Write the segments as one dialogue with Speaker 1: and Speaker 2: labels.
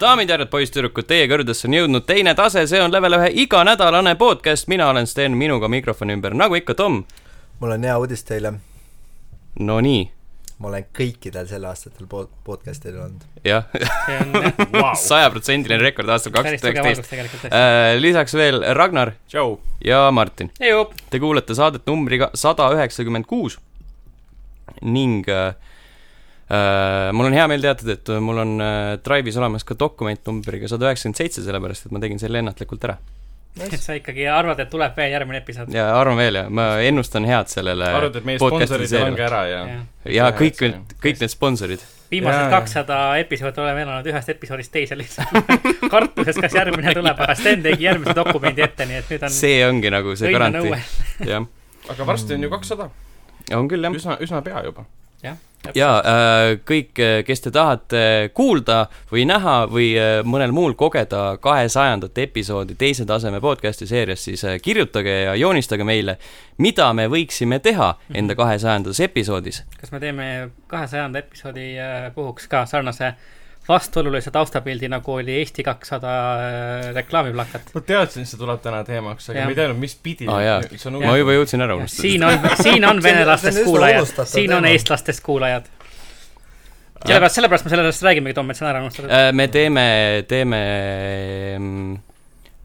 Speaker 1: daamid ja härrad , poisssüdrukud , teie kõrgedesse on jõudnud teine tase , see on level ühe iganädalane podcast , mina olen Sten , minuga mikrofoni ümber , nagu ikka , Tom .
Speaker 2: mul on hea uudis teile ,
Speaker 1: Nonii ,
Speaker 2: ma olen kõikidel sel aastatel pod- , podcast'il olnud .
Speaker 1: jah ,
Speaker 3: see on wow.
Speaker 1: sajaprotsendiline rekord aastal kaks
Speaker 3: päris
Speaker 1: tuhat
Speaker 3: tugev algus
Speaker 1: üheksateist .
Speaker 3: tegelikult tõesti .
Speaker 1: lisaks veel Ragnar
Speaker 4: tšau .
Speaker 1: ja Martin .
Speaker 3: Heiu ,
Speaker 1: Te kuulate saadet numbriga sada üheksakümmend kuus ning äh, äh, mul on hea meel teatada , et mul on äh, Drive'is olemas ka dokument numbriga sada üheksakümmend seitse , sellepärast et ma tegin selle ennatlikult ära .
Speaker 3: et sa ikkagi arvad , et tuleb veel järgmine episood .
Speaker 1: ja arvan veel ja ma ennustan head sellele
Speaker 4: arvad , et meie
Speaker 1: Äh, podcasti
Speaker 4: sponsorid ei lange
Speaker 1: seeriale.
Speaker 4: ära ja ?
Speaker 1: ja kõik
Speaker 4: Jah, ,
Speaker 1: kõik need sponsorid .
Speaker 3: viimased
Speaker 4: Jaa.
Speaker 3: kakssada episoodi oleme elanud ühest episoodist teise lihtsalt . kartuses , kas järgmine tuleb , aga Sten tegi järgmise dokumendi ette , nii et nüüd on
Speaker 1: see ongi nagu see
Speaker 3: õnn on
Speaker 1: garantii
Speaker 3: õue. .
Speaker 1: jah ,
Speaker 4: aga varsti on ju kakssada ,
Speaker 1: on küll jah .
Speaker 4: üsna , üsna pea juba .
Speaker 1: ja äh, kõik , kes te tahate kuulda või näha või äh, mõnel muul kogeda kahesajandat episoodi teise taseme podcast'i seerias , siis äh, kirjutage ja joonistage meile , mida me võiksime teha enda
Speaker 4: Mhm.
Speaker 1: kahesajandas episoodis .
Speaker 3: kas me teeme kahesajanda episoodi äh, puhuks ka sarnase vastuolulise taustapildi , nagu oli Eesti kakssada äh, reklaamiplakat ?
Speaker 4: ma teadsin , et see tuleb täna teemaks , aga
Speaker 3: Jah.
Speaker 4: ma ei teadnud , mis pidi
Speaker 1: Aa, Ah, jaa.
Speaker 4: see on
Speaker 1: ma
Speaker 4: uus .
Speaker 1: juba jõudsin ära
Speaker 3: siin
Speaker 1: unustada .
Speaker 3: on , siin on venelastest
Speaker 2: üsna
Speaker 3: kuulajad ,
Speaker 2: unustatud
Speaker 3: siin on
Speaker 2: teema.
Speaker 3: eestlastest kuulajad . sellepärast , sellepärast me sellest räägimegi , Tom , et see on ära unustatud .
Speaker 1: Äh, me teeme , teeme ,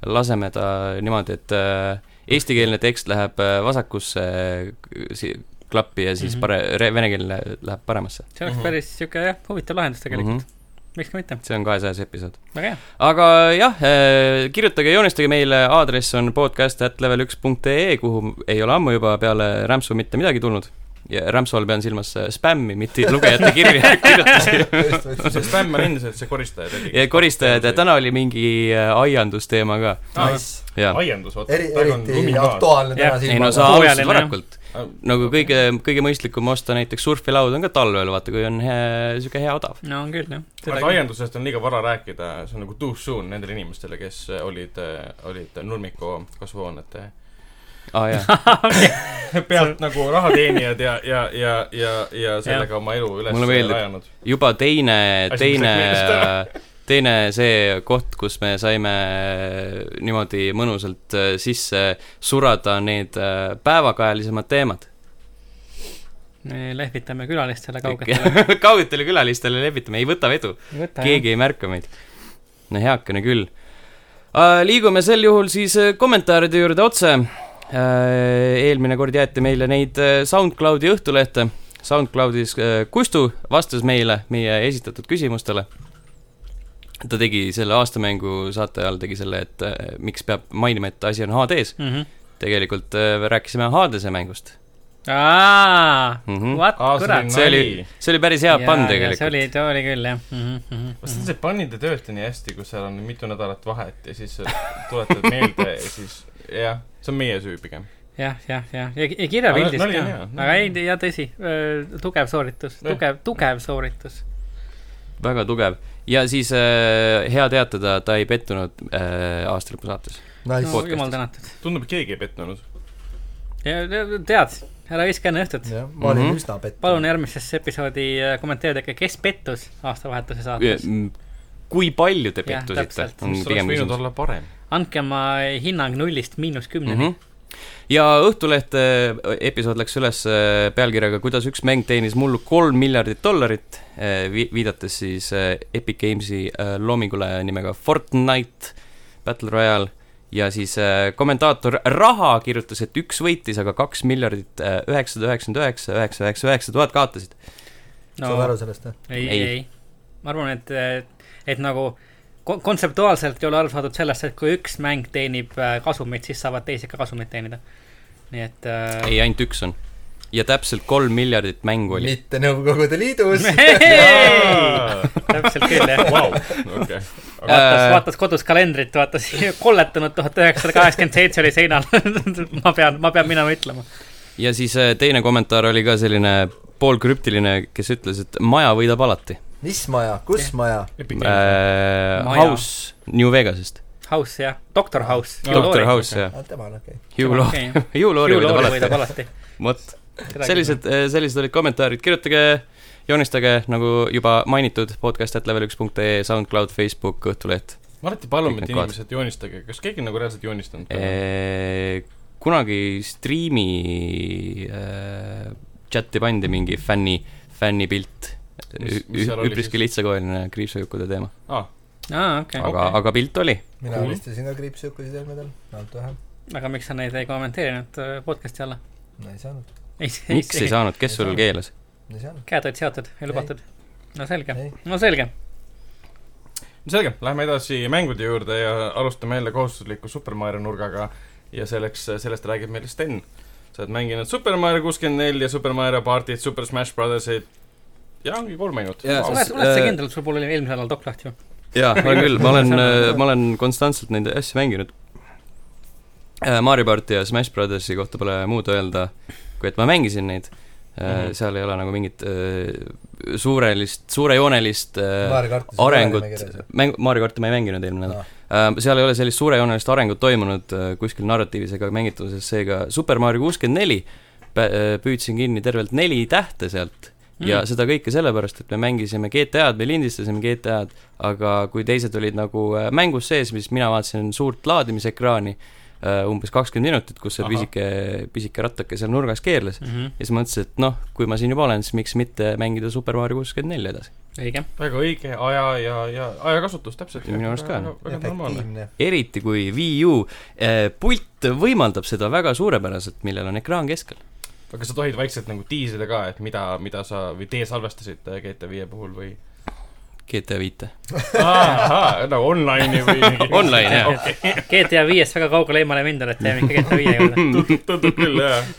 Speaker 1: laseme ta niimoodi , et äh, eestikeelne tekst läheb äh, vasakusse äh, si- klappi ja siis
Speaker 3: Mhm.
Speaker 1: pare- , venekeelne läheb paremasse .
Speaker 3: see oleks
Speaker 4: Mhm.
Speaker 3: päris sihuke jah , huvitav lahendus
Speaker 1: Mhm.
Speaker 3: tegelikult mm . -hmm. miks ka mitte ,
Speaker 1: see on kahesajas episood .
Speaker 3: väga hea .
Speaker 1: aga jah , kirjutage , joonistage meile , aadress on podcast.level1.ee , kuhu ei ole ammu juba peale rämpsu mitte midagi tulnud . ja rämpsu all pean silmas äh, spämmi , mitte lugejate kirja , kirjutusi .
Speaker 4: see spämm on endiselt see koristaja
Speaker 1: ja
Speaker 4: tegi .
Speaker 1: koristajad ja täna oli mingi äh, aiandusteema ka ,
Speaker 2: Nice .
Speaker 1: jaa .
Speaker 4: aiandus , oota ,
Speaker 2: eri ,
Speaker 4: praegu on lumi Äh,
Speaker 2: eriti
Speaker 4: maas .
Speaker 2: aktuaalne
Speaker 3: Jah.
Speaker 2: täna
Speaker 1: ei no
Speaker 2: silmaga
Speaker 1: sa
Speaker 3: saa-
Speaker 1: alustasid
Speaker 3: Hooajaline, jah.
Speaker 1: varakult . nagu kõige , kõige mõistlikum osta näiteks surfilaud on ka talvel , vaata kui on hea- sihuke hea odav .
Speaker 3: no on küll jah .
Speaker 4: aga aiandusest on liiga vara rääkida , see on nagu too soon nendele inimestele , kes äh, olid , olid nurmiku kasvuhoonete
Speaker 1: aa jaa ,
Speaker 4: pealt nagu rahateenijad ja , ja , ja , ja , ja sellega oma elu üles
Speaker 1: Mulle meeldib.
Speaker 4: rajanud .
Speaker 1: juba teine ,
Speaker 4: Asi, mis
Speaker 1: teine
Speaker 4: läks meelest ,
Speaker 1: teine see koht , kus me saime niimoodi mõnusalt äh, sisse surada need äh, päevakajalisemad teemad .
Speaker 3: me lehvitame külalistele kaugetele .
Speaker 1: kaugetele külalistele lepitame , ei võta vedu , keegi ei märka meid . no heakene küll . liigume sel juhul siis äh, kommentaaride juurde otse . eelmine kord jäeti meile neid äh, SoundCloudi õhtulehte . SoundCloudis äh, Kustu vastas meile meie esitatud küsimustele . ta tegi selle aastamängu saate ajal tegi selle , et äh, miks peab mainima , et asi on HD-s .
Speaker 3: mm . -hmm.
Speaker 1: tegelikult äh, rääkisime HD-se mängust
Speaker 3: aa ,
Speaker 1: mm . -hmm.
Speaker 3: what ,
Speaker 4: Aa, see oli
Speaker 3: kurat .
Speaker 1: see oli
Speaker 4: Mhm. nali. ,
Speaker 1: see oli päris hea pann
Speaker 3: see oli
Speaker 1: tegelikult .,
Speaker 3: see oli küll jah mm . -hmm.
Speaker 4: kas
Speaker 1: Mhm.
Speaker 4: see pannide tööta nii hästi , kui seal on mitu nädalat vahet ja siis tuletad meelde ja siis jah , see on meie süü pigem .
Speaker 3: jah , jah , jah , ja, ja kirjapildis
Speaker 4: Aga nali
Speaker 3: ka
Speaker 4: on hea, . nali
Speaker 3: aga
Speaker 4: on
Speaker 3: ei , ja tõsi , tugev sooritus ,
Speaker 4: Jah.
Speaker 3: tugev , tugev sooritus .
Speaker 1: väga tugev ja siis äh, hea teatada , ta ei pettunud äh, aasta lõpu saates .
Speaker 3: no
Speaker 2: nice .
Speaker 1: podcastis.
Speaker 3: jumal tänatud .
Speaker 4: tundub , et keegi ei pettunud .
Speaker 3: tead , ära viska enne õhtut .
Speaker 2: jah , ma olin
Speaker 1: Mhm.
Speaker 2: üsna pettunud .
Speaker 3: palun järgmisesse episoodi äh, kommenteerige , kes pettus aastavahetuse saates .
Speaker 1: mm, kui palju te
Speaker 3: Jah,
Speaker 1: pettusite
Speaker 3: täpselt. ,
Speaker 1: on
Speaker 4: mis oleks
Speaker 1: pigem
Speaker 4: võinud
Speaker 1: küsimus .
Speaker 4: olla parem ?
Speaker 3: andke oma hinnang nullist miinus kümneni .
Speaker 4: Mhm.
Speaker 1: Mhm. ja Õhtuleht äh, episood läks üles äh, pealkirjaga Kuidas üks mäng teenis mullu kolm miljardit dollarit äh, , vi- , viidates siis äh, Epic Games'i äh, loomingule nimega Fortnite Battle Royale ja siis äh, kommentaator Raha kirjutas , et üks võitis , aga kaks miljardit äh, üheksasada üheksakümmend üheksa , üheksa , üheksa , üheksa tuhat kaotasid .
Speaker 2: saad aru sellest , jah ?
Speaker 3: ei ,
Speaker 1: Ei.
Speaker 3: ei, ei. , ma arvan , et , et nagu ko- kontseptuaalselt ei ole aru saadud sellest , et kui üks mäng teenib äh, kasumit , siis saavad teised ka kasumit teenida . nii et äh, .
Speaker 1: ei , ainult üks on . ja täpselt kolm miljardit mängu oli .
Speaker 2: mitte Nõukogude Liidus .
Speaker 3: täpselt küll jah .
Speaker 4: okei .
Speaker 3: vaatas ,
Speaker 1: Äh.
Speaker 3: vaatas kodus kalendrit , vaatas kolletanud tuhat üheksasada kaheksakümmend seitse oli seinal . ma pean , ma pean minema ütlema .
Speaker 1: ja siis äh, teine kommentaar oli ka selline poolkrüptiline , kes ütles , et maja võidab alati .
Speaker 2: mis maja , kus maja ?
Speaker 1: Äh, House New Vegasest .
Speaker 3: House jah , Doctor House .
Speaker 4: Jaa,
Speaker 1: Doctor House , jah .
Speaker 2: Ah, tema on okei .
Speaker 1: Hugh Laurie , Hugh Laurie võidab alati . äh,
Speaker 3: alati .
Speaker 1: vot , sellised , sellised olid kommentaarid , kirjutage joonistage nagu juba mainitud podcast.level1.ee , SoundCloud , Facebook , Õhtuleht .
Speaker 4: ma alati palun
Speaker 1: Kõik
Speaker 4: mind
Speaker 1: need kohad.
Speaker 4: inimesed joonistage , kas keegi on nagu reaalselt joonistanud ?
Speaker 1: Äh, kunagi striimi äh, chati pandi mingi fänni , fännipilt .
Speaker 4: Mis- mis seal oli
Speaker 1: üpriski
Speaker 4: siis?
Speaker 1: lihtsakoeline kriipsujukkude teema ,
Speaker 4: aa ,
Speaker 3: aa , okei .
Speaker 1: aga ,
Speaker 4: Okei.
Speaker 1: aga pilt oli .
Speaker 2: mina
Speaker 4: Cool.
Speaker 2: helistasin ka kriipsujukusid eelmine nädal , ainult ühe ,
Speaker 3: aga miks sa neid ei kommenteerinud äh, podcast'i alla ?
Speaker 2: no ei saanud ,
Speaker 1: miks ei ? saanud , kes sul keelas ?
Speaker 2: ei saanud .
Speaker 3: käed olid seotud , ei lubatud . no selge
Speaker 2: Ei. ,
Speaker 3: no selge .
Speaker 4: selge , lähme edasi mängude juurde ja alustame jälle kohustusliku Super Mario nurgaga ja selleks , sellest räägib meile Sten . sa oled mänginud Super Mario kuuskümmend neli ja Super Mario party'd , Super Smash Brothersit ja ongi kolm mängu .
Speaker 1: Jaa,
Speaker 3: oled ,
Speaker 1: sest-
Speaker 3: oled sa
Speaker 1: äh,
Speaker 3: kindel , et sul pole eelmisel nädalal dok lahti ju ?
Speaker 1: jaa , olen küll , ma olen , ma olen konstantselt neid asju mänginud . Mario party ja Smash Brothersi kohta pole muud öelda , kui et ma mängisin neid mm .
Speaker 4: Mhm.
Speaker 1: -hmm. seal ei ole nagu mingit äh, suurelist , suurejoonelist äh,
Speaker 2: Mario kartis .
Speaker 1: arengut , mäng , Mario karti ma ei mänginud eelmine nädal . Äh, seal ei ole sellist suurejoonelist arengut toimunud äh, kuskil narratiivis ega mängituses , seega Super Mario kuuskümmend neli äh, püüdsin kinni tervelt neli tähte sealt ja
Speaker 3: Mm.
Speaker 1: seda kõike sellepärast , et me mängisime GTA-d , me lindistasime GTA-d , aga kui teised olid nagu äh, mängus sees , siis mina vaatasin suurt laadimisekraani , umbes kakskümmend minutit , kus see
Speaker 4: Ahah.
Speaker 1: pisike , pisike rattake seal nurgas keerles .
Speaker 3: Mhm.
Speaker 1: ja siis mõtlesin , et noh , kui ma siin juba olen , siis miks mitte mängida Super Mario kuuskümmend neli edasi .
Speaker 3: õige .
Speaker 4: väga õige aja ja , ja ajakasutus täpselt .
Speaker 1: Ja minu arust ka.
Speaker 4: väga normaalne .
Speaker 2: efektiivne .
Speaker 1: eriti kui Wii U äh, pult võimaldab seda väga suurepäraselt , millel on ekraan keskel .
Speaker 4: aga sa tohid vaikselt nagu diisida ka , et mida , mida sa või äh, teie salvestasite GTA viie puhul või ?
Speaker 1: GTA viite .
Speaker 4: nagu online'i või ?
Speaker 1: Online, jah.
Speaker 3: GTA viiest väga kaugele eemale mindud , et jääme ikka GTA viie juurde .
Speaker 4: tundub küll , jah .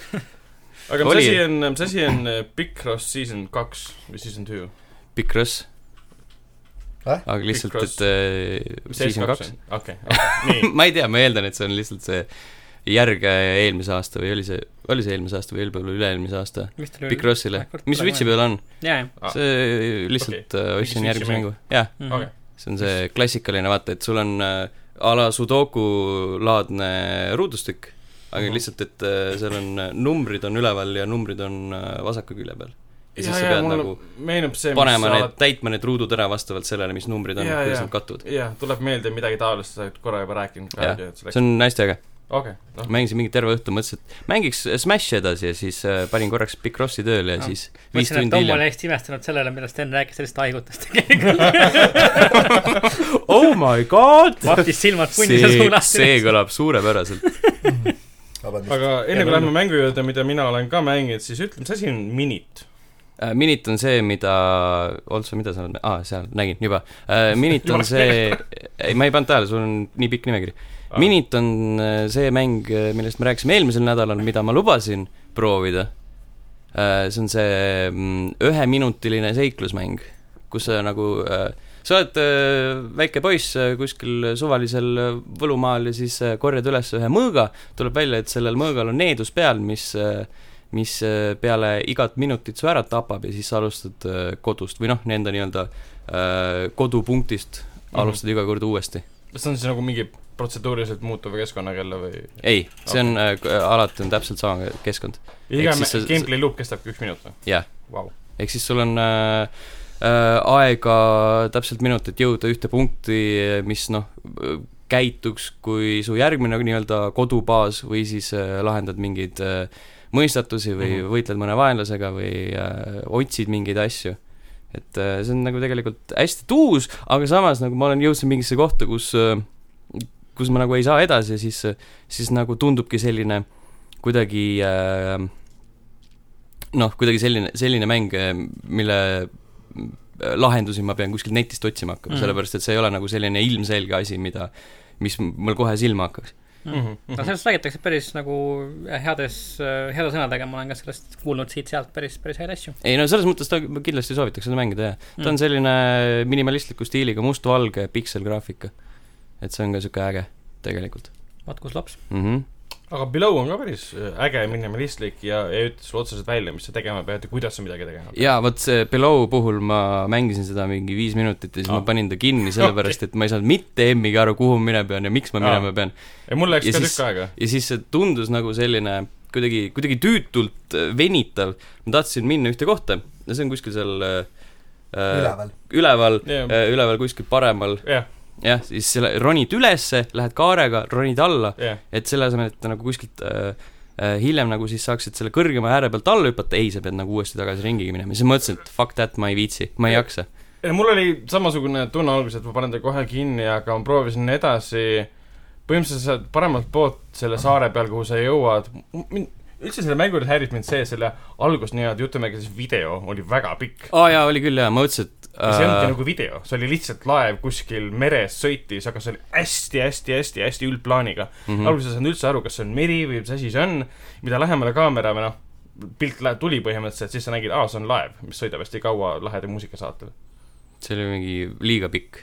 Speaker 4: aga mis
Speaker 1: Oli.
Speaker 4: asi on , mis asi on äh, Big Cross Season kaks või Season two ?
Speaker 1: Big Cross .
Speaker 2: Häh?
Speaker 1: aga lihtsalt ,
Speaker 4: Cross.
Speaker 1: et äh, siis on kaks ..
Speaker 4: okei , nii .
Speaker 1: ma ei tea , ma eeldan , et see on lihtsalt see järg äh, eelmise aasta või oli see , oli see eelmise aasta või võib-olla üle-eelmise aasta
Speaker 3: vist
Speaker 1: Big Crossile
Speaker 3: Äh, kord ,
Speaker 1: mis
Speaker 3: tuleb
Speaker 1: Switchi peal on ,
Speaker 3: jaa , jah .
Speaker 4: Ah.
Speaker 1: see lihtsalt äh, ostsin
Speaker 4: Mingi
Speaker 1: järgmise
Speaker 4: Switchi mäng.
Speaker 1: mängu , jah ,
Speaker 3: Mhm.
Speaker 4: okei ,
Speaker 1: see on see klassikaline , vaata , et sul on äh, a la Sudoku laadne ruudustik , aga
Speaker 4: Mhm.
Speaker 1: lihtsalt , et äh, seal on äh, numbrid on üleval ja numbrid on äh, vasaku külje peal . ja siis
Speaker 4: ja ,
Speaker 1: sa
Speaker 4: ja
Speaker 1: pead
Speaker 4: mulle
Speaker 1: nagu
Speaker 4: meenub see , mis
Speaker 1: panema
Speaker 4: sa
Speaker 1: need
Speaker 4: oled ,,
Speaker 1: täitma need ruudud ära vastavalt sellele , mis numbrid on ,
Speaker 4: Jaa,
Speaker 1: kuidas
Speaker 4: jaa.
Speaker 1: nad kattuvad .
Speaker 4: jah , tuleb meelde midagi taolist , sa oled korra juba rääkinud
Speaker 1: Jah,
Speaker 4: ka , et see
Speaker 1: see
Speaker 4: läks ,
Speaker 1: on hästi äge ,
Speaker 4: okei , noh ,
Speaker 1: mängisin mingi terve õhtu , mõtlesin , et mängiks Smashi edasi ja siis äh, panin korraks Big Crossi tööle ja
Speaker 3: Ah.
Speaker 1: siis
Speaker 3: ma
Speaker 1: viis
Speaker 3: ütlesin ,
Speaker 1: tundi
Speaker 3: et Tom oli
Speaker 1: hiljem .
Speaker 3: hästi imestanud sellele , mida Sten rääkis sellist haigutest tegelikult .
Speaker 1: oh my god !
Speaker 3: vahtis silmad punni ja suu
Speaker 1: see , see
Speaker 3: lahti .
Speaker 1: kõlab suurepäraselt .
Speaker 2: vabandust ,
Speaker 4: aga enne
Speaker 3: Ja
Speaker 4: kui lähme mängu juurde , mida mina olen ka mänginud , siis ütle , mis asi on minit ?
Speaker 1: Äh, Minit on see , mida , Oltsu , mida sa oled , aa , seal , nägin juba . Minit on see , ei , ma ei pannud tähele , sul on nii pikk nimekiri .
Speaker 4: Ah.
Speaker 1: Minit on äh, see mäng , millest me rääkisime eelmisel nädalal , mida ma lubasin proovida . see on see mm, üheminutiline seiklusmäng , kus sa nagu , sa oled äh, väike poiss äh, kuskil suvalisel äh, võlumaal ja siis äh, korjad üles ühe mõõga , tuleb välja , et sellel mõõgal on needus peal , mis , mis äh, peale igat minutit su ära tapab ja siis sa alustad äh, kodust või noh , nende nii-öelda äh, kodupunktist alustad iga kord uuesti .
Speaker 4: kas see on siis nagu mingi protseduuriliselt muutuva keskkonnaga jälle või ?
Speaker 1: ei , see on äh, , alati on täpselt sama keskkond .
Speaker 4: iga
Speaker 1: Ehk siis
Speaker 4: mä-
Speaker 1: sa-
Speaker 4: gameplay loop kestabki üks minut või ?
Speaker 1: Jah.
Speaker 4: Vau ,
Speaker 1: ehk siis sul on äh, äh, aega täpselt minut , et jõuda ühte punkti , mis noh , käituks kui su järgmine nii-öelda kodubaas või siis äh, lahendad mingeid äh, mõistatusi või mm
Speaker 4: Mhm.
Speaker 1: -hmm. võitled mõne vaenlasega või äh, otsid mingeid asju . et äh, see on nagu tegelikult hästi tuus , aga samas nagu ma olen jõudnud mingisse kohta , kus äh, kus ma nagu ei saa edasi ja siis , siis nagu tundubki selline kuidagi äh, noh , kuidagi selline , selline mäng , mille äh, lahendusi ma pean kuskilt netist otsima hakkama
Speaker 3: Mhm.
Speaker 1: mm. , sellepärast et see ei ole nagu selline ilmselge asi , mida , mis m- mul kohe silma hakkaks .
Speaker 3: Mm.
Speaker 4: Mhm,
Speaker 3: Mhm. no sellest räägitakse päris nagu heades , heade sõnadega , ma olen ka sellest kuulnud siit-sealt päris , päris häid asju . Mhm.
Speaker 1: ei no selles mõttes ta , ma kindlasti soovitaks seda mängida , jah . ta on selline minimalistliku stiiliga mustvalge pikselgraafika . et see on ka niisugune äge tegelikult
Speaker 3: vaat kus laps .
Speaker 1: mm . -hmm.
Speaker 4: aga Below on ka päris äh, äge , minimalistlik ja ei ütle sulle otseselt välja , mis sa tegema pead ja kuidas sa midagi tegema pead .
Speaker 1: jaa , vot see Below puhul ma mängisin seda mingi viis minutit ja siis ah.
Speaker 4: Ah.
Speaker 1: ma panin ta kinni , sellepärast et ma ei saanud mitte emmigi aru , kuhu ma minema pean ja miks ma
Speaker 4: Ah.
Speaker 1: minema pean .
Speaker 4: ja mul läks
Speaker 1: ja
Speaker 4: ka
Speaker 1: siis-
Speaker 4: tükk aega .
Speaker 1: ja siis see tundus nagu selline kuidagi , kuidagi tüütult venitav , ma äh, tahtsin minna ühte kohta no see on kuskil seal äh, üleval, üleval,
Speaker 2: üleval .
Speaker 4: Jah.
Speaker 1: äh, üleval kuskil paremal ,
Speaker 4: jah ,
Speaker 1: jah , siis selle, ronid ülesse , lähed kaarega , ronid alla ,
Speaker 4: jah ,
Speaker 1: et selle asemel , et nagu kuskilt äh, äh, hiljem nagu siis saaksid selle kõrgema ääre pealt alla hüpata , ei , sa pead nagu uuesti tagasi ringigi minema , siis ma mõtlesin , et fuck that , ma ei viitsi , ma ei jaksa .
Speaker 4: Ja mul oli samasugune tunne alguses , et ma panen ta kohe kinni , aga ma proovisin edasi . põhimõtteliselt sa saad paremalt poolt selle saare peal , kuhu sa jõuad . mind , üldse selle mängu juures häirib mind see , selle algus nii-öelda jutumärkides video oli väga pikk .
Speaker 1: aa oh, jaa , oli küll jaa , ma mõtlesin , et
Speaker 4: see ei olnudki
Speaker 1: äh,
Speaker 4: nagu video , see oli lihtsalt laev kuskil meres sõitis , aga see oli hästi-hästi-hästi-hästi üldplaaniga .
Speaker 1: mhm.
Speaker 4: nagu alguses ei saanud üldse aru , kas see on meri või mis asi see on , mida lähemale kaamera või noh , pilt läheb , tuli põhimõtteliselt , siis sa nägid , aa , see on laev , mis sõidab hästi kaua laheda muusikasaatel .
Speaker 1: see oli mingi liiga pikk .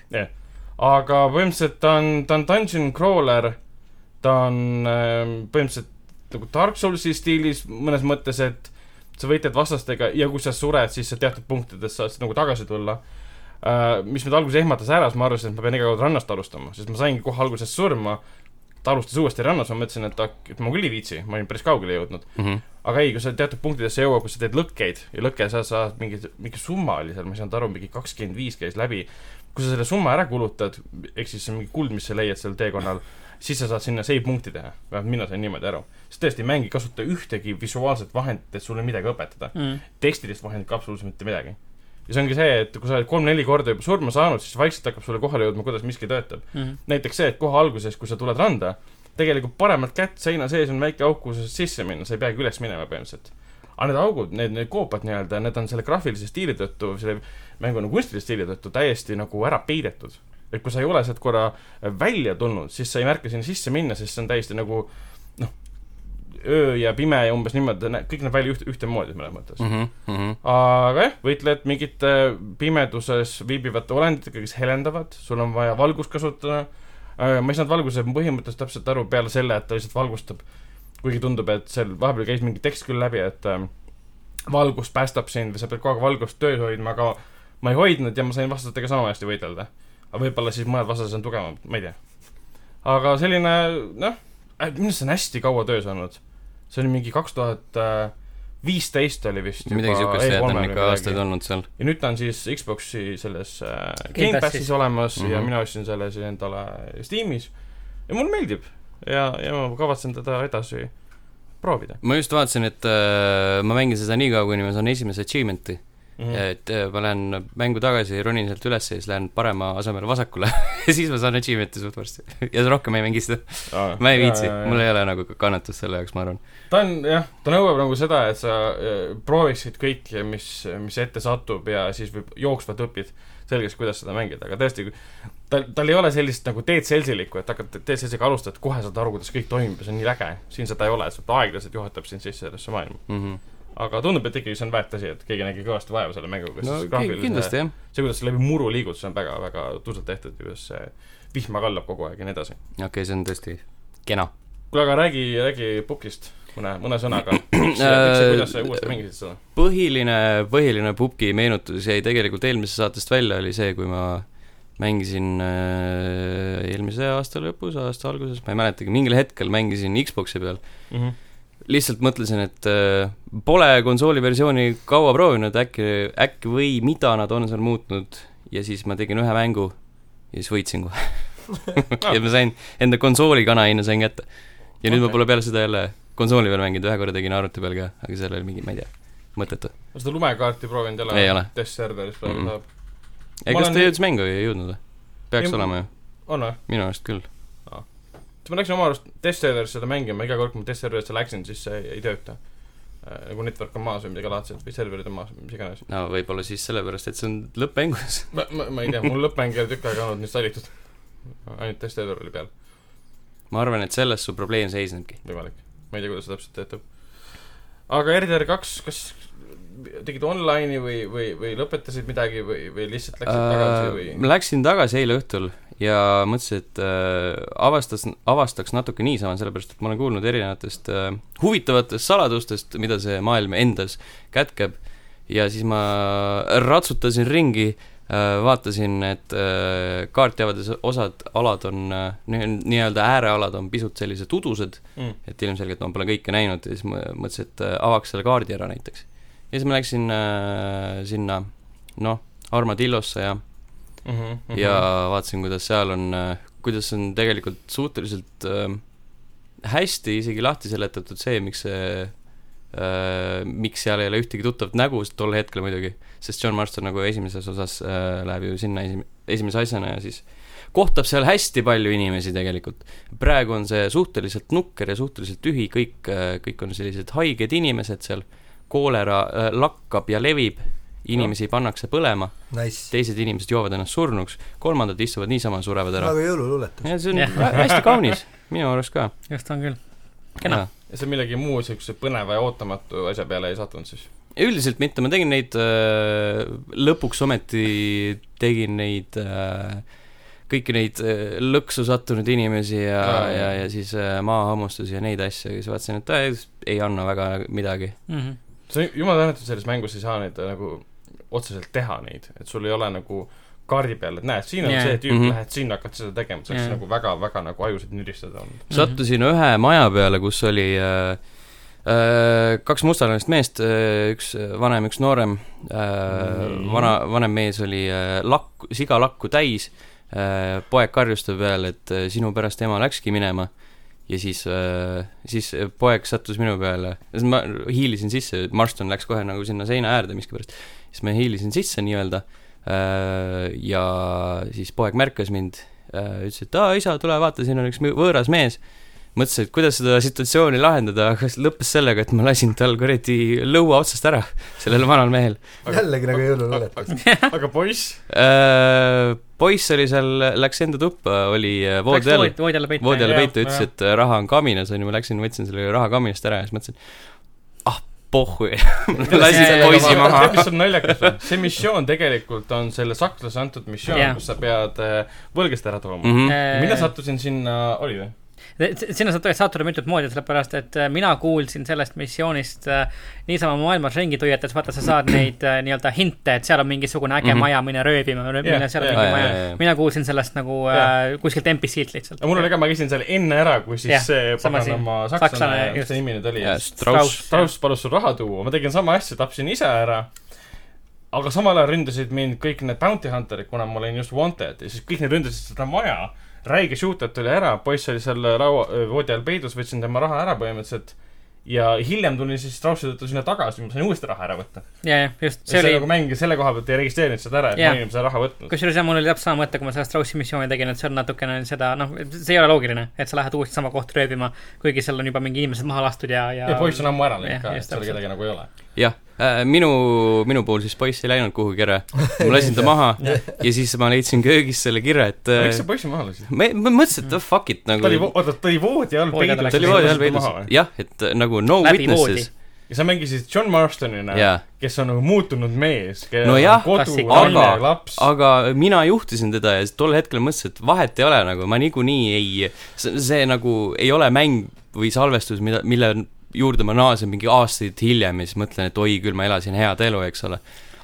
Speaker 4: aga põhimõtteliselt ta on , ta on dungeon crawler , ta on ähm, põhimõtteliselt nagu Dark Soulsi stiilis mõnes mõttes , et sa võitled vastastega ja kui sa sured , siis sa teatud punktides saad nagu tagasi tulla . mis mind alguses ehmatas ära , siis ma arvasin , et ma pean iga kord rannast alustama , sest ma saingi kohe alguses surma . ta alustas uuesti rannas , ma mõtlesin , et ak- et ma küll ei viitsi , ma olin päris kaugele jõudnud . aga ei , kui sa teatud punktidesse jõuad , kus sa teed lõkkeid ja lõkke sa saad mingi , mingi summa oli seal , ma ei saanud aru , mingi kakskümmend viis käis läbi . kui sa selle summa ära kulutad , ehk siis see on mingi kuld , mis sa leiad seal teekonnal , siis sa saad sinna save punkti teha . vähemalt mina sain niimoodi aru . sest tõesti , mäng ei kasuta ühtegi visuaalset vahendit , et sulle midagi õpetada .
Speaker 1: Mhm.
Speaker 3: mm. .
Speaker 4: tekstilist vahendit ka absoluutselt mitte midagi . ja see ongi see , et kui sa oled kolm-neli korda juba surma saanud , siis vaikselt hakkab sulle kohale jõudma , kuidas miski töötab
Speaker 3: Mm.
Speaker 4: näiteks see , et kohe alguses , kui sa tuled randa , tegelikult paremalt kätt seina sees on väike auk , kuhu sa saad sisse minna , sa ei peagi üles minema põhimõtteliselt . aga need augud , need , need koopad nii-öelda , need on selle graafilise stiili tõttu , selle mängu nagu kunstilise stiili tõttu täiesti nagu ära peidetud . et kui sa ei ole sealt korra välja tulnud , siis sa ei märka sinna sisse minna , sest see on täiesti nagu noh , öö ja pime ja umbes niimoodi , kõik näeb välja üht , ühtemoodi mõnes mõttes .
Speaker 1: Mm.
Speaker 4: mhm. aga jah , võitled mingite pimeduses viibivate olenditega , kes helendavad , sul on vaja valgust kasutada . Äh, ma ei saanud valguse põhimõttest täpselt aru peale selle , et ta lihtsalt valgustab . kuigi tundub , et seal vahepeal käis mingi tekst küll läbi , et ähm, valgus päästab sind või sa pead kogu aeg valgust töös hoidma , aga ma ei hoidnud ja ma sain vastastega sama hästi võidelda . aga võib-olla siis mõned vastased on tugevamad , ma ei tea . aga selline , noh , minu arust see on hästi kaua töös olnud . see oli mingi kaks tuhat äh, viisteist oli vist juba
Speaker 1: midagi siukest jah , ta
Speaker 4: E3-l
Speaker 1: on
Speaker 4: või
Speaker 1: ikka
Speaker 4: midagi.
Speaker 1: aastaid olnud seal .
Speaker 4: ja nüüd ta on siis Xbox'i selles äh,
Speaker 3: Game
Speaker 4: Game Passis
Speaker 3: Passis.
Speaker 4: olemas mm -hmm. ja
Speaker 1: Mhm.
Speaker 4: mina ostsin selle siis endale Steamis ja mulle meeldib ja , ja ma kavatsen teda edasi proovida
Speaker 1: ma just vaatasin , et äh, ma mängin seda nii kaua , kuni ma saan esimese achievement'i
Speaker 4: mm .
Speaker 1: mm. .
Speaker 4: -hmm.
Speaker 1: et äh, ma lähen mängu tagasi , ronin sealt üles ja siis lähen parema asemel vasakule ja siis ma saan achievement'i suht varsti . ja rohkem ei mängi seda , ma ei viitsi , mul ei ole nagu kannatust selle jaoks , ma arvan .
Speaker 4: ta on jah , ta nõuab nagu seda , et sa äh, prooviksid kõike , mis , mis ette satub ja siis võib , jooksvalt õpid selgeks , kuidas seda mängida , aga tõesti , tal , tal ei ole sellist nagu teed seltsilikku , et hakkad teed seltsiga alustad , kohe saad aru , kuidas kõik toimib ja see on nii äge . siin seda ei ole , et see aeglaselt juhatab sind sisse sellesse maailma . aga tundub , et ikkagi see on väärt asi , et keegi nägi kõvasti vaeva selle mänguga .
Speaker 1: no ki- kindlasti jah ,
Speaker 4: see , kuidas sa läbi muru liigud , see on väga , väga tuusalt tehtud , kuidas see vihma kallab kogu aeg ja nii edasi .
Speaker 1: okei okay, , see on tõesti kena .
Speaker 4: kuule , aga räägi , räägi Pukist mõne , mõne sõnaga . miks , kuidas sa
Speaker 1: Äh,
Speaker 4: uuesti mängisid seda ?
Speaker 1: põhiline , põhiline pubgi meenutus jäi tegelikult eelmisest saatest välja , oli see , kui ma mängisin äh, eelmise aasta lõpus , aasta alguses , ma ei mäletagi , mingil hetkel mängisin Xbox'i peal lihtsalt mõtlesin , et äh, pole konsooliversiooni kaua proovinud , äkki , äkki või mida nad on seal muutnud ja siis ma tegin ühe mängu ja siis võitsin kohe . ja ma sain enda konsooli kanahinna sain kätte . ja nüüd ma
Speaker 4: Okei.
Speaker 1: pole peale seda jälle konsooli peal mänginud , ühe korra tegin arvuti peal ka , aga seal oli mingi , ma ei tea , mõttetu .
Speaker 4: ma seda lumekaarti proovinud
Speaker 1: Ei
Speaker 4: ei ole
Speaker 1: ole. . Mhm.
Speaker 4: testserveris praegu
Speaker 1: Mm-mm.
Speaker 4: tahab .
Speaker 1: ei ,
Speaker 4: Ma
Speaker 1: kas
Speaker 4: olen
Speaker 1: ta
Speaker 4: nii-
Speaker 1: jõudis mängu või ei jõudnud või ? peaks
Speaker 4: Ei,
Speaker 1: ei, olema ju ,
Speaker 4: on või ?
Speaker 1: minu arust küll .
Speaker 4: siis ma läksin oma arust testserverisse seda mängima , iga kord , kui ma testserverisse läksin , siis see ei, ei tööta . nagu network on maas või midagi laadset või serverid on maas või mis iganes .
Speaker 1: no võib-olla siis sellepärast , et see on lõppmängus .
Speaker 4: ma , ma , ma ei tea , mul lõppmäng ei ole tükk aega olnud nii sallitud . ainult testserver oli peal ,
Speaker 1: ma arvan , et selles su probleem seisnebki .
Speaker 4: võimalik . ma ei tea , kuidas see täpselt töötab . aga RDR kaks , kas tegid online'i või , või , või lõpetasid midagi või , või lihtsalt läksid
Speaker 1: Äh,
Speaker 4: uh, tagasi või
Speaker 1: ma ? läksin tagasi eile õhtul ja mõtlesin , et äh, avastas , avastaks natuke niisama , sellepärast et ma olen kuulnud erinevatest äh, huvitavatest saladustest , mida see maailm endas kätkeb . ja siis ma ratsutasin ringi äh, , vaatasin , et äh, kaarti avades osad alad on äh, , nii-öelda äärealad on pisut sellised udused ,
Speaker 4: Mm.
Speaker 1: et ilmselgelt ma pole kõike näinud ja siis ma mõtlesin , et äh, avaks selle kaardi ära näiteks . ja siis ma läksin äh, sinna , noh , Armadillosse ja
Speaker 4: mm . -hmm.
Speaker 1: ja vaatasin , kuidas seal on , kuidas on tegelikult suhteliselt äh, hästi isegi lahti seletatud see , miks see äh, miks seal ei ole ühtegi tuttavat nägu tol hetkel muidugi , sest John Marston nagu esimeses osas äh, läheb ju sinna esim- , esimese asjana ja siis kohtab seal hästi palju inimesi tegelikult . praegu on see suhteliselt nukker ja suhteliselt tühi , kõik , kõik on sellised haiged inimesed seal , koolera äh, lakkab ja levib , inimesi pannakse põlema ,
Speaker 2: nice .
Speaker 1: teised inimesed joovad ennast surnuks , kolmandad istuvad niisama , surevad ära .
Speaker 2: nagu jõululuuletus .
Speaker 1: ja see on
Speaker 3: Jah.
Speaker 1: vä- hästi kaunis , minu arust ka .
Speaker 3: just on küll . Kena. .
Speaker 4: ja sa millegi muu siukse põneva ja ootamatu asja peale ei sattunud siis ?
Speaker 1: üldiselt mitte , ma tegin neid , lõpuks ometi tegin neid , kõiki neid äh, lõksu sattunud inimesi ja
Speaker 4: Aa, ,
Speaker 1: ja
Speaker 4: jah. ,
Speaker 1: ja siis äh, maahammustusi ja neid asju ja siis vaatasin , et ta ei, ei anna väga midagi .
Speaker 3: Mhm.
Speaker 4: see on jumala tänatud , selles mängus ei saa neid äh, nagu otseselt teha neid , et sul ei ole nagu kaardi peal , et näed , siin on
Speaker 3: Jaa.
Speaker 4: yeah. see tüüp mm ,
Speaker 1: Mhm.
Speaker 4: -hmm. lähed sinna , hakkad seda tegema , see oleks
Speaker 3: Jaa.
Speaker 4: yeah. nagu väga-väga nagu ajusid nüristada olnud .
Speaker 1: sattusin ühe maja peale , kus oli äh, äh, kaks mustalanist meest , üks vanem , üks noorem äh,
Speaker 4: Nii. ,
Speaker 1: vana , vanem mees oli äh, lakku , sigalakku täis äh, , poeg karjus ta peale , et äh, sinu pärast ema läkski minema ja siis äh, , siis poeg sattus minu peale , siis ma hiilisin sisse , Marston läks kohe nagu sinna seina äärde miskipärast , siis ma hiilisin sisse nii-öelda äh, ja siis poeg märkas mind , ütles , et aa isa , tule vaata , siin on üks mõ- võõras mees , mõtlesin , et kuidas seda situatsiooni lahendada , aga see lõppes sellega , et ma lasin tal kuradi lõua otsast ära , sellel vanal mehel .
Speaker 2: jällegi nagu jõululuuletus .
Speaker 4: aga poiss ,
Speaker 1: Äh, Poiss oli seal , läks enda tuppa , oli äh, voodi all ,
Speaker 3: voodi alla peitu .
Speaker 1: voodi all
Speaker 4: jah,
Speaker 1: peitu , ütles ,
Speaker 4: jah.
Speaker 1: et äh, raha on kaminas , onju , ma läksin , võtsin selle raha kaminast ära ja siis mõtlesin , ah pohhu ,
Speaker 3: Jaa,
Speaker 1: lasin
Speaker 3: jaa,
Speaker 1: poisi
Speaker 3: jaa.
Speaker 1: maha .
Speaker 4: tead , mis on naljakas või ? see missioon tegelikult on selle sakslase antud missioon
Speaker 3: Jaa.
Speaker 4: yeah. , kus sa pead äh, võlgast ära tooma
Speaker 1: Mhm.
Speaker 4: mm . -hmm. mina
Speaker 3: mina
Speaker 4: sattusin sinna , oli või ?
Speaker 3: Äh, sinna saab tõesti sattuda mitut moodi , sellepärast et äh, mina kuulsin sellest missioonist äh, niisama maailmas ringi tuietades , vaata , sa saad neid äh, nii-öelda hinte , et seal on mingisugune äge
Speaker 1: Mhm.
Speaker 3: maja , mine röövima , mine seal on mingi
Speaker 4: jah.
Speaker 1: Jaa, jaa,
Speaker 3: maja
Speaker 1: jaa. .
Speaker 3: mina kuulsin sellest nagu äh, kuskilt NPC-lt lihtsalt .
Speaker 4: aga mul oli ka , ma käisin seal enne ära , kui siis
Speaker 3: Jah,
Speaker 4: yeah, see
Speaker 3: sama siin.
Speaker 4: paganama
Speaker 3: Sakslane,
Speaker 4: sakslane , mis
Speaker 3: just.
Speaker 4: ta nimi nüüd oli ,
Speaker 1: Strauss ,
Speaker 4: Strauss palus sul raha tuua , ma tegin sama asja , tapsin ise ära . aga samal ajal ründasid mind kõik need bounty hunter'id , kuna ma olin just wanted ja siis kõik need ründasid seda maja . räige shooter tuli ära , poiss oli seal äh, laua , voodi all peidus , võtsin tema raha ära põhimõtteliselt . ja hiljem tulin siis Straussi tõttu sinna tagasi , ma sain uuesti raha ära võtta .
Speaker 3: ja , ja just ,
Speaker 4: see
Speaker 3: see
Speaker 4: oli nagu
Speaker 3: oli ,
Speaker 4: mäng ja selle koha pealt ei registreerinud seda ära , et
Speaker 3: Jah.
Speaker 4: ma olin seda raha võtnud .
Speaker 3: kusjuures jah , mul oli täpselt sama mõte , kui ma seda Straussi missiooni tegin , et see on natukene seda , noh , see ei ole loogiline , et sa lähed uuesti sama kohta röövima , kuigi seal on juba mingi inimesed maha lastud ja , ja .
Speaker 4: ja poiss on ammu ära läinud
Speaker 3: Jah,
Speaker 4: ka , et
Speaker 3: just
Speaker 4: seal
Speaker 3: täpselt.
Speaker 4: kedagi nagu ei ole .
Speaker 1: jah , minu , minu puhul siis poiss ei läinud kuhugi ära , ma lasin ta maha ja siis ma leidsin köögis selle kirja , et äh,
Speaker 4: miks sa poissi maha lasid ?
Speaker 1: ma , ma mõtlesin , et oh, fuck it
Speaker 4: ta oli ,
Speaker 1: nagu ,
Speaker 4: oota , ta oli voodi all
Speaker 3: Voodi alla
Speaker 4: peidus .
Speaker 1: ta oli voodi all peidus , jah , et äh, nagu no
Speaker 3: Läbi
Speaker 1: witnesses ,
Speaker 4: ja sa mängisid John Marstonina
Speaker 1: jaa .
Speaker 4: kes on nagu muutunud mees , kellel
Speaker 1: No
Speaker 4: on
Speaker 1: jah,
Speaker 4: kodu ,
Speaker 3: klassik-
Speaker 4: naine ,
Speaker 1: aga-
Speaker 4: laps .
Speaker 1: aga mina juhtisin teda ja siis tol hetkel mõtlesin , et vahet ei ole nagu , ma niikuinii ei , see nagu ei ole mäng või salvestus , mida , mille juurde ma naasen mingi aastaid hiljem ja siis mõtlen , et oi küll , ma elasin head elu , eks ole .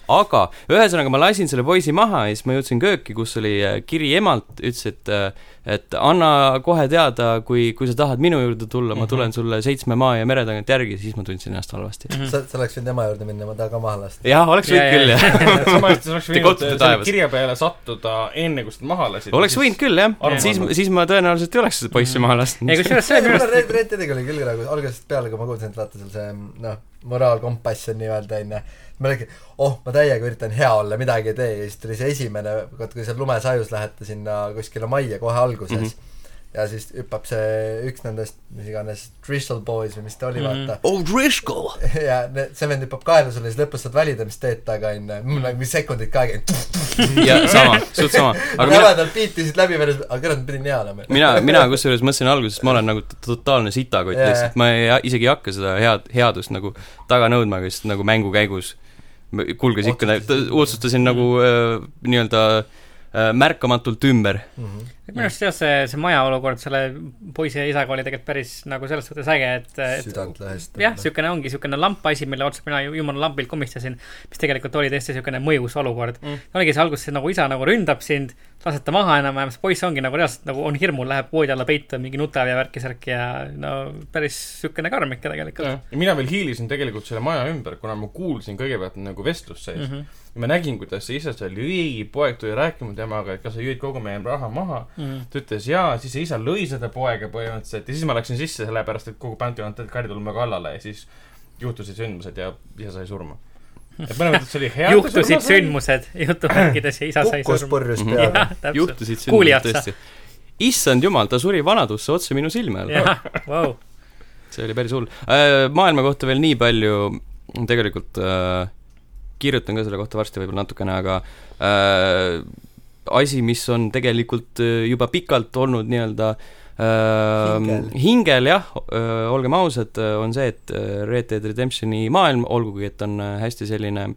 Speaker 1: aga ühesõnaga ma lasin selle poisi maha ja siis ma jõudsin kööki , kus oli äh, kiri emalt , ütles , et äh, et anna kohe teada , kui , kui sa tahad minu juurde tulla , ma
Speaker 4: Mhm.
Speaker 1: tulen sulle seitsme maa ja mere tagant järgi , siis ma tundsin ennast halvasti .
Speaker 2: sa , sa oleks võinud ema juurde minna , ma tahan ka maha lasta .
Speaker 1: jah , oleks
Speaker 3: Ja,
Speaker 1: võinud
Speaker 3: ja,
Speaker 1: küll , jah .
Speaker 4: samas mõttes oleks
Speaker 1: Te
Speaker 4: võinud
Speaker 1: kohtute
Speaker 4: selle
Speaker 1: taevas.
Speaker 4: kirja peale sattuda enne , kui sa ta maha lasid .
Speaker 1: oleks võinud . küll , jah .
Speaker 4: Arvan-
Speaker 1: siis , siis ma tõenäoliselt ei oleks seda poissi maha lasknud
Speaker 3: ei , kusjuures see on minu
Speaker 2: mul on
Speaker 3: arust
Speaker 2: Red , Red Deadiga oli küll nagu algusest peale , kui ma kuulsin , et vaata seal see noh , moraalkompass on nii-öelda onju , ma räägin , oh , ma täiega üritan hea olla , midagi ei tee ja siis tuli see esimene , vaat kui seal lumesajus lähete sinna kuskile majja kohe alguses mm ,
Speaker 1: Mhm.
Speaker 2: -hmm. ja siis hüppab see üks nendest , mis iganes , Crystal Boys või mis ta oli mm ,
Speaker 3: Mhm.
Speaker 2: -hmm. vaata .
Speaker 1: Old Risco .
Speaker 2: ja ne- see vend hüppab kaela sulle , siis lõpus saad valida , mis teed taga onju , mul nagu mingi sekundid ka ei käinud ,
Speaker 1: ja sama , suht sama . aga mina ,
Speaker 2: jämedalt piitisid läbi , aga kurat , ma pidin hea olema .
Speaker 1: mina , mina kusjuures mõtlesin alguses , et ma olen nagu t- totaalne sitakott
Speaker 2: Jaa.
Speaker 1: lihtsalt , ma ei , isegi ei hakka seda head , headust nagu taga nõudma , aga lihtsalt nagu mängu käigus m- kulges ikka ,
Speaker 2: Otsustasid.
Speaker 1: otsustasin nagu äh, nii-öelda äh, märkamatult ümber .
Speaker 3: minu arust jah , see , see maja olukord selle poisi ja isaga oli tegelikult päris nagu selles suhtes äge , et , et
Speaker 2: südant lõhestab .
Speaker 3: jah , niisugune ongi niisugune lamp-asi , mille otsa mina ju- jumala lambilt komistasin , mis tegelikult oli tõesti niisugune mõjus olukord
Speaker 4: Mm.
Speaker 3: mm. . oligi see alguses nagu isa nagu ründab sind , lasete maha enam-vähem , siis poiss ongi nagu reaalselt nagu on hirmul , läheb voodi alla peitu , mingi nutab ja värki-särki ja no päris niisugune karm ikka tegelikult .
Speaker 4: ja mina veel hiilisin tegelikult selle maja ümber , kuna ma kuulsin kõigepealt nagu vestlust sees mm .
Speaker 3: Mhm.
Speaker 4: -hmm. ja ma nägin , kuidas see isa seal jõi , poeg tuli rääkima temaga , et kas sa jõid kogu meie raha maha .
Speaker 3: Mm.
Speaker 4: ta ütles jaa , siis see isa lõi seda poega põhimõtteliselt ja siis ma läksin sisse , sellepärast et kogu bänd ei olnud tegelikult karidulme kallale ja siis juhtusid sündmused ja isa sai surma . et mõnes mõttes see oli hea .
Speaker 3: juhtusid . sündmused , jutumärkides ja isa sai
Speaker 2: kukkus
Speaker 3: surma .
Speaker 2: purjus
Speaker 1: Mhm.
Speaker 2: peale .
Speaker 3: täpselt .
Speaker 1: juhtusid
Speaker 3: Kuuli
Speaker 1: sündmused
Speaker 3: otsa.
Speaker 1: tõesti . issand jumal , ta suri vanadusse otse minu silme all .
Speaker 3: jah , vau .
Speaker 1: see oli päris hull . maailma kohta veel nii palju , tegelikult äh, kirjutan ka selle kohta varsti võib-olla natukene , aga äh, asi , mis on tegelikult äh, juba pikalt olnud nii-öelda äh,
Speaker 2: Hingel.
Speaker 1: hingel jah , olgem ausad , on see , et äh, Red Dead Redemptioni maailm , olgugi et on äh, hästi selline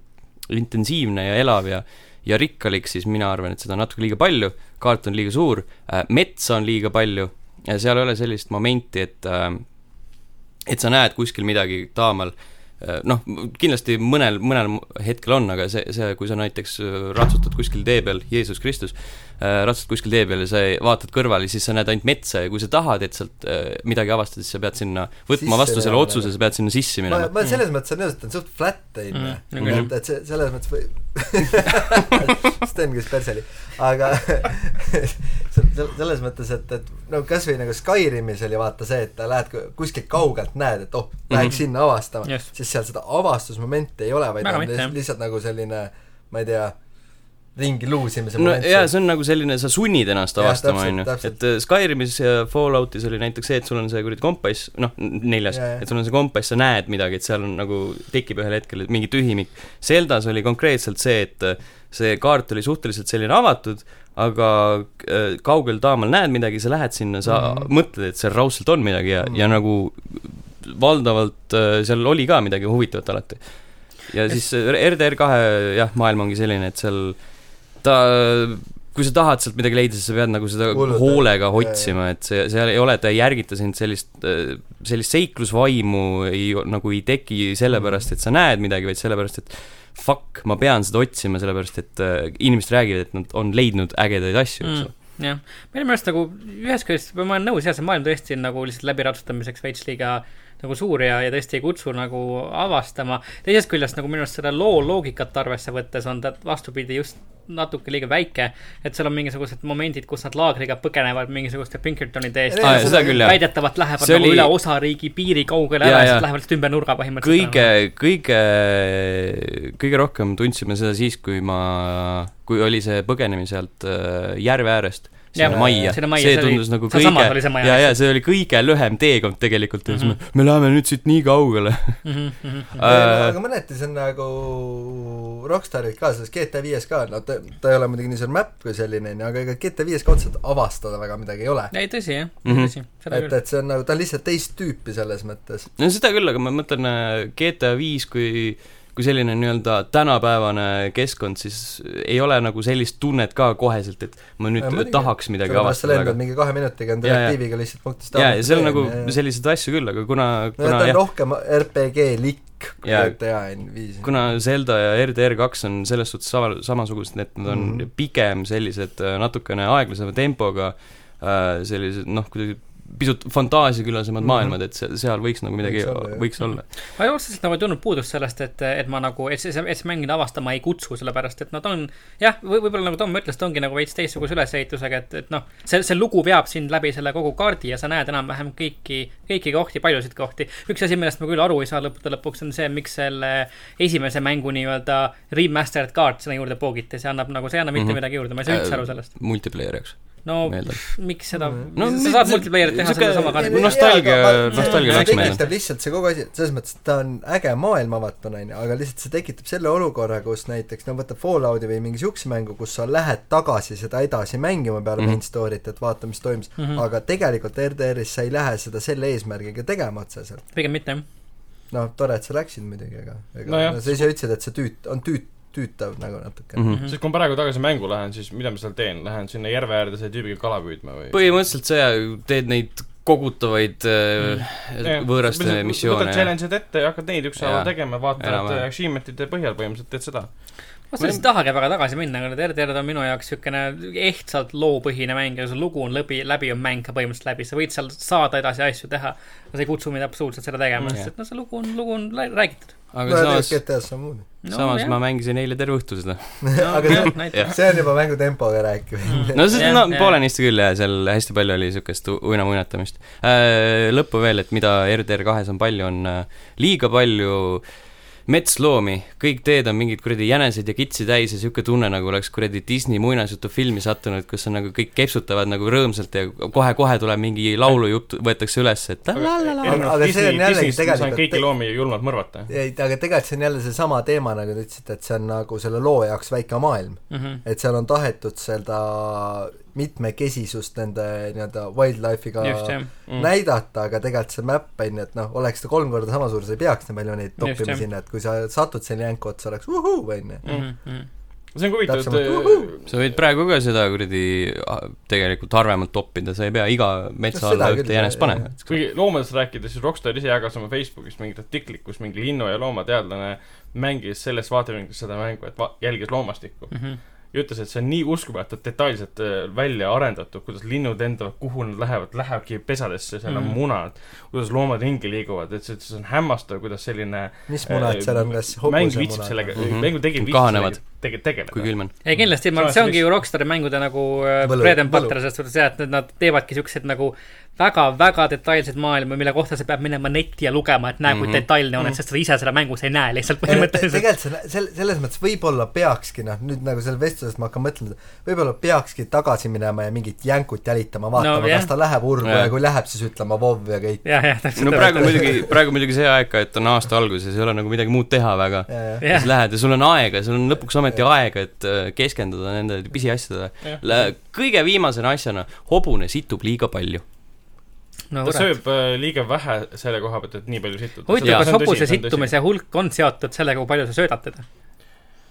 Speaker 1: intensiivne ja elav ja ja rikkalik , siis mina arvan , et seda on natuke liiga palju , kaart on liiga suur , metsa on liiga palju ja seal ei ole sellist momenti , et äh, et sa näed kuskil midagi taamal , noh , kindlasti mõnel , mõnel hetkel on , aga see , see , kui sa näiteks äh, ratsutad kuskil tee peal , Jeesus Kristus , ratsutad kuskil tee peal ja sa ei- vaatad kõrvale , siis sa näed ainult metsa ja kui sa tahad , et sealt äh, midagi avastada , siis sa pead sinna võtma
Speaker 2: Sisse
Speaker 1: vastu selle
Speaker 2: minema.
Speaker 1: otsuse , sa pead sinna sisse
Speaker 2: ma ,
Speaker 1: minema .
Speaker 2: ma selles mõttes on nõus , et on suht flat
Speaker 1: Mhm,
Speaker 2: on ju
Speaker 3: Mm, . no küll.
Speaker 2: et , et see , selles mõttes või Sten , kes perseli , aga se- se- selles mõttes , et , et no kasvõi nagu Skyrimis oli vaata see , et lähed ku- kuskilt kaugelt näed , et oh ,
Speaker 1: Mhm.
Speaker 2: läheks sinna avastama
Speaker 3: Just. ,
Speaker 2: siis seal seda avastusmomenti ei ole , vaid
Speaker 3: Väga
Speaker 2: on
Speaker 3: mitte, jah.
Speaker 2: lihtsalt, lihtsalt nagu selline , ma ei tea , ringi luusimise
Speaker 1: no
Speaker 2: moment
Speaker 1: jaa , see on nagu selline , sa sunnid ennast
Speaker 2: Jah,
Speaker 1: avastama ,
Speaker 2: täpselt,
Speaker 1: on ju ,
Speaker 2: täpselt.
Speaker 1: et äh, Skyrimis ja Falloutis oli näiteks see , et sul on see kuradi kompass , noh , neljas
Speaker 2: Jaa, jaa. ,
Speaker 1: et sul on see kompass , sa näed midagi , et seal on nagu , tekib ühel hetkel mingi tühimik . Zeldas oli konkreetselt see , et äh, see kaart oli suhteliselt selline avatud , aga äh, kaugel taamal näed midagi , sa lähed sinna , sa mm
Speaker 2: Mhm.
Speaker 1: -hmm. mõtled , et seal raudselt on midagi ja mm , -hmm. ja nagu valdavalt äh, seal oli ka midagi huvitavat alati . ja siis äh, RDR kahe jah , maailm ongi selline , et seal ta , kui sa tahad sealt midagi leida , siis sa pead nagu seda
Speaker 2: Hullult, jah.
Speaker 1: hoolega
Speaker 2: Jaa,
Speaker 1: otsima , et see , seal ei ole , ta ei järgita sind sellist , sellist seiklusvaimu ei , nagu ei teki sellepärast , et sa näed midagi , vaid sellepärast , et fuck , ma pean seda otsima , sellepärast et äh, inimesed räägivad , et nad on leidnud ägedaid asju ,
Speaker 2: Mm.
Speaker 1: eks ole .
Speaker 3: Mm, jah , minu meelest nagu ühest küljest ma olen nõus , jah , see maailm tõesti on nagu lihtsalt läbiratsutamiseks veits liiga nagu suur ja , ja tõesti ei kutsu nagu avastama . teisest küljest nagu minu arust seda loo loogikat arvesse võttes on ta vastupidi just natuke liiga väike , et seal on mingisugused momendid , kus nad laagriga põgenevad mingisuguste Pinkertonide eest
Speaker 1: Aa, . jaa, seda küll, jah.
Speaker 3: väidetavalt lähevad
Speaker 1: See
Speaker 3: nagu
Speaker 1: oli-
Speaker 3: oli... üle osariigi piiri kaugele
Speaker 1: Jaa,
Speaker 3: ära ja, ja
Speaker 1: jaa.
Speaker 3: siis lähevad lihtsalt ümber nurga põhimõtteliselt .
Speaker 1: kõige , kõige , kõige rohkem tundsime seda siis , kui ma , kui oli see põgenemine sealt äh, järve äärest sinna
Speaker 3: Jah,
Speaker 1: majja ,
Speaker 3: sinna majja,
Speaker 1: see
Speaker 3: see oli-
Speaker 1: tundus nagu kõige
Speaker 3: sealsamas oli Mhm. see maja, ,
Speaker 1: ja ,
Speaker 3: eks
Speaker 1: ja see oli kõige lühem teekond tegelikult ja siis me , me läheme nüüd siit nii kaugele .
Speaker 3: mm . -hmm.
Speaker 1: Äh,
Speaker 2: Ei, aga mõneti see on nagu Rockstarid ka , selles GTA viies ka , no ta , ta ei ole muidugi nii suur map kui selline , onju , aga ega GTA viies ka otseselt avastada väga midagi ei ole .
Speaker 3: ei , tõsi jah ,
Speaker 1: Mhm.
Speaker 3: tõsi , seda
Speaker 2: et ,
Speaker 3: küll .
Speaker 2: et see on nagu , ta on lihtsalt teist tüüpi selles mõttes .
Speaker 1: no seda küll , aga ma mõtlen äh, GTA viis kui , kui selline nii-öelda tänapäevane keskkond , siis ei ole nagu sellist tunnet ka koheselt , et ma nüüd
Speaker 2: Ja, muidugi.
Speaker 1: tahaks midagi
Speaker 2: sellepärast sa
Speaker 1: avastada ,
Speaker 2: lendad
Speaker 1: aga
Speaker 2: mingi kahe minutiga on
Speaker 1: Jaa, jaa.
Speaker 2: direktiiviga lihtsalt punktist
Speaker 1: jaa , ja seal on nagu
Speaker 2: no
Speaker 1: selliseid asju küll , aga kuna ,
Speaker 2: ja
Speaker 1: kuna
Speaker 2: ta on
Speaker 1: jah ,
Speaker 2: rohkem RPG-likk kui
Speaker 1: Jaa.
Speaker 2: GTA on viis .
Speaker 1: kuna Zelda ja RDR kaks on selles suhtes sama , samasugused , et nad on mm
Speaker 2: Mhm.
Speaker 1: -hmm. pigem sellised äh, natukene aeglasema tempoga äh, sellised noh , kuidagi pisut fantaasiakülasemad mm -hmm.
Speaker 2: Mhm.
Speaker 1: maailmad , et se- seal võiks nagu midagi ,
Speaker 2: Võiks olla, jah.
Speaker 1: võiks olla .
Speaker 3: ma ei otseselt nagu ei tundnud puudust sellest , et , et ma nagu , et see , et see mäng mind avastama ei kutsu , sellepärast et nad on jah , või võib-olla nagu Tom ütles , ta ongi nagu veits teistsuguse ülesehitusega , et , et noh , see , see lugu veab sind läbi selle kogu kaardi ja sa näed enam-vähem kõiki , kõiki kohti , paljusid kohti . üks asi , millest ma küll aru ei saa lõppude lõpuks , on see , miks selle esimese mängu nii-öelda remastered kaart sinna juurde poogiti , see annab nagu , see ei anna mitte mm
Speaker 1: Mhm.
Speaker 3: -hmm. midagi juurde , ma ei saa üldse aru sellest .
Speaker 1: multiplayer'i jaoks
Speaker 3: no
Speaker 1: meeldib .
Speaker 3: miks seda
Speaker 1: No
Speaker 3: no, ,
Speaker 1: mis-
Speaker 3: sa saad
Speaker 1: see-
Speaker 3: multiplayer'it teha
Speaker 1: sihuke-
Speaker 3: selle sama
Speaker 1: Ei,
Speaker 3: kaardi
Speaker 1: ei,
Speaker 3: peal .
Speaker 1: nostalgia- nostalgia
Speaker 2: läks
Speaker 1: läks
Speaker 2: meelde .
Speaker 1: meile.
Speaker 2: tekitab lihtsalt see kogu asi , selles mõttes , et ta on äge maailm avatud , on ju , aga lihtsalt see tekitab selle olukorra , kus näiteks no võta Fallouti või mingi siukse mängu , kus sa lähed tagasi seda edasi mängima peale
Speaker 1: Mhm.
Speaker 2: main story't , et vaata , mis toimus mm ,
Speaker 3: Mhm.
Speaker 2: -hmm. aga tegelikult RDR-is sa ei lähe seda selle eesmärgiga tegema otseselt .
Speaker 3: pigem mitte jah .
Speaker 2: noh , tore , et sa läksid muidugi , aga ega no,
Speaker 4: Nojah.
Speaker 2: no, sa ise ütlesid , et see tüüt- , on tüüt- , tüütav nagu natuke
Speaker 1: Mhm.
Speaker 2: mm .
Speaker 4: sest kui ma praegu tagasi mängu lähen , siis mida ma seal teen , lähen sinna järve äärde selle tüübiga kala püüdma või ?
Speaker 1: põhimõtteliselt sa teed neid kogutavaid äh,
Speaker 2: Mhm.
Speaker 1: võõraste
Speaker 4: võtad
Speaker 1: missioone .
Speaker 4: challenge'id ette ja hakkad neid ükshaaval
Speaker 1: Jaa.
Speaker 4: tegema , vaatad
Speaker 1: Enam-vähem.
Speaker 4: achievement'ide põhjal põhimõtteliselt teed seda .
Speaker 3: ma selles ei tahagi väga tagasi minna , aga need RDR-d on minu jaoks niisugune ehtsalt loopõhine mäng ja see lugu on läbi , läbi on mäng ka põhimõtteliselt läbi , sa võid seal saada edasi asju teha , aga see ei kutsu mind absoluutselt seda tegema ,
Speaker 1: Mm,
Speaker 3: sest et noh , see lugu on , lugu on lä- räägitud .
Speaker 1: aga
Speaker 2: no
Speaker 1: samas
Speaker 2: tegelikult , GTA-s samamoodi .
Speaker 1: samas ma mängisin eile terve õhtu seda .
Speaker 2: aga see on ,
Speaker 1: jah. Mhm.
Speaker 2: see on juba mängu tempoga rääkimine .
Speaker 1: no see ,
Speaker 3: Mm-hmm. Jah,
Speaker 1: no
Speaker 3: jah.
Speaker 1: poolenisti küll jah , seal hästi palju oli siukest u- uinamuinatamist . lõppu veel , et mida RDR kahes on palju , on äh, liiga palju metsloomi , kõik teed on mingid kuradi jänesed ja kitsi täis ja siuke tunne , nagu oleks kuradi Disney muinasjutufilmi sattunud , kus on nagu kõik kepsutavad nagu rõõmsalt ja kohe-kohe tuleb mingi laulujutt , võetakse üles , et la, la, la, la.
Speaker 2: aga see on jällegi tegelikult-
Speaker 4: kõiki loomi julmalt mõrvata .
Speaker 2: ei , aga tegelikult see on jälle seesama teema , nagu te ütlesite , et see on nagu selle loo jaoks väike maailm .
Speaker 3: Mm-hmm.
Speaker 2: et seal on tahetud seda mitmekesisust nende nii-öelda wildlife'iga
Speaker 3: just , jah .
Speaker 4: Mm.
Speaker 3: Mm.
Speaker 2: näidata , aga tegelikult see map on ju , et noh , oleks ta kolm korda sama suur , sa ei peaks nii palju neid toppima
Speaker 3: jah.
Speaker 2: sinna , et kui sa satud selle jänku otsa , oleks uhuu , on ju .
Speaker 1: Mm-hmm.
Speaker 3: Mm-hmm.
Speaker 4: see on huvitav ,
Speaker 2: Täpsemalt,
Speaker 4: et äh,
Speaker 1: sa võid praegu ka seda kuradi ah, tegelikult harvemalt toppida , sa ei pea iga metsa
Speaker 2: No seda
Speaker 1: alla
Speaker 2: küll,
Speaker 1: ühte jänest
Speaker 2: jah,
Speaker 1: panema .
Speaker 4: kuigi loomadest rääkides , siis Rockstar ise jagas oma Facebookis mingit artiklit , kus mingi linnu- ja loomateadlane mängis selles vaatevinklist seda mängu , et va- jälgis loomastikku .
Speaker 3: Mm-hmm.
Speaker 4: ja ütles , et see on nii uskumatult detailselt äh, välja arendatud , kuidas linnud lendavad , kuhu nad lähevad , lähevadki pesadesse , seal on
Speaker 1: Mm.
Speaker 3: Mhm.
Speaker 4: munad , kuidas loomad ringi liiguvad , et see , see on hämmastav , kuidas selline
Speaker 2: mis munad seal on , kas
Speaker 4: mäng viitsib sellega
Speaker 2: hobusemunad ?
Speaker 1: Mhm.
Speaker 4: -hmm. mängu tegijad
Speaker 1: Kahanevad.
Speaker 4: viitsib sellega tege- ,
Speaker 1: kui
Speaker 4: tegeleda .
Speaker 1: külm on .
Speaker 3: ei kindlasti , ma ,
Speaker 4: Samas
Speaker 3: see ongi
Speaker 4: võiks-
Speaker 3: ju Rockstari mängude nagu äh,
Speaker 2: Võlu-
Speaker 3: bread and
Speaker 2: võlu.
Speaker 3: butter selles suhtes jah , et nad- nad teevadki siukseid nagu väga-väga detailseid maailma , mille kohta sa pead minema netti ja lugema , et näe , kui
Speaker 1: Mhm.
Speaker 3: detailne on ,
Speaker 4: Mhm.
Speaker 3: et sest seda ise seda mängus ei näe lihtsalt
Speaker 2: Mm-hmm. Ei, no te-
Speaker 3: põhimõtteliselt .
Speaker 2: tegelikult see , sel- , selles mõttes võib-olla peakski noh , nüüd nagu selle vestluses ma hakkan mõtlema , võib-olla peakski tagasi minema ja mingit jänkut jälitama , vaatama
Speaker 3: No,
Speaker 2: no, ,
Speaker 3: jah.
Speaker 2: kas ta läheb urgu
Speaker 1: Jah.
Speaker 2: ja kui läheb , siis ütlema vov ja kõik .
Speaker 3: jah , jah , täpselt .
Speaker 1: no praegu muidugi , praegu muidugi see aeg ka , et on aasta alguses , ei ole nagu midagi muud teha väga .
Speaker 2: jah ,
Speaker 1: ja
Speaker 3: jah
Speaker 1: siis , lähed ja sul on aega , sul on lõpuks ometi aega , et äh, keskenduda nendele
Speaker 4: Jah.
Speaker 1: pisiasjadele . kõige viimase asjana , hobune situb liiga palju .
Speaker 3: no
Speaker 4: ta
Speaker 3: kurat .
Speaker 4: sööb äh, liiga vähe selle koha pealt , et nii palju situd .
Speaker 1: Jaa.
Speaker 3: huvitav , kas hobuse sittumise hulk on seotud sellega , kui palju sa söödad teda ?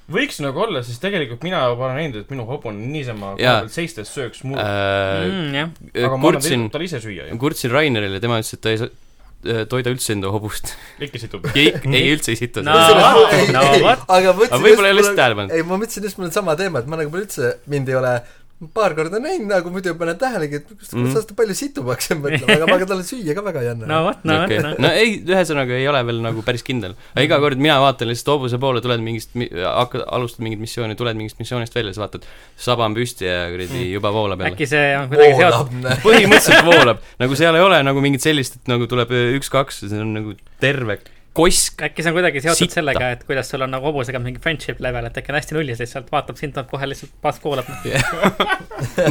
Speaker 4: võiks nagu olla , sest tegelikult mina olen näinud , et minu hobune niisama koha
Speaker 1: Jaa.
Speaker 4: peal seistes sööks muu äh, .
Speaker 3: Mm, jah ,
Speaker 4: aga ma arvan , et ta
Speaker 1: äh, kurtsin
Speaker 4: ei , tal ise süüa ju ,
Speaker 1: kurtsin Rainerile , tema ütles , et ta ei sa- äh, toida üldse enda hobust .
Speaker 4: ikka situb .
Speaker 1: ja ik- ei , üldse ei situ
Speaker 3: No
Speaker 1: seda .
Speaker 3: vot, no
Speaker 2: aga ma
Speaker 3: vot.
Speaker 1: aga
Speaker 2: mõtlesin
Speaker 1: võib-olla ei ole lihtsalt tähele pannud .
Speaker 2: ei , ma mõtlesin just , mul on sama teema , et ma nagu pole üldse , mind ei ole paar korda näinud , nagu muidu panen tähelegi , et kus
Speaker 1: Mhm.
Speaker 2: mm. ta palju situmaks on , mõtlema , aga ma ka talle süüa ka väga ei anna
Speaker 3: no vot , no
Speaker 1: okei
Speaker 3: vot , noh .
Speaker 1: no ei , ühesõnaga ei ole veel nagu päris kindel . aga iga kord mina vaatan lihtsalt hobuse poole , tuled mingist , hakkad , alustad mingit missiooni , tuled mingist missioonist välja , siis vaatad , saba on püsti ja kuradi juba voolab jälle .
Speaker 3: Mm. äkki see on kuidagi seotud .
Speaker 2: voolab , näe .
Speaker 1: põhimõtteliselt voolab , nagu seal ei ole nagu mingit sellist , et nagu tuleb öö, üks-kaks , see on nagu terve kosk .
Speaker 3: äkki see on kuidagi seotud
Speaker 1: Sitta.
Speaker 3: Sitta. sellega , et kuidas sul on nagu hobusega mingi friendship level , et äkki on hästi nullis lihtsalt , vaatab sind , tuleb kohe lihtsalt paas kuulab .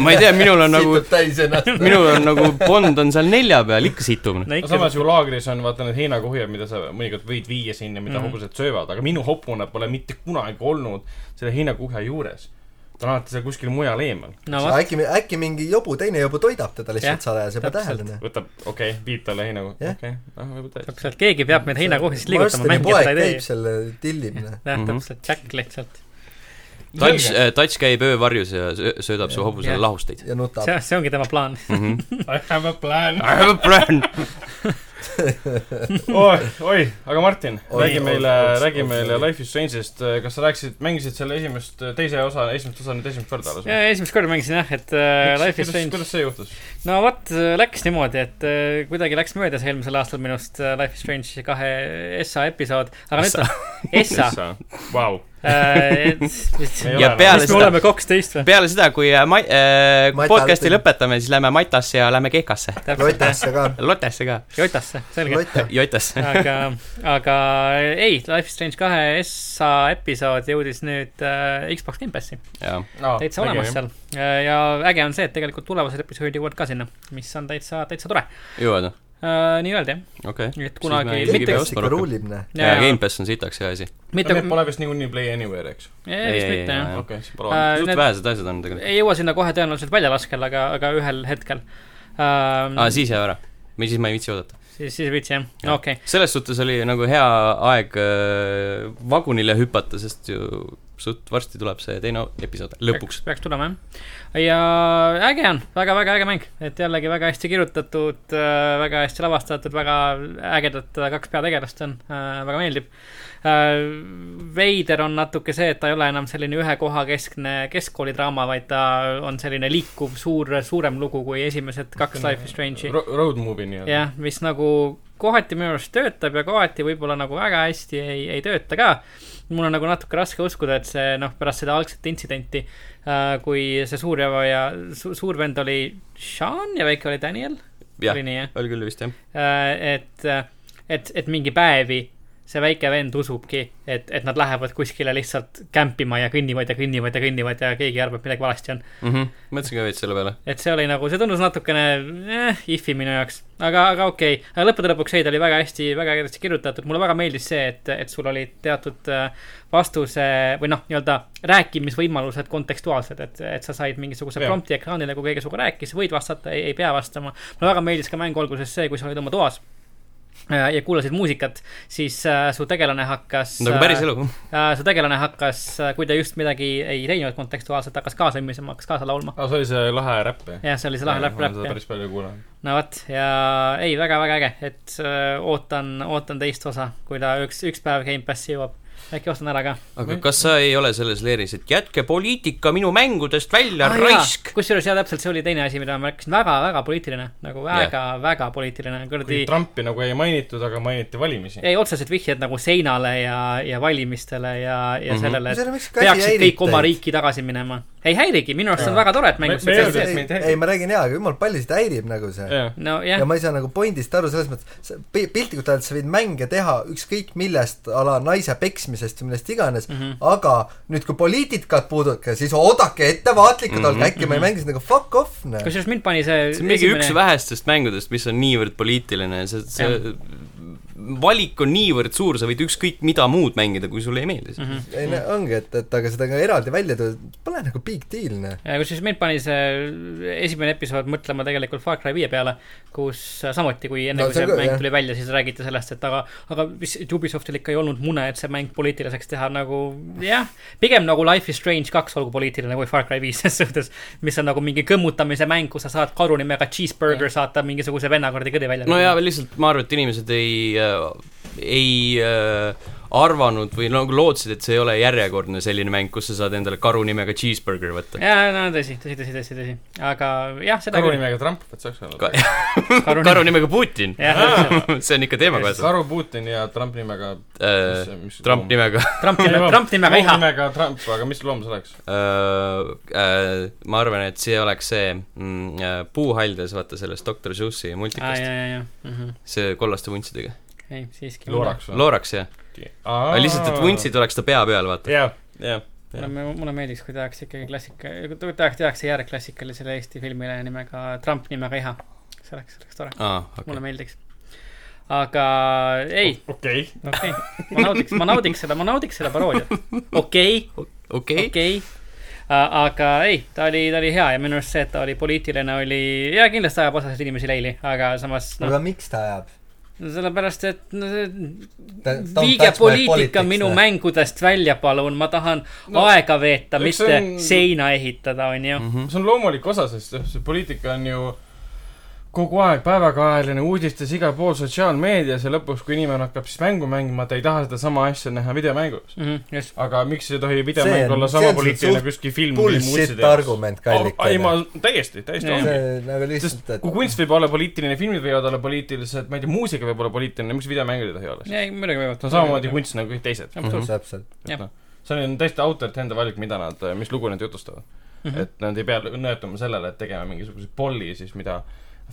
Speaker 1: ma ei tea , minul on nagu ,
Speaker 2: situb täis ennast .
Speaker 1: minul on nagu Bond on seal nelja peal , ikka situb .
Speaker 3: no
Speaker 4: no
Speaker 3: ikka
Speaker 4: samas , ju laagris on vaata need heinakohjad , mida sa mõnikord võid viia sinna , mida mm
Speaker 3: Mhm.
Speaker 4: -hmm. hobused söövad , aga minu hobune pole mitte kunagi olnud selle heinakuhja juures . ta on alati seal kuskil mujal eemal .
Speaker 3: no vot ,
Speaker 2: äkki , äkki mingi jobu , teine jobu toidab teda
Speaker 3: Jah,
Speaker 2: lihtsalt salaja , sa ei pea
Speaker 3: täpselt.
Speaker 2: tähele .
Speaker 4: võtab , okei okay, , viib talle heinakuhja , okei
Speaker 2: Jah.
Speaker 4: okay, , noh , võib-olla täitsa .
Speaker 3: täpselt , keegi peab meid heinakohvist nagu liigutama , mängida
Speaker 2: poeg
Speaker 3: seda ei
Speaker 2: käib
Speaker 3: tee .
Speaker 2: selle , tillib , näe .
Speaker 3: jah ,
Speaker 1: Mhm.
Speaker 3: täpselt , Jack lihtsalt .
Speaker 1: Touch , Touch käib öövarjus ja söö- söödab su hobusele
Speaker 3: Jah.
Speaker 1: lahusteid . Mhm.
Speaker 2: ja nutab .
Speaker 3: see , see ongi tema plaan .
Speaker 4: äh- I have a plan .
Speaker 1: Jaa ,
Speaker 4: oi , oi , aga Martin ,
Speaker 2: Oi,
Speaker 4: räägi
Speaker 2: oi,
Speaker 4: meile
Speaker 2: oi, ,
Speaker 4: räägi
Speaker 2: oi,
Speaker 4: meile
Speaker 2: oi.
Speaker 4: Life is Strange'ist , kas sa rääkisid , mängisid selle esimest , teise osa , esimest osa nüüd esimest korda alles või ?
Speaker 3: esimest korda mängisin jah , et äh, Life is Strange .
Speaker 4: kuidas see juhtus ?
Speaker 3: no vot , läks niimoodi , et äh, kuidagi läks mööda see eelmisel aastal minust äh, Life is Strange kahe SA episood , aga nüüd ta , SA .
Speaker 4: Vau .
Speaker 3: ja
Speaker 1: ja peale
Speaker 3: mis me
Speaker 1: seda ,
Speaker 3: oleme , kaksteist või ?
Speaker 1: peale seda , kui äh, ma- äh,
Speaker 2: Mata-
Speaker 1: podcast'i lõpetame , siis lähme Matasse ja lähme Kehkasse .
Speaker 3: täpselt , jah ,
Speaker 2: lotasse ka .
Speaker 1: Lotesse ka ,
Speaker 3: jotasse , selge .
Speaker 2: lota .
Speaker 1: Jotasse .
Speaker 3: aga , aga ei , Life is Strange kahe SA episood jõudis nüüd äh, Xbox Game Passi ,
Speaker 1: jaa ,
Speaker 3: täitsa olemas . seal . ja äge on see , et tegelikult tulevased episoodid jõuavad ka sinna , mis on täitsa , täitsa tore .
Speaker 1: jõuad või ?
Speaker 3: nii-öelda jah ,
Speaker 1: okei .
Speaker 3: et kunagi
Speaker 1: Isegi pea
Speaker 2: Game
Speaker 3: mitte ,
Speaker 2: Pass
Speaker 1: ostma
Speaker 2: ikka
Speaker 1: rohkem.
Speaker 2: ruulib , näe .
Speaker 1: jaa ,
Speaker 3: jaa.
Speaker 1: Gamepass on sitaks hea asi .
Speaker 3: mitte ,
Speaker 4: Need pole vist niikuinii Play Anywhere , eks ?
Speaker 3: ei , vist mitte jah .
Speaker 4: okei , siis pole
Speaker 3: Äh,
Speaker 4: olemas .
Speaker 1: suht
Speaker 3: need-
Speaker 1: vähesed asjad on tegelikult .
Speaker 3: ei jõua sinna kohe tõenäoliselt välja laskele , aga , aga ühel hetkel ähm,
Speaker 1: aa ,. siis jääb ära . või siis ma ei viitsi oodata .
Speaker 3: siis , siis võiks jah ,
Speaker 1: Ah, Jah.
Speaker 3: okei .
Speaker 1: selles suhtes oli nagu hea aeg äh, vagunile hüpata , sest ju suht varsti tuleb see teine episood lõpuks
Speaker 3: peaks ,. peaks tulema jah . ja äge on väga, , väga-väga äge mäng , et jällegi väga hästi kirjutatud , väga hästi lavastatud , väga ägedat äh, kaks peategelast on , väga meeldib . veider on natuke see , et ta ei ole enam selline ühe koha keskne keskkoolidraama , vaid ta on selline liikuv suur , suurem lugu kui esimesed kaks Life is Strange'i .
Speaker 4: Ro- , road movie nii-öelda .
Speaker 3: jah , mis nagu kohati minu arust töötab ja kohati võib-olla nagu väga hästi ei , ei tööta ka . mul on nagu natuke raske uskuda , et see noh , pärast seda algset intsidenti äh, , kui see suur ja, ja su, suur vend oli Sean ja väike oli Daniel ,
Speaker 1: jah
Speaker 3: oli , nii jah
Speaker 1: oli küll vist jah .
Speaker 3: äh, , et , et , et mingi päevi see väike vend usubki , et , et nad lähevad kuskile lihtsalt kämpima ja kõnnivad ja kõnnivad ja kõnnivad ja keegi arvab , et midagi valesti on .
Speaker 1: Mhm. mõtlesin ka veits selle peale .
Speaker 3: et see oli nagu , see tundus natukene eh, if'i minu jaoks , aga , aga okei okay. , lõppude lõpuks ei , ta oli väga hästi , väga hästi kirjutatud , mulle väga meeldis see , et , et sul olid teatud äh, vastuse või noh , nii-öelda rääkimisvõimalused kontekstuaalsed , et , et sa said mingisuguse
Speaker 4: Jah.
Speaker 3: prompti ekraanile , kui keegi sinuga rääkis , võid vastata , ei pea vastama . mulle väga meeldis ka mängu alguses see , kui sa olid oma toas äh, ja kuulasid muusikat , siis äh, su tegelane hakkas
Speaker 1: nagu päris elu .
Speaker 3: äh, su tegelane hakkas , kui ta just midagi ei teinud kontekstuaalselt , hakkas kaasa immisema , hakkas kaasa laulma .
Speaker 4: aa , see oli see lahe räpp , jah ?
Speaker 3: jah , see oli see lahe läpp , läpp
Speaker 4: jah .
Speaker 3: jah .
Speaker 4: päris palju kuulanud .
Speaker 3: no vot ja ei , väga-väga äge , et öö, ootan , ootan teist osa , kui ta üks , üks päev Gamepassi jõuab . äkki ostan ära ka .
Speaker 1: aga kas sa ei ole selles leeris , et jätke poliitika minu mängudest välja , raisk ?
Speaker 3: kusjuures Ah, jaa , täpselt see oli teine asi , mida ma märkasin , väga-väga poliitiline , nagu väga-väga yeah. poliitiline , kuradi
Speaker 4: kuigi Trumpi nagu ei mainitud , aga mainiti valimisi .
Speaker 3: ei otsesed vihjed nagu seinale ja , ja valimistele ja , ja mm -hmm. sellele ,
Speaker 2: No selle võiks
Speaker 3: et
Speaker 2: ka asi
Speaker 3: peaksid
Speaker 2: häirib
Speaker 3: kõik oma
Speaker 2: teid.
Speaker 3: riiki tagasi minema . ei häirigi , minu arust see on väga tore , et mängus
Speaker 4: Me- me ei öelnud,
Speaker 3: see
Speaker 4: et mind
Speaker 2: ei ,
Speaker 4: häirib.
Speaker 2: ei ma räägin jaa , aga jumal paljust häirib nagu see
Speaker 4: jah ,
Speaker 3: nojah
Speaker 2: ja , ma ei saa nagu pointist aru , selles mõttes , piltlikult öeldes sa võid mänge teha ükskõik millest , a la naise peksmisest või millest iganes
Speaker 3: Mhm.
Speaker 2: mm , -hmm. aga nüüd , kui poliitikat puudutage , siis oodake ettevaatlikud mm ,
Speaker 1: Mhm,
Speaker 2: -hmm. olge , äkki ma ei mängi seda nagu fuck off , noh .
Speaker 3: kusjuures mind pani see
Speaker 1: see on mingi üks vähestest mängudest , mis on niivõrd poliitiline , see , see valik on niivõrd suur , sa võid ükskõik mida muud mängida , kui sulle ei meeldi see mm .
Speaker 3: Mhm.
Speaker 1: -hmm.
Speaker 2: ei no ongi , et , et aga seda ka eraldi välja tuua , pole nagu big deal , noh .
Speaker 3: Ja kusjuures Äh, mind pani see äh, esimene episood mõtlema tegelikult Far Cry viie peale , kus äh, samuti , kui enne
Speaker 2: No
Speaker 3: no, kui
Speaker 2: see
Speaker 3: see
Speaker 2: on ka,
Speaker 3: mäng
Speaker 2: jah.
Speaker 3: tuli välja , siis räägiti sellest , et aga , aga mis , et Ubisoftil ikka ei olnud mune , et see mäng poliitiliseks teha nagu jah , pigem nagu Life is Strange kaks olgu poliitiline kui Far Cry viis selles suhtes , mis on nagu mingi kõmmutamise mäng , kus sa saad karu nimega Cheeseburger saata mingisuguse venna kuradi kõri välja .
Speaker 1: no ja lihtsalt ma arvan , et inimesed ei äh, , ei äh, arvanud või nagu lootsid , et see ei ole järjekordne selline mäng , kus sa saad endale karu nimega cheeseburger võtta .
Speaker 3: jaa , no tõsi , tõsi , tõsi , tõsi , tõsi , aga jah , seda
Speaker 4: karu . nimega Trump , et saaks
Speaker 1: Ka-
Speaker 4: öelda .
Speaker 3: Karu
Speaker 1: karu nimega Putin ,
Speaker 3: jah , täpselt ,
Speaker 1: see on ikka teemakohasem .
Speaker 4: karu Putin ja Trump nimega
Speaker 1: Äh, Trump . nimega
Speaker 3: Trump nimega , Trump nimega iha .
Speaker 4: nimega Trump , aga mis loom see oleks ?
Speaker 1: Äh, äh, ma arvan , et see oleks see mm, äh, puuhaldes , vaata sellest Doctor Seuss'i
Speaker 3: aa ,
Speaker 1: multikast ,
Speaker 3: jaa , jaa , jaa ,
Speaker 1: see kollaste vuntsidega .
Speaker 3: Mhm. ei siiski .
Speaker 4: looraks või ?
Speaker 1: looraks jah , aga lihtsalt , et vuntsid oleks ta pea peal , vaata .
Speaker 4: jah , jah .
Speaker 3: mulle , mulle meeldiks , kui tehakse ikkagi klassika , kui tehakse , tehakse järg klassikalisele Eesti filmile nimega Trump nimega Iha . see oleks , oleks tore ,
Speaker 1: aa ,
Speaker 3: mulle
Speaker 1: okei .
Speaker 3: meeldiks . aga ei ,
Speaker 4: okei .
Speaker 1: Oh.
Speaker 3: okei okay. , ma naudiks , ma naudiks seda , ma naudiks seda paroodiat . okei ,
Speaker 1: okei ,
Speaker 3: okei . aga ei , ta oli , ta oli hea ja minu arust see , et ta oli poliitiline , oli , ja kindlasti ajab osasid inimesi leili , aga samas noh ,
Speaker 2: aga miks ta ajab ?
Speaker 3: sellepärast , et no, see-
Speaker 2: Ta- don't
Speaker 3: viige
Speaker 2: touch my
Speaker 3: poliitika
Speaker 2: politics, eh.
Speaker 3: minu
Speaker 2: näe.
Speaker 3: mängudest välja , palun , ma tahan no,
Speaker 4: No,
Speaker 3: aega veeta ,
Speaker 4: eks
Speaker 3: mitte
Speaker 4: see on-
Speaker 3: seina ehitada , onju .
Speaker 2: Mhm.
Speaker 4: see on loomulik osa , sest jah, see poliitika on ju kogu aeg päevakajaline uudistes igal pool sotsiaalmeedias ja lõpuks , kui inimene hakkab siis mängu mängima , ta ei taha sedasama asja näha videomängus .
Speaker 3: Mhm, just ,
Speaker 4: aga miks ei tohi
Speaker 2: See on-
Speaker 4: videomäng olla
Speaker 2: see
Speaker 4: sama
Speaker 2: on
Speaker 4: poliitiline
Speaker 2: suht-
Speaker 4: kuskil film või Oh,
Speaker 2: Bullshit argument ,
Speaker 4: ei , ma
Speaker 2: kallikene .
Speaker 4: täiesti , täiesti
Speaker 3: Jaa.
Speaker 4: ongi .
Speaker 2: see nagu lihtsalt ,
Speaker 4: sest
Speaker 2: et
Speaker 4: kui kunst võib olla poliitiline , filmid võivad olla poliitilised , ma ei tea , muusika võib olla poliitiline , miks videomängud ei tohi olla siis ?
Speaker 3: ei muidugi võivad .
Speaker 4: see on samamoodi . kunst nagu kõik teised .
Speaker 3: absoluutselt ,
Speaker 2: täpselt .
Speaker 3: Jah.
Speaker 4: see on täiesti autorite enda valik , mida nad , mis lugu nad jutustavad mm . -hmm. et nad ei pea nõetuma sellele , et tegema mingisuguse polli siis , mida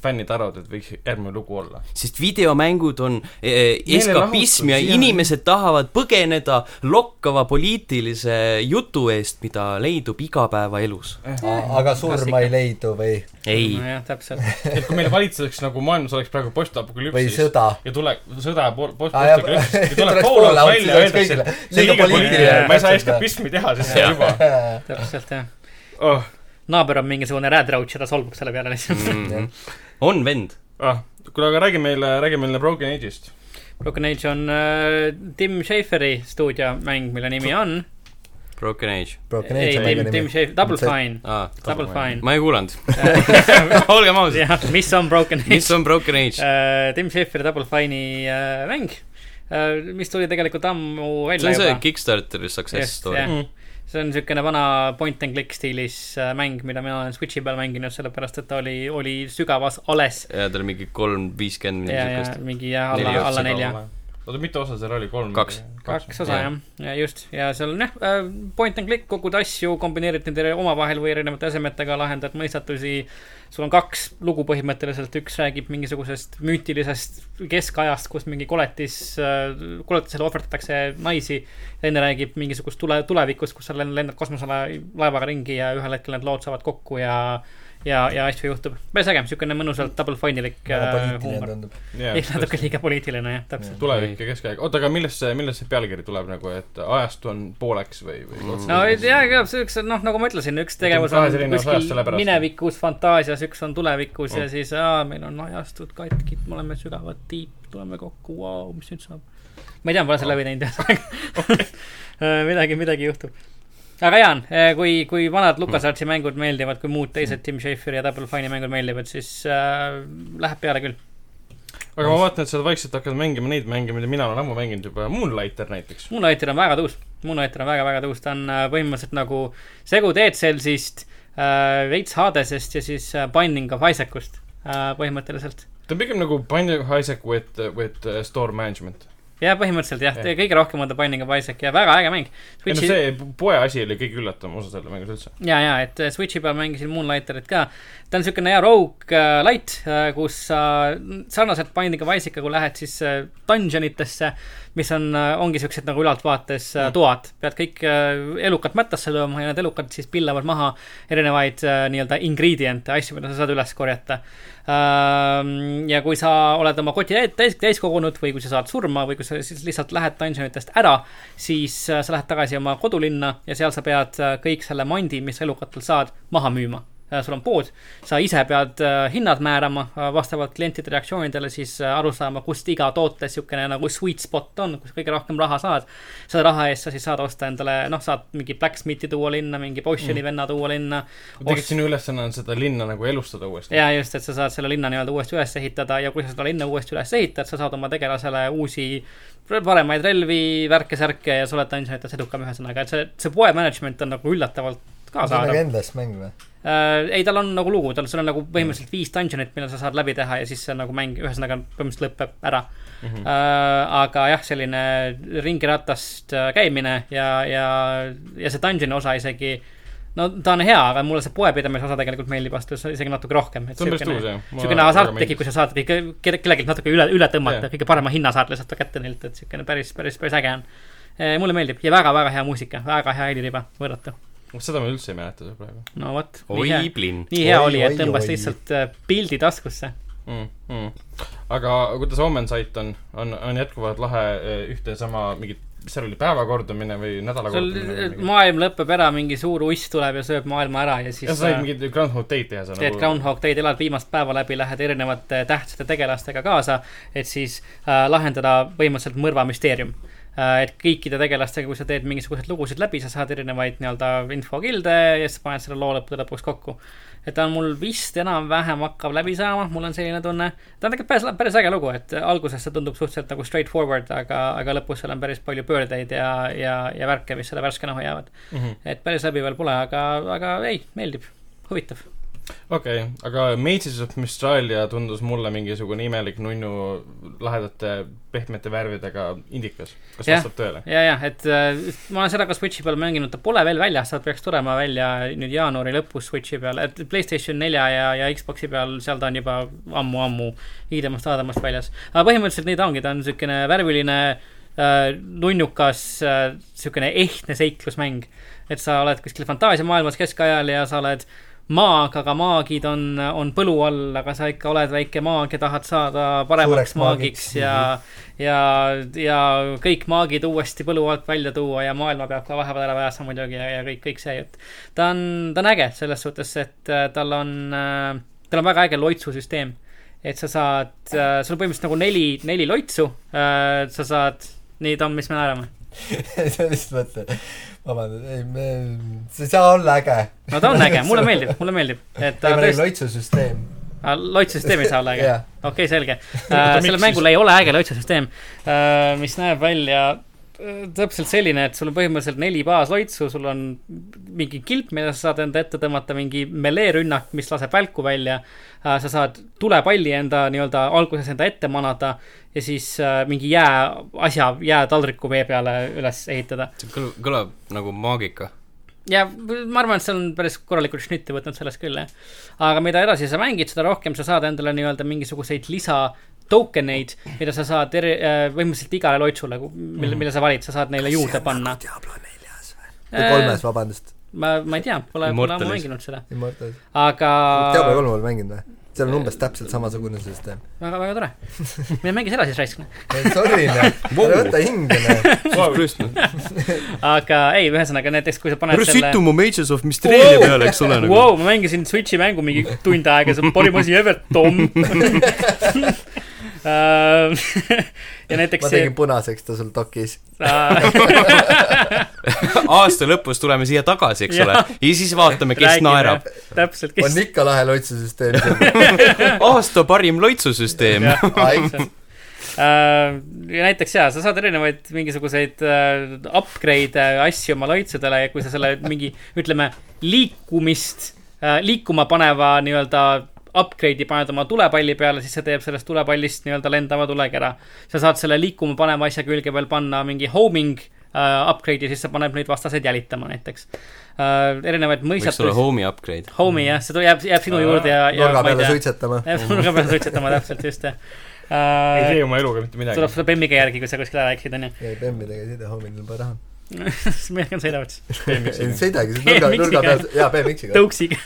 Speaker 4: fännid arvavad , et võiks järgmine lugu olla .
Speaker 1: sest videomängud on eh, eskapism ja
Speaker 4: Meelelahutus, jah.
Speaker 1: inimesed tahavad põgeneda lokkava poliitilise jutu eest , mida leidub igapäevaelus .
Speaker 2: aga surma ei leidu või ,
Speaker 1: ei ,
Speaker 3: nojah , täpselt .
Speaker 4: et kui meil valitseks nagu maailmas oleks praegu
Speaker 2: või
Speaker 4: postapokalüpsis
Speaker 2: sõda .
Speaker 4: ja tuleb sõda pool ,
Speaker 2: Aa, jah.
Speaker 4: postapokalüpsis ja tuleb
Speaker 2: Tuleks
Speaker 4: pool
Speaker 2: pool
Speaker 4: alt
Speaker 2: out,
Speaker 4: välja ,
Speaker 2: tuleks
Speaker 4: öeldakse ,
Speaker 2: kõigile.
Speaker 4: et see on
Speaker 2: Liiga
Speaker 4: liiga poliitiline
Speaker 2: poliitiline, ,
Speaker 4: ma ei
Speaker 2: täpselt,
Speaker 4: saa
Speaker 2: jah.
Speaker 4: eskapismi teha , sest see on juba
Speaker 3: täpselt jah .
Speaker 4: oh, .
Speaker 3: naaber on mingisugune räädrautš ja ta solvub selle peale
Speaker 2: Mhm.
Speaker 3: lihtsalt .
Speaker 1: Mhm. on vend .
Speaker 4: Ah, kuule , aga räägi meile , räägi meile Broken Age'ist .
Speaker 3: Broken Age on äh, Tim Schaferi stuudiomäng , mille nimi on
Speaker 1: Broken Age
Speaker 2: Broken
Speaker 3: ei
Speaker 2: Age , on
Speaker 3: Tim ,
Speaker 2: äge
Speaker 3: Tim
Speaker 2: nimi .
Speaker 3: Shave , Double
Speaker 2: See-
Speaker 3: Fine ,
Speaker 1: ah, .
Speaker 3: Double Fine .
Speaker 1: ma ei kuulanud . olgem ausad ,
Speaker 3: jah , mis on Broken
Speaker 1: mis
Speaker 3: Age ?
Speaker 1: on Broken
Speaker 3: Äh,
Speaker 1: Age ?
Speaker 3: Tim Schafer Double Fine'i äh, mäng , mis tuli tegelikult ammu
Speaker 1: see
Speaker 3: välja
Speaker 1: on see
Speaker 3: juba .
Speaker 1: Kickstarteri success
Speaker 3: Just,
Speaker 1: story
Speaker 3: jah. .
Speaker 4: Mm.
Speaker 3: see on niisugune vana point and click stiilis äh, mäng , mida mina olen Switchi peal mänginud , sellepärast et ta oli , oli sügavas ales
Speaker 1: ja tal on mingi kolm , viiskümmend
Speaker 3: ja ,
Speaker 1: midagi
Speaker 3: ja
Speaker 1: siukest .
Speaker 3: mingi jah ,
Speaker 1: Neli
Speaker 3: alla ,
Speaker 1: otsa
Speaker 3: alla nelja .
Speaker 4: oota , mitu osa seal oli , kolm ?
Speaker 1: Kaks.
Speaker 3: kaks osa
Speaker 1: Jah.
Speaker 3: jah , just , ja seal on jah , point and click , kogud asju , kombineerid nende omavahel või erinevate asemetega , lahendad mõistatusi . sul on kaks lugu põhimõtteliselt , üks räägib mingisugusest müütilisest keskajast , kus mingi koletis , koletisele ohverdatakse naisi . teine räägib mingisugust tule , tulevikust , kus sa len- lendad kosmosele laevaga ringi ja ühel hetkel need lood saavad kokku ja , ja , ja asju juhtub . päris äge , niisugune mõnusalt double fine'ilik
Speaker 2: väga
Speaker 3: äh,
Speaker 2: poliitiline
Speaker 3: huumor .
Speaker 2: tundub .
Speaker 3: ei , natuke liiga poliitiline jah , täpselt .
Speaker 4: tulevik ja keskaeg , oota , aga millest see , millest see pealkiri tuleb nagu , et ajastu on pooleks või , või
Speaker 3: no ei tea ka , see üks , noh , nagu ma ütlesin , üks tegevus
Speaker 4: kahes
Speaker 3: on
Speaker 4: erinevas ajas
Speaker 3: kuskil
Speaker 4: sellepärast.
Speaker 3: minevikus , fantaasias , üks on tulevikus ja
Speaker 4: Mm.
Speaker 3: siis aa , meil on ajastud katkid , me oleme sügavad tiip , tuleme kokku , vau , mis nüüd saab . ma ei tea , ma pole selle läbi teinud ühesõnaga . midagi , midagi juhtub . aga Jaan , kui , kui vanad LucasArtsi mängud meeldivad , kui muud teised Tim Schaferi ja Double Fine'i mängud meeldivad , siis äh, läheb peale küll .
Speaker 4: aga ma vaatan , et sa vaikselt hakkad mängima neid mänge , mida mina olen ammu mänginud juba , Moonlighter näiteks .
Speaker 3: Moonlighter on väga tõus , Moonlighter on väga-väga tõus , ta on äh, põhimõtteliselt nagu segu Deadcellsist äh, , veits Hadesest ja siis äh, Binding of Isaacust äh, põhimõtteliselt .
Speaker 4: ta on pigem nagu Binding of Isaac with , with äh, store management .
Speaker 3: jah , põhimõtteliselt jah
Speaker 4: Jah.
Speaker 3: yeah. , kõige rohkem on ta Binding of Isaac ja väga äge mäng .
Speaker 4: ei no see poe asi oli kõige üllatavam osa selle mängus üldse .
Speaker 3: ja , ja , et äh, Switchi peal mängisin Moonlighterit ka . ta on niisugune hea rogue äh, light , kus sa n- sarnaselt Binding of Isaac'iga , kui lähed siis äh, dungeonitesse , mis on , ongi siuksed nagu ülaltvaates äh, toad , pead kõik äh, elukad mättasse lööma ja need elukad siis pillavad maha erinevaid äh, nii-öelda ingredient'e , asju , mida sa saad üles korjata . ja kui sa oled oma koti täis- täis , täis kogunud või kui sa saad surma või kui sa siis lihtsalt lähed dungeonitest ära , siis äh, sa lähed tagasi oma kodulinna ja seal sa pead äh, kõik selle mandi , mis sa elukatel saad , maha müüma . sul on pood , sa ise pead äh, hinnad määrama äh, vastavalt klientide reaktsioonidele , siis äh, aru saama , kust iga toote niisugune nagu sweet spot on , kus kõige rohkem raha saad . selle raha eest sa siis saad osta endale , noh , saad mingi blacksmith'i tuua linna , mingi potioni mm. venna tuua linna .
Speaker 4: tegelikult sinu ülesanne on seda linna nagu elustada uuesti .
Speaker 3: ja just , et sa saad selle linna nii-öelda uuesti üles ehitada ja kui sa seda linna uuesti üles ehitad , sa saad oma tegelasele uusi paremaid relvi , värke-särke ja sa oled dungeonites edukam , ühesõnaga , et see , see poe management on nagu üllatavalt
Speaker 2: see on nagu
Speaker 3: kaasaadav .
Speaker 2: endless mäng või ?
Speaker 3: Äh, ei , tal on nagu lugu , tal , sul on
Speaker 4: Mm.
Speaker 3: nagu põhimõtteliselt viis dungeonit , mille sa saad läbi teha ja siis see nagu mäng , ühesõnaga põhimõtteliselt lõpeb ära mm .
Speaker 4: Mhm.
Speaker 3: -hmm. Äh, aga jah , selline ringiratast äh, käimine ja , ja , ja see dungeon'i osa isegi , no ta on hea , aga mulle see poepidamise osa tegelikult meeldib vastu isegi natuke rohkem .
Speaker 4: see on päris tõus jah .
Speaker 3: niisugune hasart tekib , kui sa saad kõige , kellelgi natuke üle , üle tõmmata
Speaker 4: Jah.
Speaker 3: yeah. , kõige parema hinna saad lihtsalt kätte neilt , et niisugune päris , päris , päris äge on . mulle meeldib ja väga-väga hea muusika , väga hea heliriba , võrratu .
Speaker 4: seda ma üldse ei mäleta seal praegu
Speaker 3: no vot , nii hea
Speaker 1: oi , plinn .
Speaker 3: nii hea
Speaker 2: Oi,
Speaker 3: oli , et
Speaker 2: oi,
Speaker 3: tõmbas
Speaker 2: oi.
Speaker 3: lihtsalt äh, pildi taskusse .
Speaker 4: mm . -hmm. aga kuidas Omen sait on , on , on jätkuvalt lahe eh, ühte ja sama mingit , mis seal oli , päeva kordamine või nädala
Speaker 3: seal eh,
Speaker 4: kordamine või mingi ?
Speaker 3: äh, maailm lõpeb ära , mingi suur uss tuleb ja sööb maailma ära ja
Speaker 4: ja
Speaker 3: siis
Speaker 4: sa said
Speaker 3: äh,
Speaker 4: mingeid Groundhog Day'd teha nagu- seal
Speaker 3: teed . Groundhog Day'd , elad viimast päeva läbi , lähed erinevate tähtsate tegelastega kaasa , et siis äh, lahendada põhimõtteliselt mõrvamüsteerium . Äh, et kõikide tegelastega , kui sa teed mingisuguseid lugusid läbi , sa saad erinevaid nii-öelda infokilde ja siis paned selle loo lõppude lõpuks kokku . et ta on mul vist enam-vähem hakkab läbi saama , mul on selline tunne . ta on tegelikult päris , päris äge lugu , et alguses see tundub suhteliselt nagu straightforward , aga , aga lõpus seal on päris palju pöördeid ja , ja , ja värke , mis selle värskena hoiavad . et päris läbi veel pole , aga , aga ei , meeldib , huvitav .
Speaker 4: okei , aga Mages of Mistralia tundus mulle mingisugune imelik nunnu lahedate pehmete värvidega indikas . kas
Speaker 3: Jah.
Speaker 4: vastab tõele ?
Speaker 3: ja , ja , et äh, ma olen seda ka Switchi peal mänginud , ta pole veel väljas , ta peaks tulema välja nüüd jaanuari lõpus Switchi peal , et Playstation nelja ja , ja Xbox'i peal , seal ta on juba ammu-ammu hiidemast-aadamast väljas . aga põhimõtteliselt nii ta ongi , ta on niisugune värviline äh, , nunnukas äh, , niisugune ehtne seiklusmäng . et sa oled kuskil fantaasiamaailmas keskajal ja sa oled maag , aga maagid on , on põlu all , aga sa ikka oled väike maag ja tahad saada paremaks
Speaker 2: Suureks
Speaker 3: maagiks
Speaker 2: maagiks.
Speaker 3: ja ja , ja kõik maagid uuesti põlu alt välja tuua ja maailma peab ka vahepeal ära päästma muidugi ja , ja kõik , kõik see , et ta on , ta on äge selles suhtes , et äh, tal on , tal on väga äge loitsusüsteem . et sa saad , sul on põhimõtteliselt nagu neli , neli äh, loitsu , sa saad , nii , Tom , mis me naerame ?
Speaker 2: see on lihtsalt mõte , vabandust , ei me , see ei saa olla äge .
Speaker 3: no ta on äge , mulle meeldib , mulle meldib , et
Speaker 2: ei ,
Speaker 3: äh,
Speaker 2: ma räägin
Speaker 3: tõesti ,
Speaker 2: loitsusüsteem .
Speaker 3: Äh, loitsesüsteem ei saa olla äge
Speaker 2: Jah. .
Speaker 3: okei , selge .
Speaker 4: Oota,
Speaker 3: sellel
Speaker 4: miks
Speaker 3: mängul ei ole äge loitsesüsteem , mis näeb välja äh, täpselt selline , et sul on põhimõtteliselt neli baasloitsu , sul on mingi kilp , mida sa saad enda ette tõmmata , mingi meleerünnak , mis laseb välku välja . sa saad tulepalli enda nii-öelda alguses enda ette manada ja siis äh, mingi jääasja , jäätaldriku vee peale üles ehitada .
Speaker 1: see kõl- , kõlab nagu maagika .
Speaker 3: ja ma arvan , et see on päris korralikult šnitti võtnud sellest küll , jah . aga mida edasi sa mängid , seda rohkem sa saad endale nii-öelda mingisuguseid lisa token eid , mida sa saad eri , põhimõtteliselt igale loitsule ,
Speaker 2: Mhm.
Speaker 3: mille , mille sa valid , sa saad neile juurde panna . Äh.
Speaker 2: Diablo neljas või ? või kolmes ,
Speaker 3: ma ,
Speaker 2: vabandust .
Speaker 3: ma ei tea , pole , pole ammu
Speaker 1: Immortalis.
Speaker 3: mänginud seda ,
Speaker 2: Immortals .
Speaker 3: aga
Speaker 2: Diablo kolm olen mänginud või ? seal
Speaker 3: Äh.
Speaker 2: on umbes täpselt samasugune süsteem .
Speaker 3: väga , väga tore . mine mängi seda siis raisk , noh .
Speaker 2: ei , sorry , noh .
Speaker 1: Vau.
Speaker 2: ära võta hinge , noh .
Speaker 3: aga ei , ühesõnaga näiteks , kui sa paned
Speaker 1: ära
Speaker 3: selle
Speaker 1: situ mu Mages of Mysteria
Speaker 3: Wow!
Speaker 1: peale , eks ole nagu
Speaker 3: wow, . ma mängisin Switchi mängu mingi tund aega , see on parim asi ever , Tom . ja näiteks
Speaker 2: ma
Speaker 3: see
Speaker 2: tegin punaseks ta sul dokis .
Speaker 1: aasta lõpus tuleme siia tagasi , eks
Speaker 3: Jah.
Speaker 1: ole , ja siis vaatame , kes
Speaker 3: Räägime.
Speaker 1: naerab .
Speaker 3: täpselt ,
Speaker 2: on
Speaker 3: kes .
Speaker 2: ikka lahe loitsusüsteem .
Speaker 1: aasta parim loitsusüsteem .
Speaker 3: ja näiteks jaa , sa saad erinevaid mingisuguseid äh, upgrade'e , asju oma loitsudele ja kui sa selle mingi , ütleme , liikumist , liikuma paneva nii-öelda upgrade'i paned oma tulepalli peale , siis see teeb sellest tulepallist nii-öelda lendava tulekera . sa saad selle liikuma paneva asja külge veel panna mingi homing äh, upgrade'i , siis see paneb neid vastaseid jälitama näiteks . erinevaid
Speaker 1: võiks olla
Speaker 3: mõisatusi .
Speaker 1: home'i upgrade .
Speaker 3: Homie jah , see tu- jääb , jääb sinu juurde ja , ja
Speaker 2: nurga
Speaker 3: ma ei
Speaker 2: peale
Speaker 3: tea
Speaker 2: suitsetama .
Speaker 3: jah , nurga peal suitsetama täpselt , just jah .
Speaker 4: ei tee oma eluga mitte midagi
Speaker 3: tuleb . sulle bemmiga järgi , kui sa kuskile ära eksid , onju .
Speaker 2: ei , bemmidega ei sõida , hommikul pole raha .
Speaker 3: siis ma jätkan sõidavaks ,
Speaker 2: ei sõidagi , nurga ,
Speaker 3: BMX-iga.
Speaker 2: nurga peal , jaa , BMX-iga .
Speaker 3: tõuksiga .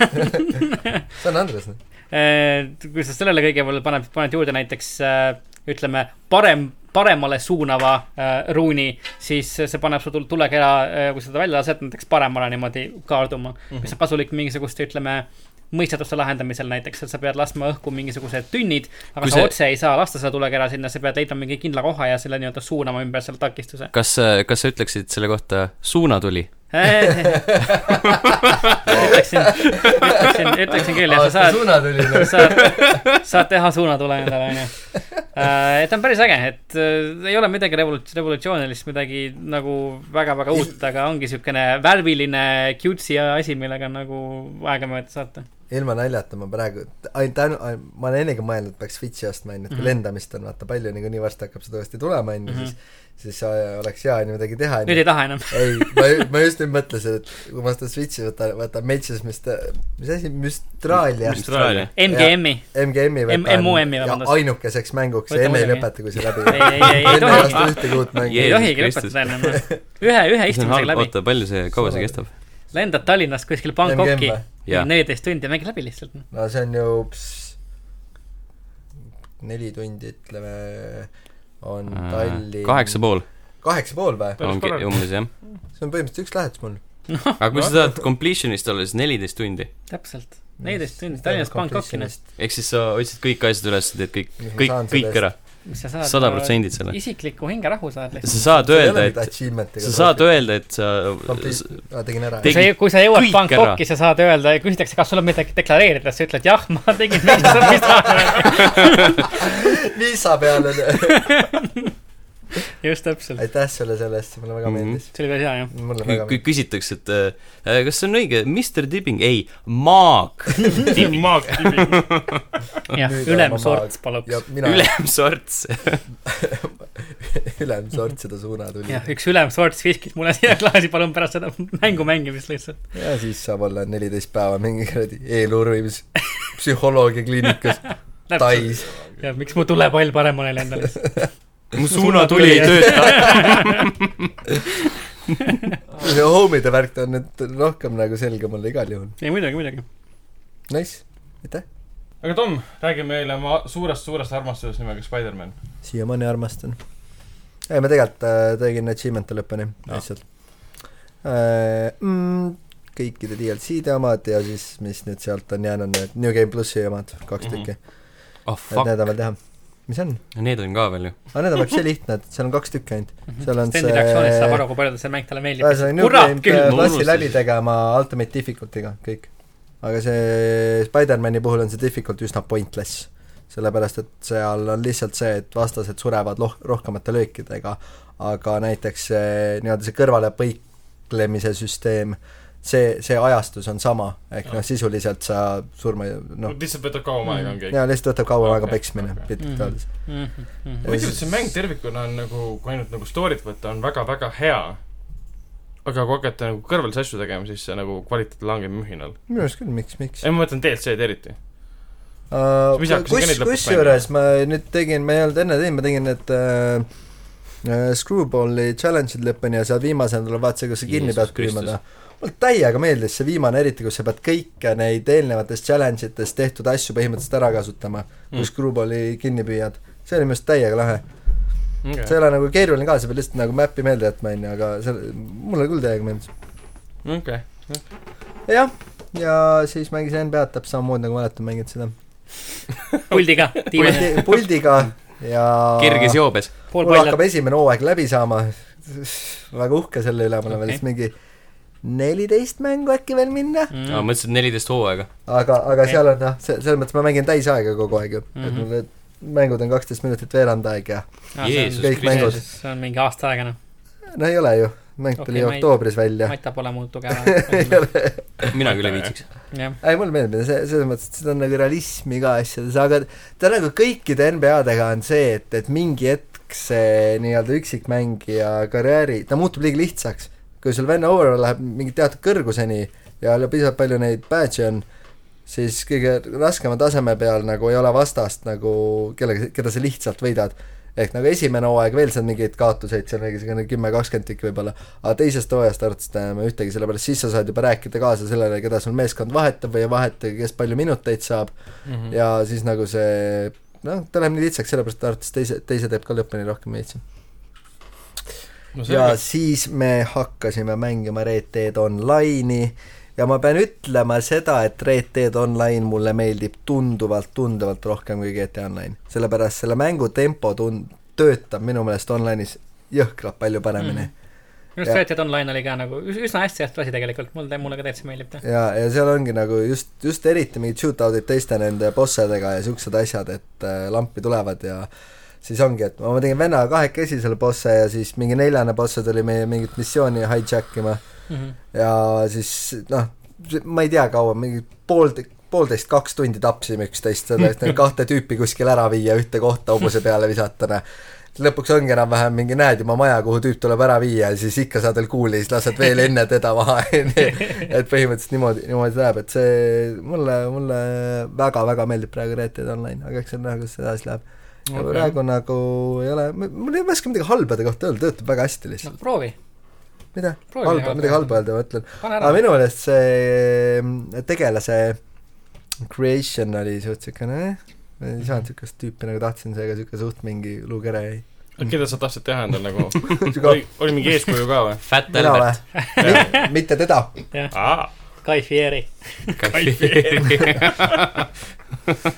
Speaker 2: see on Andres , noh .
Speaker 3: kui sa sellele kõigepealt paned , paned juurde näiteks äh, ütleme , parem , paremale suunava äh, ruuni , siis see paneb su tul- tulekera , kui sa seda välja lased , näiteks paremale niimoodi kaarduma mm ,
Speaker 4: Mhm.
Speaker 3: -hmm. mis on kasulik mingisuguste , ütleme , mõistatuste lahendamisel näiteks , et sa pead laskma õhku mingisugused tünnid , aga
Speaker 1: Kui
Speaker 3: sa
Speaker 1: see-
Speaker 3: otse ei saa lasta seda tulekera sinna , sa pead leidma mingi kindla koha ja selle nii-öelda suunama ümber selle takistuse .
Speaker 1: kas , kas sa ütleksid selle kohta suunatuli ?
Speaker 3: ütleksin , ütleksin , ütleksin küll , jah , sa
Speaker 2: aasta
Speaker 3: saad ,
Speaker 2: suuna tuli , noh .
Speaker 3: saad , saad teha suunatule endale , onju . et on päris äge , et äh, ei ole midagi revolut- , revolutsioonilist , midagi nagu väga-väga uut , aga ongi siukene värviline cutesy asi , millega nagu aegamööda saata .
Speaker 2: ilma naljata ma praegu , ainult tänu , ma olen ennegi mõelnud , peaks Switchi ostma , onju , et kui
Speaker 3: Mhm.
Speaker 2: lendamist on vaata palju , niikuinii varsti hakkab seda uuesti tulema , onju , siis siis äh, oleks hea , onju , midagi teha ,
Speaker 3: nüüd
Speaker 2: onju .
Speaker 3: ei taha enam .
Speaker 2: ei , ma , ma just nüüd mõtlesin , et kui ma seda Switchi võtan , võtan Metsis , mis ta , mis asi , Müstraalia .
Speaker 1: Austraalia .
Speaker 3: MGM-i .
Speaker 2: MGM-i
Speaker 3: M-
Speaker 2: võtan
Speaker 3: MOM-i,
Speaker 2: ja
Speaker 3: vabandust.
Speaker 2: ainukeseks mänguks ,
Speaker 3: Võta
Speaker 2: enne ei
Speaker 3: muidugi.
Speaker 2: lõpeta , kui see läbi
Speaker 3: ei , ei , ei , ei
Speaker 2: enne ei lasta
Speaker 3: tohigi ,
Speaker 2: ühtegi uut mängu
Speaker 3: ei
Speaker 1: Jeesus .
Speaker 3: tohigi
Speaker 1: Kristus.
Speaker 3: lõpetada ennem . ühe , ühe
Speaker 1: see on
Speaker 3: istumisega
Speaker 1: halb ,
Speaker 3: läbi .
Speaker 1: oota , palju see , kaua see kestab ?
Speaker 3: lendad Tallinnast kuskil Bangkoki
Speaker 2: MGM või? ,
Speaker 1: Jaa.
Speaker 3: neliteist tundi ja mängid läbi lihtsalt . noh,
Speaker 2: no see on ju pss, neli tundi , ütleme , on Tallinn
Speaker 1: Äh, kaheksa pool
Speaker 2: kaheksa pool või ?
Speaker 4: Päris
Speaker 1: on ke-
Speaker 4: korralik.
Speaker 1: umbes jah .
Speaker 2: see on põhimõtteliselt üks lähetus mul .
Speaker 1: aga kui sa tahad completionist olla , siis neliteist tundi .
Speaker 3: täpselt , neliteist tundi Tallinnast Bangkokini ,
Speaker 1: ehk siis sa otsid kõik asjad üles , teed kõik ,
Speaker 2: Mis ma
Speaker 1: kõik
Speaker 2: saan , selle
Speaker 1: kõik ära .
Speaker 3: mis sa saad . äh,
Speaker 1: sada protsendid selle .
Speaker 3: isikliku hingerahu saad lihtsalt .
Speaker 1: sa saad öelda , et ,
Speaker 2: achievement'iga .
Speaker 1: sa saad öelda , et sa ,
Speaker 2: aa , tegin ära .
Speaker 1: Tegi-
Speaker 3: kui sa , kui sa jõuad
Speaker 1: kõik
Speaker 3: Bangkoki , sa saad öelda , küsitakse , kas sul on midagi deklareerida , sa ütled jah , ma tegin , mis sa , mis sa .
Speaker 2: viisa peale .
Speaker 3: just täpselt ,
Speaker 2: aitäh sulle selle eest , mulle väga
Speaker 1: Mhm.
Speaker 2: meeldis .
Speaker 3: see oli päris hea jah .
Speaker 2: mulle
Speaker 1: kui
Speaker 2: väga ,
Speaker 1: kui
Speaker 2: meeldis .
Speaker 1: küsitakse , et äh, kas see on õige , Mr Dibbing , ei , Maag ,
Speaker 4: maag tibib .
Speaker 2: Nüüd olen
Speaker 3: jah ,
Speaker 2: ma-
Speaker 3: ülemsorts
Speaker 2: ja
Speaker 3: paluks .
Speaker 2: mina Üle.
Speaker 1: ülemsorts .
Speaker 2: ülem sort seda suuna tuli .
Speaker 3: jah , üks ülemsorts viskis mulle siia klaasi , palun pärast seda mängu mängimist lihtsalt .
Speaker 2: ja siis saab olla neliteist päeva mingi kuradi eeluurimis psühholoogia kliinikas
Speaker 3: täpselt ,
Speaker 2: Tais .
Speaker 3: ja miks mu tulepall paremale ei lenda lihtsalt .
Speaker 1: mu suunatuli ei tööta .
Speaker 2: see homide värk ta on nüüd rohkem nagu selge mulle igal juhul .
Speaker 3: ei muidugi , muidugi .
Speaker 2: Nice , aitäh .
Speaker 4: aga Tom , räägi meile oma suurest-suurest armastusest nimega Spider-man .
Speaker 2: siiamaani armastan . ei , ma tegelikult äh, tegin achievement'e lõpuni
Speaker 4: Jah.
Speaker 2: lihtsalt äh, . Mm, kõikide DLC-de omad ja siis , mis nüüd sealt on jäänud , need New Game plussi omad , kaks
Speaker 4: Mhm.
Speaker 2: tükki mm .
Speaker 1: oh
Speaker 2: -hmm. et
Speaker 1: fuck ,
Speaker 2: need on veel teha . mis see on ?
Speaker 1: Need on ka veel ju .
Speaker 2: aga need on vapsi lihtne , et seal on kaks tükki ainult . seal on
Speaker 3: Mhm. Stendi
Speaker 2: see Äh,
Speaker 3: reaktsioonist saab aru , kui palju see mäng talle meeldib .
Speaker 2: ühesõnaga New
Speaker 3: kurat
Speaker 2: Game
Speaker 3: küll
Speaker 1: ma
Speaker 2: peab klassi
Speaker 1: unustasin.
Speaker 2: läbi tegema Ultimate Difficulty'ga kõik . aga see Spider-man'i puhul on see difficult üsna pointless . sellepärast , et seal on lihtsalt see , et vastased surevad loh- , rohkemate löökidega , aga näiteks see nii-öelda see kõrvalepõiklemise süsteem , see , see ajastus on sama , ehk noh , sisuliselt sa surma ei- noh ,
Speaker 4: lihtsalt võtab kauem aega , on kõik .
Speaker 2: Mm. jaa , lihtsalt võtab kaua aega
Speaker 4: Okei,
Speaker 2: peksmine
Speaker 4: okei.
Speaker 2: piltlikult
Speaker 3: Mhm.
Speaker 2: öeldes .
Speaker 3: Mhm, mhm.
Speaker 4: muidu see mäng tervikuna on nagu , kui ainult nagu story't võtta , on väga-väga hea . aga kui hakata nagu kõrvalisi asju tegema , siis see nagu kvaliteet langeb mühinal .
Speaker 2: minu arust küll , miks , miks ?
Speaker 4: ei , ma mõtlen DLC-d eriti .
Speaker 2: Uh,
Speaker 4: Mis hakkasid ka
Speaker 2: kus
Speaker 4: neid , lõpuks
Speaker 2: kusjuures ma nüüd tegin , ma ei olnud enne teinud , ma tegin need äh, äh, Screwballi challenge'id lõpuni ja seal viimasena tuleb vaata see , kus sa kinni
Speaker 1: Jeesus
Speaker 2: pead
Speaker 1: Kristus.
Speaker 2: külmada . mulle täiega meeldis see viimane , eriti kus sa pead kõike neid eelnevatest challenge itest tehtud asju põhimõtteliselt ära kasutama mm. ,
Speaker 4: Mm.
Speaker 2: kui Screwballi kinni püüad . see oli minu arust täiega lahe . see ei ole nagu keeruline ka , sa pead lihtsalt nagu map'i meelde jätma , on ju , aga see , mulle küll täiega meeldis .
Speaker 4: okei .
Speaker 2: jah , ja siis mängis NBA-d täpselt samamoodi , nagu mäletan , mängid seda .
Speaker 3: puldiga , diivanil ,
Speaker 2: puldi , puldiga ja
Speaker 1: kerges joobes .
Speaker 3: pool
Speaker 2: mul
Speaker 3: palja
Speaker 2: hakkab . esimene hooaeg läbi saama , väga uhke selle üle , mul on veel
Speaker 3: Okei.
Speaker 2: vist mingi neliteist mängu äkki veel minna ,
Speaker 3: Mhm. Mm.
Speaker 1: ma mõtlesin , et neliteist hooaega .
Speaker 2: aga , aga
Speaker 3: Okei.
Speaker 2: seal on noh , see , selles mõttes ma mängin täisaega kogu aeg ju , et
Speaker 3: Mhm.
Speaker 2: mul need mängud on kaksteist minutit veerand aeg ja
Speaker 1: Jeesus
Speaker 2: Kõik Kristus. mängud.
Speaker 3: see on mingi aasta aega , noh .
Speaker 2: no ei ole ju , mäng
Speaker 3: Okei,
Speaker 2: tuli
Speaker 3: ma ei-
Speaker 2: okay, oktoobris välja .
Speaker 3: Mata pole muud tugevam .
Speaker 1: mina küll ei viitsiks .
Speaker 3: jah ,
Speaker 2: ei , mulle meeldib see , selles mõttes , et seda on nagu realismi ka asjades , aga ta nagu kõikide NBA-dega on see , et , et mingi hetk see nii-öelda üksikmängija karjääri , ta muutub liiga lihtsaks . kui sul venna overall läheb mingi teatud kõrguseni ja jälle piisavalt palju neid badge'e on , siis kõige raskema taseme peal nagu ei ole vastast nagu kellega , keda sa lihtsalt võidad . ehk nagu esimene hooaeg veel seal mingeid kaotuseid , seal mingisugune kümme , kakskümmend tükki võib-olla , aga teisest hooajast arvatavasti enam ühtegi , sellepärast siis sa saad juba rääkida kaasa sellele , keda sul meeskond vahetab või ei vaheta , kes palju minuteid saab ja siis nagu see noh , ta läheb nii lihtsaks , sellepärast arvatavasti teise , teise teeb ka lõpuni rohkem veitsa . ja siis me hakkasime mängima Red Dead Online'i ja ma pean ütlema seda , et Red Dead Online mulle meeldib tunduvalt , tunduvalt rohkem kui GTA Online . sellepärast selle mängu tempo tun- , töötab minu meelest online'is jõhkralt palju paremini mm .
Speaker 3: minu arust
Speaker 2: Jah.
Speaker 3: Red Dead Online oli ka nagu üs- üsna hästi tehtud asi tegelikult , mulle , mulle ka täitsa meeldib ta .
Speaker 2: -hmm. ja , ja seal ongi nagu just , just eriti mingid shootout'id teiste nende bossedega ja siuksed asjad , et äh, lampi tulevad ja siis ongi , et ma ma tegin vennaga kahekesi selle bosse ja siis mingi neljane bosse tuli meie mingit missiooni hijack ima ja siis noh , ma ei tea , kaua , mingi pool , poolteist , kaks tundi tapsime üksteist , selle eest neid kahte tüüpi kuskil ära viia , ühte kohta hobuse peale visata , noh . lõpuks ongi enam-vähem mingi näed juba maja , kuhu tüüp tuleb ära viia ja siis ikka saad veel kuuli , siis lased veel enne teda maha , onju . et põhimõtteliselt niimoodi , niimoodi see läheb , et see mulle , mulle väga-väga meeldib praegu Red Dead Online , aga eks see on näha , kuidas see edasi läheb . Okay.
Speaker 4: Okei.
Speaker 2: praegu nagu ei ole , mul ei oska midagi halba ta kohta öelda , töötab väga hästi lihtsalt .
Speaker 3: no proovi ,
Speaker 2: mida ?
Speaker 3: Proovi midagi
Speaker 2: halba , midagi
Speaker 3: halba
Speaker 2: halba öelda , ma ütlen .
Speaker 3: pane
Speaker 2: aga
Speaker 3: ära .
Speaker 2: minu meelest see mm, tegelase creation oli suht siukene eh? ma ei saanud siukest tüüpi nagu tahtsin , seega siuke suht mingi luukere jäi .
Speaker 4: keda sa tahtsid teha endal nagu ?
Speaker 2: Siuke-
Speaker 4: oli , oli mingi eeskuju ka või ?
Speaker 1: Fat
Speaker 2: mina või
Speaker 1: Albert .,
Speaker 2: mitte teda .
Speaker 4: aa ,
Speaker 3: Kai Fieri ,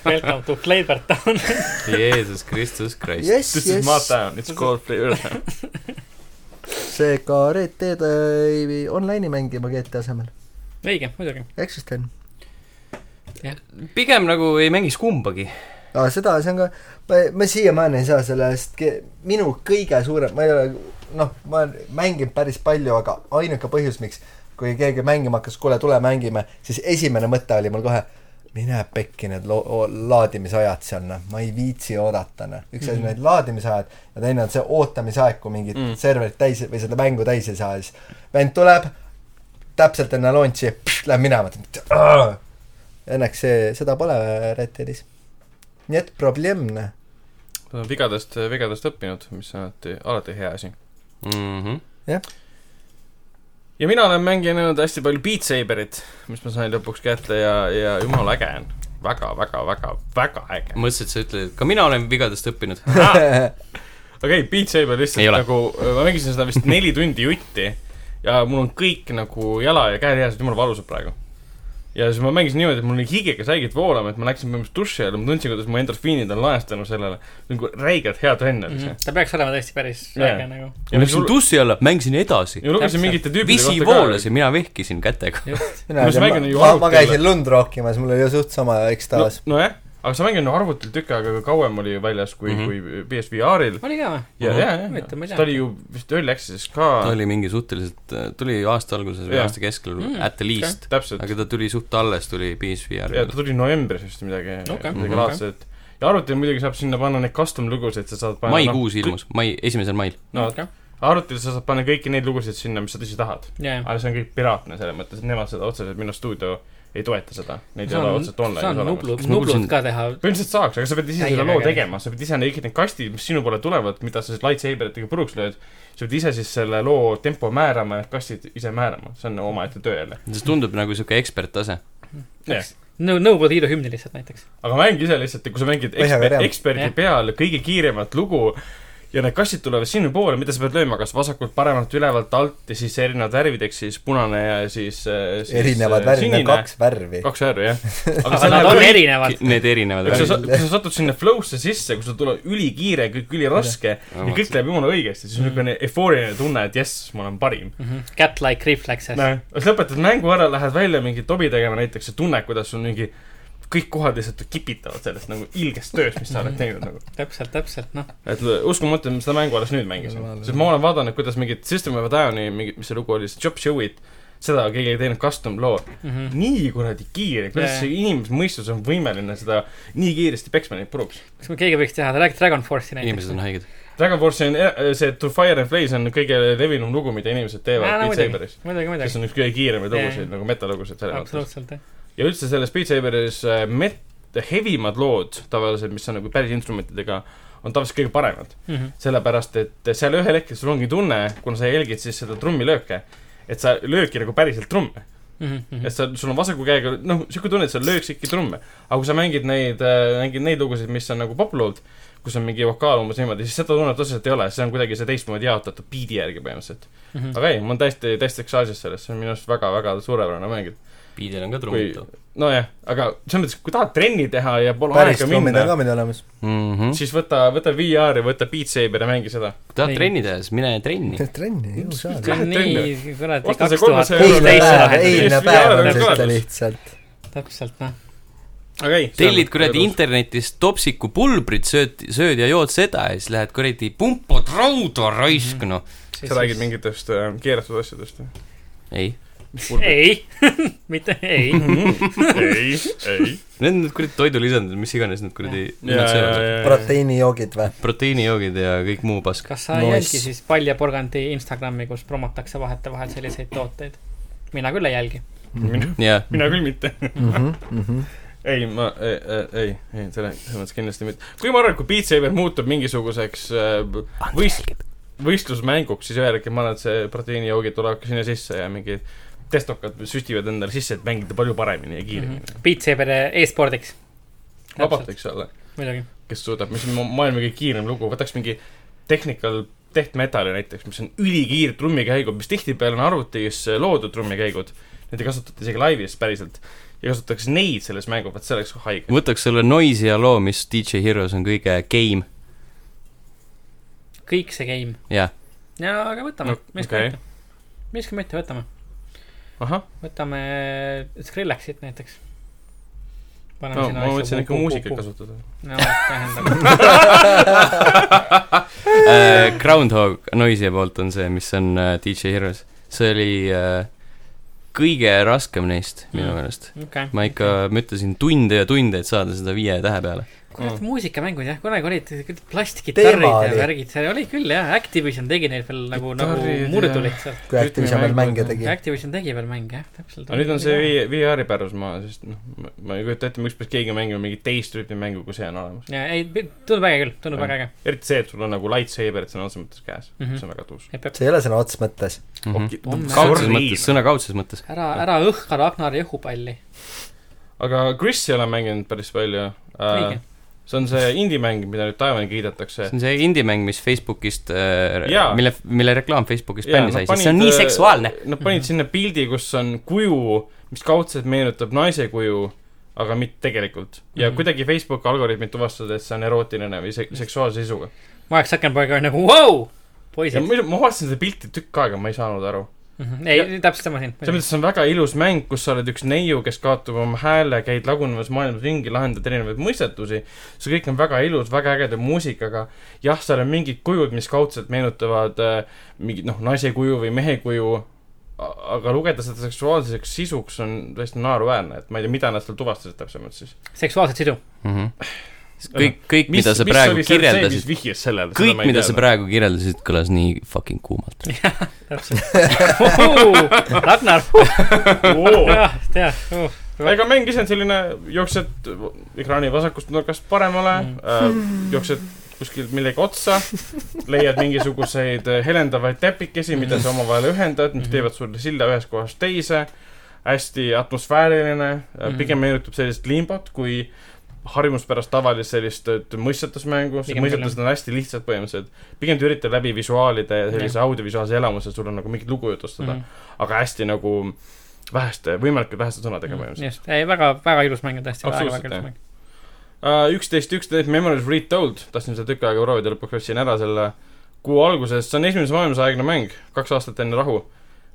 Speaker 3: welcome to Flavor Town .
Speaker 1: Jeesus Kristus Christ .
Speaker 2: jess ,
Speaker 4: this is my
Speaker 2: jess ,
Speaker 4: town , it's called Flavor Town .
Speaker 2: seega Red Dead äh, ei vii online'i mängima GTA asemel .
Speaker 3: õige , muidugi .
Speaker 2: eks siis teen .
Speaker 1: pigem nagu ei mängiks kumbagi .
Speaker 2: aa , seda , see on ka , ma , ma siiamaani ei saa sellest , minu kõige suurem , ma ei ole , noh , ma olen mänginud päris palju , aga ainuke põhjus , miks kui keegi mängima hakkas , kuule , tule mängime , siis esimene mõte oli mul kohe , mine pekki need lo- , o- laadimisajad seal , noh , ma ei viitsi oodata , noh . üks asi on need laadimisajad ja teine on see ootamisaeg , kui mingit mm.
Speaker 4: Mm.
Speaker 2: serverit täis või seda mängu täis ei saa , siis vend tuleb , täpselt enne launch'i , läheb minema , ütleb , õnneks see , seda pole Red Deadis . nii et probleemne .
Speaker 4: vigadest , vigadest õppinud , mis on alati , alati hea asi .
Speaker 1: Mhm.
Speaker 4: ja mina olen mänginud hästi palju Beat Saberit , mis ma sain lõpuks kätte ja , ja jumala äge on . väga , väga , väga , väga äge .
Speaker 1: mõtlesin , et sa ütled , et ka mina olen vigadest õppinud .
Speaker 4: okei okay, , Beat Saber
Speaker 1: Ei
Speaker 4: lihtsalt
Speaker 1: ole.
Speaker 4: nagu , ma mängisin seda vist neli tundi jutti ja mul on kõik nagu jala ja käed jääs , jumala valusad praegu . ja siis ma mängisin niimoodi , et mul oli higega säigid voolama , et ma läksin põhimõtteliselt duši all , ma tundsin , kuidas mu endorfiinid on laes tänu sellele . nagu räigelt hea trenn oli see .
Speaker 3: Mhm. ta peaks olema tõesti päris
Speaker 4: Jaa.
Speaker 3: väike nagu .
Speaker 1: Mhm. ma läksin dussi alla , mängisin edasi .
Speaker 4: ja lugesin
Speaker 3: Täpselt.
Speaker 4: mingite tüüpide
Speaker 1: visi voolasin , mina vehkisin kätega .
Speaker 3: just ,
Speaker 2: mina
Speaker 4: Mis
Speaker 2: ei
Speaker 4: mäng on
Speaker 2: tea ,
Speaker 4: ju
Speaker 2: ma , ma
Speaker 4: arvuti
Speaker 2: käisin lund rookimas , mul oli ju suht sama
Speaker 4: no,
Speaker 2: ekstaas .
Speaker 4: nojah , aga see mäng on ju arvutil tükk aega ka kauem oli ju väljas kui mm ,
Speaker 1: Mhm.
Speaker 4: -hmm. kui PSVR-il .
Speaker 3: oli ka või ?
Speaker 4: ja ,
Speaker 1: Mhm.
Speaker 4: ja , ja ,
Speaker 3: Huvitav, ma ei
Speaker 4: ta
Speaker 3: tea.
Speaker 4: oli ju vist Early Access'is ka .
Speaker 1: ta oli mingi suhteliselt , tuli aasta alguses või
Speaker 4: Jaa.
Speaker 1: aasta keskel
Speaker 3: Mm,
Speaker 1: mm, at the least .
Speaker 4: täpselt .
Speaker 1: aga ta tuli suht alles , tuli
Speaker 4: ja Äh, ta
Speaker 1: PSVR-iga .
Speaker 4: tuli novembris vist midagi
Speaker 3: Okei.
Speaker 4: okay. , midagi
Speaker 1: Mhm.
Speaker 4: laadset . ja arvutil muidugi saab sinna panna neid custom lugusid , sa saad panna noh,
Speaker 1: maikuus ilmus , mai , esimesel mail .
Speaker 4: no
Speaker 3: okei.
Speaker 4: arvutil sa saad panna kõiki neid lugusid sinna , mis sa tõsi tahad .
Speaker 3: jaa , jaa .
Speaker 4: aga see on kõik piraatne selles mõttes , et nemad seda otseselt , minu stuudio ei toeta seda . Neid ei ole otseselt
Speaker 3: saan
Speaker 4: online'is olemas .
Speaker 3: Nublu ,
Speaker 1: Kas ma
Speaker 3: Nublut
Speaker 1: kuulsin-
Speaker 3: ka teha .
Speaker 4: põhimõtteliselt saaks , aga sa pead ise
Speaker 3: Täiega
Speaker 4: selle loo
Speaker 3: äge.
Speaker 4: tegema , sa pead ise need kõik need kastid , mis sinu poole tulevad , mida sa siis lightsaberitega puruks lööd , sa pead ise siis selle loo tempo määrama ja need kastid ise määrama , see on omaette töö jälle .
Speaker 1: see tundub nagu siuke eksperttase .
Speaker 4: Jah.
Speaker 3: no Nõukogude Liidu hümni lihtsalt näiteks .
Speaker 4: aga mäng ise lihtsalt , kui sa mängid eksper,
Speaker 2: Põhja-Korea.
Speaker 4: eksperdi
Speaker 3: Jah.
Speaker 4: peal kõige kiiremat lugu ja need kastid tulevad sinu poole , mida sa pead lööma , kas vasakult , paremalt , ülevalt , alt ja siis erinevad värvid , eks siis punane ja siis, äh, siis
Speaker 2: erinevad
Speaker 4: äh,
Speaker 2: värvid ,
Speaker 4: sinine.
Speaker 2: need kaks värvi .
Speaker 4: kaks värvi , jah .
Speaker 3: aga nad
Speaker 4: nagu
Speaker 3: on erinevad .
Speaker 1: Need erinevad
Speaker 4: kui sa
Speaker 1: värvid .
Speaker 4: sa- kui sa satud sinna flow'sse sisse , kus sul tuleb ülikiire , kõik üliraske ja kõik läheb jumala õigesti , siis on
Speaker 3: Mhm.
Speaker 4: niisugune eufooriline tunne , et jess , ma olen parim .
Speaker 3: Cat like reflexes .
Speaker 4: noh , siis lõpetad mängu ära , lähed välja mingi tobi tegema näiteks ja tunned , kuidas sul mingi kõik kohad lihtsalt kipitavad sellest nagu ilgest tööst , mis sa oled teinud nagu .
Speaker 3: täpselt , täpselt , noh .
Speaker 4: et l- uskumatu , et ma seda mängu alles nüüd mängisin . sest ma olen vaadanud , kuidas mingit System of a Downi mingi , mis see lugu oli , see Chop Show'it , seda keegi ei teinud custom loo .
Speaker 3: Mhm.
Speaker 4: nii kuradi kiire ,
Speaker 3: Jaa.
Speaker 4: kuidas see inimmõistus on võimeline seda nii kiiresti peksma neid puruks .
Speaker 3: kas me keegi võiks teha , räägi Dragon Force'i näiteks
Speaker 1: inimesed . on haiged .
Speaker 4: Dragon Force on , see To Fire and Blaze on kõige levinum lugu , mida inimesed teevad Beat
Speaker 3: muidugi
Speaker 4: Saberis .,
Speaker 3: muidugi ,
Speaker 4: kes
Speaker 3: muidugi .
Speaker 4: on üks kõige kiiremaid
Speaker 3: Jaa, jaa.
Speaker 4: lugusid nagu metalugusid selles mõttes .
Speaker 3: absoluutselt , jah .
Speaker 4: ja üldse selles Beat Saberis äh, met- , hevimad lood tavaliselt , mis on nagu päris instrumentidega , on tavaliselt kõige paremad .
Speaker 3: Mhm,
Speaker 4: sellepärast , et seal ühel hetkel sul ongi tunne , kuna sa jälgid siis seda trummilööke , et sa lööki nagu päriselt trumme .
Speaker 3: mhm,
Speaker 4: et sa , sul on vasaku käega , noh , niisugune tunne , et sa lööks ikka trumme . aga kui sa mängid neid , mängid neid lugusid , mis on nagu poplood , kus on mingi vokaal umbes niimoodi , siis seda tunnet otseselt ei ole , see on kuidagi see teistmoodi jaotatud biidi järgi põhimõtteliselt . aga ei , ma olen täiesti , täiesti ekstaasis selles , see on minu arust väga-väga suurepärane mäng .
Speaker 1: Piidel on ka
Speaker 4: kui
Speaker 1: trummid .
Speaker 4: nojah , aga selles mõttes , kui tahad trenni teha ja pole
Speaker 2: päris
Speaker 4: aega
Speaker 2: trummid on
Speaker 4: minna ,
Speaker 2: ka Mhm. meil olemas .
Speaker 1: kui
Speaker 4: siis võta , võta VR-i , võta Beat Saber ja mängi seda .
Speaker 1: tahad
Speaker 3: Nii.
Speaker 1: trenni teha , siis mine trenni .
Speaker 2: trenni , ju saad .
Speaker 3: see on nii
Speaker 4: trenni.
Speaker 3: kuradi
Speaker 4: Osta see
Speaker 3: kaks tuhat
Speaker 4: kolmesaja euro
Speaker 2: eilne
Speaker 4: teise
Speaker 2: päev ,
Speaker 4: lahenduse.
Speaker 3: kuusteist .
Speaker 4: ei-
Speaker 2: eilne
Speaker 4: Just
Speaker 2: päev
Speaker 4: viimane
Speaker 2: on
Speaker 4: kaardus.
Speaker 2: seda lihtsalt .
Speaker 3: täpselt , noh .
Speaker 4: aga ei .
Speaker 1: tellid kuradi . internetist topsiku pulbrit , sööd , sööd ja jood seda ja siis lähed kuradi pumpad rauda raisk , noh .
Speaker 4: sa räägid mingitest äh, keeratud asjadest või ?
Speaker 1: ei .
Speaker 3: ei , mitte ei .
Speaker 4: ei , ei .
Speaker 1: Need on need kuradi toidulisandid , mis iganes need kuradi ,
Speaker 4: ja ,
Speaker 1: nad
Speaker 4: ja ,
Speaker 1: söövad .
Speaker 4: ja , ja .
Speaker 2: proteiinijoogid või ?
Speaker 1: proteiinijoogid ja kõik muu pask .
Speaker 3: kas sa ei
Speaker 2: Nice.
Speaker 3: jälgi siis Palja Porgandi Instagrami , kus promotakse vahetevahel selliseid tooteid ? mina küll ei jälgi .
Speaker 4: mina ,
Speaker 1: jah ,
Speaker 4: mina küll mitte .
Speaker 2: jah ,
Speaker 4: ei , ma , ei , ei , ei , selle , selles mõttes kindlasti mitte . kui ma arvan , et kui Beat Saber muutub mingisuguseks äh, võist- , võistlusmänguks , siis ühel hetkel ma arvan , et see proteiinijoogid tulevad ka sinna sisse ja mingid testokad süstivad endale sisse , et mängida palju paremini ja kiiremini mm -hmm. .
Speaker 3: Mhm. Beat Saberi e-spordiks .
Speaker 4: vabalt , eks ole ,
Speaker 3: muidugi .
Speaker 4: kes suudab , mis on ma- maailma kõige kiirem lugu , võtaks mingi technical death metal'i näiteks , mis on ülikiire trummikäigud , mis tihtipeale on arvutis äh, loodud trummikäigud . Neid ei kasutata isegi laivis päriselt ja kasutatakse neid selles mängu , vot see oleks haige .
Speaker 1: võtaks selle Noisi ja loo , mis DJ Heroes on kõige game ,
Speaker 3: kõik see game .
Speaker 1: jah .
Speaker 3: ja , aga võtame
Speaker 4: No,
Speaker 3: no, , miks
Speaker 4: okei.
Speaker 3: okay. mitte . miks ka mitte , võtame .
Speaker 4: ahah ,
Speaker 3: võtame Skrillexit näiteks .
Speaker 4: no ma mõtlesin ikka muusikat . kasutada .
Speaker 3: no tähendab ,
Speaker 1: Äh, Groundhog Noisi poolt on see , mis on äh, DJ Heroes . see oli äh, kõige raskem neist minu
Speaker 3: Mm.
Speaker 1: meelest .
Speaker 3: okei .
Speaker 1: ma ikka , ma ütlesin tunde ja tunde , et saada seda viie tähe peale .
Speaker 3: kurat ,
Speaker 4: Mm.
Speaker 3: muusikamängud jah , kunagi olid küll plastkitarrid
Speaker 2: Teema
Speaker 3: ja
Speaker 2: oli.
Speaker 3: värgid , see oli küll jah , Activision tegi neid veel nagu , nagu
Speaker 4: Kitarrid ja-
Speaker 3: murdu lihtsalt .
Speaker 2: kui Activision veel mänge tegi .
Speaker 3: Activision tegi veel mänge jah , täpselt .
Speaker 4: aga nüüd on see vi- , VR-i pärusmaa , sest noh , ma ei kujuta ette , miks peaks keegi mängima mingit teist tüüpi mängu , kui see on olemas .
Speaker 3: ja ei , tundub äge küll , tundub
Speaker 4: Jah.
Speaker 3: väga äge .
Speaker 4: eriti see , et sul on nagu lightsaber'id sõna otseses mõttes käes mm ,
Speaker 3: Mhm.
Speaker 4: -hmm. see on väga tuus .
Speaker 3: jep , jep .
Speaker 2: see ei ole sõna otseses mõttes .
Speaker 4: Mhm.
Speaker 1: Mhm.
Speaker 3: On
Speaker 1: kaudses mõttes , sõna kaudses mõttes .
Speaker 3: ära , ära õhka Ragnari õhupalli .
Speaker 4: aga Chris ei ole mänginud päris palju
Speaker 3: õige
Speaker 4: äh, . see on see indie-mäng , mida nüüd Taiwan'i kiidetakse
Speaker 1: see . on see indie-mäng , mis Facebookist äh,
Speaker 4: Jaa. ,
Speaker 1: mille , mille reklaam Facebookis
Speaker 4: Jaa,
Speaker 1: bänni
Speaker 4: nad
Speaker 1: sai , sest
Speaker 4: panid,
Speaker 1: see on nii
Speaker 4: äh,
Speaker 1: seksuaalne .
Speaker 4: Nad panid sinna pildi , kus on kuju , mis kaudselt meenutab naise kuju , aga mitte tegelikult . ja mm
Speaker 3: Mhm.
Speaker 4: -hmm. kuidagi Facebooki algoritmid tuvastasid , et see on erootiline või se seksuaalse sisuga .
Speaker 3: Mark Zuckerberg on nagu , vau ,
Speaker 4: ja
Speaker 3: poisid .
Speaker 4: ma, ma vaatasin seda pilti tükk aega , ma ei saanud aru .
Speaker 3: ei , täpselt sama siin .
Speaker 4: selles mõttes , see on väga ilus mäng , kus sa oled üks neiu , kes kaotab oma hääle , käid lagunevas maailmas ringi , lahendad erinevaid mõistetusi . see kõik on väga ilus , väga ägeda muusikaga . jah , seal on mingid kujud , mis kaudselt meenutavad äh, mingit noh , naise kuju või mehe kuju . aga lugeda seda seksuaalseks sisuks on täiesti naeruväärne , et ma ei tea , mida nad seal tuvastasid täpsemalt siis .
Speaker 3: seksuaalset sidu .
Speaker 1: kõik , kõik , mida sa praegu kirjeldasid ,
Speaker 4: vihjas sellele ?
Speaker 1: kõik , mida sa . praegu kirjeldasid , kõlas nii fucking kuumalt .
Speaker 3: täpselt Ragnar , jah , jah .
Speaker 4: ega mäng ise on selline , jooksed ekraani vasakust nurgast paremale
Speaker 3: Mm.
Speaker 4: mm. , äh, jooksed kuskilt millegi otsa , leiad mingisuguseid äh, helendavaid täpikesi , mida sa omavahel ühendad , mis
Speaker 3: Mhm.
Speaker 4: teevad sulle silla ühest kohast teise . hästi atmosfääriline mm.
Speaker 3: Mhm. ,
Speaker 4: pigem meenutab sellist limbot , kui harjumuspärast tavalist sellist et mõistetusmängu ,
Speaker 3: Pigem
Speaker 4: mõistetused on hästi lihtsad põhimõtteliselt . pigem ta üritab läbi visuaalide ja sellise audiovisuaalse elamuse sulle nagu mingit lugu
Speaker 3: Mhm.
Speaker 4: jutustada mm. , aga hästi nagu väheste , võimalikult väheste sõnadega põhimõtteliselt .
Speaker 3: just , ei väga , väga ilus mäng on tõesti , väga ,
Speaker 4: Absoluutselt,
Speaker 3: väga ilus
Speaker 4: jah.
Speaker 3: mäng .
Speaker 4: Äh, üksteist , üksteist Memories Retold , tahtsin seda tükk aega proovida , lõpuks ostsin ära selle kuu alguses , see on esimese maailmasõjaegne mäng , kaks aastat enne rahu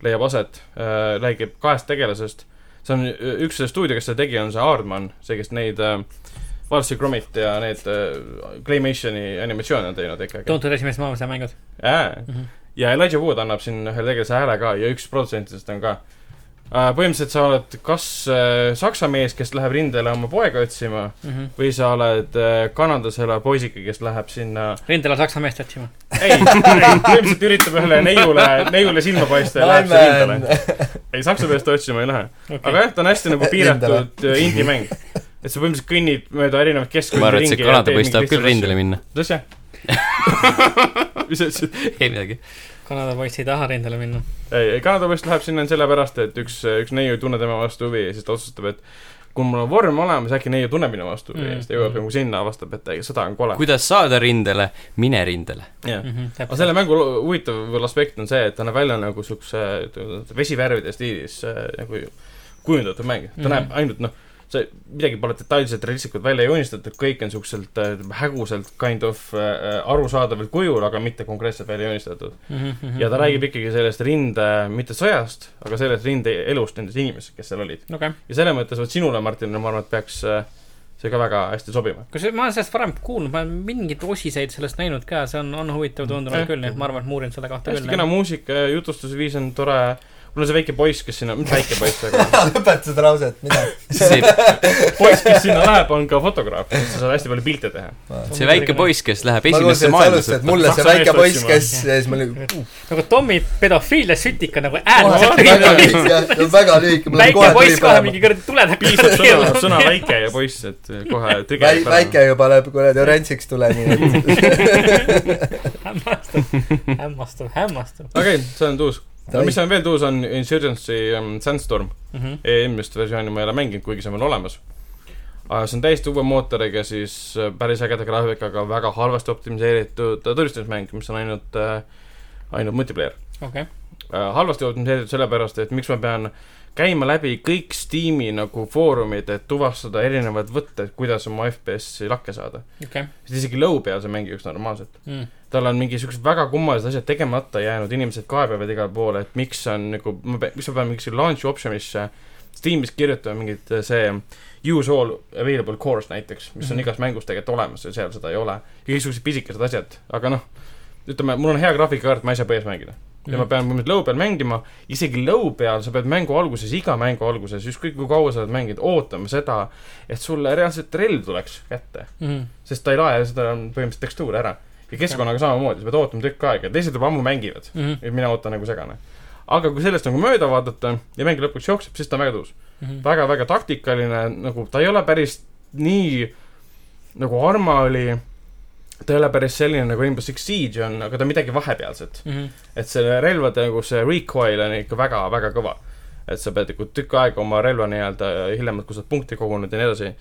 Speaker 4: leiab aset , räägib kahest tegelasest . see on ü- üks selle stuudio , kes seda tegi , on see Aardman , see , kes neid äh, Valsi Gromit ja need äh, Claymationi animatsioone on teinud ikkagi .
Speaker 3: tuntud esimesed maailmasõja mängud .
Speaker 4: ja Elijah Wood annab siin ühele tegelasele hääle ka ja üks produtsentidest on ka . põhimõtteliselt sa oled kas äh, saksa mees , kes läheb rindele oma poega otsima
Speaker 3: Mhm.
Speaker 4: või sa oled äh, Kanadas elav poisike , kes läheb sinna ,
Speaker 3: rindele saksa meest otsima .
Speaker 4: ei , ei , põhimõtteliselt üritab ühele neiule , neiule silma paista ja läheb sinna rindele . ei , saksa peast otsima ei lähe . aga jah , ta on hästi nagu piiratud äh, indie-mäng . et sa põhimõtteliselt kõnnid mööda erinevaid
Speaker 1: ma
Speaker 4: keskkondi
Speaker 1: arvan , et see Kanada poiss tahab küll rindele
Speaker 4: minna .
Speaker 1: minna .
Speaker 4: tõsi , jah ? mis sa ütlesid ?
Speaker 1: ei midagi .
Speaker 3: Kanada poiss ei taha rindele minna .
Speaker 4: ei , ei Kanada poiss läheb sinna sellepärast , et üks , üks neiu ei tunne tema vastu huvi ja siis ta otsustab , et kui mul on vorm olemas , äkki neiu tunneb minu vastu huvi ja siis
Speaker 1: Mm.
Speaker 4: ta jõuab nagu sinna , avastab , et ei, sõda on kole .
Speaker 1: kuidas saada rindele , mine rindele .
Speaker 4: jah ,
Speaker 3: Mhm,
Speaker 4: aga selle mängu lo- huvitav võib-olla aspekt on see , et ta näeb välja nagu siukse ütleme, vesivärvide stiilis äh, nagu kujundatud mäng , ta mm
Speaker 3: Mhm.
Speaker 4: -hmm. näeb ainult noh , see , midagi pole detailselt realistlikult välja joonistatud , kõik on siukselt äh, häguselt kind of äh, arusaadaval kujul , aga mitte konkreetselt välja joonistatud .
Speaker 3: Mhm,
Speaker 4: ja ta räägib . ikkagi sellest rinde , mitte sõjast , aga sellest rinde elust , nendest inimestest , kes seal olid .
Speaker 3: okei ,
Speaker 4: ja selles mõttes vot sinule , Martin , ma arvan , et peaks äh, see ka väga hästi sobima .
Speaker 3: kusjuures ma olen sellest varem kuulnud , ma olen mingeid osiseid sellest näinud ka , see on , on huvitav tundunud
Speaker 4: Jah.
Speaker 3: küll , nii et ma arvan , et ma uurin selle kohta
Speaker 4: Eh. hästi
Speaker 3: küll .
Speaker 4: kena muusika ja jutustusviis on tore . mul on see väike poiss , kes sinna , mitte väike poiss , aga
Speaker 2: lõpeta seda lauset , mida .
Speaker 1: see ,
Speaker 4: poiss , kes sinna läheb , on ka fotograaf , sa saad hästi palju pilte teha .
Speaker 1: see väike poiss , kes läheb
Speaker 2: ma
Speaker 1: esimesse
Speaker 2: kuulsin , et sa alustasid
Speaker 1: maailmasõtta .
Speaker 2: mulle see
Speaker 4: Saksa
Speaker 2: väike
Speaker 4: meest
Speaker 2: poiss ,
Speaker 4: otsima.
Speaker 2: kes ja siis ma olin
Speaker 3: nagu Tommy pedofiil ja sütika nagu
Speaker 2: kohe
Speaker 3: äärmiselt
Speaker 2: väga
Speaker 3: õige .
Speaker 2: lühike , jah , see on väga lühike , mul on
Speaker 3: väike
Speaker 2: kohe tuli
Speaker 3: poiss kohe
Speaker 2: põlema
Speaker 3: mingi . kuradi tule
Speaker 4: piisab sõna ,
Speaker 3: täpselt .
Speaker 4: sõna väike ja poiss , et eh, kohe
Speaker 2: väi- ,
Speaker 4: tegelikult
Speaker 2: väike juba läheb kuradi oranžiks tule , nii et
Speaker 3: hämmastav , hämmastav , hämmastav .
Speaker 4: okei okay, , see on tuus . aga mis on veel tuus , on Insurgency um, Sandstorm .
Speaker 3: Mhm,
Speaker 4: eelmist versiooni ma ei ole mänginud , kuigi see on veel olemas . see on täiesti uue mootoriga , siis äh, päris ägeda graafikaga , väga halvasti optimiseeritud äh, tulistusmäng , mis on ainult , ainult multiplayer .
Speaker 3: okei ,
Speaker 4: Äh, halvasti optimiseeritud sellepärast , et miks ma pean käima läbi kõik Steam'i nagu foorumid , et tuvastada erinevad võtted , kuidas oma FPS-i lakke saada .
Speaker 3: okei . Mhm,
Speaker 4: sest isegi lõu peal see mängib üks normaalselt . tal on mingi siuksed väga kummalised asjad tegemata jäänud , inimesed kaebavad igale poole , et miks on nagu , miks ma pean mingisse launch option'isse Steamis kirjutama mingit äh, see use all available course näiteks , mis on
Speaker 3: Mhm.
Speaker 4: igas mängus tegelikult olemas ja seal seda ei ole . igasugused pisikesed asjad , aga noh , ütleme , mul on hea graafikakaart , ma ei saa põhjas mängida . ja
Speaker 3: Mm.
Speaker 4: ma pean nüüd lõu peal mängima , isegi lõu peal sa pead mängu alguses , iga mängu alguses , ükskõik kui kaua sa oled mänginud , ootama seda , et sulle reaalselt relv tuleks kätte .
Speaker 3: mhm,
Speaker 4: sest ta ei lae seda põhimõtteliselt tekstuuri ära . ja keskkonnaga samamoodi , sa pead ootama tükk aega , teised juba ammu mängivad .
Speaker 3: mhm,
Speaker 4: et mina ootan nagu segane . aga kui sellest nagu mööda vaadata ja mäng lõpuks jookseb , siis ta on väga tõus .
Speaker 3: mhm.
Speaker 4: väga-väga taktikaline , nagu ta ei ole päris nii nagu Arma oli , ta ei ole päris selline nagu Rainbow Six Siege on ,
Speaker 3: Mhm,
Speaker 4: aga ta on midagi vahepealset . et selle relvade nagu see recoil on ikka väga-väga kõva . et sa pead nagu tükk aega oma relva nii-öelda hiljemalt , kui sa oled punkte kogunud ja nii edasi ,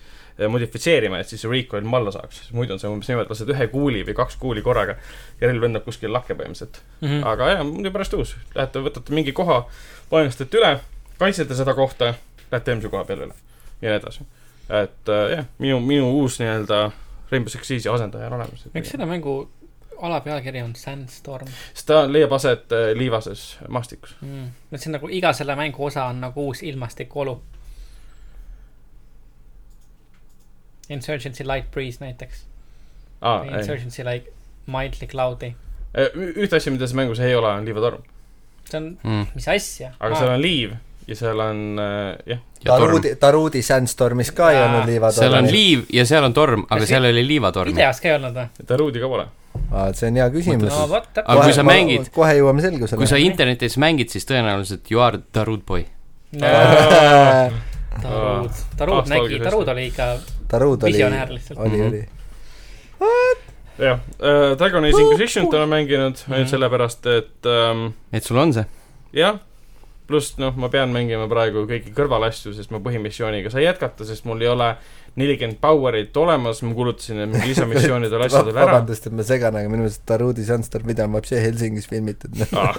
Speaker 4: modifitseerima , et siis see recoil alla saaks . muidu on see umbes niimoodi , et lased ühe kuuli või kaks kuuli korraga ja relv lendab kuskil lakke põhimõtteliselt .
Speaker 3: mm . -hmm.
Speaker 4: aga jah , muidu pärast uus . Lähete , võtate mingi koha , painestate üle , kaitsete seda kohta , lähete järgmise koha peale üle ja nii edasi . et äh, jah , minu , minu uus nii-öelda Rainbow Six Siege'i asendaja on olemas .
Speaker 3: miks selle mängu alapealkiri on Sandstorm
Speaker 4: sest ta leiab aset äh, liivases maastikus .
Speaker 3: mm. ? et see on nagu iga selle mängu osa on nagu uus ilmastikuolu . Insurgency light breeze näiteks
Speaker 1: Ah,
Speaker 4: aa ,
Speaker 3: või
Speaker 4: ei .
Speaker 3: Insurgency like mildly cloudy .
Speaker 4: Äh, ühte asja , mida selles mängus ei ole , on liivatorm .
Speaker 3: see on ,
Speaker 1: mm. .
Speaker 3: mis asja ? Ah,
Speaker 4: aga seal on liiv ja seal on äh, jah ,
Speaker 1: ja torm .
Speaker 2: Taruudi , Taruudi Sandstormis ka ei
Speaker 3: Jaa,
Speaker 2: olnud liivad .
Speaker 1: seal on . liiv ja seal on torm , aga
Speaker 3: Kas
Speaker 1: seal oli liivatorm .
Speaker 3: videos ka ei olnud või ?
Speaker 4: taruudi ka pole .
Speaker 2: see on hea küsimus
Speaker 3: no . vot ,
Speaker 1: Aga kui
Speaker 3: täpselt .
Speaker 1: sa mängid-
Speaker 2: kohe jõuame selgusele .
Speaker 1: kui sa internetis mängid , siis tõenäoliselt you are Tarud boy . Ah.
Speaker 4: Äh,
Speaker 3: Taruud , Taruud
Speaker 4: Ah. Aasta
Speaker 3: nägi ,
Speaker 4: algusest.
Speaker 3: Taruud oli ikka
Speaker 2: Taruud oli ,
Speaker 3: visionäär lihtsalt .
Speaker 2: oli ,
Speaker 1: Mhm.
Speaker 2: oli .
Speaker 4: jah , Dragon Age Inquisition't olen mänginud ainult sellepärast , et ähm,
Speaker 1: et sul on see ?
Speaker 4: jah , pluss noh , ma pean mängima praegu kõiki kõrvalasju , sest ma põhimissiooniga sai jätkata , sest mul ei ole nelikümmend power'it olemas , ma kulutasin need mingi lisamissioonidele asjadele ära .
Speaker 2: vabandust , et ma segan , aga minu meelest Taruudi Sandstorm , mida on vapsi Helsingis filmitud .
Speaker 4: Ah.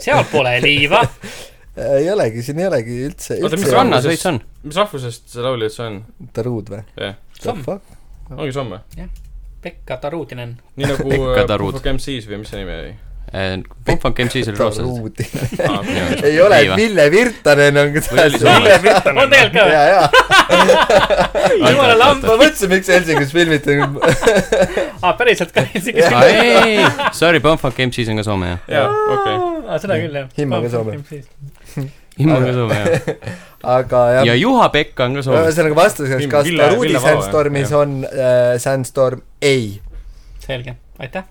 Speaker 3: seal pole liiva .
Speaker 2: ei olegi , siin ei olegi üldse .
Speaker 4: Oota, mis
Speaker 1: mis rannas veits on ?
Speaker 4: mis rahvusest see laulja üldse on ?
Speaker 2: Taruud või ?
Speaker 4: jah ,
Speaker 3: Somm.
Speaker 4: ongi Soome .
Speaker 3: Pekka Taruudinen .
Speaker 4: nii nagu
Speaker 1: Pekka
Speaker 4: äh,
Speaker 1: Tarud.
Speaker 4: Puhk MC-s või mis see nimi oli ?
Speaker 1: Äh, Pump MC-s oli rootslased .
Speaker 2: Taruudi . ei
Speaker 4: Ah,
Speaker 1: ei
Speaker 2: ole , Ville Virtanen on .
Speaker 1: Või oli see Ville
Speaker 3: on tegelikult ka või ?
Speaker 2: ja , ja .
Speaker 3: jumala lamb ,
Speaker 2: ma mõtlesin , miks Helsingis filmitud .
Speaker 3: aa Ah, päriselt ka isegi
Speaker 2: Jah.
Speaker 1: aa , Ah, ei , ei , ei , sorry , Pump MC-s on ka Soome , jah .
Speaker 4: jaa , okei .
Speaker 3: aa , Ah, seda küll jah .
Speaker 2: Himmaga Soome. .
Speaker 1: Immo
Speaker 2: Aga-
Speaker 1: ka Soome , jah .
Speaker 2: aga jah
Speaker 1: ja Juha-Pekka on ka Soome .
Speaker 2: ühesõnaga vastuseks ,
Speaker 4: Vill-
Speaker 2: kas
Speaker 4: Ville-
Speaker 2: Taruudi
Speaker 4: Ville Vao, jah.
Speaker 2: Sandstormis
Speaker 4: Jah.
Speaker 2: on äh, Sandstorm ? ei .
Speaker 3: selge , aitäh .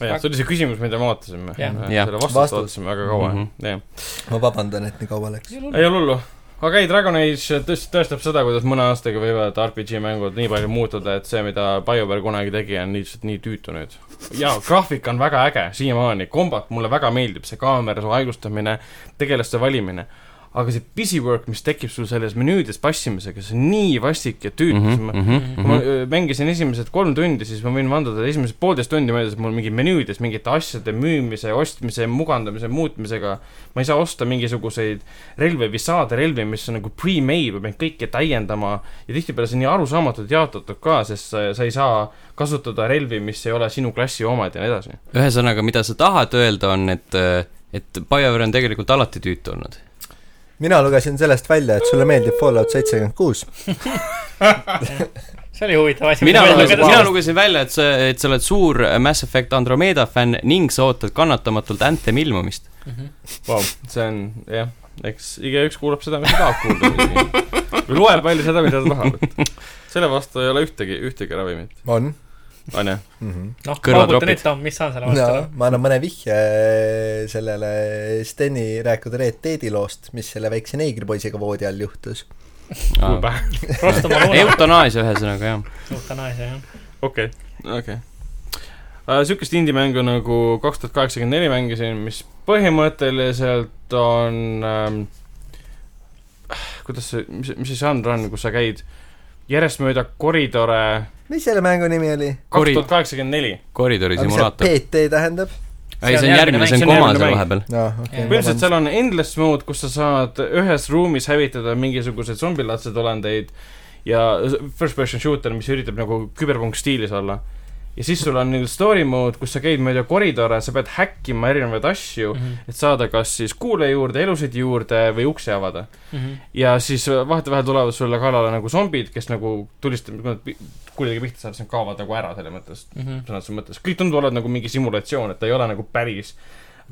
Speaker 4: jah , see oli see küsimus , mida me ootasime .
Speaker 3: Jah.
Speaker 1: Jah.
Speaker 4: selle vastust
Speaker 2: Vastus.
Speaker 4: ootasime väga kaua
Speaker 1: Mhm. ,
Speaker 4: jah .
Speaker 2: ma vabandan , et nii kaua läks .
Speaker 4: ei ole hullu . aga ei , Dragon Age tõesti tõestab seda , kuidas mõne aastaga võivad RPG-mängud nii palju muutuda , et see , mida BioWare kunagi tegi , on lihtsalt nii tüütu nüüd . jaa , graafika on väga äge siiamaani , kombat mulle väga meeldib , see kaamera , see aeglustamine , tegelaste valimine . aga see busywork , mis tekib sul selles menüüdes passimisega , see on nii vastik ja tüütu
Speaker 1: Mhm.
Speaker 4: mm . -hmm kui ma öö, mängisin esimesed kolm tundi , siis ma võin vanduda , esimesed poolteist tundi möödas mul mingi menüüdes mingite asjade müümise , ostmise , mugandamise , muutmisega . ma ei saa osta mingisuguseid relvi või saada relvi , mis on nagu pre-made , ma pean kõike täiendama . ja tihtipeale see on nii arusaamatult jaotatud ka , sest sa, sa ei saa kasutada relvi , mis ei ole sinu klassi omad ja nii edasi .
Speaker 1: ühesõnaga , mida sa tahad öelda , on , et , et BioWare on tegelikult alati tüütu olnud .
Speaker 2: mina lugesin sellest välja , et sulle meeldib Fallout seitsekümmend kuus .
Speaker 3: see oli huvitav asi .
Speaker 1: mina lugesin ,
Speaker 2: lugesin-
Speaker 1: mina lugesin välja , et sa , et sa oled suur Mass Effect Andromeda fänn ning sa ootad kannatamatult Anthem ilmumist .
Speaker 4: Wow. see on jah , eks igaüks kuulab seda , mida tahab kuulda . või loeb välja seda , mida ta tahab . selle vastu ei ole ühtegi , ühtegi ravimit ,
Speaker 2: on
Speaker 4: on ju .
Speaker 2: mm . -hmm.
Speaker 3: noh ,
Speaker 1: kõrvatropid.
Speaker 3: pauguta nüüd , Tom , mis sa selle
Speaker 2: no
Speaker 3: vastu ?
Speaker 2: ma annan mõne vihje äh, sellele Steni rääkinud Red Deadi loost , mis selle väikse neegripoisiga voodi all juhtus .
Speaker 4: kuhu pähe .
Speaker 3: Rostoma luuna ,
Speaker 1: eutanaasia , ühesõnaga , jah .
Speaker 3: eutanaasia noh, jah .
Speaker 4: okei okay. , okei okay. . Siukest indie-mängu nagu kaks tuhat kaheksakümmend neli mängisin , mis põhimõtteliselt on ähm, , kuidas see , mis , mis see žanr on , kus sa käid järjestmööda koridore
Speaker 2: mis selle mängu nimi oli ?
Speaker 4: kaks
Speaker 1: Kori-
Speaker 4: tuhat kaheksakümmend neli .
Speaker 1: koridori
Speaker 2: mis see
Speaker 1: simulaator .
Speaker 2: PT tähendab ?
Speaker 1: ei , see on järgmine , see
Speaker 4: see
Speaker 1: on
Speaker 4: on
Speaker 1: koma
Speaker 4: järgmine
Speaker 1: seal
Speaker 4: mäng.
Speaker 1: vahepeal .
Speaker 2: aa ,
Speaker 3: Jaa.
Speaker 2: okei .
Speaker 4: põhimõtteliselt seal on endless mode , kus sa saad ühes ruumis hävitada mingisuguseid zombilaadsed olendeid ja first person shooter , mis üritab nagu küberpunk stiilis olla . ja siis sul on nagu story mode , kus sa käid mööda koridore , sa pead häkkima erinevaid
Speaker 3: Mhm.
Speaker 4: asju , et saada kas siis kuule juurde , elusid juurde või ukse avada .
Speaker 3: Mhm.
Speaker 4: ja siis vahetevahel tulevad sulle kallale nagu zombid , kes nagu tulistavad , kui nad pi- kuidagi pihta saavad , siis nad kaovad nagu ära selles mõttes ,
Speaker 3: Mhm,
Speaker 4: sõna otseses mõttes . kõik tundub olevat nagu mingi simulatsioon , et ta ei ole nagu päris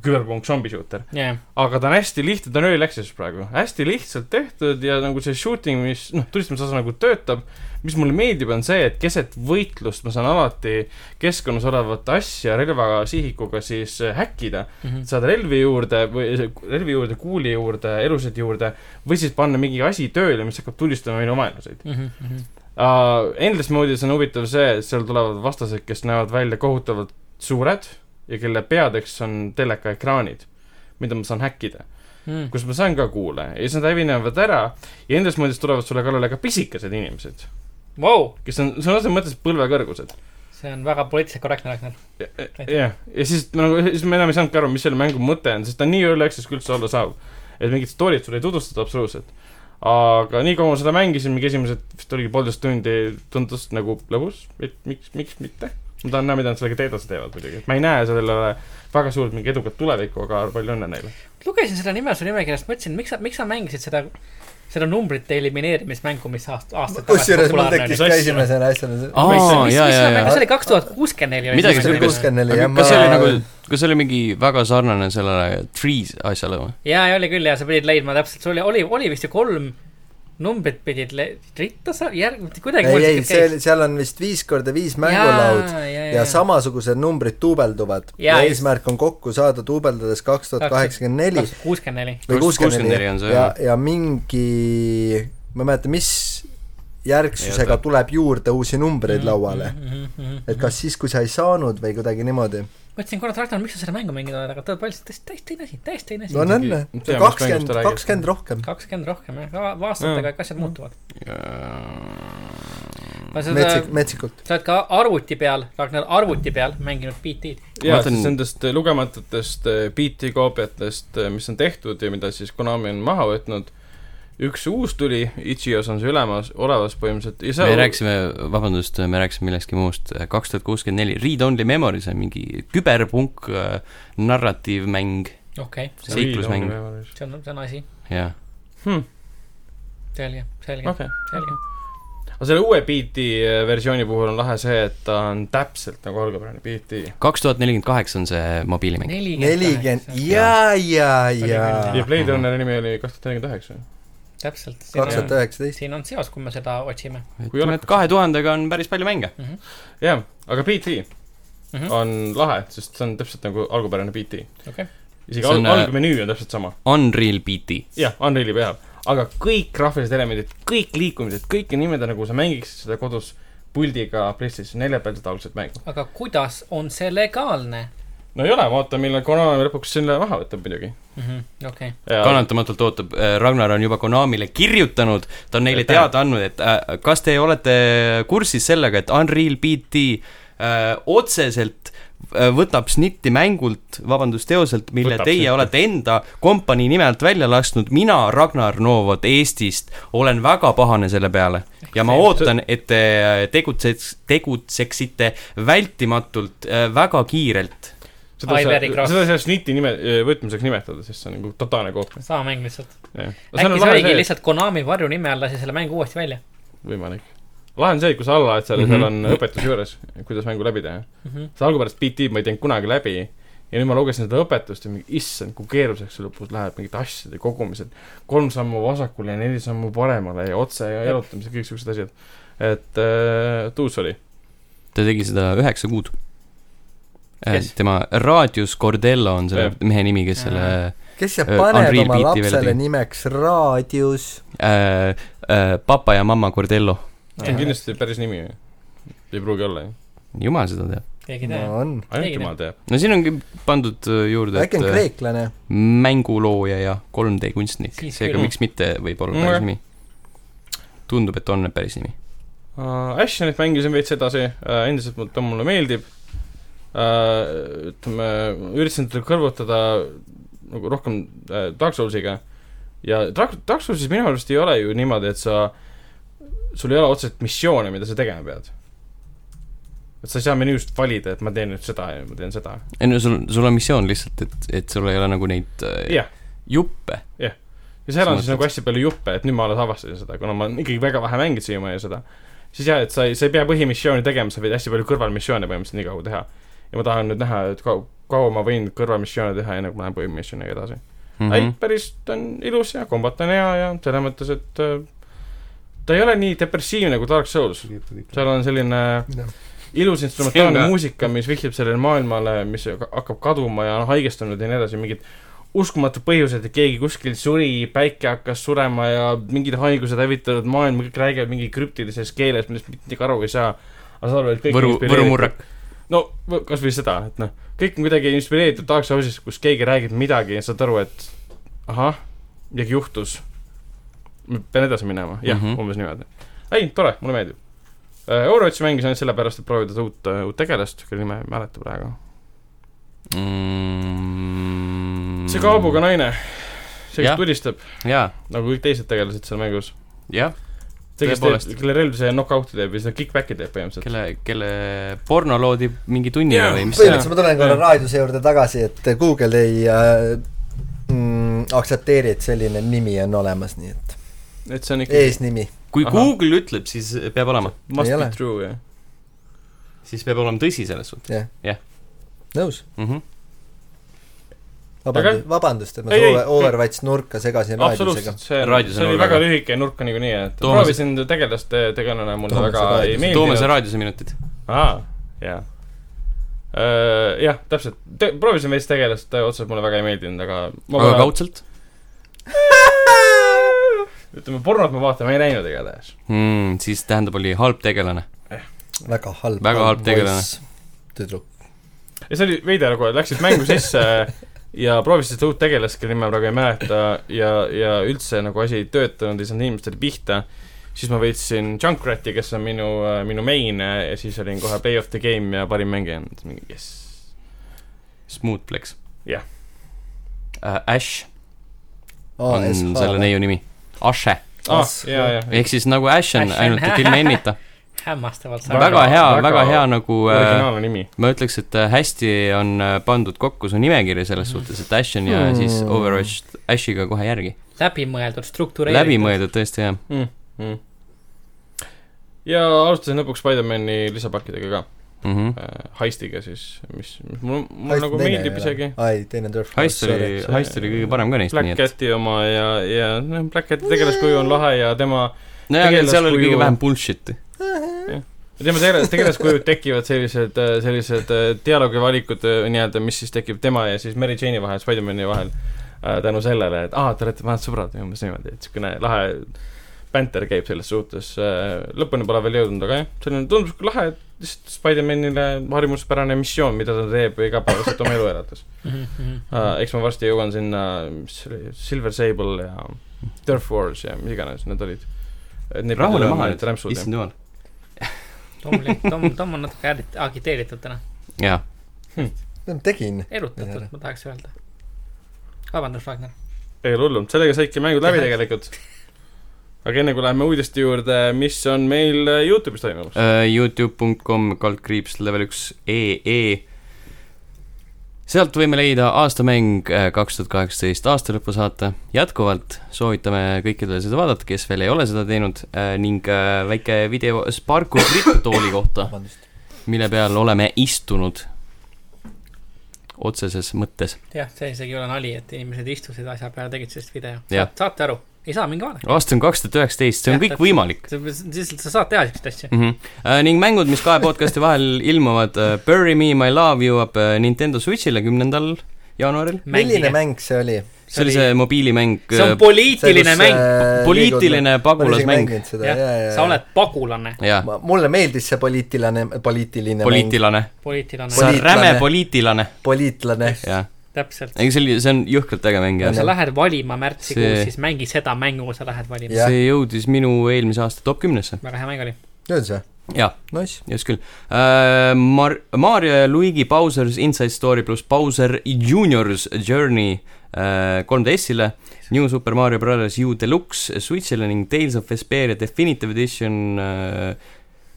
Speaker 4: küberpunk zombi shooter .
Speaker 3: jah ,
Speaker 4: aga ta on hästi lihtne , ta on early access praegu , hästi lihtsalt tehtud ja nagu see shooting , mis noh , tulistamise osa nagu töötab . mis mulle meeldib , on see , et keset võitlust ma saan alati keskkonnas olevat asja relvaga , sihikuga siis äh, häkkida .
Speaker 3: Mhm.
Speaker 4: saada relvi juurde või relvi juurde , kuuli juurde , elusid juurde või siis panna mingi asi tööle , mis hakkab tulistama minu vaenlaseid .
Speaker 3: Mhm,
Speaker 4: Uh, Endless mode'is on huvitav see , et seal tulevad vastased , kes näevad välja kohutavalt suured ja kelle peadeks on telekaekraanid , mida ma saan häkkida .
Speaker 3: mm. .
Speaker 4: kus ma saan ka kuule ja siis nad hävinevad ära ja nendes mõttes tulevad sulle kallale ka pisikesed inimesed ,
Speaker 3: Vau ,
Speaker 4: kes on sõna otseses mõttes põlvekõrgused .
Speaker 3: see on väga poliitiliselt korrektne , Ragnar .
Speaker 4: jah , ja siis ma nagu , siis ma enam ei saanudki aru , mis selle mängu mõte on , sest ta on nii early access , kui üldse olla saab . et mingit story't sulle ei tutvustata absoluutselt . aga nii kaua ma seda mängisin , mingi esimesed vist oligi poolteist tundi , tundus nagu lõbus , et miks , miks mitte . ma tahan näha , mida nad sellega edasi teevad muidugi , et ma ei näe sellele väga suurt mingit edukat tulevikku , aga palju õnne neile .
Speaker 3: lugesin seda nime su nimekirjast , mõtlesin , miks sa , miks sa mängisid seda , seda numbrite elimineerimismängu , mis aast- , aastaid
Speaker 2: kusjuures mul tekkis
Speaker 4: mis
Speaker 2: ka
Speaker 4: asja?
Speaker 2: esimesena asjana see
Speaker 1: Aa, jaa, jaa, jaa.
Speaker 3: kas see oli kaks tuhat kuuskümmend neli ?
Speaker 1: Midagi siukest.
Speaker 2: kuuskümmend neli
Speaker 1: aga kas see oli nagu , kas see oli mingi väga sarnane sellele Trees asjale või ?
Speaker 3: jaa , oli küll ja sa pidid leidma täpselt , sul oli , oli , oli vist ju kolm numbrit pidid le- , ritta sa , järg- , kuidagi
Speaker 2: ei , ei , see oli , seal on vist viis korda viis mängulaud ja, ja, ja
Speaker 3: sama .
Speaker 2: samasugused numbrid duubelduvad ja,
Speaker 3: Jaa,
Speaker 2: ja
Speaker 3: just.
Speaker 2: eesmärk on kokku saada duubeldades kaks tuhat kaheksakümmend neli
Speaker 3: kuuskümmend neli .
Speaker 2: või kuuskümmend
Speaker 1: 64
Speaker 2: neli
Speaker 1: on see,
Speaker 2: ja
Speaker 1: jah. ,
Speaker 2: ja mingi , ma ei mäleta , mis
Speaker 1: Ei
Speaker 2: järgsusega
Speaker 1: oota.
Speaker 2: tuleb juurde uusi
Speaker 3: Mm,
Speaker 2: numbreid lauale .
Speaker 3: Mhm,
Speaker 2: et . kas siis , kui sa ei saanud või kuidagi niimoodi .
Speaker 3: mõtlesin korra , et Ragnar , miks sa seda mängu mänginud oled , aga tõepoolest täiesti , täiesti teine asi , täiesti teine
Speaker 2: no
Speaker 3: asi .
Speaker 2: on õnne ,
Speaker 4: Muidugi, tean, mis mängust
Speaker 2: kakskümmend
Speaker 4: te , räägite.
Speaker 2: kakskümmend rohkem .
Speaker 3: kakskümmend rohkem jah , aga aastatega kõik asjad muutuvad . ma seda ,
Speaker 2: metsik , metsikult .
Speaker 3: sa oled ka arvuti peal , Ragnar , arvuti peal mänginud BT-d .
Speaker 1: Ma
Speaker 4: ja
Speaker 1: mõtlen-
Speaker 4: siis nendest äh, lugematutest eh, BT koopiatest , mis on tehtud ja mida siis Konami on maha võtnud , üks uus tuli , Ichios on see ülemas , olevas põhimõtteliselt ja
Speaker 1: me
Speaker 4: seal
Speaker 1: rääkisime , vabandust , me rääkisime millestki muust , kaks tuhat kuuskümmend neli , Read Only Memory , see on mingi küberpunk äh, narratiivmäng ,
Speaker 3: okei okay. ,
Speaker 1: seiklusmäng.
Speaker 3: see on , see on asi ,
Speaker 1: jah .
Speaker 4: hmm, .
Speaker 3: selge , selge okay. ,
Speaker 4: okei okay. ,
Speaker 3: selge .
Speaker 4: aga selle uue BT versiooni puhul on lahe see , et ta on täpselt nagu algapärane BT .
Speaker 1: kaks tuhat nelikümmend kaheksa on see mobiilimäng .
Speaker 2: nelikümmend , jaa , jaa ,
Speaker 4: ja
Speaker 2: jaa .
Speaker 4: Blade Runneri nimi oli kaks tuhat nelikümmend üheksa .
Speaker 3: täpselt ,
Speaker 2: kaks
Speaker 3: siin
Speaker 2: tuhat
Speaker 3: on ,
Speaker 2: üheksateist .
Speaker 3: siin on seos , kui me seda otsime
Speaker 4: Kui
Speaker 1: ütleme ,
Speaker 4: oleks-
Speaker 1: et kahe tuhandega on päris palju mänge .
Speaker 3: mm . -hmm.
Speaker 4: jah , aga BT
Speaker 3: Mm -hmm.
Speaker 4: on lahe , sest see on täpselt nagu algupärane BT .
Speaker 3: okei okay. ,
Speaker 4: isegi
Speaker 1: See on,
Speaker 4: alg- ,
Speaker 1: äh,
Speaker 4: algmenüü on täpselt sama .
Speaker 1: Unreal BT .
Speaker 4: jah , Unreali peal , aga kõik graafilised elemendid , kõik liikumised , kõik nimed on nagu sa mängiksid seda kodus puldiga PlayStation nelja peal seda algset mängu .
Speaker 3: aga kuidas on see legaalne
Speaker 4: no ei ole , vaata , millal Konami lõpuks selle maha võtab muidugi .
Speaker 3: mm -hmm. ? okei okay. ,
Speaker 1: kannatamatult ootab , Ragnar on juba Konamile kirjutanud , ta on neile
Speaker 4: Aitäh.
Speaker 1: teada andnud , et äh, kas te olete kursis sellega , et Unreal BT äh, otseselt äh, võtab snitti mängult , vabandust , teoselt , mille võtab
Speaker 4: Võtab
Speaker 1: teie
Speaker 4: snitti.
Speaker 1: snitti. olete enda kompanii nime alt välja lasknud , mina , Ragnar Novot Eestist , olen väga pahane selle peale . ja ma
Speaker 4: See-
Speaker 1: ootan , et te äh, tegutseks , tegutseksite vältimatult äh, väga kiirelt .
Speaker 4: seda
Speaker 3: Ai,
Speaker 4: ei saa ,
Speaker 3: very gross.
Speaker 4: seda ei saa sniti nime , võtmiseks nimetada , sest see on nagu totaalne koopia .
Speaker 3: sama mäng lihtsalt . äkki see oligi
Speaker 4: võimalik .
Speaker 3: lihtsalt Konami varjunime all lasi selle mängu uuesti välja
Speaker 4: lahe on see , et kui sa alla oled seal ja seal on
Speaker 1: Mhm.
Speaker 4: õpetus juures , kuidas mängu läbi teha .
Speaker 3: mm ? -hmm.
Speaker 4: seda algupärast BT-d ma ei teinud kunagi läbi ja nüüd ma lugesin seda õpetust ja mingi issand , kui keeruliseks see lõpus läheb , mingid asjade kogumised , kolm sammu vasakule ja neli sammu paremale ja otse ja jalutamised , kõik siuksed asjad . et äh, et uus oli .
Speaker 1: ta tegi seda üheksa kuud .
Speaker 3: Kes?
Speaker 1: tema Radius Cordello on selle
Speaker 4: Jah.
Speaker 1: mehe nimi , kes selle
Speaker 2: kes see
Speaker 1: Öö,
Speaker 2: paneb
Speaker 1: Äh, Unreal
Speaker 2: oma
Speaker 1: Beati veel
Speaker 2: lapsele
Speaker 1: tegi.
Speaker 2: nimeks Raadius ?
Speaker 1: äh, äh, papa ja mamma Cordello ,
Speaker 4: see on kindlasti päris nimi . ei pruugi olla ju .
Speaker 1: jumal seda teab .
Speaker 3: keegi ei tea
Speaker 2: no
Speaker 3: no. .
Speaker 2: on .
Speaker 4: ainult
Speaker 3: Ei
Speaker 4: jumal teab .
Speaker 1: no siin ongi pandud äh, juurde ,
Speaker 2: äkki on
Speaker 1: et äh,
Speaker 2: kreeklane ?
Speaker 1: mängulooja ja 3D kunstnik ,
Speaker 3: Siis
Speaker 1: seega
Speaker 3: küll.
Speaker 1: miks mitte võib olla
Speaker 4: Mm, jah.
Speaker 1: päris nimi . tundub , et on päris nimi .
Speaker 4: Ashtonit Äh, mängisin veits edasi uh, , endiselt mul ta mulle meeldib uh, . ütleme , üritasin teda kõrvutada nagu rohkem uh, Dark Soulsiga ja Dark , Dark Soulsis minu arust ei ole ju niimoodi , et sa , sul ei ole otseselt missioone , mida sa tegema pead . et sa ei saa menüüst valida , et ma teen nüüd seda ja ma teen seda .
Speaker 1: ei no sul , sul on missioon lihtsalt , et , et sul ei ole nagu neid äh,
Speaker 4: jah ,
Speaker 1: juppe .
Speaker 4: ja seal on
Speaker 1: Sa
Speaker 4: siis nagu hästi palju juppe , et nüüd ma alles avastasin seda , kuna ma olen ikkagi väga vähe mänginud siiamaani seda . siis jah , et sa ei , sa ei pea põhimissiooni tegema , sa võid hästi palju kõrvalmissioone põhimõtteliselt nii kaua teha . ja ma tahan nüüd näha , et kau- , kaua ma võin kõrvalmissioone teha , enne kui ma lähen põhimissiooniga edasi mm .
Speaker 1: Mhm.
Speaker 4: -hmm. ei , päris ta on ilus ja kombat on hea ja selles mõttes , et äh, ta ei ole nii depressiivne kui Dark Souls . seal on selline ilus instrumentaalne
Speaker 1: Selge.
Speaker 4: muusika , mis vihjab sellele maailmale , mis ha- hakkab kaduma ja on haigestunud ja nii edasi , mingid uskumatud põhjused , et keegi kuskil suri , päike hakkas surema ja mingid haigused hävitavad maailma , kõik räägivad mingi krüptilises keeles , millest mitte aru ei saa . aga sa oled kõik
Speaker 1: Võru , Võru
Speaker 4: inspireeritud-
Speaker 1: murrak .
Speaker 4: no võ- kasvõi seda , et noh , kõik on kuidagi inspireeritud Dark Soulsist , kus keegi räägib midagi ja saad aru , et ahah , midagi juhtus . pean edasi minema , jah mm ,
Speaker 1: Mhm.
Speaker 4: -hmm. umbes niimoodi . ei , tore , mulle meeldib . Overwatchi mängis ainult sellepärast , et proovida seda uut , uut tegelast , kelle nime ei mäleta praegu . see kaabuga . naine , see ,
Speaker 1: Mhm. Jah.
Speaker 4: kes tulistab ,
Speaker 1: Mm. jaa ,
Speaker 4: nagu kõik teised tegelased seal mängus .
Speaker 1: jah ,
Speaker 4: see , kes
Speaker 1: Tõepoolest.
Speaker 4: teeb , kelle relv see knock-out'i teeb või seda kick-back'i teeb põhimõtteliselt .
Speaker 1: kelle , kelle porno loodi mingi tunniga
Speaker 4: Jaa,
Speaker 1: või mis see
Speaker 4: põhimõtteliselt.
Speaker 1: on ?
Speaker 2: põhimõtteliselt ma tulen korra
Speaker 4: Jah.
Speaker 2: raadiose juurde tagasi , et Google ei äh, mm, aktsepteeri , et selline nimi on olemas , nii et
Speaker 4: et see on ikka
Speaker 2: eesnimi .
Speaker 1: kui
Speaker 4: Ahah.
Speaker 1: Google ütleb , siis peab olema ,
Speaker 4: must
Speaker 2: Ei
Speaker 4: be
Speaker 2: ole.
Speaker 4: true , jah .
Speaker 1: siis peab olema tõsi selles suhtes
Speaker 2: nõus ,
Speaker 1: mm .
Speaker 4: Mhm.
Speaker 1: -hmm.
Speaker 2: vabandust , vabandust , et ma
Speaker 4: Ei, ei,
Speaker 2: sulle
Speaker 4: kõik-
Speaker 2: Overwatch nurka segasin raadiosega
Speaker 4: absoluutselt ,. see on ,
Speaker 1: Raadios
Speaker 4: see
Speaker 1: on
Speaker 4: oli
Speaker 1: nurgaga.
Speaker 4: väga lühike nurk niikuinii ,
Speaker 1: Toomas-
Speaker 4: et proovisin tegelaste tegelane , mulle
Speaker 2: Toomas
Speaker 4: väga
Speaker 2: on raadios.
Speaker 4: ei
Speaker 1: Toomase
Speaker 4: meeldinud .
Speaker 1: raadiose minutid .
Speaker 4: aa , jaa . jah , täpselt , proovisin veits tegelast , otseselt mulle väga ei meeldinud , aga ma
Speaker 1: aga
Speaker 4: pole-
Speaker 1: kaudselt
Speaker 4: ütleme , pornot ma vaatama ei näinud igatahes .
Speaker 1: mm, , siis tähendab , oli halb tegelane .
Speaker 2: väga halb .
Speaker 1: Väga halb tegelane. .
Speaker 2: tüdruk .
Speaker 4: ja see oli veider , kui läksid mängu sisse ja proovisid seda uut tegelast , kelle nime ma praegu ei mäleta ja , ja üldse nagu asi ei töötanud , ei saanud inimestele pihta , siis ma võitsin Junkrati , kes on minu , minu main ja siis olin kohe play of the game ja parim mängija , mõtlesin mingi jess .
Speaker 1: Smooth Plex .
Speaker 4: Jah.
Speaker 1: uh, . Ash on selle . neiu nimi . Ashe ,
Speaker 4: aa
Speaker 2: As- ,
Speaker 4: Ah, jaa , jaa .
Speaker 1: ehk siis nagu Ash on ,
Speaker 3: Ashen.
Speaker 1: ainult et ilma n-ita .
Speaker 3: hämmastavalt
Speaker 4: Väga-
Speaker 3: sarnane .
Speaker 1: väga hea , väga
Speaker 4: väga
Speaker 1: hea nagu äh,
Speaker 4: originaalne nimi .
Speaker 1: ma ütleks , et äh, hästi on äh, pandud kokku su nimekiri selles suhtes , et Ash on ja
Speaker 2: Hmm.
Speaker 1: siis Overwatch Ashiga kohe järgi .
Speaker 3: läbimõeldud , struktureeritud .
Speaker 1: läbimõeldud tõesti jah .
Speaker 4: ja alustasin lõpuks Spider-man'i lisapakkidega ka
Speaker 1: Mm -hmm.
Speaker 4: äh, , heistiga siis , mis , mis mulle , mulle nagu meeldib isegi .
Speaker 2: ai , teine on Turf
Speaker 1: Heist oli ,
Speaker 4: see-
Speaker 1: Heist oli kõige parem ka neist , nii
Speaker 4: Black
Speaker 1: et .
Speaker 4: Cati oma ja , ja noh , Black Cati tegelaskuju on lahe ja tema ,
Speaker 1: nojah , aga
Speaker 4: tegelas-
Speaker 1: seal oli kõige
Speaker 4: kuju-
Speaker 1: vähem bullshit'i .
Speaker 4: tema tegelas , tegelaskujud tekivad sellised , sellised äh, dialoogivalikud äh, nii-öelda , mis siis tekib tema ja siis Mary Jane'i vahel , Spider-man'i vahel äh, tänu sellele , et aa , te olete vanad sõbrad või umbes niimoodi , et niisugune lahe bänter käib selles suhtes , lõpuni pole veel jõudnud , aga jah , selline tundub niisugune lahe , lihtsalt Spider-manile harjumuspärane missioon , mida ta teeb igapäevaselt oma elu elates .
Speaker 3: Mhm,
Speaker 4: Äh, eks ma varsti jõuan sinna , mis see oli , Silver Sable ja Turf Wars ja mis iganes need olid .
Speaker 1: rahune maha nüüd ,
Speaker 4: rämpsud .
Speaker 1: issand jumal .
Speaker 3: Tomli , Tom , Tom on natuke agi- agiteeritud täna ,
Speaker 1: jaa ,
Speaker 2: tegin .
Speaker 3: erutatud , ma tahaks öelda . vabandust , Ragnar .
Speaker 4: ei ole hullu , sellega saidki mängud läbi
Speaker 3: Jah.
Speaker 4: tegelikult . aga enne kui läheme uudiste juurde , mis on meil äh, Youtube'is toimumas ?
Speaker 1: Youtube.com kaldkriips level üks ee . sealt võime leida aastamäng äh, kaks tuhat kaheksateist aastalõpu saate . jätkuvalt soovitame kõikidele seda vaadata , kes veel ei ole seda teinud äh, ning äh, väike video Sparku kriptotooli kohta ,
Speaker 2: vabandust .
Speaker 1: mille peal oleme istunud otseses mõttes .
Speaker 3: jah , see isegi ei ole nali , et inimesed istusid asja peale , tegid sellest video .
Speaker 1: Jah.
Speaker 3: saate aru , ei saa minge vaadata .
Speaker 1: aasta on kaks tuhat üheksateist , see on
Speaker 3: Jah,
Speaker 1: kõik
Speaker 3: täpselt.
Speaker 1: võimalik .
Speaker 3: lihtsalt sa saad teha siukest asja .
Speaker 1: mm . -hmm. Äh, ning mängud , mis kahe podcast'i vahel ilmuvad äh, , Bury me , my love jõuab äh, Nintendo Switch'ile kümnendal jaanuaril .
Speaker 2: milline mäng see oli ?
Speaker 1: see oli see mobiilimäng , äh,
Speaker 3: see on poliitiline
Speaker 2: äh,
Speaker 3: mäng ,
Speaker 1: poliitiline pagulasmäng .
Speaker 2: seda ,
Speaker 3: jah
Speaker 2: jaa ,,
Speaker 3: sa
Speaker 2: jaa ,
Speaker 3: oled pagulane ,
Speaker 1: jaa ,
Speaker 2: jaa . mulle meeldis see poliitiline , poliitiline mäng .
Speaker 1: poliitilane .
Speaker 3: poliitilane ,
Speaker 1: sa oled
Speaker 2: Poliitlane.
Speaker 1: räme poliitilane ,
Speaker 2: poliitlane .
Speaker 1: jah .
Speaker 3: täpselt .
Speaker 1: ei , see oli , see on jõhkralt äge mäng ,
Speaker 3: kui sa
Speaker 1: jah .
Speaker 3: lähed valima märtsikuus ,
Speaker 1: See-
Speaker 3: siis mängi seda mängu , kui sa lähed valima .
Speaker 2: Jah.
Speaker 1: see jõudis minu eelmise aasta top kümnesse .
Speaker 3: väga hea mäng oli .
Speaker 2: tead sa ?
Speaker 1: jaa ,
Speaker 2: Nice .
Speaker 1: just küll äh, . Mar- , Mario ja Luigi Bowser's Inside Story pluss Bowser Junior's Journey äh, 3DS-ile , New Super Mario Brothers U Deluxe Switch'ile ning Tales of Vesperia Definitive Edition äh,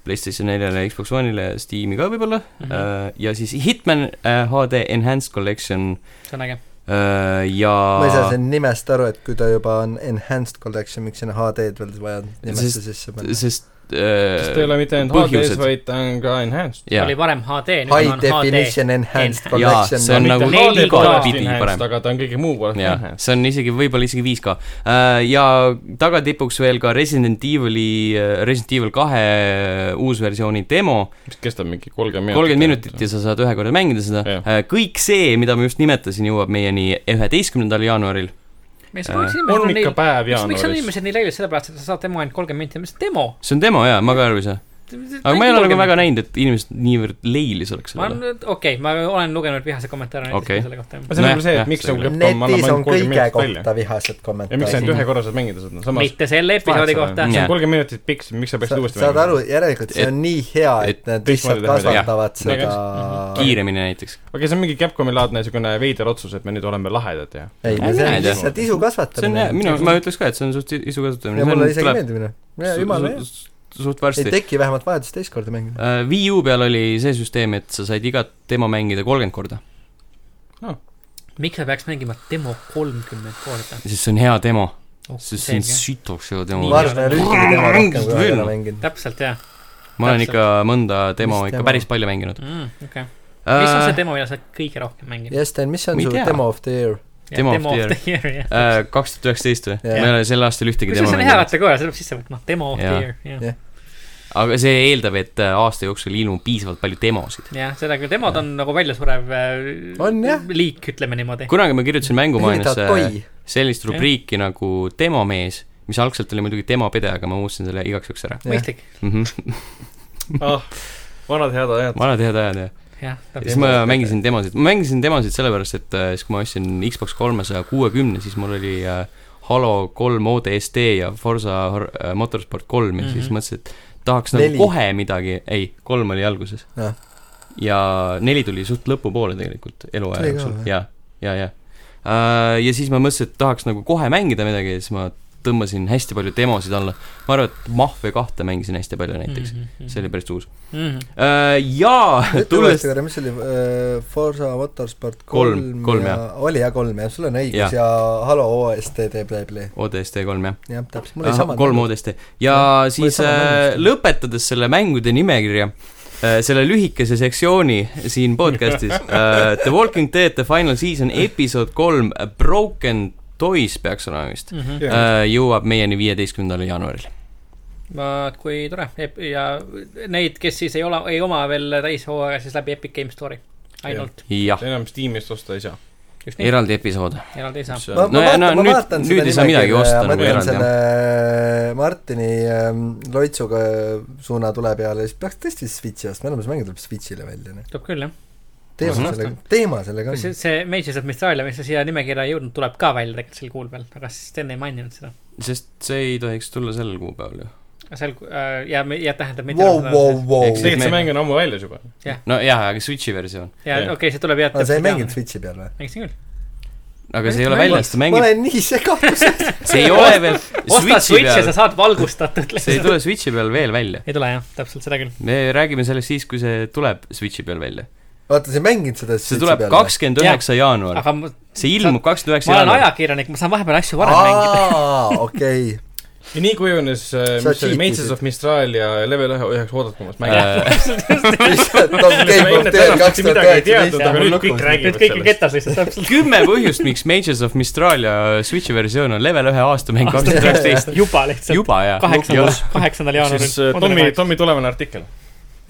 Speaker 1: PlayStation 4-le , Xbox One'ile , Steam'i ka võib-olla mm ,
Speaker 3: Mhm.
Speaker 1: -hmm. äh, ja siis Hitman äh, HD Enhanced Collection
Speaker 3: see on äge .
Speaker 1: äh, ja
Speaker 2: ma ei saa siin nimest aru , et kui ta juba on enhanced collection , miks sinna HD-d veel vaja nimesse
Speaker 1: Sest-
Speaker 2: sisse panna ?
Speaker 1: sest äh,
Speaker 4: sest ta ei ole mitte ainult HD-s , vaid ta on ka enhanced .
Speaker 1: jaa
Speaker 3: oli , varem HD , nüüd
Speaker 2: High
Speaker 3: on HD .
Speaker 2: definition enhanced
Speaker 3: Enhanced.
Speaker 1: jaa ,
Speaker 2: collection .
Speaker 1: see on
Speaker 4: Mitte
Speaker 1: nagu
Speaker 3: neli
Speaker 1: igatpidi
Speaker 4: enhanced,
Speaker 1: parem .
Speaker 4: aga ta on kõige muu poolest
Speaker 1: jah ,
Speaker 4: enhanced .
Speaker 1: see on isegi võib-olla isegi 5K . ja tagatipuks veel ka Resident Evil'i , Resident Evil kahe uusversiooni demo ,
Speaker 4: mis kestab mingi kolmkümmend minutit .
Speaker 1: kolmkümmend minutit ja . sa saad ühe korra mängida seda Äh,
Speaker 4: Jah. .
Speaker 1: kõik see , mida ma just nimetasin , jõuab meieni üheteistkümnendal jaanuaril .
Speaker 4: on ikka päev
Speaker 3: miks on
Speaker 4: jaanuaris .
Speaker 3: inimesed nii leidnud sellepärast , et sa saad demo ainult kolmkümmend minti , mis demo ,
Speaker 1: see on demo jaa , ma ka ei arva , ei saa . aga ma ei ole nagu väga näinud , et inimesed niivõrd leilis oleks
Speaker 3: ma
Speaker 1: sellele .
Speaker 3: olen , okei , ma olen lugenud vihase kommentaare näiteks
Speaker 1: Okei.
Speaker 3: okay. selle kohta .
Speaker 4: see
Speaker 1: Nojah,
Speaker 4: on võib-olla see ,
Speaker 1: jah,
Speaker 4: et miks
Speaker 1: see
Speaker 4: nagu
Speaker 1: küll.
Speaker 4: peab
Speaker 2: netis
Speaker 4: olema
Speaker 2: on
Speaker 4: kolmkümmend
Speaker 2: kõige
Speaker 4: minutit välja .
Speaker 2: kohta vihased
Speaker 4: ja miks sa ainult ühe
Speaker 2: kommentaarid .
Speaker 4: korra saad mängida seda , samas
Speaker 3: mitte selle episoodi
Speaker 4: Vahet
Speaker 3: kohta
Speaker 1: seda- .
Speaker 4: see
Speaker 1: Jah.
Speaker 4: on kolmkümmend minutit pikk , miks sa peaksid
Speaker 2: sa
Speaker 4: uuesti
Speaker 2: saad aru , järelikult see on nii hea , et
Speaker 1: et Mhm.
Speaker 2: nad lihtsalt
Speaker 4: teistmoodi teha midagi.
Speaker 2: kasvatavad
Speaker 4: Jah.
Speaker 2: seda
Speaker 1: kiiremini näiteks .
Speaker 4: okei , see on mingi Capcomi laadne niisugune veider otsus , et me nüüd oleme lahedad ja
Speaker 2: ei ,
Speaker 1: Ei,
Speaker 2: see on
Speaker 1: näed, jah.
Speaker 2: lihtsalt isu
Speaker 1: see on
Speaker 2: kasvatamine
Speaker 1: hea , minu , ma ütleks ka , et see on suht isu kasutamine .
Speaker 2: ja mulle isegi meeldib minu , jumala hea ,
Speaker 1: suht
Speaker 2: ei
Speaker 1: varsti .
Speaker 2: teki vähemalt vajadust teist korda mängida .
Speaker 1: Uh, Wii U peal oli see süsteem , et sa said igat demo mängida kolmkümmend korda .
Speaker 3: miks sa peaks mängima demo kolmkümmend korda ?
Speaker 1: sest see on hea demo . sest see on
Speaker 3: selge ,
Speaker 1: sütoks hea
Speaker 3: Nii
Speaker 1: demo
Speaker 2: ma . arvan , et
Speaker 3: hea.
Speaker 2: ma olen ühtegi tema rohkem kui
Speaker 1: Veel.
Speaker 2: ühe mänginud .
Speaker 3: täpselt jah
Speaker 1: ma olen ikka mõnda demo
Speaker 2: Mis
Speaker 1: ikka
Speaker 2: demo?
Speaker 1: päris palju mänginud . Äh,
Speaker 3: mm, . okei okay. , mis on see
Speaker 1: demo ?
Speaker 3: demo , mida sa oled kõige rohkem mänginud ?
Speaker 2: jah , Sten , mis on
Speaker 1: Ma ei
Speaker 2: su
Speaker 1: tea.
Speaker 2: demo of the year ?
Speaker 1: Demo of the
Speaker 3: the year , jah .
Speaker 1: äh, kaks tuhat üheksateist või ?
Speaker 2: Jah.
Speaker 1: ma ei ole sel aastal ühtegi
Speaker 3: kusjuures
Speaker 1: demo
Speaker 3: see on hea
Speaker 1: mänginud .
Speaker 3: kategooria , selle peab sisse võtma , demo of the
Speaker 1: Jaa.
Speaker 3: year , jah .
Speaker 1: aga see eeldab , et äh, aasta jooksul ilmub piisavalt palju demosid .
Speaker 3: jah , seda küll , demod on nagu väljasurev
Speaker 2: On, jah.
Speaker 3: äh, liik , ütleme niimoodi .
Speaker 1: kunagi ma kirjutasin
Speaker 2: huvitav ,
Speaker 1: Mängumaaniasse
Speaker 2: toi .
Speaker 1: sellist rubriiki nagu demomees , mis algselt oli muidugi demopede , aga ma muutsin selle igaks juhuks ära
Speaker 3: mõistlik ,
Speaker 1: mm .
Speaker 4: ah, . vanad head ajad .
Speaker 1: -hmm. vanad head ajad , jah .
Speaker 3: jah .
Speaker 1: ja siis ma mängisin demosid , ma mängisin demosid sellepärast , et äh, siis , kui ma ostsin Xbox kolmesaja kuuekümne , siis mul oli äh, Halo kolm ODST ja Forsa Hor- äh, Motorsport kolm ja mm -hmm. siis
Speaker 3: Mhm.
Speaker 1: mõtlesin , et tahaks nagu
Speaker 2: Neli.
Speaker 1: kohe midagi , ei , kolm oli alguses
Speaker 2: Jah. .
Speaker 1: ja neli tuli suht lõpupoole tegelikult eluaja
Speaker 2: Tuli ka,
Speaker 1: jooksul
Speaker 2: jah. ,
Speaker 1: ja , ja , ja . Äh, ja siis ma mõtlesin , et tahaks nagu kohe mängida midagi ja siis ma tõmbasin hästi palju demosid alla . ma arvan , et Mahve kahte mängisin hästi palju näiteks mm ,
Speaker 3: Mhm,
Speaker 1: -hmm. see oli päris uus .
Speaker 3: päris .
Speaker 1: jaa ,
Speaker 2: ütle
Speaker 1: tulles
Speaker 2: uuesti korra , mis see oli , äh, Forsa Motorsport
Speaker 1: Kolm,
Speaker 2: kolm,
Speaker 1: kolm,
Speaker 2: ja oli jah , kolm jah , sul on õigus ja,
Speaker 1: Jah.
Speaker 2: ja Halo OST teeb läbi ,
Speaker 1: ODST kolm jah
Speaker 2: jah , täpselt , mul oli
Speaker 1: Ahah,
Speaker 2: sama .
Speaker 1: kolm ODST ja
Speaker 2: Jah,
Speaker 1: siis
Speaker 2: mul oli sama
Speaker 1: äh,
Speaker 2: mängust.
Speaker 1: lõpetades selle mängude nimekirja , selle lühikese sektsiooni siin podcastis äh, The Walking Dead The Final Season episood kolm Broken Toys peaks olema vist ,
Speaker 3: mhm.
Speaker 1: Äh. jõuab meieni viieteistkümnendal jaanuaril .
Speaker 3: vaat kui tore Ep- ja neid , kes siis ei ole , ei oma veel täishooaega , siis läbi Epic Game Store'i ainult ,
Speaker 1: jah ,
Speaker 4: enam Steamist osta ei saa .
Speaker 3: just nii ,
Speaker 1: eraldi episood .
Speaker 3: eraldi ei saa .
Speaker 2: ma ,
Speaker 1: No
Speaker 2: ma
Speaker 1: ja,
Speaker 2: vaatan
Speaker 1: no
Speaker 2: no, , ma
Speaker 1: nüüd-
Speaker 2: vaatan
Speaker 1: nüüd ei saa midagi osta
Speaker 2: ja
Speaker 1: nagu
Speaker 2: mõtlen
Speaker 1: eraldi,
Speaker 2: selle Martini ähm, loitsuga äh, suuna tule peale , siis peaks tõesti Switchi ostma , enamus mänge tuleb Switchile välja , noh .
Speaker 3: tuleb küll jah ,
Speaker 2: teema
Speaker 1: Ma saan
Speaker 2: sellega , teema sellega
Speaker 3: see ,
Speaker 2: on .
Speaker 3: see Mages of Mistralia , mis siia nimekirja ei jõudnud , tuleb ka välja tegelikult sel kuul veel , aga Sten ei maininud seda .
Speaker 1: sest see ei tohiks tulla sel kuupäeval ju .
Speaker 3: sel äh, ja , ja tähendab mitte
Speaker 2: Wow , wow ,
Speaker 1: Eks
Speaker 2: wow .
Speaker 1: see-
Speaker 4: tegelikult see mäng on ammu väljas juba .
Speaker 1: nojah , aga Switchi versioon ,
Speaker 3: ja
Speaker 4: Jah.
Speaker 3: okei okay, , see tuleb jah .
Speaker 2: aga Ah, sa ei mänginud ? Switchi peal või ?
Speaker 3: mängisin küll .
Speaker 1: aga see ei ole
Speaker 3: Mängid.
Speaker 1: väljas , ta
Speaker 2: ma
Speaker 1: mängib ,
Speaker 2: olen nii segaduses .
Speaker 1: see ei ole veel
Speaker 3: ostad
Speaker 1: Switchi
Speaker 3: Switch'i , sa
Speaker 1: peal ,
Speaker 3: saad valgustatud
Speaker 1: see ei
Speaker 3: lihtsalt .
Speaker 1: tule Switchi peal veel välja .
Speaker 3: ei tule jah , täpselt seda küll .
Speaker 1: me räägime sellest siis , kui see tuleb Switchi peal välja .
Speaker 2: vaata , sa ei mänginud seda
Speaker 1: see
Speaker 2: Switchi
Speaker 1: tuleb
Speaker 2: peal ?
Speaker 1: kakskümmend üheksa jaanuar ,
Speaker 3: aga ma,
Speaker 1: see ilmub kakskümmend üheksa
Speaker 3: ma olen
Speaker 1: jaanuar .
Speaker 3: ajakirjanik , ma saan vahepeal asju varem mängida .
Speaker 2: aa , okei .
Speaker 4: ja nii kujunes ,
Speaker 2: Sa
Speaker 4: mis see oli ,
Speaker 2: cheatisid.
Speaker 4: Mages of Mistral ja Level ühe üheks oodatumast mängijast .
Speaker 1: Äh,
Speaker 2: lihtsalt on Game of the Year kaks tuhat
Speaker 3: aga
Speaker 4: nüüd
Speaker 2: üheksateist .
Speaker 4: kõik
Speaker 3: nüüd
Speaker 4: räägivad
Speaker 3: kõik on
Speaker 4: sellest .
Speaker 3: ketas lihtsalt täpselt .
Speaker 1: Äh, kümme põhjust , miks Mages of Mistralia Switchi versioon on level ühe aastamäng kaks tuhat üheksateist .
Speaker 3: juba lihtsalt .
Speaker 1: juba jaa .
Speaker 3: kaheksandal , kaheksandal
Speaker 4: siis äh,
Speaker 3: jaanuaril .
Speaker 4: Tommy , Tommy tulevane artikkel .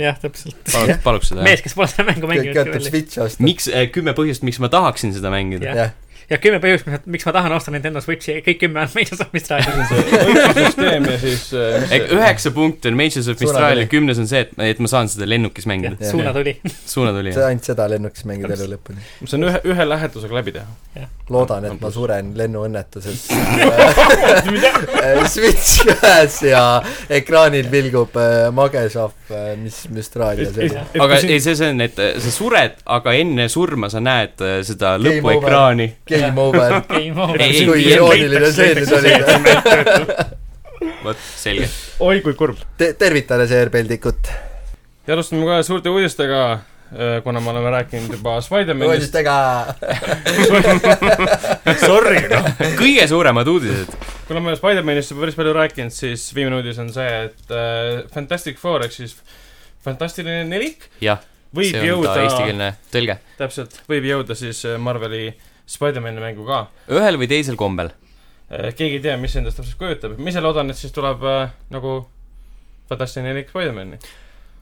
Speaker 3: jah , täpselt .
Speaker 1: paluks , paluks seda
Speaker 3: mees
Speaker 1: jah .
Speaker 3: kes pole seda mängu
Speaker 2: kõik
Speaker 3: mänginud
Speaker 2: jätab . Switchi osta .
Speaker 1: miks , kümme põhjust , miks ma tahaksin seda mängida .
Speaker 2: jah ,
Speaker 3: ja kümme põhjust , miks ma tahan osta Nintendo Switchi , kõik kümme on meie saamist rääkinud .
Speaker 4: õigussüsteem ja siis äh, mis see-
Speaker 1: üheksa punkti on Mages of Mistralia , kümnes on see , et , et ma saan seda lennukis mängida .
Speaker 2: Jah.
Speaker 3: suuna tuli .
Speaker 1: suunatuli
Speaker 2: sa
Speaker 1: jah .
Speaker 2: ainult seda lennukis mängid elu lõpuni .
Speaker 4: see on ühe , ühe lähetusega läbi teha .
Speaker 2: loodan , et ma suren lennuõnnetuses Äh, Switch ühes ja ekraanil vilgub äh, magesahv , mis Mistraalias oli .
Speaker 1: aga ei , see , see on , et äh, sa sured , aga enne surma sa näed äh, seda
Speaker 2: Game
Speaker 1: lõpuekraani .
Speaker 2: Game over .
Speaker 3: Game
Speaker 1: Ei, ei,
Speaker 3: over .
Speaker 2: kui
Speaker 1: ei,
Speaker 2: irooniline see nüüd oli .
Speaker 1: vot , selge .
Speaker 4: oi kui kurb .
Speaker 2: tervitame seerpeldikut .
Speaker 4: ja alustame kohe suurte uudistega , kuna me oleme rääkinud juba Spider-manist .
Speaker 2: uudistega .
Speaker 4: Sorry , noh .
Speaker 1: kõige suuremad uudised .
Speaker 4: kuna me oleme Spider-manist juba päris palju rääkinud , siis viimane uudis on see , et äh, Fantastic Four ehk siis fantastiline nelik
Speaker 1: jah ,
Speaker 4: võib
Speaker 1: see on
Speaker 4: jõuda
Speaker 1: ta , eestikeelne tõlge .
Speaker 4: täpselt , võib jõuda siis äh, Marveli Spider-man'i mängu ka .
Speaker 1: ühel või teisel kombel .
Speaker 4: keegi ei tea , mis see endast täpselt kujutab , ma ise loodan , et siis tuleb äh, nagu fantastiline nelik Spider-man'i .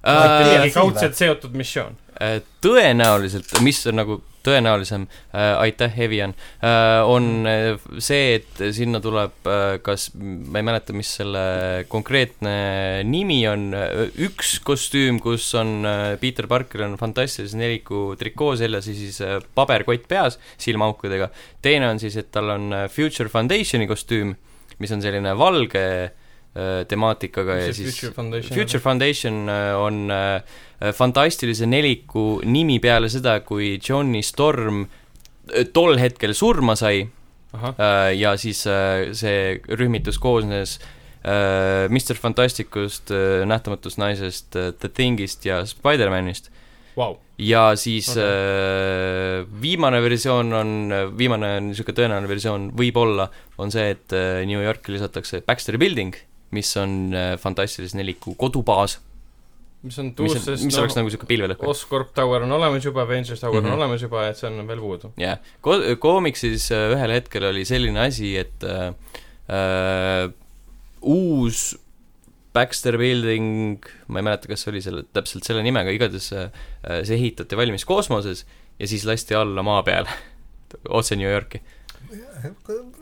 Speaker 2: Äh,
Speaker 4: mingi
Speaker 2: siin või?
Speaker 4: kaudselt seotud missioon .
Speaker 1: Äh, tõenäoliselt , mis on nagu tõenäolisem äh, , aitäh , Evian äh, , on äh, see , et sinna tuleb äh, kas , ma ei mäleta , mis selle konkreetne nimi on , üks kostüüm , kus on äh, Peter Parkeril on fantastilise neliku trikoo seljas ja siis äh, paberkott peas silmaaukudega . teine on siis , et tal on äh, Future Foundationi kostüüm , mis on selline valge äh, temaatikega ja siis
Speaker 4: Future Foundation .
Speaker 1: Future Foundation äh, on äh, fantastilise neliku nimi peale seda , kui Johnny Storm äh, tol hetkel surma sai
Speaker 4: ahah ,
Speaker 1: äh, ja siis äh, see rühmitus koosnes äh, Mr Fantasticust , Nähtamatust naisest , The Thingist ja Spider-manist
Speaker 4: vau .
Speaker 1: ja siis
Speaker 4: Okei.
Speaker 1: okay. viimane versioon on , viimane niisugune tõenäoline versioon võib-olla on see , et äh, New Yorki lisatakse Baxteri Building , mis on äh, fantastilise neliku kodubaas ,
Speaker 4: mis on
Speaker 1: mis, on,
Speaker 4: tuusest ,
Speaker 1: mis oleks nagu niisugune pilvelõhk .
Speaker 4: Oscorp Tower on olemas juba , Avengers Tower mm -hmm.
Speaker 1: Mhm.
Speaker 4: on olemas juba , et see on veel puudu .
Speaker 1: jah , ko- , koomiksis äh, ühel hetkel oli selline asi , et äh, äh, uus Baxter Building , ma ei mäleta , kas see oli selle , täpselt selle nimega , igatahes äh, äh, see ehitati valmis kosmoses ja siis lasti alla maa peale otse New Yorki .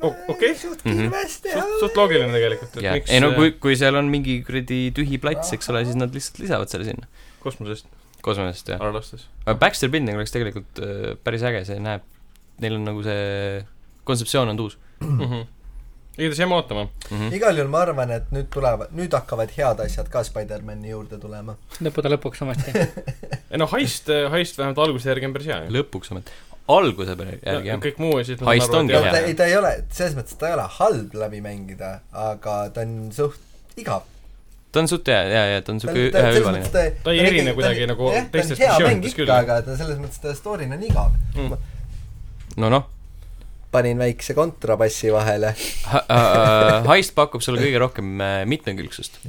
Speaker 4: O- okei.
Speaker 2: suht
Speaker 1: Mhm.
Speaker 2: kiiresti
Speaker 4: suht , suht loogiline tegelikult , et
Speaker 1: ja ,
Speaker 4: miks
Speaker 1: ei no kui , kui seal on mingi kuradi tühi plats , eks ole , siis nad lihtsalt lisavad selle sinna ,
Speaker 4: äh, kosmosest
Speaker 1: kosmosest jah .
Speaker 4: alustas .
Speaker 1: aga Baxter Building oleks tegelikult äh, päris äge , see näeb , neil on nagu see kontseptsioon on uus
Speaker 4: Mhm. igatahes jääme ootama .
Speaker 1: mm . -hmm.
Speaker 2: igal juhul ma arvan , et nüüd tulevad , nüüd hakkavad head asjad ka Spider-mani juurde tulema .
Speaker 3: lõppude lõpuks ometi .
Speaker 4: ei Eh, no heist , heist vähemalt alguse järgi on päris hea ju .
Speaker 1: lõpuks ometi , alguse peale järgi jah .
Speaker 4: kõik muu ja siis
Speaker 1: Heist ongi
Speaker 2: no
Speaker 1: hea.
Speaker 2: ta ei , ta ei ole , selles mõttes ta ei ole halb läbi mängida , aga ta on suht igav .
Speaker 1: ta on suht hea , ja , ja ta on
Speaker 2: ta
Speaker 1: siuke üheülbaline .
Speaker 4: Ta ei erine kuidagi nagu teistest versioonidest küll.
Speaker 2: küll . aga ta selles mõttes , ta story'na on igav .
Speaker 4: Mm.
Speaker 1: no noh ,
Speaker 2: panin väikse kontrabassi vahele .
Speaker 1: äh, Heist pakub sulle kõige rohkem äh, mitmekülgsust .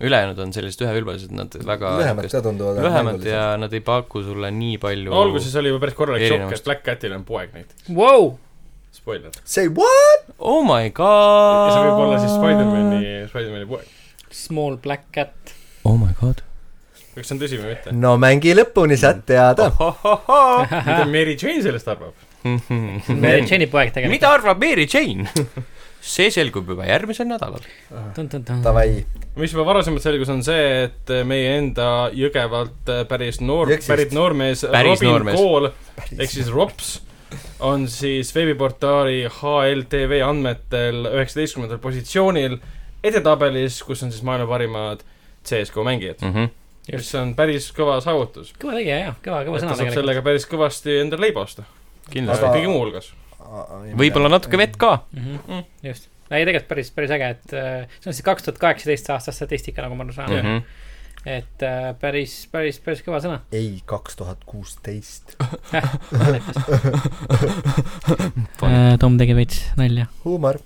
Speaker 1: ülejäänud on sellised üheülbalised , nad väga
Speaker 2: lühemad ka tunduvad .
Speaker 1: lühemad ja . nad ei paku sulle nii palju
Speaker 4: alguses oli juba päris korralik šokk ,
Speaker 1: Erinevust.
Speaker 4: et Black Catil on poeg näiteks .
Speaker 3: Vau ,
Speaker 4: Spoiler .
Speaker 2: Say what ?
Speaker 1: oh my
Speaker 4: ja
Speaker 1: god .
Speaker 4: see võib olla siis Spider-mani , Spider-mani poeg .
Speaker 3: small black cat .
Speaker 1: oh my god .
Speaker 4: kas see on tõsi või mitte ?
Speaker 2: no mängi lõpuni , saad
Speaker 4: Mm.
Speaker 2: teada .
Speaker 4: mida Mary Jane sellest arvab ?
Speaker 3: Mary Jane'i poeg tegelikult .
Speaker 1: Mhm. mida arvab Mary Jane ? see selgub juba järgmisel nädalal .
Speaker 2: Davai ,
Speaker 4: mis juba varasemalt selgus , on see , et meie enda Jõgevalt äh, päris noor ,
Speaker 2: Jõksist.
Speaker 4: pärit noormees
Speaker 1: Päris
Speaker 4: Robin
Speaker 1: noormees.
Speaker 4: Kool ehk siis Rops on siis veebiportaali HLTV andmetel üheksateistkümnendal positsioonil edetabelis , kus on siis maailma parimad CSGO mängijad ,
Speaker 1: Mhm.
Speaker 4: mis on päris kõva saavutus .
Speaker 3: kõva tegija jah , kõva , kõva
Speaker 4: et ta
Speaker 3: sõna
Speaker 4: saab
Speaker 3: tegelikult .
Speaker 4: sellega päris kõvasti endale leiba osta ,
Speaker 1: kindlasti .
Speaker 2: Aga-
Speaker 4: kõige muu hulgas .
Speaker 1: võib-olla natuke vett ka .
Speaker 3: Mhm.
Speaker 4: Mm.
Speaker 3: just , ei tegelikult päris , päris äge , et äh, see on siis kaks tuhat kaheksateist aasta statistika , nagu ma aru
Speaker 1: Mhm.
Speaker 3: saan . et äh, päris , päris , päris kõva sõna .
Speaker 2: ei , kaks tuhat kuusteist .
Speaker 3: Äh, Tom tegi veits nalja .
Speaker 2: huumor .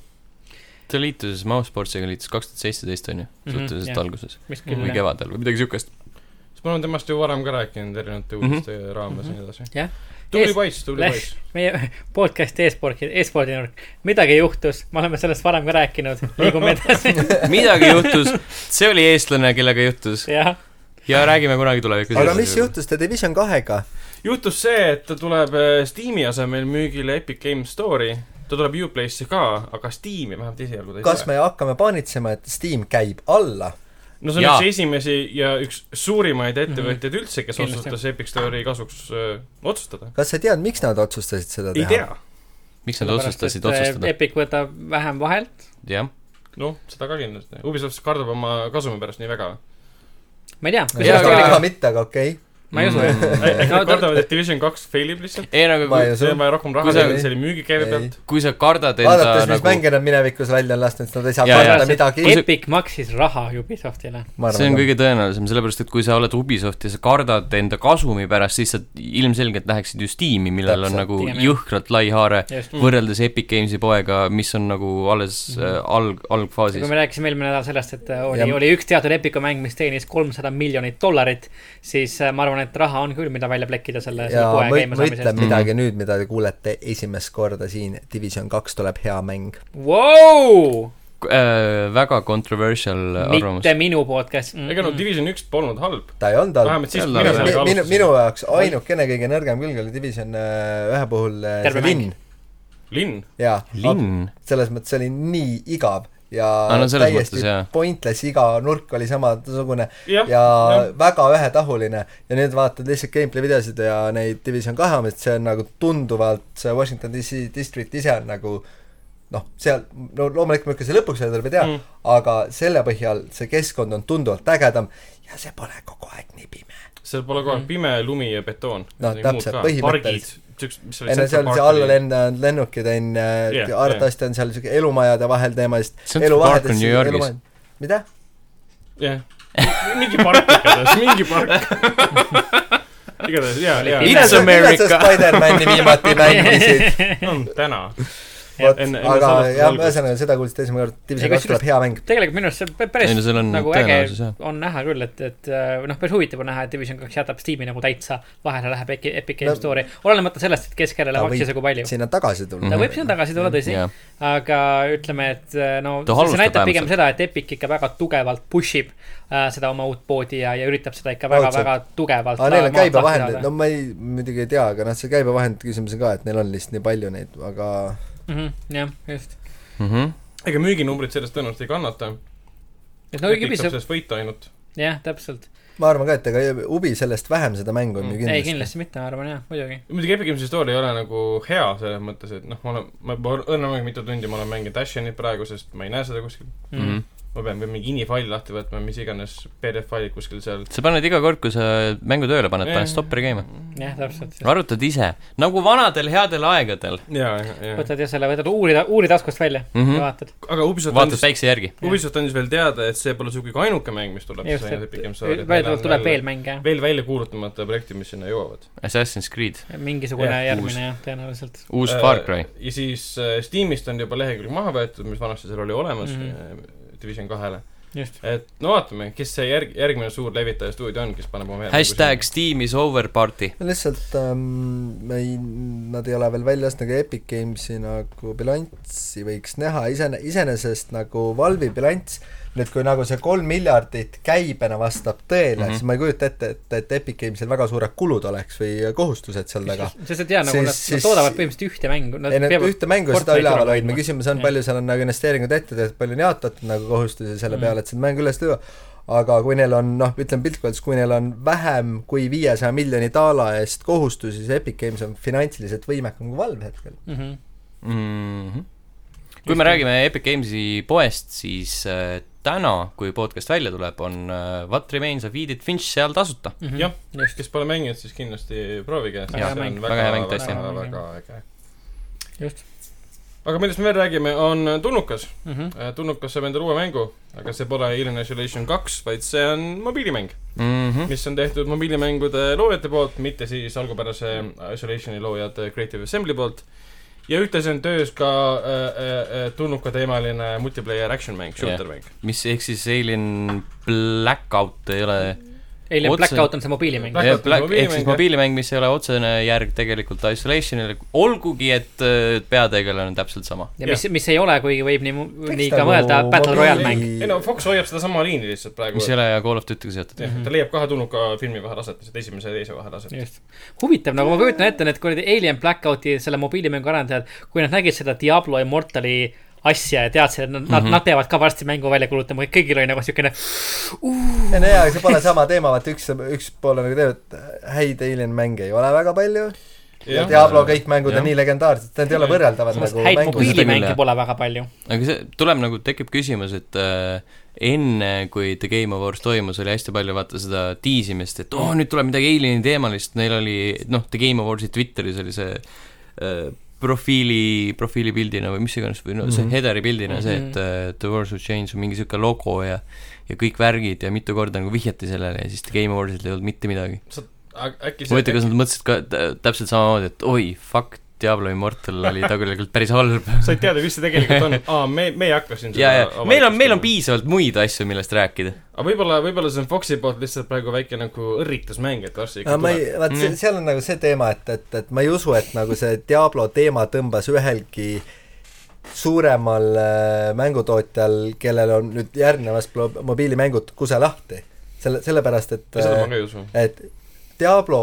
Speaker 1: ta liitus Mousesportsiga liitus kaks tuhat seitseteist on ju ,
Speaker 3: Mhm,
Speaker 1: suhteliselt
Speaker 3: jah.
Speaker 1: alguses
Speaker 3: mis
Speaker 1: või
Speaker 3: küll ,
Speaker 1: kevadel või midagi siukest .
Speaker 4: sest ma olen temast ju varem ka rääkinud erinevate
Speaker 1: Mhm.
Speaker 4: uudiste raames ja nii edasi .
Speaker 3: Jah.
Speaker 4: tubli
Speaker 3: Mhm. Ees-
Speaker 4: poiss , tubli
Speaker 3: Läh-
Speaker 4: poiss .
Speaker 3: meie podcast'i e-spordi , e-spordi nurk , midagi juhtus , me oleme sellest varem ka rääkinud , liigume edasi ,
Speaker 1: midagi juhtus , see oli eestlane , kellega juhtus
Speaker 3: jah .
Speaker 1: ja räägime kunagi tulevikus .
Speaker 2: aga mis ? juhtus The Division kahega ?
Speaker 4: juhtus see , et ta tuleb äh, Steam'i asemel müügile Epic Games Store'i , ta tuleb Uplay'sse ka , aga Steam'i vähemalt esialgu ta ei
Speaker 2: kas
Speaker 4: tule .
Speaker 2: me hakkame paanitsema , et Steam käib alla ?
Speaker 4: no see on
Speaker 1: Jaa.
Speaker 4: üks esimesi ja üks suurimaid ettevõtjaid üldse , kes
Speaker 3: Kindlasti.
Speaker 4: otsustas Epic Store'i kasuks öö, otsustada .
Speaker 2: kas sa tead , miks nad otsustasid seda
Speaker 4: ei
Speaker 2: teha ?
Speaker 4: tea ,
Speaker 1: miks nad otsustasid otsustada ?
Speaker 3: äh, Epic võtab vähem vahelt ,
Speaker 1: jah ,
Speaker 4: noh , seda ka kindlasti . Ubisoft kardab oma kasumi pärast nii väga .
Speaker 3: ma ei tea .
Speaker 1: Jaa,
Speaker 2: seda
Speaker 1: aga-
Speaker 2: ka mitte , aga okei okay. .
Speaker 3: ma ei usu jah .
Speaker 4: äkki
Speaker 3: No
Speaker 4: nad
Speaker 3: ta-
Speaker 4: kardavad , et Division kaks fail ib lihtsalt ?
Speaker 1: ei no aga
Speaker 2: ma ei
Speaker 1: kui ,
Speaker 2: usu
Speaker 4: see . on vaja
Speaker 1: Kui
Speaker 4: rohkem raha
Speaker 1: sa-
Speaker 4: teha selle müügikäibe
Speaker 2: ei.
Speaker 4: pealt .
Speaker 1: kui sa kardad enda
Speaker 2: vaadates , mis nagu...
Speaker 1: nagu ,
Speaker 2: mänge nad minevikus välja on lasknud , siis nad ei saa
Speaker 1: Jaa,
Speaker 2: karta
Speaker 1: jaa.
Speaker 2: midagi .
Speaker 3: Epic maksis raha Ubisoftile .
Speaker 1: see on kõige tõenäolisem , sellepärast et kui sa oled Ubisoft ja sa kardad enda kasumi pärast , siis sa ilmselgelt läheksid ju Steam'i , millel on
Speaker 2: Täpselt.
Speaker 1: nagu
Speaker 3: Pigem jah.
Speaker 1: jõhkralt lai haare
Speaker 3: just .
Speaker 1: võrreldes Epic Games'i poega , mis on nagu alles äh, alg ,
Speaker 3: kui
Speaker 1: algfaasis .
Speaker 3: Mhm. me rääkisime eelmine nädal sellest , et äh, oli
Speaker 2: Ja- ,
Speaker 3: oli üks teatud Epicu mäng , mis teenis kolmsada miljonit dollarit , siis äh, ma arvan , et raha on küll , mida välja plekkida selle , selle
Speaker 2: ja
Speaker 3: poe
Speaker 2: ma
Speaker 3: käima
Speaker 2: ma
Speaker 1: Mm.
Speaker 3: saamise
Speaker 2: ütlen
Speaker 3: eest .
Speaker 2: midagi nüüd , mida te kuulete esimest korda siin , Division kaks tuleb hea mäng .
Speaker 3: Vau ,
Speaker 1: äh, väga controversial Äh, arvamus
Speaker 3: mitte . minu podcast mm .
Speaker 4: ega no Division üks polnud halb .
Speaker 2: ta ei olnud halb .
Speaker 4: vähemalt siis ,
Speaker 1: Jälle
Speaker 4: kui mina
Speaker 1: halb.
Speaker 4: sellega
Speaker 2: minu , minu,
Speaker 4: alustasin
Speaker 2: minu . jaoks ainukene kõige nõrgem külg oli Division äh, ühe puhul äh,
Speaker 3: Terve
Speaker 2: see
Speaker 3: mäng.
Speaker 2: linn .
Speaker 4: linn .
Speaker 2: jaa .
Speaker 1: linn .
Speaker 2: selles mõttes see oli nii igav ja
Speaker 1: Ah, no selles
Speaker 2: täiesti
Speaker 1: mõttes, jah.
Speaker 2: pointless , iga nurk oli samasugune
Speaker 4: Jah,
Speaker 2: ja
Speaker 4: jah.
Speaker 2: väga ühetahuline ja nüüd vaatad lihtsalt gameplay videosid ja neid Division kahe omasid , see on nagu tunduvalt , see Washington DC district ise on nagu noh , seal , no loomulikult ma ikka selle lõpuks öelda ei tea mm.
Speaker 4: Mm. ,
Speaker 2: aga selle põhjal see keskkond on tunduvalt ägedam ja see pole kogu aeg nii pime .
Speaker 4: seal pole kogu aeg pime , lumi ja betoon .
Speaker 2: No täpselt,
Speaker 4: pargid
Speaker 2: põhimõtteliselt. ,
Speaker 4: siuksed , mis
Speaker 2: ei no
Speaker 4: olid
Speaker 2: seal on see allalennanud lennukid on ju
Speaker 4: Jah, ,
Speaker 2: arvatavasti on seal niisugune elumajade vahel teemast .
Speaker 1: Central Park on New Yorgis.
Speaker 2: mida ?
Speaker 4: jah . mingi park igatahes , mingi park . igatahes jaa , jaa .
Speaker 3: Pime-
Speaker 1: It's
Speaker 2: millal sa- millal sa
Speaker 1: America.
Speaker 2: Spider-mani viimati mängisid ?
Speaker 4: täna .
Speaker 2: vot ,
Speaker 4: Enne- enne
Speaker 2: aga
Speaker 4: salvestuse
Speaker 2: jah ,
Speaker 4: algust.
Speaker 2: ühesõnaga seda kuulsite esimene kord , Division
Speaker 3: Ega
Speaker 2: kaks tuleb hea mäng .
Speaker 3: tegelikult minu arust see pä- päris
Speaker 1: Ei no seal on
Speaker 3: nagu äge
Speaker 1: tõenäosus, jah.
Speaker 3: on näha küll , et , et äh, noh , päris huvitav on näha , et Division kaks jätab Steam'i nagu täitsa vahele , läheb Epic , Epic Game
Speaker 2: No-
Speaker 3: Store'i , olenemata sellest , et kes kellele
Speaker 2: Ta
Speaker 3: maksis ja kui palju .
Speaker 2: sinna tagasi tulla
Speaker 3: ta võib sinna tagasi tulla , tõsi ,
Speaker 1: jah ,
Speaker 3: aga ütleme , et äh, no
Speaker 1: Ta
Speaker 3: see
Speaker 1: halvustab
Speaker 3: näitab pigem
Speaker 1: äärmiselt.
Speaker 3: seda , et Epic ikka väga tugevalt push ib äh, seda oma uut poodi ja , ja üritab seda ikka väga ,
Speaker 2: Raudselt.
Speaker 3: väga tugevalt .
Speaker 2: aga neil on käibevahendid , no ma ei , muidugi ei tea , aga noh , see käibevahendite küsimus on ka , et neil on lihtsalt nii palju neid , aga
Speaker 3: Mhm, jah , just .
Speaker 1: Mhm.
Speaker 4: ega müüginumbrid sellest tõenäoliselt ei kannata .
Speaker 3: et no
Speaker 4: Epic saab
Speaker 3: Ubisoft ,
Speaker 4: sellest võita ainult .
Speaker 3: jah , täpselt .
Speaker 2: ma arvan ka , et ega Ubi sellest vähem seda mängu on ju
Speaker 3: Mm. ei ,
Speaker 2: kindlasti .
Speaker 3: kindlasti mitte , ma arvan jah , muidugi .
Speaker 4: muidugi Epic Games'i story ei ole nagu hea selles mõttes , et noh , ma olen , ma ma õnnemäng mitu tundi , ma olen mänginud Ashenit praegu , sest ma ei näe seda kuskil .
Speaker 3: Mhm.
Speaker 1: Mhm.
Speaker 4: ma pean veel mingi ini-faili lahti võtma , mis iganes PDF-failid kuskil seal .
Speaker 1: sa paned iga kord , kui sa mängu tööle paned , paned stopperi käima .
Speaker 3: jah , täpselt .
Speaker 1: arutad ise , nagu vanadel headel aegadel .
Speaker 4: jaa , jaa , jaa .
Speaker 3: võtad ja selle , võtad uuri , uuri taskust välja mm
Speaker 1: Mhm.
Speaker 3: -hmm. ja vaatad .
Speaker 4: aga Ubisoft
Speaker 1: vaatad
Speaker 4: andis ,
Speaker 1: päikse järgi .
Speaker 4: Ubisoft andis veel teada , et see pole sugugi ainuke mäng , mis tuleb .
Speaker 3: just , et väidetavalt tuleb veel mänge ,
Speaker 4: veel välja kuulutamata projektid , mis sinna jõuavad .
Speaker 1: Assassin's Creed ,
Speaker 3: mingisugune
Speaker 4: jah,
Speaker 1: uus.
Speaker 3: järgmine jah , tõenäoliselt .
Speaker 1: uus
Speaker 4: Äh,
Speaker 1: Far Cry .
Speaker 4: ja siis äh, Steamist on juba lehekülg maha võetud , mis vanasti seal oli olemas mm ,
Speaker 3: Mhm.
Speaker 4: -hmm. Division kahele .
Speaker 3: just ,
Speaker 4: et no vaatame , kes see järg , järgmine suur levitaja stuudio on , kes paneb oma
Speaker 1: hashtag Steam is over party .
Speaker 2: lihtsalt ähm, me ei , nad ei ole veel välja lasknud , aga Epic Games'i nagu bilanssi võiks näha , isene- , iseenesest nagu Valve'i bilanss , nüüd kui nagu see kolm miljardit käibena vastab tõele mm ,
Speaker 1: Mhm.
Speaker 2: -hmm. siis ma ei kujuta ette , et , et Epic Games'il väga suured kulud oleks või kohustused seal taga .
Speaker 3: sest et jaa , nagu
Speaker 2: Siis-
Speaker 3: nad, nad
Speaker 2: siis-
Speaker 3: toodavad põhimõtteliselt ühte mängu , nad
Speaker 2: ei no
Speaker 3: peavad
Speaker 2: ühte mängu seda
Speaker 3: Fortnite'i
Speaker 2: üleval
Speaker 3: üleval
Speaker 2: hoidma ,
Speaker 3: hoidma.
Speaker 2: küsimus on ,
Speaker 3: Jah.
Speaker 2: palju seal on nagu investeeringud ette tehtud , palju on jaotatud nagu kohustusi selle
Speaker 3: Mm.
Speaker 2: peale , et seda mängu üles tuua , aga kui neil on noh , ütleme piltlikult öeldes , kui neil on vähem kui viiesaja miljoni daala eest kohustusi , siis Epic Games on finantsiliselt võimekam kui Valve hetkel .
Speaker 3: mm . -hmm.
Speaker 1: Mhm. kui me räägime Epic Games'i poest , siis äh, täna , kui podcast välja tuleb , on äh, What Remains of Edith Finch seal tasuta .
Speaker 3: Mm -hmm.
Speaker 4: Jah.
Speaker 3: just ,
Speaker 4: kes pole mänginud , siis kindlasti proovige .
Speaker 3: Väga hea mäng.
Speaker 1: Väga hea mäng tõesti.
Speaker 4: väga , väga äge .
Speaker 3: just
Speaker 4: aga millest me veel räägime , on Tulnukas .
Speaker 3: mm . -hmm.
Speaker 4: tulnukas saab endale uue mängu , aga see pole Alien Isolation kaks , vaid see on mobiilimäng , mis on tehtud mobiilimängude loojate poolt , mitte siis algupärase Isolationi loojad Creative Assembly poolt . ja ühtlasi on töös ka äh, äh, tulnuka teemaline multiplayer action mäng , shooter mäng .
Speaker 1: mis ehk siis Alien Blackout ei ole
Speaker 3: Alien
Speaker 1: Otse-
Speaker 3: Otse... Blackout on see mobiilimäng
Speaker 4: Blackout-
Speaker 3: Black... .
Speaker 1: jah, Eh, Black, ehk
Speaker 4: mobiilimäng,
Speaker 1: siis
Speaker 4: jah.
Speaker 1: mobiilimäng , mis ei ole otsene järg tegelikult Isolationile , olgugi et äh, peategelane on täpselt sama .
Speaker 3: ja mis , mis ei ole , kuigi võib nii , nii
Speaker 2: ta
Speaker 3: ka mõelda ,
Speaker 2: nagu
Speaker 3: Battle Royale
Speaker 2: mobiili-
Speaker 3: mäng .
Speaker 4: ei no Fox hoiab sedasama liini lihtsalt praegu .
Speaker 1: mis ei ole Call of Duty'ga seotud .
Speaker 4: jah , ta leiab kahe tulnuka filmi vahel aset , lihtsalt esimese ja teise vahel aset .
Speaker 3: just , huvitav , nagu ma kujutan ette , need kuradi Alien Blackouti selle mobiilimängu arendajad , kui nad nägid seda Diablo Immortali asja ja teadsid , et nad mm ,
Speaker 2: Mhm.
Speaker 3: -hmm. nad peavad ka varsti mängu välja kuulutama , kõigil oli nagu siukene
Speaker 2: ei no jaa , see pole sama teema , vaata üks , üks pool on nagu teab , et häid Alien mänge ei ole väga palju ja Diablo kõik mängud
Speaker 1: Jah.
Speaker 2: on nii legendaarsed , need ei ole võrreldavad
Speaker 3: samas
Speaker 2: nagu
Speaker 3: häid
Speaker 2: mängud .
Speaker 3: mobiilimänge
Speaker 1: Seda küll,
Speaker 3: pole väga palju .
Speaker 1: aga see tuleb nagu , tekib küsimus , et äh, enne , kui The Game Awards toimus , oli hästi palju vaata seda tiisimist , et oo , nüüd tuleb midagi alieni teemalist , neil oli noh , The Game Awardsi Twitteris oli see äh, profiili , profiilipildina või mis iganes või no see mm
Speaker 2: Mhm.
Speaker 1: -hmm. headeri pildina see ,
Speaker 3: Mhm.
Speaker 1: et äh, The Wars Will Change on mingi siuke logo ja ja kõik värgid ja mitu korda nagu vihjati sellele ja siis The Game Awardsil ei olnud mitte midagi .
Speaker 4: äkki
Speaker 1: ma ei tea ,
Speaker 4: see ,
Speaker 1: kas nad mõtlesid ka tä- täpselt samamoodi , et oi , fuck , Diablo Immortal oli tegelikult päris halb
Speaker 4: sa ei teada , mis see tegelikult on . aa , me , me ei hakka siin
Speaker 1: ja , ja meil on , meil on . piisavalt muid asju , millest rääkida .
Speaker 4: aga võib-olla , võib-olla see on Foxi poolt lihtsalt praegu väike nagu õrritusmäng , et varsti ikka
Speaker 2: aga ma ei
Speaker 4: tuleb .,
Speaker 2: vaat see , seal on nagu see teema , et , et , et ma ei usu , et nagu see Diablo teema tõmbas ühelgi suuremal äh, mängutootjal , kellel on nüüd järgnevas plo- mobiilimängud kuse lahti . selle , sellepärast , et äh,
Speaker 4: ja seda ma ka ei usu .
Speaker 2: et Diablo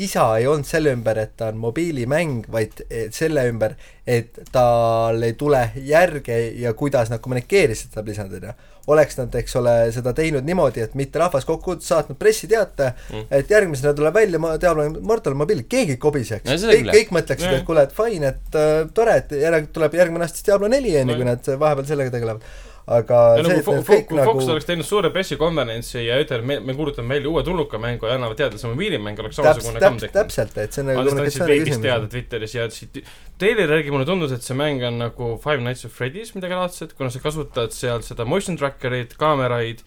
Speaker 2: kisa ei olnud selle ümber , et ta on mobiilimäng , vaid et selle ümber , et tal ei tule järge ja kuidas nad kommunikeerisid seda Blizzardit ja oleks nad , eks ole , seda teinud niimoodi , et mitte rahvas kokku saatnud pressiteate mm.
Speaker 4: Mm. ,
Speaker 2: et järgmisena tuleb välja ma- Diablo Mortal Mobiil , keegi ei kobiseks
Speaker 1: No seda
Speaker 2: kõik ,
Speaker 1: küll, jah.
Speaker 2: kõik mõtleksid , et
Speaker 4: Jah.
Speaker 2: kuule , et fine , et äh, tore , et järg- tuleb järgmine aasta siis Diablo neli , enne kui
Speaker 4: Nojah.
Speaker 2: nad vahepeal sellega tegelevad . aga see ,
Speaker 4: ja nagu
Speaker 2: et
Speaker 4: Fo-
Speaker 2: need
Speaker 4: Fo-
Speaker 2: kõik
Speaker 4: kui Fox
Speaker 2: nagu
Speaker 4: oleks teinud suure pressikonverentsi ja ütelnud , me , me kuulutame välja uue tulnuka mängu ja annavad teada , see on mobiilimäng , oleks
Speaker 2: täpselt ,
Speaker 4: samasugune kamm
Speaker 2: täpselt ,
Speaker 4: tehtud .
Speaker 2: täpselt , et see on nagu
Speaker 4: alles andsid
Speaker 2: kommunikatsiooni
Speaker 4: veebis teada
Speaker 2: küsimus .
Speaker 4: Twitteris ja ütlesid , treileri järgi mulle tundus , et see mäng on nagu Five Nights at Freddy's midagi laadset , kuna sa kasutad seal seda motion tracker'it , kaameraid ,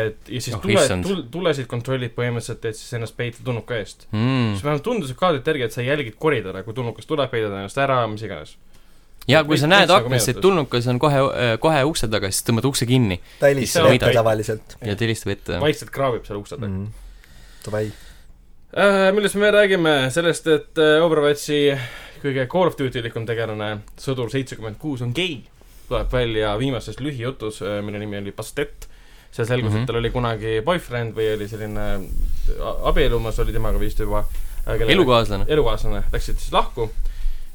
Speaker 4: et ja siis
Speaker 1: Oh,
Speaker 4: oh, tule
Speaker 1: issand. ,
Speaker 4: tulesid kontrollid põhimõtteliselt , et siis ennast peita tulnuka eest . siis
Speaker 1: mm. .
Speaker 4: vähemalt tundus kaardite järgi , et sa jälgid koridore , kui tulnukas tuleb , peidad ennast ära , mis iganes .
Speaker 1: ja kui sa
Speaker 4: Veits-
Speaker 1: näed
Speaker 4: veits nagu
Speaker 1: aknast , et
Speaker 4: meenutas.
Speaker 1: tulnukas on kohe , kohe ukse taga , siis tõmbad ukse kinni
Speaker 2: ta
Speaker 1: Issand,
Speaker 2: helistab ette
Speaker 1: mida-
Speaker 2: tavaliselt
Speaker 1: ja tilistab ette .
Speaker 4: vaikselt kraabib seal ukse taga .
Speaker 2: mm. . Davai .
Speaker 4: Äh, millest me räägime , sellest , et äh, Overwatchi kõige Call of Duty likum tegelane , sõdur seitsekümmend kuus on gei . tuleb välja viimases lühijutus , mille nimi oli Bastet . seal selgus mm , -hmm.
Speaker 1: Mhm.
Speaker 4: et tal oli kunagi boyfriend või oli selline a- abiellumas oli temaga vist juba .
Speaker 1: elukaaslane .
Speaker 4: elukaaslane , läksid siis lahku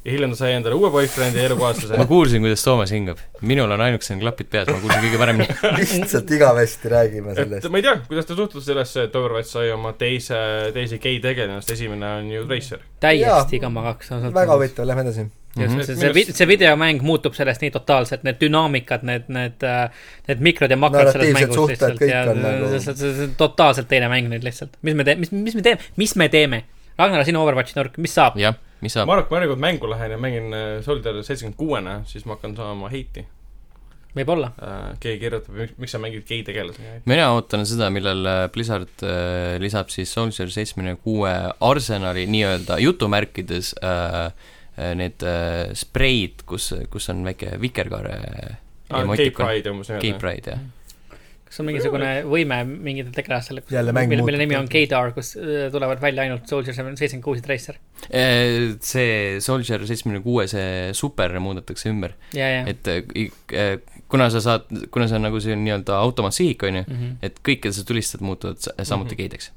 Speaker 4: ja hiljem ta sai endale uue boyfriend'i ja elukaaslase
Speaker 1: ma . kuulsin , kuidas Soomes hingab . minul on ainukesena klapid peas , ma kuulsin kõige paremini .
Speaker 2: lihtsalt igavesti räägime
Speaker 4: et
Speaker 2: sellest .
Speaker 4: ma ei tea , kuidas te suhtute sellesse , et Overwatch sai oma teise , teise gei tegelasest , esimene on ju Tracer .
Speaker 2: Jaa.
Speaker 3: täiesti kamakaks on
Speaker 2: väga . huvitav , lähme edasi .
Speaker 1: Mhm.
Speaker 3: just , see , see vid- , see videomäng muutub sellest nii totaalselt , need dünaamikad , need , need , need mikrod ja makrod selles
Speaker 2: Narratiivsed
Speaker 3: mängus
Speaker 2: suhted,
Speaker 3: lihtsalt
Speaker 2: kõik
Speaker 3: ja
Speaker 2: on nagu-
Speaker 3: see- see see on totaalselt teine mäng nüüd lihtsalt . mis me teeme , mis , mis me teeme , mis me teeme ? Ragnar , sinu Overwatchi nurk , mis saab ?
Speaker 1: jah , mis saab
Speaker 4: ma ? arvan , et kui ma järjekord mängu lähen ja mängin äh, Soldier seitsekümmend kuuena , siis ma hakkan saama heiti .
Speaker 3: võib-olla .
Speaker 4: keegi kirjutab , miks sa mängid gei tegelasega .
Speaker 1: mina ootan seda , millal äh, Blizzard äh, lisab siis Soldier seitsmekümne kuue arsenali nii-öelda jutumärkides äh, äh, need äh, spreid , kus , kus on väike vikerkaare
Speaker 4: Gay
Speaker 1: emotikon .
Speaker 4: Ah, Pride umbes
Speaker 1: Gay
Speaker 4: nimelt .
Speaker 1: Pride , jah .
Speaker 3: kas on mingisugune võime mingitel tegelastel ,
Speaker 2: Jälle mäng
Speaker 3: mille , mille
Speaker 2: muutub.
Speaker 3: nimi on Kadar , kus äh, tulevad välja ainult Soldier seitsekümmend kuus ja Tracer .
Speaker 1: Eh, See Soldier seitsmekümne kuue , see super muudetakse ümber ,
Speaker 3: ja , ja .
Speaker 1: et äh, i- äh, kuna sa saad , kuna see on nagu see nii-öelda automaatsihik , on ju ,
Speaker 3: Mhm.
Speaker 1: et kõik , keda sa tulistad , muutuvad sa- samuti
Speaker 4: Mhm.
Speaker 1: geideks .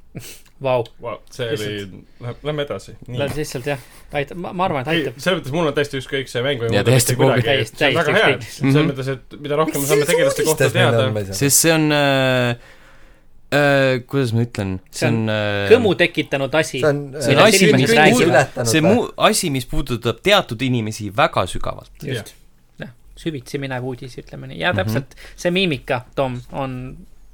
Speaker 3: Vau ,
Speaker 4: Wow, see oli , lähme edasi .
Speaker 3: lihtsalt jah , aitab , ma ma arvan , et
Speaker 4: ei ,
Speaker 3: aitab .
Speaker 4: selles mõttes mul on täiesti ükskõik , see mäng ei
Speaker 1: Ja
Speaker 4: muuda
Speaker 1: täiesti
Speaker 4: mitte midagi
Speaker 3: kogu- ,
Speaker 4: see on väga hea .
Speaker 3: täiesti
Speaker 4: selles mõttes , et mida rohkem me saame tegelaste kohta teada ,
Speaker 1: sest see on äh, , äh, kuidas ma ütlen , see on äh,
Speaker 3: kõmu tekitanud asi .
Speaker 2: see on , äh,
Speaker 1: see on
Speaker 3: Millest
Speaker 1: asi , mis
Speaker 3: inimesed räägivad.
Speaker 1: puudutab , see muu , asi , mis puudutab teatud inimesi väga sügavalt .
Speaker 3: just , jah , süvitsi minev uudis , ütleme nii , ja täpselt mm -hmm. see miimika , Tom , on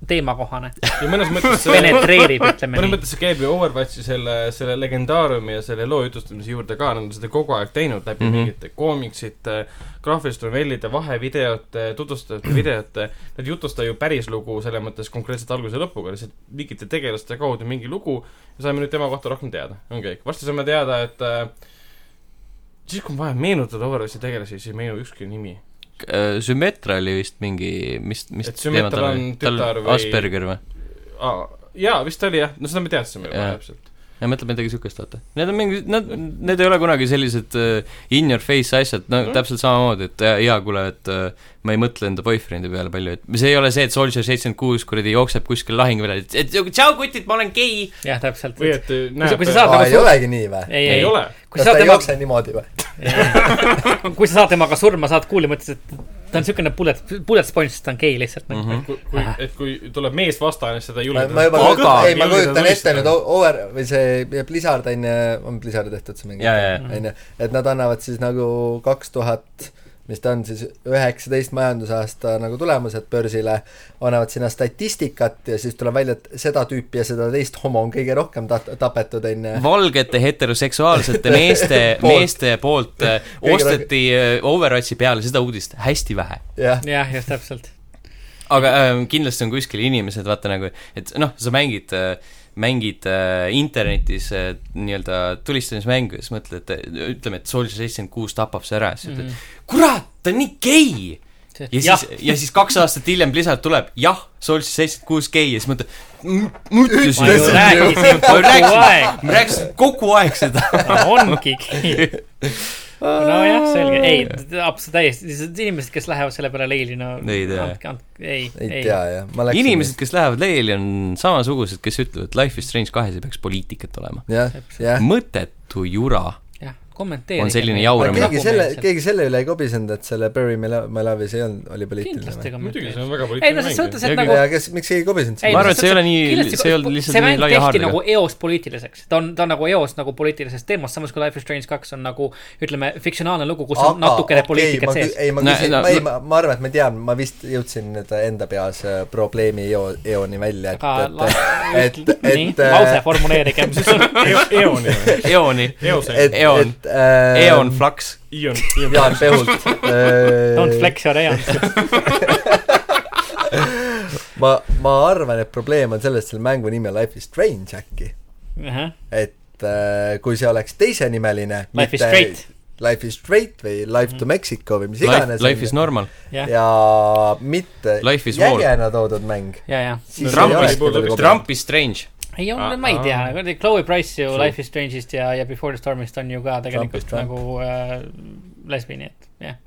Speaker 3: teemakohane ,
Speaker 4: ja mõnes mõttes see
Speaker 3: penetreerib , ütleme
Speaker 4: mõnes
Speaker 3: nii .
Speaker 4: mõttes see käib ju Overwatchi selle , selle legendaariumi ja selle loo jutustamise juurde ka , nad on seda kogu aeg teinud läbi mm
Speaker 1: Mhm.
Speaker 4: -hmm. mingite koomiksite , graafiliste novellide vahevideote , tutvustavate videote , nad ei jutusta ju päris lugu selles mõttes konkreetselt alguse ja lõpuga , lihtsalt mingite tegelaste kaudu mingi lugu ja saime nüüd tema kohta rohkem teada , on kõik . varsti saame teada , et äh, siis , kui on vaja meenutada Overwatchi tegelasi , siis ei meenu ükski nimi .
Speaker 1: Sümmetra Eh, oli vist mingi , mis , mis
Speaker 4: Et Symmetra on tütar või-
Speaker 1: Asperger või ?
Speaker 4: jaa , vist oli jah , no seda me teadsime juba
Speaker 1: Jaa.
Speaker 4: täpselt .
Speaker 1: ja mõtleb midagi siukest , vaata . Need on mingi , nad , need ei ole kunagi sellised uh, in your face asjad , no
Speaker 4: Mhm.
Speaker 1: täpselt samamoodi , et äh, jaa , kuule , et uh, ma ei mõtle enda boyfriend'i peale palju , et see ei ole see , et Soldier seitsekümmend kuus kuradi jookseb kuskil lahingu peale , et , et tšau kutid , ma olen gei .
Speaker 3: jah , täpselt .
Speaker 4: või et äh, näeb
Speaker 3: kui sa saad-
Speaker 1: nagu-
Speaker 2: aa , ei olegi nii või ?
Speaker 3: ei ,
Speaker 4: ei
Speaker 3: ei ,
Speaker 4: ole .
Speaker 3: kui
Speaker 2: kas
Speaker 3: sa
Speaker 2: ta
Speaker 3: saad
Speaker 2: ei
Speaker 3: tema ,
Speaker 2: jookse niimoodi või ?
Speaker 3: kui sa saad temaga surma , saad kuulda , mõtlesid , et ta on siukene bullet , bullet sponge , ta on gei lihtsalt mm . -hmm.
Speaker 4: kui , kui , et kui tuleb mees vastaan , siis seda ei
Speaker 2: ma
Speaker 4: julgeta .
Speaker 2: ma juba kujutan , ei ma kujutan ette nüüd
Speaker 4: oh, .
Speaker 2: over või see Blizzard on ju , on Blizzardi tehtud see mingi
Speaker 1: Jaa, jaa, jaa.
Speaker 2: on ju , et nad annavad siis nagu kaks tuhat mis ta on siis , üheksateist majandusaasta nagu tulemused börsile , annavad sinna statistikat ja siis tuleb välja , et seda tüüpi ja seda teist homo on kõige rohkem ta- , tapetud , on ju .
Speaker 1: valgete heteroseksuaalsete meeste ,
Speaker 2: Poolt.
Speaker 1: meeste poolt äh,
Speaker 2: Kõige
Speaker 1: osteti äh, Overwatchi peale seda uudist hästi vähe .
Speaker 2: jah ,
Speaker 3: jah , just täpselt .
Speaker 1: aga äh, kindlasti on kuskil inimesed , vaata nagu , et noh , sa mängid äh, mängid äh, internetis äh, nii-öelda tulistamismängu ja siis mõtled , ütleme , et Soldier seitsekümmend kuus tapab see ära ja siis ütled mm. , kurat , ta on nii gei . ja
Speaker 3: Mhm. jah
Speaker 1: siis ,, ja siis kaks aastat hiljem Blizzard tuleb , jah , Soldier seitsekümmend kuus gei ja siis mõtled , ma
Speaker 3: ma ju
Speaker 1: ütlesin ,
Speaker 3: rääkisin
Speaker 1: Ma
Speaker 3: kogu
Speaker 1: rääkisin.
Speaker 3: aeg ,
Speaker 1: ma rääkisin kogu aeg seda .
Speaker 3: ongi gei . nojah , selge , ei , absoluutselt täiesti , inimesed , kes lähevad selle peale leili , no
Speaker 1: Ei tea.
Speaker 3: andke , andke , ei ,
Speaker 2: ei
Speaker 3: ei .
Speaker 2: tea jah , ma läksin
Speaker 1: inimesed , kes lähevad leili , on samasugused , kes ütlevad , et Life is Strange kahes ei peaks poliitikat olema .
Speaker 2: jah , jah .
Speaker 1: mõttetu jura
Speaker 3: jah , kommenteerige .
Speaker 1: on selline jaur
Speaker 2: aga
Speaker 1: Suurem-
Speaker 2: keegi selle , keegi selle üle ei kobisenud , et selle Bury My Lo- My Love'is ei olnud , oli poliitiline
Speaker 3: kindlasti
Speaker 2: või ?
Speaker 4: muidugi ,
Speaker 3: kommenteerige
Speaker 4: see on väga
Speaker 3: ei no
Speaker 4: poliitiline
Speaker 3: selles suhtes , et
Speaker 4: mäng .
Speaker 1: Ja
Speaker 3: nagu
Speaker 2: ja kes , miks ei kobisenud
Speaker 1: ma
Speaker 2: seda ?
Speaker 1: arvan, et see ei ole nii- see ei olnud lihtsalt nii laia haardega.
Speaker 3: nagu eos poliitiliseks , ta on , ta on nagu eos nagu poliitilisest teemast , samas kui Life is Strange kaks on nagu ütleme , fiktsionaalne lugu , kus on natukene poliitikat sees .
Speaker 2: ei , ma
Speaker 1: No,
Speaker 2: küsin ,
Speaker 1: no,
Speaker 2: ma ei ,
Speaker 1: no-
Speaker 2: ma , ma arvan , et ma tean , ma vist jõudsin nüüd enda peas äh, probleemi eo- , eoni välja ,
Speaker 3: aga
Speaker 2: et , et , et ,
Speaker 3: nii ,
Speaker 2: et , äh,
Speaker 3: lause formuleerige .
Speaker 4: Eoni ,
Speaker 1: eoni ,
Speaker 4: Eose ,
Speaker 2: et ,
Speaker 1: Eon.
Speaker 2: et äh,
Speaker 1: eon flaks .
Speaker 4: Ion ,
Speaker 2: Jaan Pehult
Speaker 3: Don't
Speaker 2: äh, .
Speaker 3: flex your eon .
Speaker 2: ma , ma arvan , et probleem on selles , selle mängu nimi on Life is Strange äkki , et äh, kui see oleks teisenimeline .
Speaker 3: Life is straight ,
Speaker 2: Life is straight või Life to Mexico või mis
Speaker 1: Life
Speaker 2: iganes .
Speaker 1: life is normal .
Speaker 3: jah , ja ,
Speaker 2: ja mitte
Speaker 1: Life is war.
Speaker 2: jägena toodud mäng .
Speaker 3: ja .
Speaker 4: Trump is-
Speaker 1: Trump is strange .
Speaker 3: ei olnud , ma ei tea , kuradi Chloe Price ju Life is Strange'ist ja , ja Before the Stormist on ju ka tegelikult
Speaker 2: Trumpist,
Speaker 3: nagu äh, lesbi , nii et jah .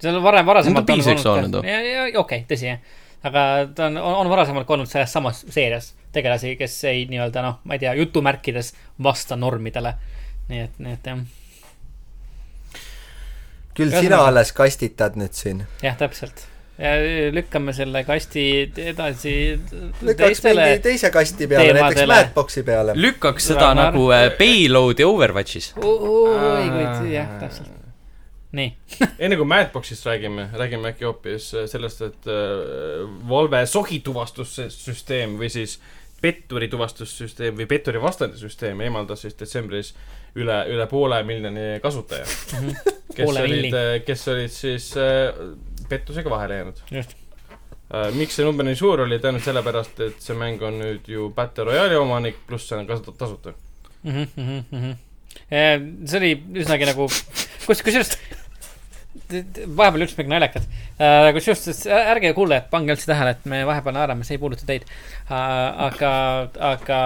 Speaker 3: seal on varem , varasemalt
Speaker 1: Ta on biseksuaalne too.
Speaker 3: okei okay, , tõsi jah . aga ta on , on varasemalt ka olnud selles samas seerias tegelasi , kes ei nii-öelda noh , ma ei tea , jutumärkides vasta normidele . nii et , nii et jah ,
Speaker 2: küll
Speaker 3: Ühesõnaga-
Speaker 2: sina alles kastitad nüüd siin .
Speaker 3: jah , täpselt . lükkame selle kasti edasi
Speaker 2: lükkaks
Speaker 3: teistele
Speaker 2: mingi teise kasti peale , näiteks
Speaker 3: teemadele.
Speaker 2: Madboxi peale .
Speaker 1: lükkaks seda
Speaker 3: Ragnar.
Speaker 1: nagu äh, payload'i Overwatchis .
Speaker 3: oi , kuid jah , täpselt . nii .
Speaker 4: enne kui Madboxist räägime , räägime äkki hoopis sellest , et äh, Valve sohituvastussüsteem või siis petturi tuvastussüsteem või petturi vastane süsteem eemaldas siis detsembris üle , üle poole miljoni kasutaja . kes
Speaker 3: Mhm. Poole
Speaker 4: olid
Speaker 3: milli. ,
Speaker 4: kes olid siis äh, pettusega vahele jäänud
Speaker 3: Just. .
Speaker 4: Äh, miks see number nii suur oli , tõenäoliselt sellepärast , et see mäng on nüüd ju Battle Royale'i omanik , pluss see on kasutatud tasuta .
Speaker 3: Mhm, mhm, mhm. Eh, see oli üsnagi nagu , kus , kusjuures t- t- vahepeal juhtus midagi naljakat . kusjuures sest ä- ärge kuulajad , pange üldse tähele , et me vahepeal naerame , see ei puuduta teid . aga , aga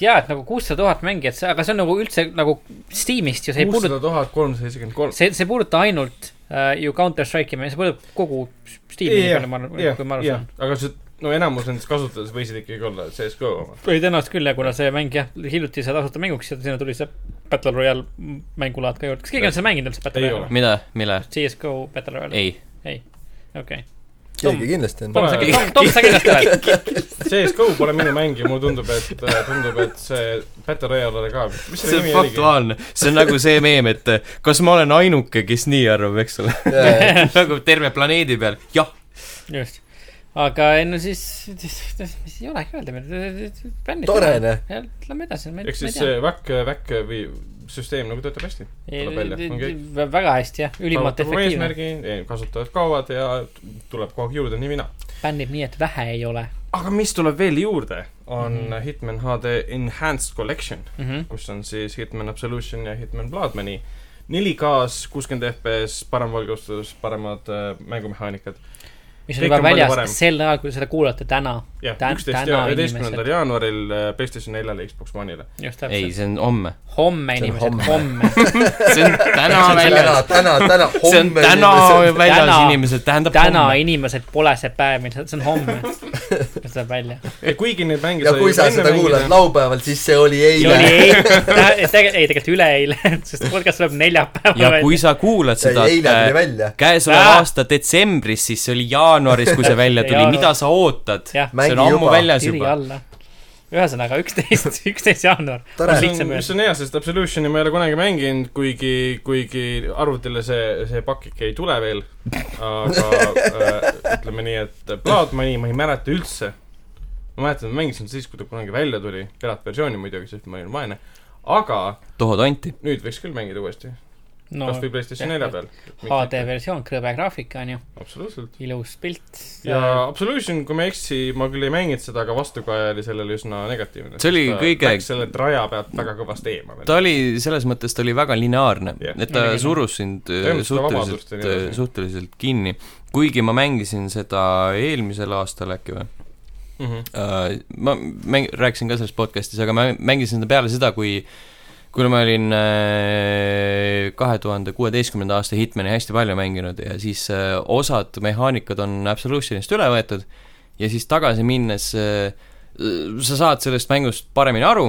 Speaker 3: jaa , et nagu kuussada tuhat mängijat , see , aga see on nagu üldse nagu Steamist ju , see ei puuduta ,
Speaker 4: kuussada tuhat kolmsada seitsekümmend kolm .
Speaker 3: see , see ei puuduta ainult äh, ju Counter Strike'i , see puudutab kogu Steam'i ,
Speaker 4: Jah,
Speaker 3: nii palju ,
Speaker 4: jah,
Speaker 3: kui ma aru
Speaker 4: jah.
Speaker 3: saan .
Speaker 4: aga see , no enamus nendest kasutajates võisid ikkagi olla CSGO oma .
Speaker 3: ei tõenäoliselt küll ja kuna see mäng jah , hiljuti sai tasuta mänguks ja sinna tuli see Battle Royale mängulaad ka juurde , kas keegi on seda mänginud üldse Battle
Speaker 4: Ei
Speaker 3: Royale'i ?
Speaker 1: mida , mille ?
Speaker 3: CSGO Battle Royale ?
Speaker 1: ei .
Speaker 3: okei .
Speaker 2: keegi kindlasti on .
Speaker 3: Tom , sa ,
Speaker 4: Pole-
Speaker 3: Tom , Tom , sa kindlasti oled .
Speaker 4: CSGO pole minu mäng ja mulle tundub , et , tundub , et see Battle Royale oli ka , mis
Speaker 1: see
Speaker 4: selle
Speaker 1: on
Speaker 4: nimi oligi ?
Speaker 1: faktuaalne , see on nagu see meem , et äh, kas ma olen ainuke , kes nii arvab , eks ole . nagu terve planeedi peal , jah .
Speaker 3: just . aga ei no siis , siis , siis mis ei olegi öelda .
Speaker 2: Tore, noh. .
Speaker 3: Lähme edasi , ma ei ,
Speaker 4: ehk
Speaker 3: ma ei
Speaker 4: siis
Speaker 3: tea
Speaker 4: see VAC , VAC või süsteem nagu töötab hästi . tuleb välja, on kõik.
Speaker 3: Ei- vä- väga hästi jah , ülimalt efektiivne .
Speaker 4: eesmärgi , kasutajad kaovad ja tuleb kogu aeg juurde , nii mina .
Speaker 3: bännib nii , et vähe ei ole
Speaker 4: aga mis tuleb veel juurde , on mm
Speaker 3: Mhm.
Speaker 4: -hmm. Hitman HD Enhanced Collection ,
Speaker 3: mm . -hmm.
Speaker 4: kus on siis Hitman Absolution ja Hitman Bloodmani 4K-s , kuuskümmend FPS , parem valgustus , paremad äh, mängumehaanikad .
Speaker 3: mis
Speaker 4: Kõik
Speaker 3: on juba
Speaker 4: on palju parem.
Speaker 3: väljas sel ajal , kui te seda kuulate täna .
Speaker 4: jah ,
Speaker 3: Tä-
Speaker 4: üksteist
Speaker 3: täna
Speaker 4: ja üheteistkümnendal
Speaker 3: inimesed.
Speaker 4: jaanuaril äh, PlayStation neljale , Xbox One'ile .
Speaker 3: just
Speaker 1: ei ,
Speaker 3: täpselt .
Speaker 1: see on homme .
Speaker 3: homme
Speaker 2: See on
Speaker 3: inimesed ,
Speaker 2: homme.
Speaker 3: homme .
Speaker 1: see on täna
Speaker 2: täna
Speaker 1: väljas .,
Speaker 2: täna , täna , homme .
Speaker 1: see on täna väljas ,
Speaker 3: Täna-
Speaker 1: inimesed , tähendab
Speaker 3: täna
Speaker 1: homme .
Speaker 3: inimesel pole see päev , mis , see on homme . see tuleb välja .
Speaker 4: ja kuigi neid mänge
Speaker 2: ja kui sa seda kuulad . laupäeval , siis see oli
Speaker 3: see oli
Speaker 2: eile .
Speaker 3: eile , tegelikult , ei tegelikult üleeile , sest podcast tuleb neljapäeval
Speaker 1: ja kui sa kuulad
Speaker 2: see
Speaker 1: seda äh,
Speaker 2: oli eile tuli välja .
Speaker 1: käesoleva
Speaker 3: Ah!
Speaker 1: aasta detsembris , siis see oli jaanuaris , kui see välja tuli ,
Speaker 3: Jaanuar.
Speaker 1: mida sa ootad ?
Speaker 3: Jah.
Speaker 1: see on
Speaker 2: Mängi
Speaker 1: ammu
Speaker 2: juba.
Speaker 1: väljas
Speaker 3: tiri
Speaker 1: juba .
Speaker 3: alla . ühesõnaga üksteist , üksteist jaanuar .
Speaker 2: Tore.
Speaker 3: on
Speaker 4: mis
Speaker 3: lihtsam
Speaker 4: on , mis
Speaker 3: öelda .
Speaker 4: on hea , sest Absolutioni ma ei ole kunagi mänginud , kuigi , kuigi arvutile see , see pakk ikka ei tule veel . aga äh, ütleme nii , et Bloodmani ma ei mäleta üldse . ma mäletan , ma mängisin siis , kui ta kunagi välja tuli , piratversiooni muidugi , sest ma olin vaene . aga
Speaker 1: tohotonti .
Speaker 4: nüüd võiks küll mängida uuesti ,
Speaker 3: no
Speaker 4: kasvõi PlayStation
Speaker 3: jah,
Speaker 4: nelja
Speaker 3: jah.
Speaker 4: peal .
Speaker 3: HD versioon , krõbe graafika on ju ,
Speaker 4: absoluutselt .
Speaker 3: ilus pilt .
Speaker 4: ja Absolution , kui ma ei eksi , ma küll ei mänginud seda , aga vastukaja oli sellele üsna negatiivne .
Speaker 1: See oli kõige-
Speaker 4: Läks selle raja pealt väga kõvasti eemale .
Speaker 1: ta oli , selles mõttes ta oli väga lineaarne
Speaker 4: Jah. ,
Speaker 1: et ta
Speaker 3: Muidugi.
Speaker 1: surus sind äh,
Speaker 4: Tõmbas seda vabadust
Speaker 1: suhteliselt äh,
Speaker 4: ja nii edasi. ,
Speaker 1: suhteliselt kinni . kuigi ma mängisin seda eelmisel aastal äkki või ? Äh,
Speaker 4: mm . -hmm.
Speaker 1: ma mäng- , rääkisin ka selles podcast'is , aga ma mängisin seda peale seda , kui kuna ma olin kahe tuhande kuueteistkümnenda aasta Hitmani hästi palju mänginud ja siis äh, osad mehaanikad on Absolutionist üle võetud ja siis tagasi minnes äh, sa saad sellest mängust paremini aru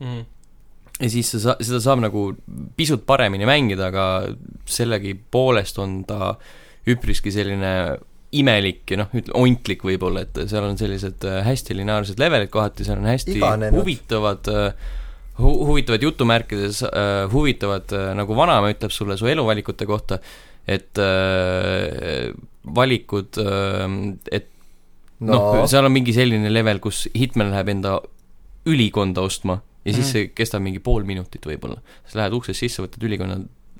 Speaker 4: mm. .
Speaker 1: ja siis sa sa- , seda saab nagu pisut paremini mängida , aga sellegipoolest on ta üpriski selline imelik ja noh , ütleme ontlik võib-olla , et seal on sellised äh, hästi lineaarsed levelid kohati , seal on hästi
Speaker 2: Iganenud.
Speaker 1: huvitavad äh, hu huvitavad jutumärkides , huvitavad äh, nagu vanaema ütleb sulle su eluvalikute kohta , et äh, valikud , et noh no, , seal on mingi selline level , kus Hitman läheb enda ülikonda ostma ja siis mm.
Speaker 3: Mhm.
Speaker 1: see kestab mingi pool minutit võib-olla . sa lähed uksest sisse , võtad ülikonna ,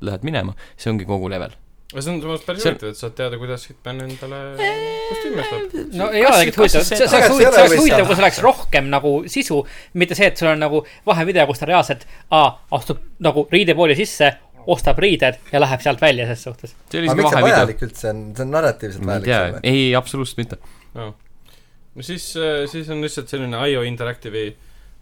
Speaker 1: lähed minema , see ongi kogu level .
Speaker 4: see on samas päris
Speaker 1: See-
Speaker 4: huvitav , et saad teada , kuidas Hitman endale kostüümestab .
Speaker 3: no ei olegi huvitav , see see oleks
Speaker 2: Kas ei
Speaker 3: huvitav ,
Speaker 2: ole
Speaker 3: see oleks
Speaker 2: või
Speaker 3: huvitav ,
Speaker 2: seda?
Speaker 3: kui sul oleks rohkem nagu sisu , mitte see , et sul on nagu vahevideo , kus ta reaalselt aa, astub nagu riidepooli sisse , ostab riided ja läheb sealt välja ses suhtes .
Speaker 1: see oli
Speaker 2: aga
Speaker 1: siuke
Speaker 2: miks see
Speaker 1: vahevideo .
Speaker 2: vajalik üldse on , see on narratiivselt
Speaker 1: ma ei
Speaker 2: vajalik
Speaker 1: tea
Speaker 2: sulle ?,
Speaker 1: ei , absoluutselt mitte .
Speaker 4: no siis , siis on lihtsalt selline IO Interactive'i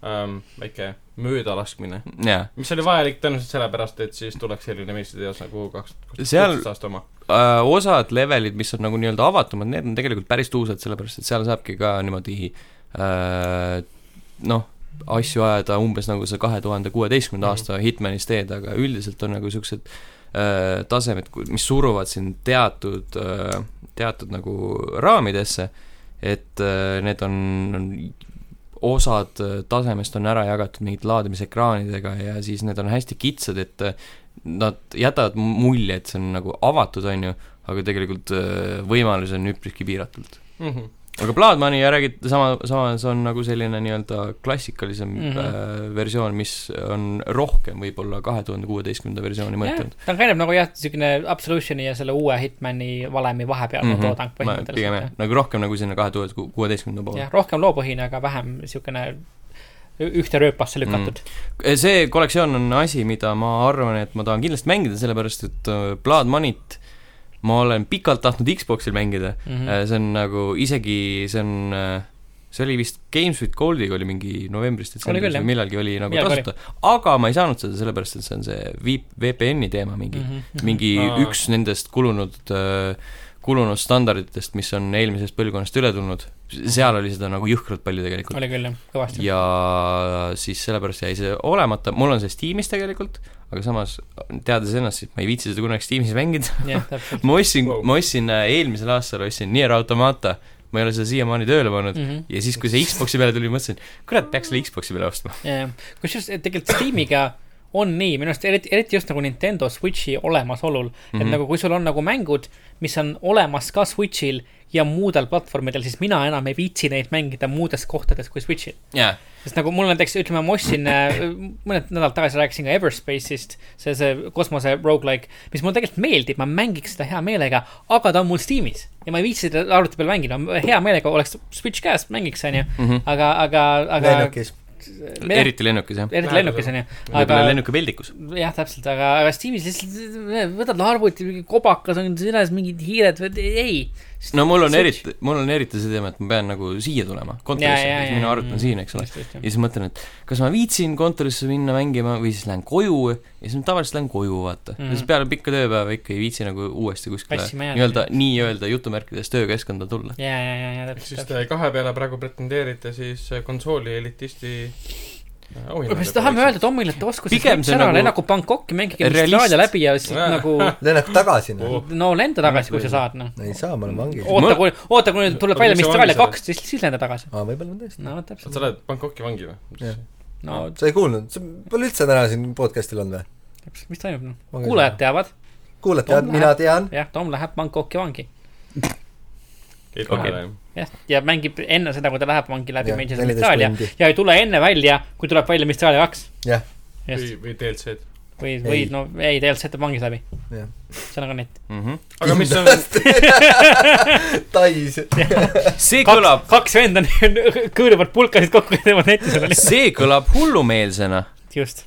Speaker 4: ähm, väike möödalaskmine ,
Speaker 1: jaa ,
Speaker 4: mis oli vajalik tõenäoliselt sellepärast , et siis tuleks selline meistriteos nagu kaks ,
Speaker 1: Seal-
Speaker 4: kuusteist aasta oma .
Speaker 1: äh, osad levelid , mis on nagu nii-öelda avatumad , need on tegelikult päris tuusad , sellepärast et seal saabki ka niimoodi äh, noh , asju ajada umbes nagu sa kahe tuhande kuueteistkümnenda
Speaker 4: Mhm.
Speaker 1: aasta Hitmanis teed , aga üldiselt on nagu siuksed äh, tasemed , mis suruvad sind teatud äh, , teatud nagu raamidesse , et äh, need on, on osad äh, tasemest on ära jagatud mingite laadimisekraanidega ja siis need on hästi kitsad , et äh, nad jätavad mulje , et see on nagu avatud , on ju , aga tegelikult äh, võimalusi on üpriski piiratult .
Speaker 4: Mm -hmm.
Speaker 1: aga Bloodmoney ja räägid sama , samas on nagu selline nii-öelda klassikalisem mm
Speaker 3: Mhm.
Speaker 1: -hmm. äh, versioon , mis on rohkem võib-olla kahe tuhande kuueteistkümnenda versiooni mõtelnud .
Speaker 3: ta on kind of nagu jah , siukene Absolutioni ja selle uue Hitmani valemi vahepealne mm -hmm. toodang
Speaker 1: Mhm. pigem jah
Speaker 3: põhimõtteliselt .,
Speaker 1: nagu rohkem nagu sinna kahe tuhande kuueteistkümnenda poole
Speaker 3: jah ,. rohkem loopõhine , aga vähem siukene ü- ühte rööpasse
Speaker 1: Mhm.
Speaker 3: lükatud mm. .
Speaker 1: Eh, see kollektsioon on asi , mida ma arvan , et ma tahan kindlasti mängida , sellepärast et äh, Bloodmoneyt ma olen pikalt tahtnud Xboxil mängida
Speaker 3: Mm -hmm.
Speaker 1: Äh, see on nagu isegi , see on , see oli vist Games with Goldiga oli mingi novembris ,
Speaker 3: Oli küll,
Speaker 1: detsembris
Speaker 3: jah.
Speaker 1: või millalgi oli nagu
Speaker 3: Millalgi
Speaker 1: tasuta , aga ma ei saanud seda sellepärast , et see on see vi- , VPN-i teema mingi ,
Speaker 3: -hmm.
Speaker 1: mingi
Speaker 4: Aa.
Speaker 1: üks nendest kulunud , kulunud standarditest , mis on eelmisest põlvkonnast üle tulnud , seal oli seda nagu jõhkralt palju tegelikult .
Speaker 3: oli küll jah , kõvasti .
Speaker 1: ja siis sellepärast jäi see olemata , mul on see Steamis tegelikult , aga samas teades ennast , siis ma ei viitsi seda kunagi Steamis mängida ,
Speaker 3: jah , täpselt
Speaker 1: ma ostsin
Speaker 4: Wow.
Speaker 1: wow. , ma ostsin äh, eelmisel aastal ostsin Nier Automata , ma ei ole seda siiamaani tööle pannud
Speaker 3: mm . -hmm.
Speaker 1: ja siis , kui see Xboxi peale tuli , mõtlesin , kurat , peaks selle Xboxi peale ostma .
Speaker 3: jah , kusjuures tegelikult Steamiga on nii , minu arust eriti , eriti just nagu Nintendo Switchi olemasolul mm , -hmm. et
Speaker 1: Mhm.
Speaker 3: nagu kui sul on nagu mängud , mis on olemas ka Switchil ja muudel platvormidel , siis mina enam ei viitsi neid mängida muudes kohtades kui Switchil .
Speaker 1: jaa ,
Speaker 3: sest nagu mul näiteks , ütleme , ma ostsin , mõned nädalad tagasi rääkisin ka Everspace'ist , see , see kosmose rogu-like , mis mulle tegelikult meeldib , ma mängiks seda hea meelega , aga ta on mul Steamis ja ma ei viitsi seda arvuti peal mängida , hea meelega oleks Switch käes , mängiks , onju , aga , aga , aga .
Speaker 2: lennukis .
Speaker 1: Mhm. eriti lennukis , jah .
Speaker 3: eriti lennukis onju , aga
Speaker 1: võib-olla lennukipeldikes .
Speaker 3: jah , täpselt , aga , aga Steamis lihtsalt äh, võtad arvuti , mingi kobakas on seljas , mingid hiired , ei .
Speaker 1: no mul on
Speaker 3: Switch.
Speaker 1: eriti , mul on eriti see teema , et ma pean nagu siia tulema ,
Speaker 3: Jaa, jaa,
Speaker 1: kontorisse ,
Speaker 3: jaa,
Speaker 1: minu arvuti
Speaker 3: mm.
Speaker 1: on siin , eks ole . ja
Speaker 3: jah ,
Speaker 1: siis mõtlen , et kas ma viitsin kontorisse minna mängima või siis lähen koju ja siis ma tavaliselt lähen koju , vaata mm .
Speaker 3: Mhm.
Speaker 1: -hmm. ja siis peale pikka tööpäeva ikka ei viitsi nagu uuesti kuskile
Speaker 3: Passima jääda,
Speaker 1: nii-öelda , nii-öelda jutumärkides töökeskkonda tulla .
Speaker 3: ja , ja , ja
Speaker 4: ehk
Speaker 3: täpselt
Speaker 4: siis . te kahe peale praegu pretendeerite siis äh, konsooli elitisti äh, auhinnale .
Speaker 3: me siis tahame öelda Tomile , et osku siis
Speaker 1: Pigem
Speaker 3: vips
Speaker 1: see
Speaker 3: ära
Speaker 1: nagu- ,
Speaker 3: lenda nagu Bangkoki , mängige
Speaker 1: Realist.
Speaker 3: Austraalia läbi ja siis
Speaker 4: Jaa.
Speaker 3: nagu ,
Speaker 2: lennab tagasi , noh .
Speaker 4: Oh.
Speaker 3: no lenda tagasi , kui sa saad , noh .
Speaker 2: ei saa , ma olen vangis .
Speaker 3: oota , kui , oota , kui nüüd tuleb välja
Speaker 4: Aga mis see
Speaker 3: Mistraalia
Speaker 4: vangi sa oled?
Speaker 3: kaks , siis , siis lenda tagasi .
Speaker 2: aa , võib-olla ma tõesti .
Speaker 3: no
Speaker 4: sa
Speaker 3: täpselt ,
Speaker 4: lähed Bangkoki vangi või
Speaker 2: Jah. ?
Speaker 3: no
Speaker 2: sa ei kuulnud , sa pole üldse täna siin podcast'il olnud või ?
Speaker 3: täpselt , mis toimub , noh . kuulajad teavad ,
Speaker 2: kuulad , tead ,
Speaker 3: Tom
Speaker 2: mina
Speaker 3: läheb-
Speaker 2: tean .
Speaker 3: jah , Tom läheb Bangkoki vangi .
Speaker 4: ei tule
Speaker 1: Okei.
Speaker 4: okay. .
Speaker 3: jah , ja mängib enne seda , kui ta läheb vangi läbi
Speaker 2: Jah,
Speaker 3: Major
Speaker 2: 14
Speaker 3: Mistraalia
Speaker 2: tundi.
Speaker 3: ja ei tule enne välja , kui tuleb välja Mistraalia kaks .
Speaker 2: jah ,
Speaker 3: just ,
Speaker 4: või , või DLC-d .
Speaker 3: või , või
Speaker 2: Ei.
Speaker 3: no ei , tegelikult sõidab vangis läbi ,
Speaker 2: jah .
Speaker 3: ühesõnaga net .
Speaker 1: Mhm.
Speaker 4: aga mis on ,
Speaker 2: Tais .
Speaker 1: see kõlab
Speaker 3: kaks , kaks venda on- kõõruvad pulkasid kokku ja teevad neti selle lihtsalt ,
Speaker 1: see kõlab hullumeelsena .
Speaker 3: just .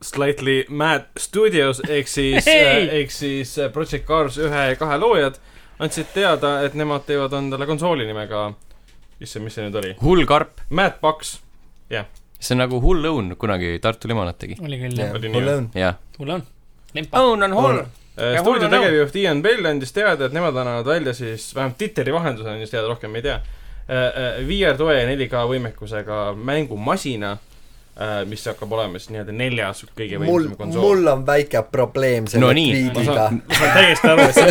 Speaker 4: Slightly Mad Studios ehk siis
Speaker 3: Hei!
Speaker 4: äh, ehk siis äh, Project Cars ühe ja kahe loojad andsid teada , et nemad teevad endale konsooli nimega , issand , mis see nüüd oli ,
Speaker 1: hull karp .
Speaker 4: Mad Box .
Speaker 1: see on nagu hull õun kunagi Tartu Limonaad tegi .
Speaker 3: oli küll jah ,
Speaker 4: Oli nii,
Speaker 2: mul
Speaker 4: jah?
Speaker 2: on .
Speaker 1: jah .
Speaker 3: mul on . lempa .
Speaker 1: õun on hull .
Speaker 3: Ja
Speaker 4: Äh,
Speaker 3: mul
Speaker 4: stuudio
Speaker 3: on
Speaker 4: tegevjuht Ian Bell andis teada , et nemad annavad välja siis , vähemalt Twitteri vahendusel andis teada , rohkem ei tea , Äh, VR-toe ja 4K võimekusega mängumasina , mis hakkab olema siis nii-öelda neljas kõige
Speaker 2: mul
Speaker 4: võimsam , konsool .
Speaker 2: mul on väike probleem selle
Speaker 1: No
Speaker 2: no,
Speaker 1: nii.
Speaker 4: ma
Speaker 2: tweetiga
Speaker 4: saan , ma saan täiesti aru , et see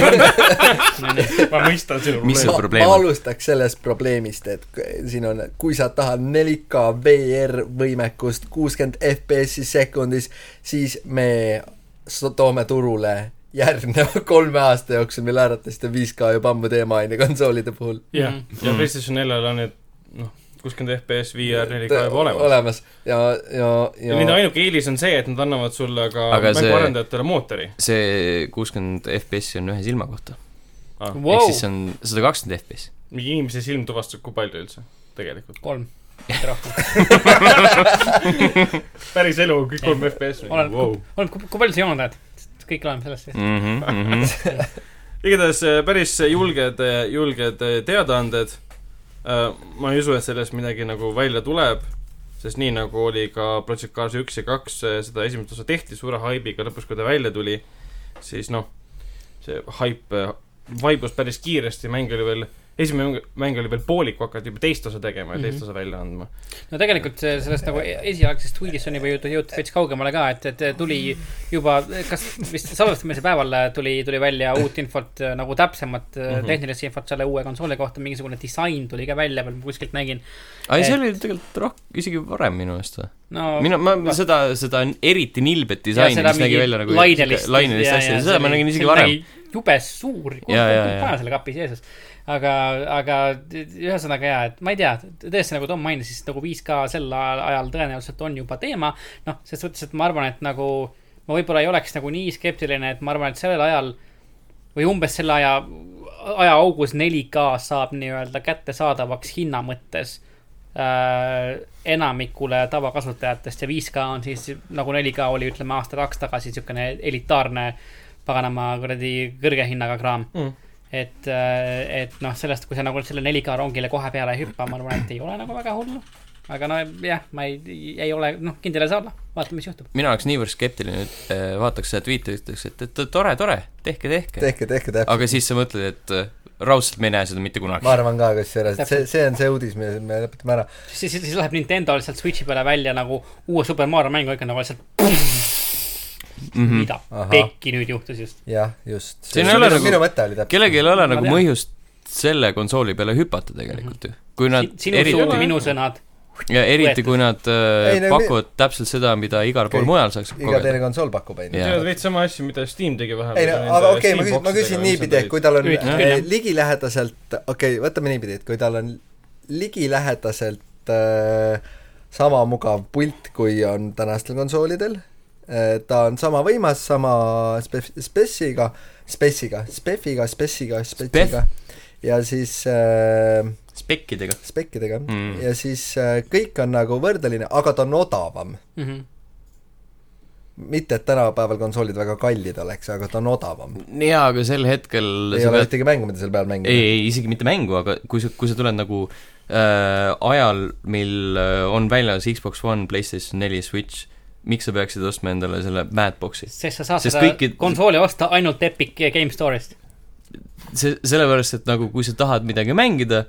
Speaker 4: on , ma mõistan sinu
Speaker 1: Mis see
Speaker 4: probleemi .
Speaker 1: probleem
Speaker 2: ma
Speaker 1: on?
Speaker 2: alustaks sellest probleemist , et k- siin on , kui sa tahad 4K VR võimekust kuuskümmend FPS-i sekundis , siis me s- toome turule järgneva kolme aasta jooksul , mille arvatavasti on 5K juba ammu teema on ju konsoolide puhul .
Speaker 4: jah
Speaker 3: Mhm. ,
Speaker 4: Mm. ja PlayStation 4-l on need , noh , kuuskümmend FPS , VR , 4K juba olemas .
Speaker 2: olemas ja , ja ,
Speaker 4: ja nende
Speaker 2: ja
Speaker 4: ainuke eelis on see , et nad annavad sulle ka
Speaker 1: Aga see-
Speaker 4: mänguarendajatele mootori .
Speaker 1: see kuuskümmend FPS-i on ühe silma kohta . ehk siis
Speaker 3: Wow.
Speaker 1: see on sada kakskümmend FPS .
Speaker 4: mingi inimese silm tuvastab , kui palju üldse tegelikult .
Speaker 3: kolm , mitte rohkem .
Speaker 4: päris elu on kõik kolm FPS
Speaker 3: oleneb wow. , oleneb , kui kui palju sa jooned oled . kõik oleneb sellest siis .
Speaker 1: Mhm,
Speaker 4: igatahes äh, päris julged , julged äh, teadaanded . ma ei usu , et sellest midagi nagu välja tuleb , sest nii nagu oli ka Project Cars üks ja kaks , seda esimest osa tehti suure haibiga , lõpus kui ta välja tuli , siis noh , see haip äh, vaibus päris kiiresti , mäng oli veel , esimene mäng- mäng oli veel poolik , kui hakati juba teist osa tegema ja teist
Speaker 3: Mhm.
Speaker 4: osa välja andma .
Speaker 3: no tegelikult see- sellest nagu esialgsest tweetist on juba jõutud , jõutud veits kaugemale ka , et , et tuli juba , kas vist salvestamise päeval tuli , tuli välja uut infot , nagu täpsemat mm
Speaker 4: Mhm.
Speaker 3: -hmm. tehnilist infot selle uue konsooli kohta , mingisugune disain tuli ka välja veel , ma kuskilt nägin .
Speaker 1: ei , see
Speaker 3: Et-
Speaker 1: oli tegelikult roh- , isegi varem minu meelest või ?
Speaker 3: no
Speaker 1: mina , ma
Speaker 3: va-
Speaker 1: seda , seda eriti nilbet disaini ,
Speaker 3: seda
Speaker 1: mis nägi
Speaker 3: mingi
Speaker 1: välja nagu
Speaker 3: lainelist ,
Speaker 1: lainelist asja , seda ma nägin isegi varem .
Speaker 3: jube suur ,
Speaker 1: Ja, ja, ja.
Speaker 3: kuna selle kapi sees . aga , aga ühesõnaga jaa , et ma ei tea , tõesti nagu Tom mainis , siis nagu 5K sel ajal ajal tõenäoliselt on juba teema . noh , selles suhtes , et ma arvan , et nagu ma võib-olla ei oleks nagu nii skeptiline , et ma arvan , et sellel ajal või umbes selle aja , ajaaugus 4K saab nii-öelda kättesaadavaks hinna mõttes äh, enamikule tavakasutajatest ja 5K on siis nagu 4K oli , ütleme aasta kaks tagasi niisugune elitaarne paganama kuradi kõrge hinnaga kraam
Speaker 4: Mm.
Speaker 3: et , et noh , sellest , kui sa nagu selle 4K rongile kohe peale ei hüppa , ma arvan , et ei ole nagu väga hullu . aga nojah , ma ei , ei ole , noh , kindel ei saa olla , vaatame , mis juhtub .
Speaker 1: mina oleks niivõrd skeptiline , et eh, vaataks seda tweet'i ja ütleks , et , et tore , tore , tehke , tehke .
Speaker 2: tehke , tehke täpselt .
Speaker 1: aga siis sa mõtled , et eh, raudselt me ei näe seda mitte
Speaker 2: ma
Speaker 1: kunagi .
Speaker 2: arvan ka kusjuures , et see ,
Speaker 3: Täpselt.
Speaker 2: see on see uudis , mille me lõpetame ära .
Speaker 3: siis , siis läheb Nintendo sealt Switch'i peale välja nagu uue Super Mario mängu ikka nagu lihtsalt
Speaker 1: Mhm.
Speaker 3: mida
Speaker 2: Ahah.
Speaker 3: pekki nüüd juhtus just .
Speaker 2: jah , just .
Speaker 1: Siin ei ole nagu-
Speaker 2: minu mõte oli täpselt .
Speaker 1: kellelgi ei ole
Speaker 3: Ma
Speaker 1: nagu
Speaker 3: tean.
Speaker 1: mõjust selle konsooli peale hüpata tegelikult ju . kui nad
Speaker 3: sinu
Speaker 1: eriti
Speaker 3: suud , minu sõnad .
Speaker 1: ja eriti ,
Speaker 3: võetud.
Speaker 1: kui nad eh,
Speaker 2: Ei, no mi-
Speaker 1: pakuvad täpselt seda , mida igal pool
Speaker 2: Kõik-
Speaker 1: mujal saaks
Speaker 2: iga
Speaker 1: kogeda
Speaker 2: teine . konsool pakub , on ju
Speaker 1: Jaa.
Speaker 4: tead veits sama asju , mida Steam tegi
Speaker 2: ei
Speaker 4: vahepeal .
Speaker 2: no aga okei okay, , ma küsin , ma küsin niipidi , et kui tal on
Speaker 3: Üritan küll,
Speaker 2: äh,
Speaker 3: jah.
Speaker 2: ligilähedaselt , okei okay, , võtame niipidi , et kui tal on ligilähedaselt äh, sama mugav pult , kui on tänastel konsoolidel äh, , ta on sama võimas , sama spef- , spessiga , spessiga , spefiga , spessiga , spetsiga ja siis äh,
Speaker 1: spekkidega .
Speaker 2: spekkidega
Speaker 1: Mm.
Speaker 2: mm. ja siis äh, kõik on nagu võrdeline , aga ta on odavam .
Speaker 3: Mhm.
Speaker 2: mitte , et tänapäeval konsoolid väga kallid oleks , aga ta on odavam .
Speaker 1: jaa , aga sel hetkel
Speaker 2: ei
Speaker 1: sa
Speaker 2: ole
Speaker 1: pead ,
Speaker 2: ühtegi mängu , mida seal peal mängida .
Speaker 1: ei , ei isegi mitte mängu , aga kui sa , kui sa tuled nagu äh, ajal , mil äh, on väljas Xbox One , PlayStation neli , Switch , miks sa peaksid ostma endale selle Madboxi ?
Speaker 3: sest sa saad
Speaker 1: Sest
Speaker 3: seda
Speaker 1: kõiki-
Speaker 3: konsooli osta ainult Epic Game Store'ist .
Speaker 1: see , sellepärast , et nagu kui sa tahad midagi mängida ,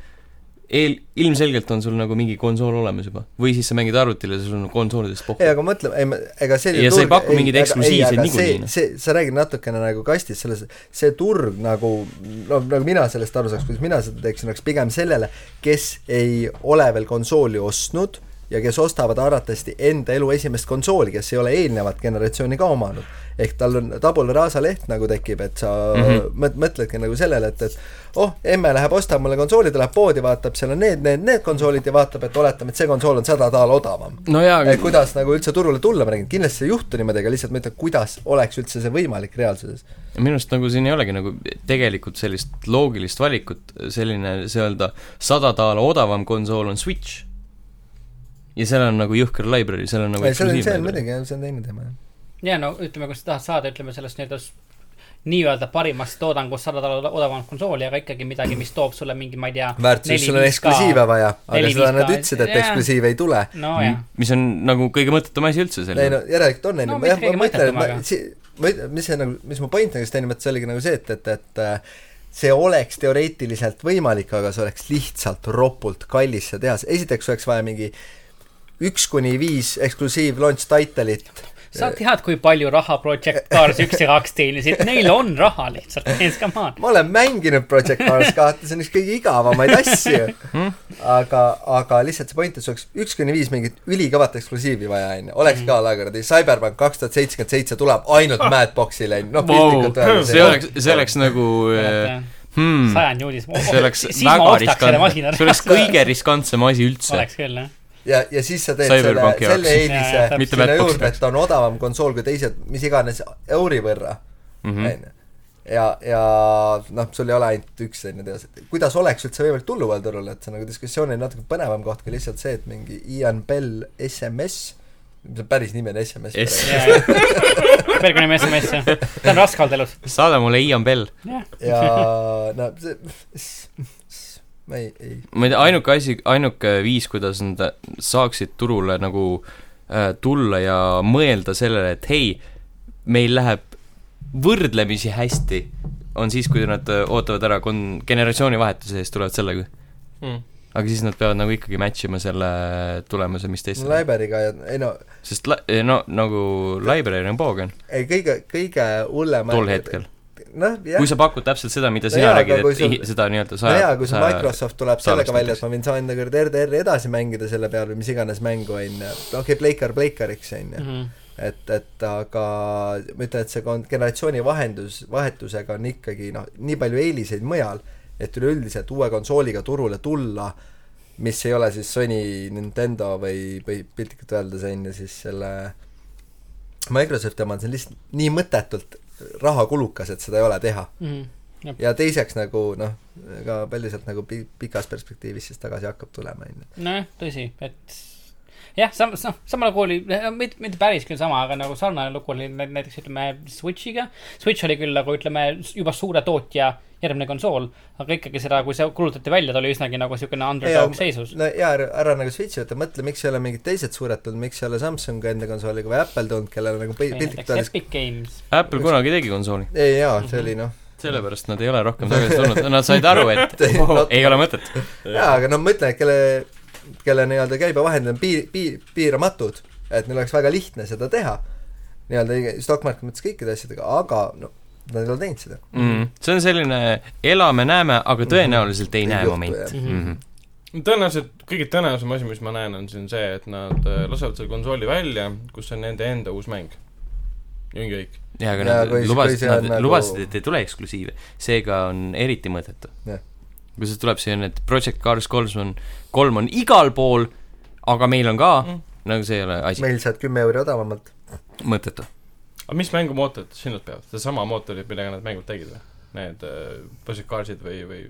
Speaker 1: eel , ilmselgelt on sul nagu mingi konsool olemas juba . või siis sa mängid arvutil ja sul on konsoolidest
Speaker 2: ei ,
Speaker 1: pohhu .
Speaker 2: aga mõtle , ei ma , ega selline
Speaker 1: Ja see ei paku mingeid
Speaker 2: aga-
Speaker 1: eksklusiivseid
Speaker 2: ei, aga
Speaker 1: niikuinii,
Speaker 2: see-
Speaker 1: noh.
Speaker 2: see , sa räägid natukene nagu kastist selles , see turg nagu , no nagu mina sellest aru saaks , kuidas mina seda teeksin , oleks pigem sellele , kes ei ole veel konsooli ostnud ja kes ostavad arvatavasti enda elu esimest konsooli , kes ei ole eelnevat generatsiooni ka omanud . ehk tal on tabula rasa leht nagu tekib , et sa mm
Speaker 1: Mhm.
Speaker 2: -hmm. mõt- , mõtledki nagu sellele , et , et oh , emme läheb ostab mulle konsooli , ta läheb poodi , vaatab , seal on need , need , need konsoolid ja vaatab , et oletame , et see konsool on sada taala odavam
Speaker 1: no jaa ,
Speaker 2: et
Speaker 1: aga
Speaker 2: kuidas nagu üldse turule tulla , ma räägin , kindlasti ei juhtu niimoodi , aga lihtsalt ma ütlen , kuidas oleks üldse see võimalik reaalsuses .
Speaker 1: minu arust nagu siin ei olegi nagu tegelikult sellist loogilist valikut , selline , see öelda , sada taala odavam konsool on Switch . ja seal on nagu jõhker library , seal on nagu
Speaker 2: see on , see on
Speaker 1: library.
Speaker 2: muidugi , see on teine teema , jah .
Speaker 3: ja no ütleme , kui sa tahad saada , ütleme sellest nii-öelda s- nii-öelda parimast toodangust sada dollarit odavamat konsooli , aga ikkagi midagi , mis toob sulle mingi , ma ei tea .
Speaker 2: väärtus , sul on eksklusiive vaja , aga seda
Speaker 3: Neli, viis
Speaker 2: nad
Speaker 3: ka.
Speaker 2: ütlesid , et
Speaker 3: Jaa.
Speaker 2: eksklusiive ei tule .
Speaker 3: nojah ,
Speaker 1: Hmm. mis on nagu kõige mõttetum asi üldse
Speaker 2: ei no
Speaker 1: selline .
Speaker 2: järelikult on , on
Speaker 3: No
Speaker 2: ju ,
Speaker 3: mitte
Speaker 2: jah , ma
Speaker 3: keegi
Speaker 2: mõtlen , et ma
Speaker 3: mõtletum, ,
Speaker 2: ma , mis see nagu , mis mu point nagu just enne mõttes oligi nagu see , et , et , et äh, see oleks teoreetiliselt võimalik , aga see oleks lihtsalt ropult kallis see tehas , esiteks oleks vaja mingi üks kuni viis eksklusiiv launch title'it ,
Speaker 3: sa tead , kui palju raha Project Cars üks ja kaks teenisid , neil on raha lihtsalt , mees , come on .
Speaker 2: ma olen mänginud Project Cars kahte , see on üks kõige igavamaid asju .
Speaker 1: Hmm?
Speaker 2: aga , aga lihtsalt see point , et sul oleks üks kuni viis mingit ülikõvat eksklusiivi vaja , onju . oleks ka lagerdi , Cyberpunk kaks tuhat seitsekümmend seitse tuleb ainult Madboxile , onju . noh , piltlikult öeldes .
Speaker 1: see oleks , see oleks nagu äh,
Speaker 3: eh,
Speaker 1: hmm, ,
Speaker 3: sajandi uudis .
Speaker 1: see oleks
Speaker 3: Oh, siis ma
Speaker 1: väga
Speaker 3: ostaks selle
Speaker 1: riskantne ,
Speaker 3: masina .
Speaker 1: see oleks kõige riskantsem asi üldse .
Speaker 3: oleks küll , jah .
Speaker 2: ja , ja siis sa teed selle
Speaker 1: Cyberpunki , jaoks.
Speaker 2: selle
Speaker 3: Jaa, jaa,
Speaker 2: eelise
Speaker 1: Mitte
Speaker 2: sinna
Speaker 1: Madboxi
Speaker 2: juurde ,
Speaker 1: jaoks.
Speaker 2: et on odavam konsool kui teised , mis iganes euri võrra ,
Speaker 1: Mhm.
Speaker 2: onju . ja , ja noh , sul ei ole ainult üks selline teos , et kuidas oleks üldse võimalik tulluval turul , et see on nagu diskussiooni natuke põnevam koht kui lihtsalt see , et mingi Ian Bell SMS , mis on päris nimi on SMS
Speaker 1: S-
Speaker 2: praegu.
Speaker 3: Bergoni mees , mees , jah . ta on raske olnud elus .
Speaker 1: saada mulle Ian Bell .
Speaker 3: jah ,
Speaker 2: ja no see , ma ei , ei
Speaker 1: ma ei tea , ainuke asi , ainuke viis , kuidas nad saaksid turule nagu äh, tulla ja mõelda sellele , et hei , meil läheb võrdlemisi hästi , on siis , kui nad äh, ootavad ära kon- , generatsioonivahetuse ja siis tulevad sellega .
Speaker 4: mm. .
Speaker 1: aga siis nad peavad nagu ikkagi match ima selle tulemuse , mis teistel on .
Speaker 2: Laiberiga ja ei no
Speaker 1: sest la- , no nagu library on poogen
Speaker 2: ei kõige , kõige hullem
Speaker 1: tol hetkel .
Speaker 2: noh , jah
Speaker 1: kui sa pakud täpselt seda , mida
Speaker 2: No
Speaker 1: sina
Speaker 2: jaa,
Speaker 1: räägid ,
Speaker 2: aga kui
Speaker 1: et
Speaker 2: sul-
Speaker 1: ih- seda nii-öelda
Speaker 2: no jaa
Speaker 1: saja ,,
Speaker 2: kui see
Speaker 1: saja
Speaker 2: Microsoft tuleb
Speaker 1: salvestad
Speaker 2: sellega välja ,
Speaker 1: näiteks.
Speaker 2: et ma võin saenda kord RDR-i edasi mängida selle peal või mis iganes mängu , on ju , okei okay, , Playcar Playcariks , on
Speaker 3: Mhm.
Speaker 2: ju . et , et aga ma ütlen , et see kon- generatsiooni vahendus , vahetusega on ikkagi noh , nii palju eeliseid mujal , et üleüldiselt uue konsooliga turule tulla , mis ei ole siis Sony , Nintendo või , või piltlikult öeldes on ju siis selle Microsofti oma , see on lihtsalt nii mõttetult rahakulukas , et seda ei ole teha
Speaker 3: Mhm.
Speaker 2: ja teiseks nagu noh , ka palju sealt nagu pi- , pikas perspektiivis siis tagasi hakkab tulema , on ju .
Speaker 3: nojah , tõsi , et jah , sam- , sam- , sama lugu oli , mitte , mitte päris küll sama , aga nagu sarnane lugu oli nä- näiteks ütleme Switch'iga . Switch oli küll nagu ütleme s- juba suure tootja järgmine konsool , aga ikkagi seda , kui see kulutati välja , ta oli üsnagi nagu siukene underdog seisus .
Speaker 2: no jaa , ära nagu switch'i võtta , mõtle , miks ei ole mingid teised suured tulnud , miks ei ole Samsung enda konsooliga või Apple tulnud , kellel on nagu pi- piltlikult
Speaker 3: näiteks
Speaker 2: öeldes
Speaker 3: Epic Games .
Speaker 1: Apple kunagi tegi konsooli .
Speaker 2: ei jaa , see
Speaker 3: Mhm.
Speaker 2: oli noh ,
Speaker 1: sellepärast nad ei ole rohkem tagasi tulnud , nad said aru , et oh, ei ole mõtet .
Speaker 2: jaa , aga no mõtle , kelle , kelle nii-öelda käibevahendid on piir , piir , piiramatud , et neil oleks väga lihtne seda teha , nii-öelda stock market mõttes kõikide asjadega , aga no nad ei ole teinud seda .
Speaker 1: mm. . see on selline elame-näeme , aga tõenäoliselt ei
Speaker 2: Ei
Speaker 1: näe
Speaker 2: juhtu,
Speaker 1: moment
Speaker 2: jah.
Speaker 1: mm . -hmm.
Speaker 4: tõenäoliselt kõige tõenäolisem asi , mis ma näen , on siin see , et nad äh, lasevad selle konsooli välja , kus on nende enda uus mäng . ja ongi kõik .
Speaker 1: jaa , aga
Speaker 2: Jaa,
Speaker 1: nad
Speaker 2: kui- kui
Speaker 1: lubasid ,
Speaker 2: see on
Speaker 1: nad nagu...
Speaker 2: nagu-
Speaker 1: lubasid , et ei tule eksklusiive , seega on eriti mõttetu
Speaker 2: Jah. .
Speaker 1: kui see tuleb selline , et Project Cars kolm on , kolm on igal pool , aga meil on ka mm. , nagu see ei ole asi meil...
Speaker 2: meil saad kümme euri odavamalt ,
Speaker 1: mõttetu .
Speaker 4: aga mis mängumootorit siis nad peavad ? sedasama mootorit , millega nad mängud tegid või ? Need äh, Project Carsid või , või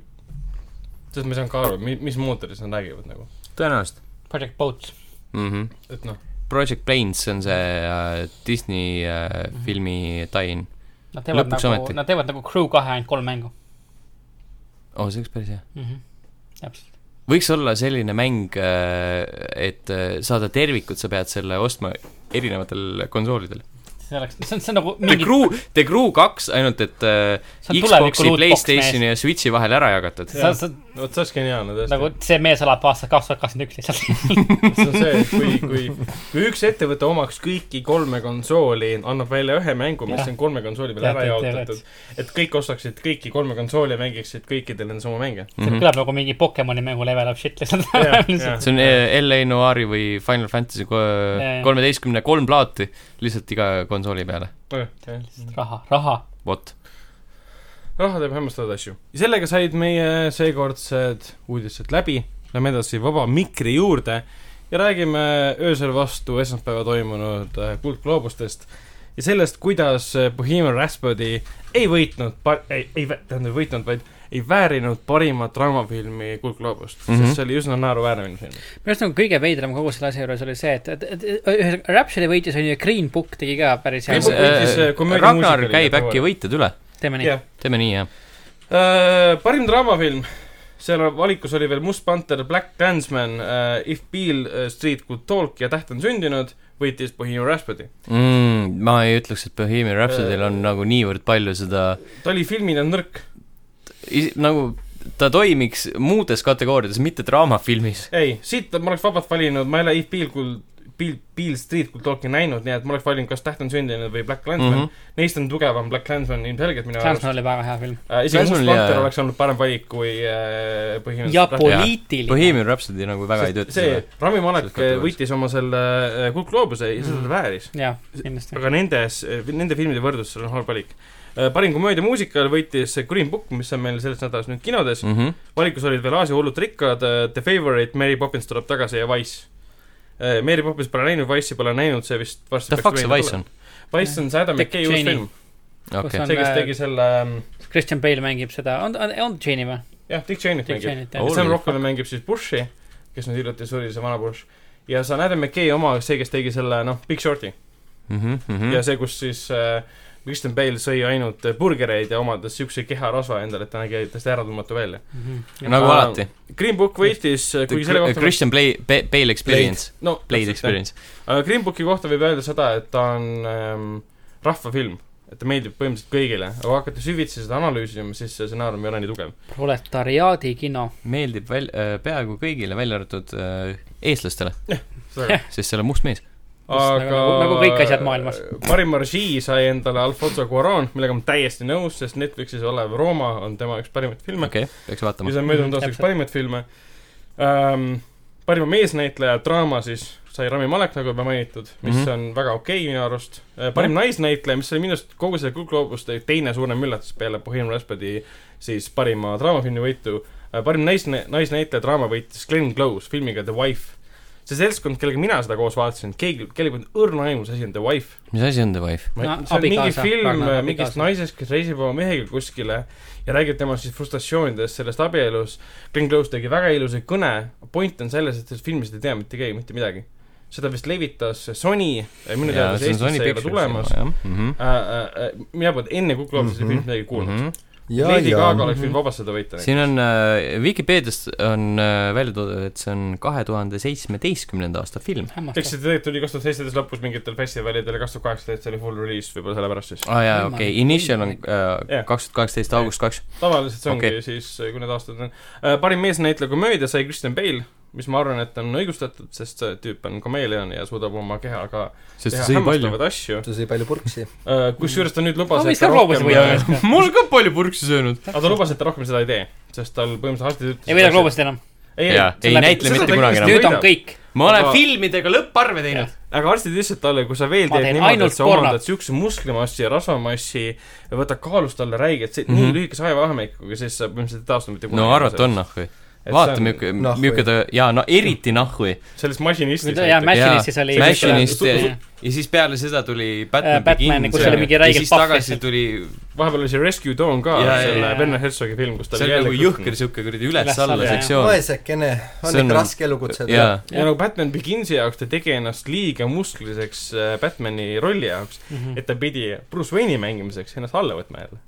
Speaker 4: sest ma ei saanud ka aru , mi- , mis mootorist nad räägivad nagu .
Speaker 1: tõenäoliselt
Speaker 3: Project Boat .
Speaker 1: mm . -hmm.
Speaker 4: et noh ,
Speaker 1: Project Planes on see äh, Disney äh,
Speaker 2: Mhm.
Speaker 1: filmi tain .
Speaker 3: Nad teevad
Speaker 1: Lõpuks
Speaker 3: nagu
Speaker 1: ometi. ,
Speaker 3: nad teevad nagu Crew kahe ainult kolm mängu
Speaker 1: oo oh, , see oleks päris hea .
Speaker 3: mm . -hmm. täpselt .
Speaker 1: võiks olla selline mäng , et äh, saada tervikut , sa pead selle ostma erinevatel konsoolidel .
Speaker 3: see oleks , see on , see on nagu
Speaker 1: The
Speaker 3: mingi ,
Speaker 1: Crew , The Crew kaks ainult , et
Speaker 3: See on
Speaker 1: äh,
Speaker 3: tuleviku
Speaker 1: Xbox'i ,
Speaker 3: lootbox,
Speaker 1: Playstationi ja Switchi vahel ära jagatud .
Speaker 3: sa , sa
Speaker 4: vot see oleks geniaalne tõesti
Speaker 3: nagu see mees elab aastat kaks tuhat kakskümmend üks lihtsalt .
Speaker 1: Mhm.
Speaker 4: see on see , et kui , kui , kui üks ettevõte omaks kõiki kolme konsooli , annab välja ühe mängu , mis
Speaker 3: Jah.
Speaker 4: on kolme konsooli peale
Speaker 3: Jah,
Speaker 4: ära
Speaker 3: tead, tead,
Speaker 4: jaotatud , et kõik ostaksid kõiki kolme konsooli ja mängiksid kõikidel enda samu mänge .
Speaker 3: see kõlab nagu mingi Pokemoni mängu level up shit
Speaker 4: Jah,
Speaker 3: lihtsalt
Speaker 4: jah. .
Speaker 1: see on äh, LA Noire'i või Final Fantasy
Speaker 3: Jajah.
Speaker 1: kolmeteistkümne kolm plaati lihtsalt iga konsooli peale .
Speaker 3: raha , raha .
Speaker 1: vot .
Speaker 4: raha Noh, teeb hämmastavaid asju . ja sellega said meie seekordsed uudised läbi , lähme edasi vaba mikri juurde ja räägime öösel vastu esmaspäeva toimunud äh, kuldgloobustest ja sellest , kuidas äh, Bohemian Rhapsody ei võitnud , ei , ei , tähendab , ei võitnud , vaid ei väärinud parimat draamafilmi Kuldgloobust mm , -hmm.
Speaker 1: Mhm.
Speaker 4: sest see oli üsna naeruväärne minu silmis .
Speaker 3: minu arust nagu kõige veidram kogu selle asja juures oli see , et , et , et ühesõnaga Rhapsody võitis on ju , Green Book tegi ka päris
Speaker 4: Green
Speaker 3: hea
Speaker 4: Book . võitis, äh, komöödiamuusika
Speaker 1: Ragnar
Speaker 4: oli
Speaker 1: käib
Speaker 4: ka
Speaker 1: äkki
Speaker 4: hooaeg.
Speaker 1: võitjad üle .
Speaker 3: teeme nii
Speaker 4: jah
Speaker 3: yeah. .
Speaker 1: teeme nii , jah .
Speaker 4: Äh, parim draamafilm , seal valikus oli veel Must Panther , Black Clansman , If Beale äh, Street Could Talk ja Täht on sündinud , võitis Bohemian Rhapsody .
Speaker 1: Mm, ma ei ütleks , et Bohemian Rhapsody'l
Speaker 4: Äh.
Speaker 1: on nagu niivõrd palju seda ,
Speaker 4: ta oli filmina nõrk .
Speaker 1: nagu ta toimiks muudes kategooriates , mitte draamafilmis .
Speaker 4: ei , siit ma oleks vabalt valinud , ma ei ole If Beale Could , Beale , Beale Street Could Talki näinud , nii et ma oleks valinud kas Täht on sündinud või Black Clansman
Speaker 1: Mhm.
Speaker 4: mm . -hmm. Neist on tugevam Black Clansman ilmselgelt minu arust .
Speaker 3: Transman oli väga hea film .
Speaker 4: Äh, isegi
Speaker 1: Clansman
Speaker 4: Must
Speaker 1: oli
Speaker 4: Panther
Speaker 1: hea.
Speaker 4: oleks olnud parem valik kui äh, Bohemian
Speaker 3: ja
Speaker 4: Rhapsody.
Speaker 3: poliitiline .
Speaker 1: Bohemian Rhapsody nagu väga ei tööta .
Speaker 4: see , Rami
Speaker 1: selles
Speaker 4: Malek äh,
Speaker 1: kategoorias. võitis
Speaker 4: võitis oma selle Kuldgloobuse ja
Speaker 1: Mhm.
Speaker 4: seda ta vääris .
Speaker 3: jah , kindlasti .
Speaker 4: aga nendes , nende filmide võrdluses on halb valik . parim komöödia muusikal võitis Green Book , mis on meil selles nädalas nüüd kinodes .
Speaker 1: mm . -hmm.
Speaker 4: valikus olid veel Aasia hullud rikkad , The Favourite , Mary Poppins tuleb tagasi ja Wise . Mary Poppins pole näinud , Wise'i pole näinud , see vist varsti
Speaker 1: The fuck see Wise on ?
Speaker 4: Wise on see Adam
Speaker 3: Dick
Speaker 4: McKay uus
Speaker 3: Cheney.
Speaker 4: film ,
Speaker 1: okei
Speaker 3: on- .
Speaker 4: see , kes tegi selle ,
Speaker 3: Christian Bale mängib seda , on , on , on Gene'i või ?
Speaker 4: jah , Dick Cheney't
Speaker 3: Dick
Speaker 4: mängib .
Speaker 3: Gene'it
Speaker 1: Oh,
Speaker 3: jah .
Speaker 4: Sam Rockwell mängib siis Bushi , kes nüüd hiljuti suri , see vana Bush . ja see on Adam McKay oma , see , kes tegi selle , noh , Big Shorti .
Speaker 1: Mhm,
Speaker 3: Hmm.
Speaker 4: ja see , kus siis äh, Kristen Bale sõi ainult äh, burgereid ja omades siukse keharasva endale , et ta nägi täiesti äratundmatu välja .
Speaker 3: Mhm.
Speaker 1: nagu
Speaker 4: Aa,
Speaker 1: alati .
Speaker 4: Green Book võitis , kuigi selle
Speaker 3: äh,
Speaker 4: kohta
Speaker 1: Christian Play- , Bale Experience .
Speaker 4: no,
Speaker 1: Blade
Speaker 4: täpselt,
Speaker 1: Experience .
Speaker 4: jah. aga Green Booki kohta võib öelda seda , et ta on ähm, rahvafilm , et ta meeldib põhimõtteliselt kõigile , aga kui hakata süvitsi seda analüüsima , siis see stsenaarium ei ole nii tugev .
Speaker 3: proletariaadi kino .
Speaker 1: meeldib väl- , peaaegu kõigile , välja arvatud äh, eestlastele ,
Speaker 3: Jah.
Speaker 1: sest seal on must mees .
Speaker 3: Just
Speaker 4: aga
Speaker 3: nagu- nagu kõik asjad maailmas.
Speaker 4: parima režii sai endale Alfonso Cuaron , millega ma täiesti nõus , sest Netflixis olev Rooma on tema üks parimaid filme .
Speaker 1: okei okay, , peaks vaatama
Speaker 4: mis . on möödunud
Speaker 3: Mhm,
Speaker 4: aasta üks
Speaker 3: täpselt.
Speaker 4: parimaid filme um, . parima meesnäitleja draama siis sai Rami Malek , nagu juba mainitud , mis mm
Speaker 1: Mhm.
Speaker 4: -hmm. on väga okei okay, minu arust . parim
Speaker 3: Mhm.
Speaker 4: naisnäitleja , mis oli minu arust kogu selle Good Globuste teine suurem üllatus peale Bohemian Rhapsody siis parima draamafilmi võitu . parim nais- , naisnäitleja draama võitis Glenn Close filmiga The Wife . see seltskond , kellega mina seda koos vaatasin , keegi , kellel polnud õrna aimus asi on The Wife .
Speaker 1: mis asi on The Wife ?
Speaker 4: Ma ei-
Speaker 3: No,
Speaker 4: see on mingi
Speaker 3: abikaasa,
Speaker 4: film äh,
Speaker 3: Ragnar,
Speaker 4: mingist
Speaker 3: abikaasa.
Speaker 4: naisest , kes reisib oma mehega kuskile ja räägib tema siis frustratsioonidest sellest abielus . Glen Close tegi väga ilusa kõne , point on selles , et sellest filmist ei tea mitte keegi mitte midagi . seda vist levitas Sony , minu teada see Eestis ei ole tulemas .
Speaker 1: Mhm.
Speaker 4: mina polnud enne Kukk Loomist mm -hmm. filmist midagi kuulnud mm . -hmm. Lady Gaga oleks võinud vabastada võita .
Speaker 1: siin on äh, , Vikipeediast on äh, välja toodud , et see on kahe tuhande seitsmeteistkümnenda aasta film .
Speaker 4: eks see
Speaker 3: hämmastav .
Speaker 4: tegelikult tuli kaks tuhat seitseteist lõpus mingitel festivalidel ja kaks tuhat kaheksateist oli full release võib-olla sellepärast siis .
Speaker 1: aa ah, jaa , okei okay. , Initial on
Speaker 4: Jah.
Speaker 1: kaks tuhat kaheksateist august kaks .
Speaker 4: tavaliselt see ongi
Speaker 1: Okei.
Speaker 4: okay. siis , kui need aastad on . parim meesnäitleja komöödia sai Kristen Bale , mis ma arvan , et on õigustatud , sest see tüüp on kameeleon ja suudab oma kehaga
Speaker 1: sest
Speaker 4: teha
Speaker 1: see sõi palju .
Speaker 4: hämmastavaid asju .
Speaker 2: ta sõi palju purksi .
Speaker 4: kusjuures ta nüüd
Speaker 3: aga
Speaker 4: lubas ,
Speaker 3: mis
Speaker 4: et ta
Speaker 3: seal Gloobuse
Speaker 4: rohkem ,
Speaker 3: võidab
Speaker 4: aga
Speaker 3: üldse ?
Speaker 1: ma olen ka palju purksi söönud .
Speaker 4: ta lubas , et ta rohkem seda ei tee , sest tal põhimõtteliselt arstid ütlesid .
Speaker 3: ei võida Gloobust enam .
Speaker 4: ei
Speaker 1: jaa , ei näitle mitte kunagi enam .
Speaker 3: nüüd on kõik .
Speaker 1: ma olen
Speaker 4: Aga-
Speaker 1: filmidega lõpparve teinud .
Speaker 4: aga arstid ütlesid talle , kui sa veel
Speaker 3: Ma
Speaker 4: teed
Speaker 3: teen
Speaker 4: niimoodi ,
Speaker 3: ainult
Speaker 4: et sa
Speaker 3: pornot.
Speaker 4: omandad siukse musklimassi ja rasvamassi , võtad kaalust alla räiget , see mm -hmm. nii
Speaker 1: Mhm.
Speaker 4: lühikese ajavahemikuga , siis sa põhimõtteliselt ei taastu mitte kunagi .
Speaker 1: no arvata on . nahhu . vaata , milline ,
Speaker 2: nahhu.
Speaker 1: milline ta , jaa , no eriti nahhu .
Speaker 4: sellest masinistist .
Speaker 3: jaa , Machinistis oli .
Speaker 1: Machinist ja ,
Speaker 4: Su-
Speaker 1: ja siis peale seda tuli
Speaker 3: Äh,
Speaker 1: Batman
Speaker 3: Batman,
Speaker 1: Begins
Speaker 4: kus
Speaker 1: ja-
Speaker 4: oli
Speaker 3: mingi
Speaker 1: ja
Speaker 3: räigelt
Speaker 1: siis
Speaker 3: pahv
Speaker 1: tagasi
Speaker 3: lihtsalt.
Speaker 1: tuli ,
Speaker 4: vahepeal oli see Rescue Dawn ka
Speaker 1: Jaa,
Speaker 4: ja, ,
Speaker 1: jaa,
Speaker 4: selle
Speaker 3: jaa.
Speaker 4: Werner Herzogi film , kus ta
Speaker 1: see on nagu jõhker . siuke kuradi üles-alla
Speaker 3: Üles-alla, jah.
Speaker 1: sektsioon .
Speaker 2: vaesekene , on
Speaker 1: See on-
Speaker 2: ikka raske elu kutsuda .
Speaker 1: jaa ,
Speaker 4: ja nagu Batman Beginsi jaoks ta tegi ennast liiga muskliseks äh, Batmani rolli jaoks ,
Speaker 1: Mhm.
Speaker 4: et ta pidi Bruce Wayne'i mängimiseks ennast alla võtma jälle .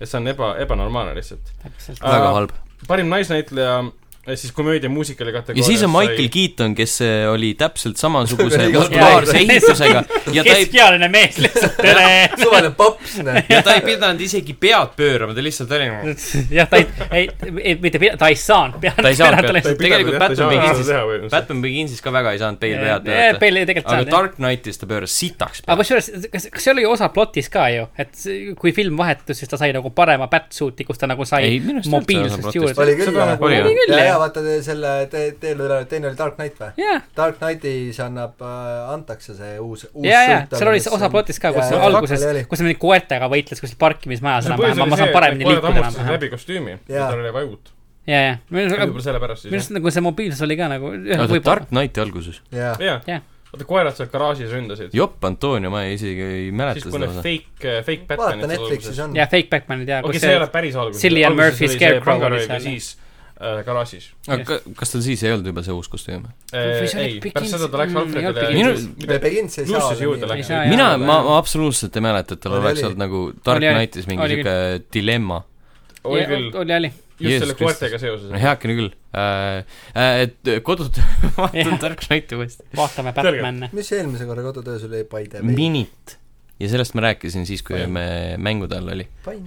Speaker 4: et see on eba , ebanormaalne lihtsalt .
Speaker 3: täpselt .
Speaker 4: Aga-
Speaker 1: väga halb .
Speaker 4: parim naisnäitleja eh, siis komöödia muusikali
Speaker 1: ja
Speaker 4: kategoorias
Speaker 1: siis on Michael Keaton , kes eh, oli täpselt samasuguse
Speaker 2: Jaa.
Speaker 1: musulaarse ehitusega ja ta ei ,
Speaker 3: keskealine mees lihtsalt , tere .
Speaker 2: suvaline paps , näed .
Speaker 1: ja ta ei pidanud isegi pead pöörama , ta lihtsalt oli nagu
Speaker 3: jah , ta ei , ei , ei , mitte , ta ei saanud peale .
Speaker 1: Ta ei saanud peale.
Speaker 4: sai
Speaker 1: Ta tegelikult Batman Beginsis-
Speaker 4: Beginsis
Speaker 1: Batman Beginsis ka väga ei saanud peil pead
Speaker 3: peale .
Speaker 1: pöörata .
Speaker 3: Bale Eh, tegelikult
Speaker 1: aga
Speaker 3: saanud jah
Speaker 1: Dark Knightis ta pööras sitaks
Speaker 3: aga
Speaker 1: peale .
Speaker 3: kusjuures , kas , kas see oli osa plotis ka ju , et see- kui film vahetus , siis ta sai nagu parema batsuit'i , kus ta nagu sai
Speaker 1: Ei, minu arust ei olnud see osa
Speaker 3: mobiilsust
Speaker 1: plotist.
Speaker 3: juurde .
Speaker 2: oli küll ,
Speaker 4: Seda
Speaker 2: jah .
Speaker 4: oli,
Speaker 1: jah. Oli
Speaker 3: küll,
Speaker 2: ja ,
Speaker 3: jah.
Speaker 2: ja vaata te- selle , te- , teil oli , teine oli Dark Knight või ?
Speaker 3: jah ,
Speaker 2: Dark Knightis annab , antakse see uus , uus
Speaker 3: ja , ja seal oli see osa plotis ka , kus
Speaker 2: jaa,
Speaker 3: alguses
Speaker 2: oli, oli. ,
Speaker 3: kus ta mingi koertega võitles kuskil parkimismajas enam-vähem , ma saan paremini liikuda enam-vähem .
Speaker 4: läbi kostüümi ,
Speaker 2: Jaa.
Speaker 4: tal oli vaja uut .
Speaker 3: ja , ja , minu
Speaker 4: võib-olla sellepärast siis
Speaker 3: arust . nagu see mobiilsus oli ka nagu .
Speaker 1: aga Dark Knighti alguses ,
Speaker 2: jaa .
Speaker 4: jah
Speaker 3: Jah. ,
Speaker 4: vaata koerad seal garaažis ründasid .
Speaker 1: jopp Antonio , ma isegi ei mäleta
Speaker 4: siis
Speaker 1: seda
Speaker 4: kui need
Speaker 1: osa .
Speaker 4: fake , fake Batmanid
Speaker 2: vaata , Netflixis on .
Speaker 3: ja Fake Batmanid ja ,
Speaker 4: okei ,
Speaker 3: kus
Speaker 4: see ei
Speaker 3: Nagu see
Speaker 4: ole päris algus .
Speaker 3: Cillian Murphy Scarecrow oli
Speaker 4: oli
Speaker 3: seal.
Speaker 4: seal . siis äh, garaažis .
Speaker 1: aga kas tal siis ei olnud juba see uus kostüüm ?
Speaker 3: Või see oli
Speaker 4: ei , pärast
Speaker 3: Begins-
Speaker 4: seda ta läks
Speaker 3: mm,
Speaker 4: Alfredile
Speaker 1: ei olnud
Speaker 4: Minu...
Speaker 2: The Begins ei saa
Speaker 4: Plussis juurde
Speaker 2: olla
Speaker 3: ei
Speaker 4: läks
Speaker 3: saa, . jah.
Speaker 1: mina ,
Speaker 3: jaa,
Speaker 1: ma
Speaker 3: jaa. ,
Speaker 1: ma absoluutselt ei mäleta , et tal
Speaker 2: Oli,
Speaker 1: oleks
Speaker 2: oli.
Speaker 1: olnud nagu Dark
Speaker 3: Oli, oli.
Speaker 1: Knightis mingi
Speaker 3: Oli
Speaker 1: sihuke dilemma .
Speaker 4: oli küll ,
Speaker 3: oli , oli .
Speaker 4: just
Speaker 1: Jeesus
Speaker 4: selle
Speaker 1: Kristus.
Speaker 4: koertega seoses
Speaker 1: no . heakene küll äh, . Äh, et kodut vaatan
Speaker 3: Jah.
Speaker 1: Dark Knighti uuesti .
Speaker 3: vaatame Batman'e .
Speaker 2: mis eelmise korra kodutöös oli , by the way ?
Speaker 1: minit . ja sellest ma rääkisin siis , kui me mängude all oli .
Speaker 2: pain .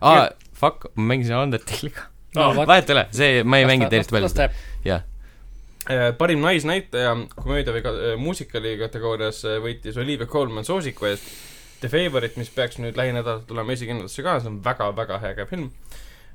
Speaker 1: aa , fuck , ma mängisin Undertale'iga .
Speaker 4: Aa,
Speaker 1: vahet ei ole , see , ma ei mänginud eriti palju seda . jah ,
Speaker 4: Eh, parim naisnäitleja komöödia või ka, eh, muusikali kategoorias eh, võitis Olivia Colman soosiku eest The Favourite , mis peaks nüüd lähinädalal tulema esikinnadusse ka , see on väga-väga äge film .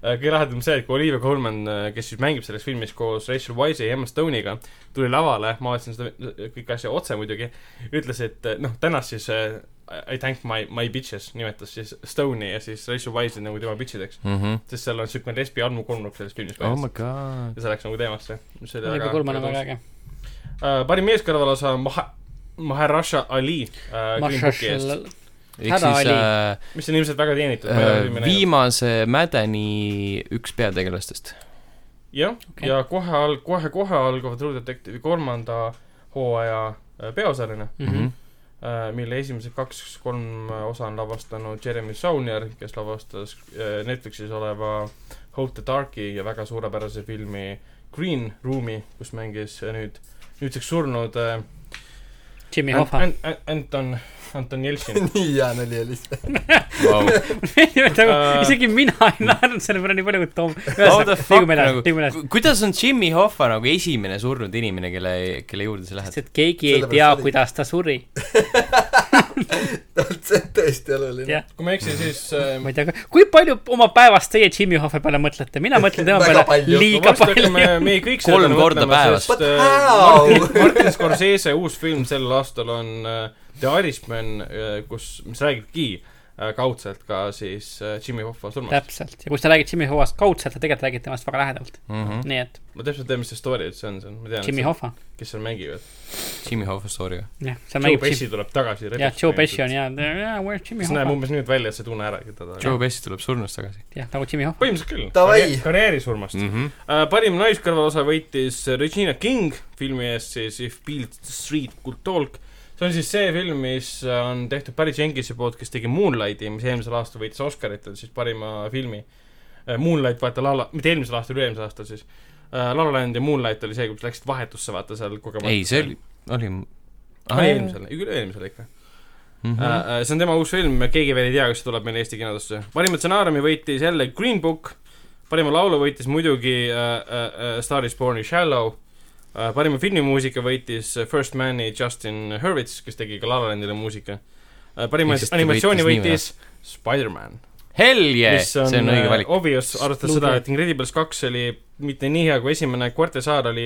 Speaker 4: kõige lahedam see , et kui Olivia Colman , kes siis mängib selles filmis koos Rachel Wise'i ja Emma Stone'iga , tuli lavale , ma vaatasin seda eh, kõike asja otse muidugi , ütles , et eh, noh , tänas siis eh, I thank my , my bitches nimetas siis Stone'i ja siis Rachel Wise'i nagu tema bitch'ideks ,
Speaker 1: mhmh .
Speaker 4: sest seal on siukene lesbi almukolmnurk selles filmis
Speaker 1: Oh my god .
Speaker 4: ja see läks nagu teemasse .
Speaker 3: Olivia Colman on väga äge .
Speaker 4: Äh, parim meeskõrvalosa Maha- , Maharasha Ali äh, Green Booki eest ,
Speaker 1: ehk
Speaker 3: Häda
Speaker 1: siis
Speaker 3: oli.
Speaker 1: äh,
Speaker 4: mis on ilmselt väga teenitud
Speaker 1: äh, .
Speaker 4: viim- .
Speaker 1: viimase Mädeni üks peategelastest .
Speaker 4: jah ,
Speaker 3: Okei.
Speaker 4: ja kohe al- , kohe-kohe algava True Detective'i kolmanda hooaja äh, peaosaline ,
Speaker 3: Mhm.
Speaker 1: Mhm.
Speaker 4: mille esimesed kaks-kolm osa on lavastanud Jeremy Saunier , kes lavastas äh, Netflixis oleva Hope the Darki ja väga suurepärase filmi Green Room'i , kus mängis äh, nüüd , nüüdseks surnud äh,
Speaker 3: Jimmy
Speaker 4: Ant-
Speaker 3: Hoffa .
Speaker 4: Ant- Ant- Anton , Anton Jeltsin .
Speaker 2: nii hea nali oli see .
Speaker 4: Äh.
Speaker 3: isegi mina ei naernud selle peale nii palju , kui Tom .
Speaker 1: How the fuck
Speaker 3: liigume edasi ,
Speaker 1: nagu ,
Speaker 3: liigume edasi .
Speaker 1: kuidas on Jimmy Hoffa nagu esimene surnud inimene , kelle , kelle juurde sa lähed ?
Speaker 3: sest keegi ei
Speaker 2: Sellepärast
Speaker 3: tea
Speaker 2: oli. ,
Speaker 3: kuidas ta suri .
Speaker 2: see on tõesti oluline
Speaker 3: Jah. .
Speaker 4: kui ma ei eksi , siis äh,
Speaker 3: ma ei tea , kui palju oma päevast teie Jimmy Hoffa peale mõtlete , mina mõtlen tema
Speaker 2: Väga
Speaker 3: peale
Speaker 2: palju.
Speaker 3: liiga
Speaker 4: varsti hakkame
Speaker 3: palju .
Speaker 4: meie kõik
Speaker 1: Kolm korda päevas.
Speaker 2: But how?
Speaker 4: äh, Martin Scorsese uus film sel aastal on äh, The Irishman , kus , mis räägibki äh, kaudselt ka siis äh, Jimmy Hoffa surmast .
Speaker 3: täpselt , ja kui sa räägid Jimmy Hoffast kaudselt , sa tegelikult räägid temast väga lähedalt ,
Speaker 1: Mhm.
Speaker 3: nii et
Speaker 4: ma täpselt ei tea , mis see story üldse on , see on , ma
Speaker 3: Jimmy
Speaker 4: tean ,
Speaker 3: Hoffa ,
Speaker 4: kes seal mängivad .
Speaker 1: Jimmy Hoffa story või ?
Speaker 3: jah , seal
Speaker 4: Joe
Speaker 3: mängib
Speaker 4: Pesci tuleb tagasi .
Speaker 3: jah , Joe Pesci on . ja , yeah, where's Jimmy
Speaker 4: see näeb
Speaker 3: Hoffa ,
Speaker 4: umbes nüüd välja , et sa ei tunne ära , keda ta
Speaker 1: Joe
Speaker 4: on .
Speaker 1: Pesci tuleb surnust tagasi
Speaker 3: jah , nagu Jimmy Hoffa ,
Speaker 4: põhimõtteliselt küll .
Speaker 2: Davai. Mhm.
Speaker 4: karjäärisurmast .
Speaker 1: mm .
Speaker 3: Mhm.
Speaker 1: -hmm.
Speaker 4: Äh, parim naiskõrvalosa võitis Regina King filmi eest siis If Beale Street Could Talk . see on siis see film , mis on tehtud Barry Jenkisi poolt , kes tegi Moonlighti , mis eelmisel aastal võitis Oscarit , on siis parima filmi . Moonlight , vaata , La La , mitte eelmisel aastal , üle-eelmisel aastal siis . La La Land ja Moonlight oli see , kus läksid vahetusse , vaata seal kogemata .
Speaker 1: ei , see oli , oli .
Speaker 4: ah, . eelmisel , üle-eelmisel ikka .
Speaker 1: Mhm.
Speaker 4: Mm
Speaker 3: Äh,
Speaker 4: -hmm. see on tema uus film , keegi veel ei tea , kas see tuleb meil Eesti kinodusse . parima stsenaariumi võitis jälle Green Book , parima laulu võitis muidugi uh, uh, Star is Born'i Shallow uh, , parima filmimuusika võitis First Man'i Justin Hurwitz , kes tegi ka La La Landile muusika uh, . parima
Speaker 1: Ehk siis ta
Speaker 4: animatsiooni
Speaker 1: võitis nii
Speaker 4: võitis Spider-man
Speaker 1: Hell yeah ,
Speaker 4: mis on, äh,
Speaker 1: see on
Speaker 3: äh,
Speaker 1: õige valik .
Speaker 4: obvious , arvestades seda , et Incredibles kaks oli mitte nii hea kui esimene , Kortesaar oli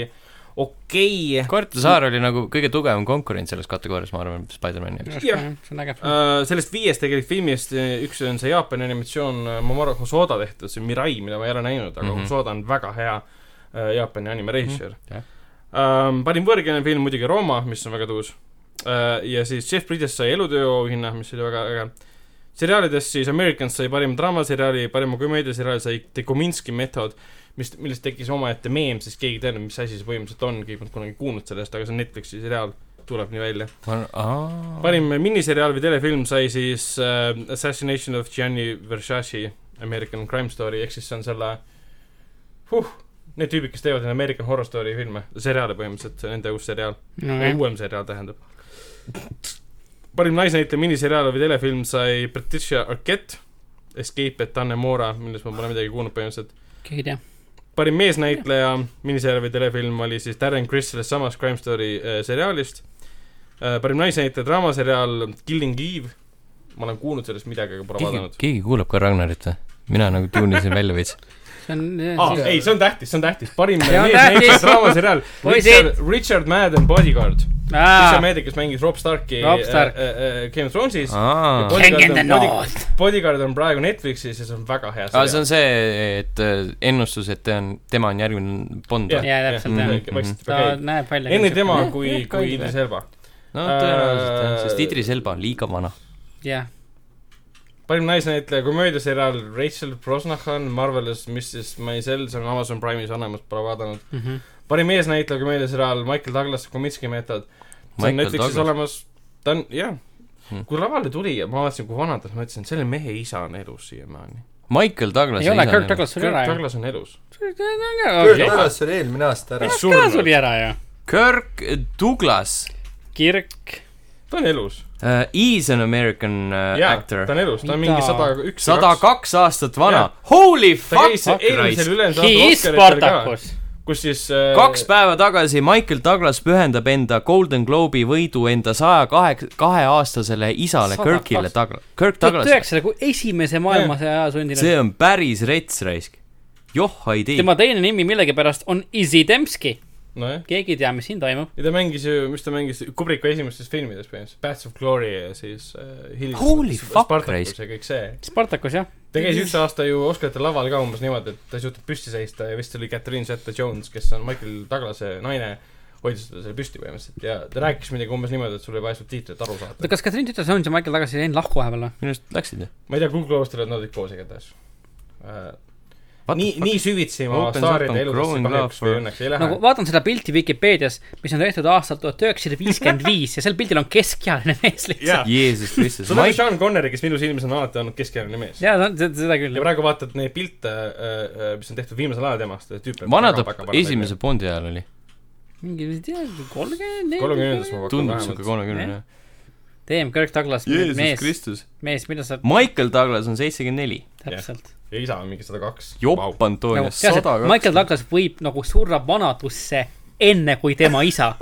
Speaker 4: okei okay. .
Speaker 1: Koerte Saar oli nagu kõige tugevam konkurent selles kategoorias , ma arvan , Spider-man'i jaoks .
Speaker 4: Jah.
Speaker 3: see on äge film ,
Speaker 4: Äh, sellest viiest tegelikult filmist eh, üks on see Jaapani animatsioon äh, Mamoru Hosoda tehtud , see Mirai , mida ma ei ole näinud , aga mm
Speaker 1: Mhm.
Speaker 4: -hmm. Hosoda on väga hea äh, Jaapani animereisjör mm .
Speaker 1: jah.
Speaker 4: -hmm. Ähm, parim võõrkeelne film muidugi Rooma , mis on väga tõus äh, . ja siis Jeff Bridges sai elutööauhinna , mis oli väga äge . seriaalidest siis Americans sai parim draamaseriaali , parima komöödiaseriaali sai The Kominski Method , mis , millest tekkis omaette meem , sest keegi ei teadnud , mis asi see põhimõtteliselt on , keegi polnud kunagi kuulnud sellest , aga see on Netflixi seriaal , tuleb nii välja .
Speaker 1: parim .
Speaker 4: parim miniseriaal või telefilm sai siis äh, Assassination of Gianni Versace American Crime Story ehk siis see on selle huh, Need tüübid , kes teevad neid American Horror Story filme , seriaale põhimõtteliselt , see on nende uus seriaal okay. ,
Speaker 3: nojah ,
Speaker 4: uuem seriaal tähendab . parim naisnäitleja miniseriaal või telefilm sai Patricia Arquette , Escape at Annemora , millest ma pole midagi kuulnud põhimõtteliselt .
Speaker 3: keegi ei tea ,
Speaker 4: parim meesnäitleja miniseriaal või telefilm oli siis Darren Criss sellest samast Crime Story äh, seriaalist . parim naisnäitleja draamaseriaal Killing Eve . ma olen kuulnud sellest midagi , aga pole
Speaker 1: keegi
Speaker 4: vaadanud ,.
Speaker 1: keegi kuulab ka Ragnarit või ? mina nagu tuunisin välja veits .
Speaker 3: see on ,
Speaker 4: aa
Speaker 2: Siis- ,
Speaker 4: Ah, ei , see on tähtis , see on tähtis . parim
Speaker 3: See on
Speaker 4: meesnäitleja
Speaker 3: tähtis.
Speaker 4: draamaseriaal
Speaker 3: Poisid!
Speaker 4: Richard , Richard Madden Bodyguard . Richard
Speaker 3: aa ,
Speaker 4: Madden , kes mängis Rob Starki
Speaker 3: Rob Stark.
Speaker 4: äh, äh, äh, Game of Thronesis .
Speaker 1: aa ,
Speaker 3: King in the
Speaker 4: Bodyguard on-
Speaker 3: North ,
Speaker 4: Bodyguard on praegu Netflixis ja see on väga hea
Speaker 1: see on see , et äh, ennustus , et ta on , tema on järgmine Bond või ?
Speaker 3: Jaa, täpselt,
Speaker 1: jah.
Speaker 3: ta näeb välja .
Speaker 4: enne tema kui
Speaker 1: jah, ,
Speaker 4: kui
Speaker 1: kindlasti.
Speaker 4: Idris Elba .
Speaker 3: nagu-
Speaker 1: no tõenäoliselt jah , sest Idris Elba on liiga vana .
Speaker 3: jah ,
Speaker 4: parim naisnäitleja komöödiaseriaal Rachel Brosnahan , Marvelous Mrs. Maisel , see on Amazon Prime'is olemas , pole vaadanud .
Speaker 3: mm .
Speaker 1: Mhm.
Speaker 3: -hmm.
Speaker 4: parim eesnäitleja komöödiaseriaal Michael Douglas , Komitski meetod . see on
Speaker 1: Michael
Speaker 4: Netflixis
Speaker 1: Douglas.
Speaker 4: olemas , ta on , jah
Speaker 1: Hmm. .
Speaker 4: kui lavale tuli ja ma vaatasin , kui vana ta on , ma ütlesin , selle mehe isa on elus siiamaani .
Speaker 1: Michael Douglas
Speaker 3: ei ole , Kirk . Douglas suri ära
Speaker 4: Kirk
Speaker 3: ju .
Speaker 4: Douglas on elus .
Speaker 2: Kurt
Speaker 4: Jah.
Speaker 2: Douglas oli eelmine aasta ära
Speaker 4: Ei .
Speaker 3: ka
Speaker 4: surnud.
Speaker 3: suri ära ju .
Speaker 1: Kirk Douglas
Speaker 3: Kirk ,
Speaker 4: ta on elus .
Speaker 1: uh, . Is an American uh, yeah,
Speaker 4: jaa ,
Speaker 1: actor
Speaker 4: ta . on elus , ta on
Speaker 3: Mida?
Speaker 4: mingi sada üks .
Speaker 1: sada . kaks aastat vana . Holy
Speaker 4: ta käis
Speaker 1: fuck ,
Speaker 4: eelmisel üle-eelmisel
Speaker 3: he is
Speaker 4: aastal Oscaritel ka ,
Speaker 3: Spartacus .
Speaker 4: kus siis . äh,
Speaker 1: kaks päeva tagasi Michael Douglas pühendab enda Golden Globe'i võidu enda saja kaheksa , kaheaastasele isale
Speaker 3: Sada
Speaker 1: Kirkile
Speaker 3: kaks-
Speaker 1: Douglas , Kirk
Speaker 3: tuhat
Speaker 1: Douglas .
Speaker 3: üheksasada , kui esimese maailmasõja aja sündinud .
Speaker 1: see on päris rets raisk . joh , ei tee .
Speaker 3: tema teine nimi millegipärast on Izzy Dembski .
Speaker 4: nojah ,
Speaker 3: keegi ei tea , mis siin toimub .
Speaker 4: ja ta mängis ju , mis ta mängis , Kubriku esimestes filmides põhimõtteliselt , Bats of Glory ja siis äh, hilisem
Speaker 1: Holy
Speaker 4: Sp-
Speaker 1: fuck,
Speaker 4: Spartacus
Speaker 1: raisk.
Speaker 4: ja kõik see .
Speaker 3: Spartacus jah ,
Speaker 4: ta käis üks aasta ju Oscarite laval ka umbes niimoodi , et ta ei suutnud püsti seista ja vist oli Catherine Zeta-Jones , kes on Michael Douglase naine , hoidis teda seal püsti põhimõtteliselt ja ta rääkis midagi umbes niimoodi , et sul ei vaja sealt tiitlit aru
Speaker 3: oota
Speaker 4: saada .
Speaker 3: kas Katrin Tütar Jones ja Michael tagasi jäid lahku vahepeal või ?
Speaker 1: minu arust läksid jah ?
Speaker 4: ma ei tea , Google Ostel on nad olid koos igatahes äh, . nii , nii süvitsi
Speaker 1: Opens
Speaker 4: ma
Speaker 1: up on
Speaker 4: staaride
Speaker 1: growing
Speaker 4: eludesse kahjuks
Speaker 1: love
Speaker 4: või
Speaker 1: for-
Speaker 4: õnneks ei lähe
Speaker 3: nagu . vaatan seda pilti Vikipeedias , mis on tehtud aastal tuhat üheksasada viiskümmend viis ja sel pildil on keskealine mees
Speaker 4: jaa
Speaker 3: lihtsalt .,
Speaker 1: Jeesus Kristus ,
Speaker 4: see on nagu
Speaker 1: Mike ,
Speaker 4: Sean Connery , kes minu silmis on alati olnud keskealine mees .
Speaker 3: jaa , seda küll
Speaker 4: ja . praegu vaatad neid pilte , mis on tehtud viimasel ajal temast , tüüp
Speaker 1: vana ta esimese . Bondi ajal oli ,
Speaker 3: mingi , ma ei tea , kolmkümmend ,
Speaker 4: kolmekümnendas ma pakun
Speaker 1: tundub siuke
Speaker 4: vähemalt .
Speaker 1: kolmekümnene .
Speaker 3: teeme Kirk Douglas , mees ,
Speaker 1: Kristus .
Speaker 3: mees , mida sa
Speaker 1: Michael Douglas on seitsekümmend neli .
Speaker 3: täpselt .
Speaker 4: ja isa on mingi sada kaks .
Speaker 1: jopp
Speaker 3: nagu
Speaker 1: Antonio ,
Speaker 3: tead ,
Speaker 1: sada
Speaker 3: et
Speaker 1: kaks .
Speaker 3: Michael Douglas võib nagu surra vanadusse enne kui tema isa .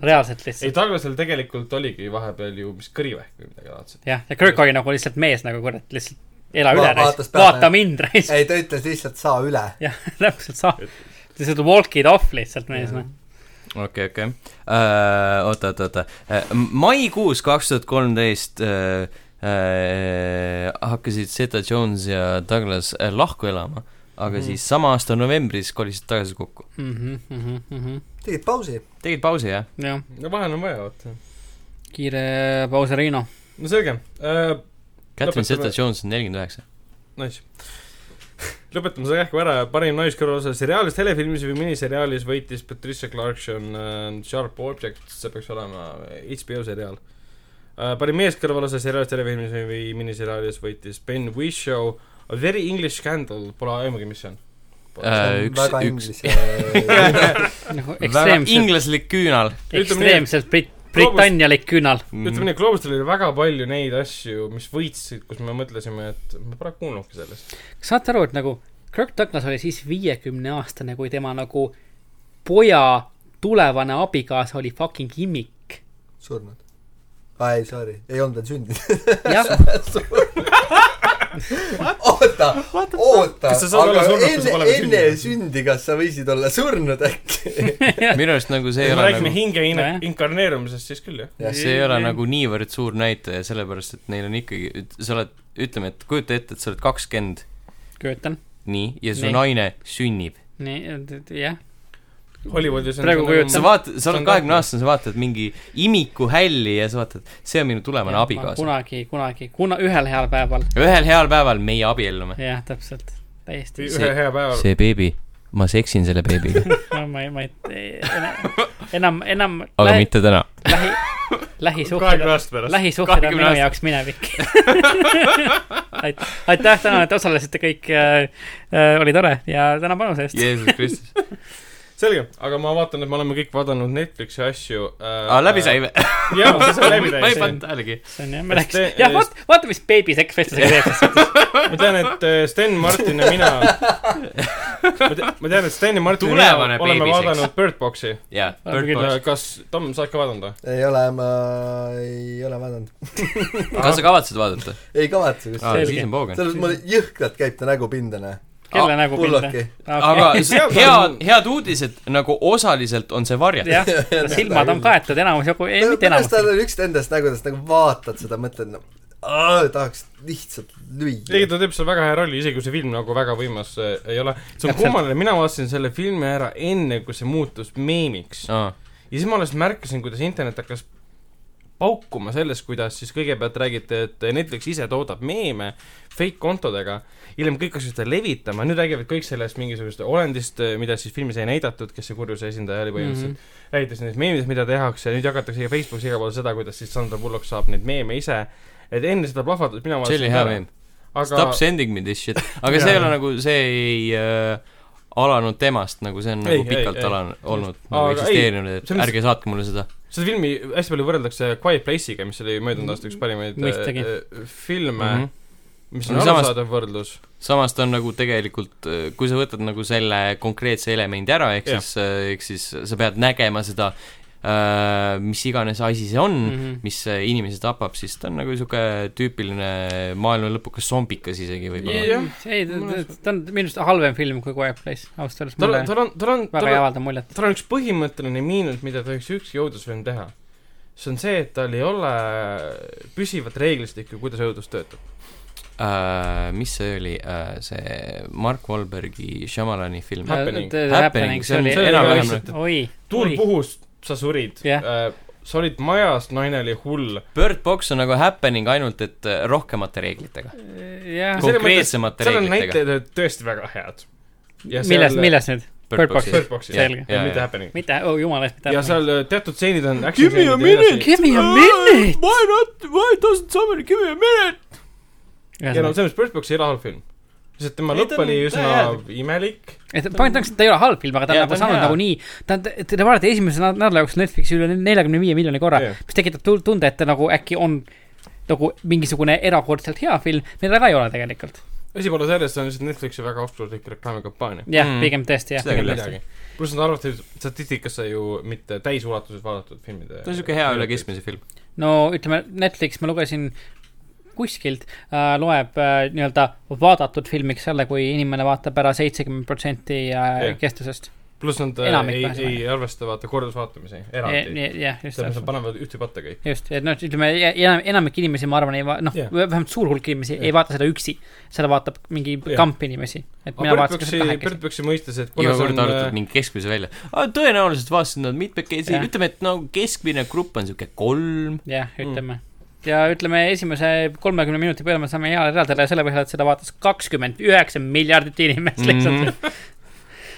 Speaker 3: reaalselt
Speaker 4: ei ,
Speaker 3: lihtsalt .
Speaker 4: Douglasel tegelikult oligi vahepeal ju , mis kõrivähk või midagi laadset .
Speaker 3: jah , ja Kirk oli nagu lihtsalt mees nagu kurat , lihtsalt ela
Speaker 2: Va-
Speaker 3: üle
Speaker 2: vaatas
Speaker 3: reis ,
Speaker 2: peale.
Speaker 3: vaata mind reis .
Speaker 2: ei , ta ütles lihtsalt saa üle .
Speaker 3: jah , täpselt saab . lihtsalt walk it off lihtsalt mees , noh .
Speaker 1: okei , okei . oota , oota , oota . maikuus kaks tuhat kolmteist äh, hakkasid Zeta Jones ja Douglas äh, lahku elama , aga mm. siis sama aasta novembris kolisid tagasi kokku .
Speaker 3: Mhm,
Speaker 2: tegid pausi .
Speaker 1: tegid pausi , jah ?
Speaker 3: jah ,
Speaker 4: no vahel on vaja , vaata .
Speaker 3: kiire paus , Reino .
Speaker 4: no selge uh, .
Speaker 1: Catherine
Speaker 4: Lõpetame.
Speaker 1: Zeta-Jones on nelikümmend üheksa .
Speaker 4: Nice . lõpetame selle kähku ära , parim naiskõrvalise seriaalis , telefilmis või miniseriaalis võitis Patricia Clarkson uh, Sharp Object , see peaks olema HBO seriaal uh, . parim meeskõrvalise seriaalis , telefilmis või- või miniseriaalis võitis Ben Whishaw A Very English Scandal , pole aimugi , mis see on .
Speaker 1: Äh, üks-
Speaker 2: väga
Speaker 1: üks-
Speaker 2: inglise .
Speaker 3: nagu
Speaker 1: väga
Speaker 3: ekstreemselt ,
Speaker 1: inglaslik küünal .
Speaker 4: Ütleme nii,
Speaker 3: ekstreemselt Brit- , Britannialik küünal .
Speaker 1: Mhm.
Speaker 4: ütleme nii , Globalstil oli väga palju neid asju , mis võitsid , kus me mõtlesime , et me pole kuulnudki sellest .
Speaker 3: kas saate aru , et nagu Kirk Douglas oli siis viiekümne aastane , kui tema nagu poja tulevane abikaasa oli fucking imik .
Speaker 2: surnud . aa ei , sorry , ei olnud veel sündinud .
Speaker 3: jah ,
Speaker 2: oota , oota
Speaker 4: Kas sa saad , olla
Speaker 2: aga
Speaker 4: surnud, kui sa
Speaker 2: enne
Speaker 4: pole , veel
Speaker 2: enne
Speaker 4: sündinud?
Speaker 2: sündi , kas sa võisid olla surnud äkki ?
Speaker 1: minu arust nagu see
Speaker 4: kui
Speaker 1: ei
Speaker 4: me
Speaker 1: ole
Speaker 4: räägime
Speaker 1: nagu ,
Speaker 4: hinge
Speaker 3: Nojah.
Speaker 4: in- inkarneerumisest , siis küll jah .
Speaker 1: see ei ole nagu niivõrd suur näitaja , sellepärast et neil on ikkagi , sa oled , ütleme , et kujuta ette , et sa oled kakskümmend ,
Speaker 3: Köötan .
Speaker 1: nii , ja su
Speaker 3: Nii.
Speaker 1: nii. naine sünnib .
Speaker 3: nii , jah ,
Speaker 4: Hollywoodis on
Speaker 3: Praegu
Speaker 4: see nagu
Speaker 3: kujutan-
Speaker 1: sa vaatad , sa
Speaker 4: see
Speaker 1: oled
Speaker 4: on
Speaker 1: kahekümne aastane , sa vaatad mingi imiku hälli ja sa vaatad , see on minu tulevane abikaasa .
Speaker 3: kunagi , kunagi , kuna ühel heal päeval ,
Speaker 1: ühel heal päeval meie abiellume .
Speaker 3: jah , täpselt , täiesti .
Speaker 4: nagu
Speaker 1: see-
Speaker 4: ühe hea päeva
Speaker 1: see beebi , ma seksin selle beebiga ,
Speaker 3: no ma ei , ma ei , enam , enam
Speaker 1: aga
Speaker 3: lähi ,
Speaker 1: mitte täna .
Speaker 3: lähi , lähisuhted
Speaker 4: kahekümne , aasta pärast .
Speaker 3: lähisuhted on
Speaker 1: kahekümne
Speaker 3: minu
Speaker 1: aasta-
Speaker 3: jaoks minevik Ait- aitäh täna , et osalesite kõik , oli tore ja tänan panuse eest .
Speaker 1: Jeesus Kristus .
Speaker 4: selge , aga ma vaatan , et me oleme kõik vaadanud Netflixi asju äh,
Speaker 1: aa , läbi sai või ?
Speaker 4: jah , see läbi
Speaker 1: ma ei
Speaker 4: sai .
Speaker 1: pannud tähelegi .
Speaker 3: see on jah , me
Speaker 4: Kas
Speaker 3: läks ,
Speaker 4: te-
Speaker 3: jah , vaata , vaata , mis beebi sekk festiga teeb siis .
Speaker 4: ma tean , et äh, Sten , Martin ja mina ma te- ma tean , et Sten ja Martin ja
Speaker 1: Tulevane
Speaker 4: mina oleme
Speaker 1: beebiseks.
Speaker 4: vaadanud Bird Boxi .
Speaker 1: jaa ,
Speaker 3: Oleme küll.
Speaker 1: Bird Box .
Speaker 4: kas , Tom , sa oled ka vaadanud või ?
Speaker 2: ei ole , ma ei ole vaadanud .
Speaker 1: kas sa kavatsed vaadata ?
Speaker 2: ei kavatse
Speaker 1: aa ,
Speaker 2: kusjuures .
Speaker 3: Selge.
Speaker 1: siis on poogen .
Speaker 2: selles mõttes mul jõhkralt käib ta nägu pindana .
Speaker 3: kelle nägu pildi
Speaker 2: pulloki .
Speaker 1: aga
Speaker 3: okay. .
Speaker 1: s- head , head uudised nagu osaliselt on see varjatud .
Speaker 3: jah , silmad on kaetud enamus jagu , ei mitte
Speaker 2: minu arust tal
Speaker 3: enamus .
Speaker 2: on üks nendest nägudest , nagu vaatad seda , mõtled , no aa, tahaks lihtsalt
Speaker 4: ei ,
Speaker 2: lüüa .
Speaker 4: ta teeb seal väga hea rolli , isegi kui see film nagu väga võimas äh, ei ole . see on
Speaker 3: Täpselt.
Speaker 4: kummaline , mina vaatasin selle filmi ära enne , kui see muutus meemiks .
Speaker 1: aa ,
Speaker 4: ja siis ma alles märkasin , kuidas internet hakkas paukuma selles , kuidas siis kõigepealt räägiti , et Netflix ise toodab meeme fake kontodega , hiljem kõik hakkasid seda levitama , nüüd räägivad kõik sellest mingisugusest olendist , mida siis filmis ei näidatud , kes see kurjuse esindaja oli
Speaker 1: Mhm.
Speaker 4: põhimõtteliselt mm . -hmm. räägitakse nendest meemidest , mida tehakse , nüüd jagatakse ka Facebookis igal pool seda , kuidas siis Sandra Bullock saab neid meeme ise , et enne seda plahvatust mina
Speaker 1: see oli hea meem . Stop sending me this shit . aga see ei ole nagu , see ei äh, alanud temast , nagu see on
Speaker 4: Ei,
Speaker 1: nagu
Speaker 4: ei,
Speaker 1: pikalt
Speaker 4: ei.
Speaker 1: alanud , olnud ,
Speaker 4: Aga
Speaker 1: nagu
Speaker 4: ei,
Speaker 1: eksisteerinud , et
Speaker 4: see on-
Speaker 1: ärge saatke mulle seda .
Speaker 4: seda filmi hästi palju võrreldakse Quiet Place'iga , mis oli möödunud aasta üks parimaid äh,
Speaker 3: Mõistagi.
Speaker 4: äh, filme
Speaker 1: Mhm.
Speaker 4: mm , -hmm. mis
Speaker 1: Aga
Speaker 4: on
Speaker 1: samas-
Speaker 4: arusaadav võrdlus .
Speaker 1: samas ta on nagu tegelikult , kui sa võtad nagu selle konkreetse elemendi ära , ehk
Speaker 4: Jah.
Speaker 1: siis , ehk siis sa pead nägema seda , mis iganes asi see on
Speaker 3: Mm-hmm.
Speaker 4: Mhm.
Speaker 1: mm , -hmm. mis äh, inimesi tapab , siis ta on nagu niisugune tüüpiline maailma lõpukas zombikas isegi võib-olla .
Speaker 4: jah.
Speaker 3: ei , ta on minu arust halvem film kui Quiet Place , ausalt öeldes
Speaker 4: tal
Speaker 3: mulle
Speaker 4: on , tal on , tal on ,
Speaker 3: väga
Speaker 4: tal
Speaker 3: ei
Speaker 4: on ,
Speaker 3: avalda muljet .
Speaker 4: tal on üks põhimõtteline miinus , mida tohiks ükski õudusfilm teha . see on see , et tal ei ole püsivat reeglistikku , kuidas õudus töötab .
Speaker 1: Äh, Mis see oli , see Mark Wahlbergi Shyamalani film ?
Speaker 4: Happening.
Speaker 1: Happening , see on
Speaker 4: see oli
Speaker 1: enam-vähem
Speaker 4: lihtsalt-
Speaker 3: oi ,
Speaker 4: tuul
Speaker 3: oi ,
Speaker 4: puhus , sa surid
Speaker 3: Jah.
Speaker 4: yeah. , sa olid majas , naine oli hull .
Speaker 1: Bird Box on nagu happening ainult , et äh, rohkemate reeglitega .
Speaker 3: jah ,
Speaker 4: Selles mõttes-
Speaker 1: konkreetsemate
Speaker 4: seal on
Speaker 1: reeglitega .
Speaker 4: näited tõesti väga head .
Speaker 3: milles , milles nüüd ? Bird Boxis?
Speaker 4: Bird Boxis ,
Speaker 3: Selge.
Speaker 1: Jaa,
Speaker 4: mitte
Speaker 1: jaa.
Speaker 4: Happening .
Speaker 3: mitte , oh jumal eest ,
Speaker 4: ja
Speaker 3: mitte .
Speaker 4: seal äh, teatud stseenid on
Speaker 1: Give me a minute!
Speaker 3: Give me a minute !
Speaker 1: Why not , why doesn't somebody give me a minute ?
Speaker 4: ja no selles mõttes Bird Box ei ole halb film . lihtsalt tema
Speaker 1: Ei,
Speaker 4: lõpp
Speaker 1: ta on-
Speaker 4: oli
Speaker 1: ta
Speaker 4: üsna
Speaker 1: jääb.
Speaker 4: imelik .
Speaker 3: et point ongi , et ta ei ole halb film , aga ta on
Speaker 4: Jaa,
Speaker 3: nagu
Speaker 4: ta on
Speaker 3: saanud
Speaker 4: hea.
Speaker 3: nagunii , ta on , te te vaadate esimese nä- nädala jooksul Netflixi üle neljakümne viie miljoni korra ,
Speaker 4: Jaa.
Speaker 3: mis tekitab tu- tunde , et ta nagu äkki on nagu mingisugune erakordselt hea film , mida ta ka ei ole tegelikult .
Speaker 4: asi pole selles , see on lihtsalt Netflixi väga oskuslik reklaamikampaania .
Speaker 3: jah
Speaker 1: Mm.
Speaker 3: mm. , pigem tõesti jah ,
Speaker 1: Seda
Speaker 3: pigem
Speaker 1: küll,
Speaker 3: tõesti .
Speaker 4: pluss nad arvutavad statistikasse ju mitte täisulatuses vaadatud
Speaker 1: ta
Speaker 4: filmide .
Speaker 1: on niisugune hea üle . keskmise film .
Speaker 3: no ütleme , Netflix , ma lugesin kuskilt äh, , loeb äh, nii-öelda vaadatud filmiks selle , kui inimene vaatab ära seitsekümmend protsenti äh,
Speaker 4: Jah.
Speaker 3: kestusest .
Speaker 4: pluss nad
Speaker 3: Enamik
Speaker 4: Enamik ei ,
Speaker 3: vähemalt.
Speaker 4: ei arvesta vaata kordusvaatamisi eraldi .
Speaker 3: jah , just
Speaker 4: selles mõttes nad
Speaker 3: täpselt
Speaker 4: panevad ühte patta kõik .
Speaker 3: just , et noh , ütleme ja- enam , enamik inimesi , ma arvan , ei va- , noh
Speaker 4: Jah.
Speaker 3: yeah. , vähemalt suur hulk inimesi yeah.
Speaker 4: Jah.
Speaker 3: ei vaata seda üksi . seda vaatab mingi
Speaker 4: Jah.
Speaker 3: yeah. kamp inimesi . et mina
Speaker 4: aga Bird
Speaker 3: vaatasin
Speaker 4: Boxi
Speaker 3: seda ,
Speaker 4: Bird
Speaker 3: kahekesi .
Speaker 4: Boxi mõistes , et kuna
Speaker 1: iga
Speaker 4: see
Speaker 1: kord arvutad
Speaker 4: on , äh,
Speaker 1: mingi keskmise välja . tõenäoliselt vaatasin nad mitmekesi ,
Speaker 3: äh, Jah.
Speaker 1: ütleme , et no keskmine grupp on niisugune kolm .
Speaker 3: jah , ütleme mm. . ja ütleme , esimese kolmekümne minuti peale me saame heale teadele selle põhjal , et seda vaatas kakskümmend üheksa miljardit
Speaker 1: Mhm.
Speaker 3: inimest lihtsalt mm .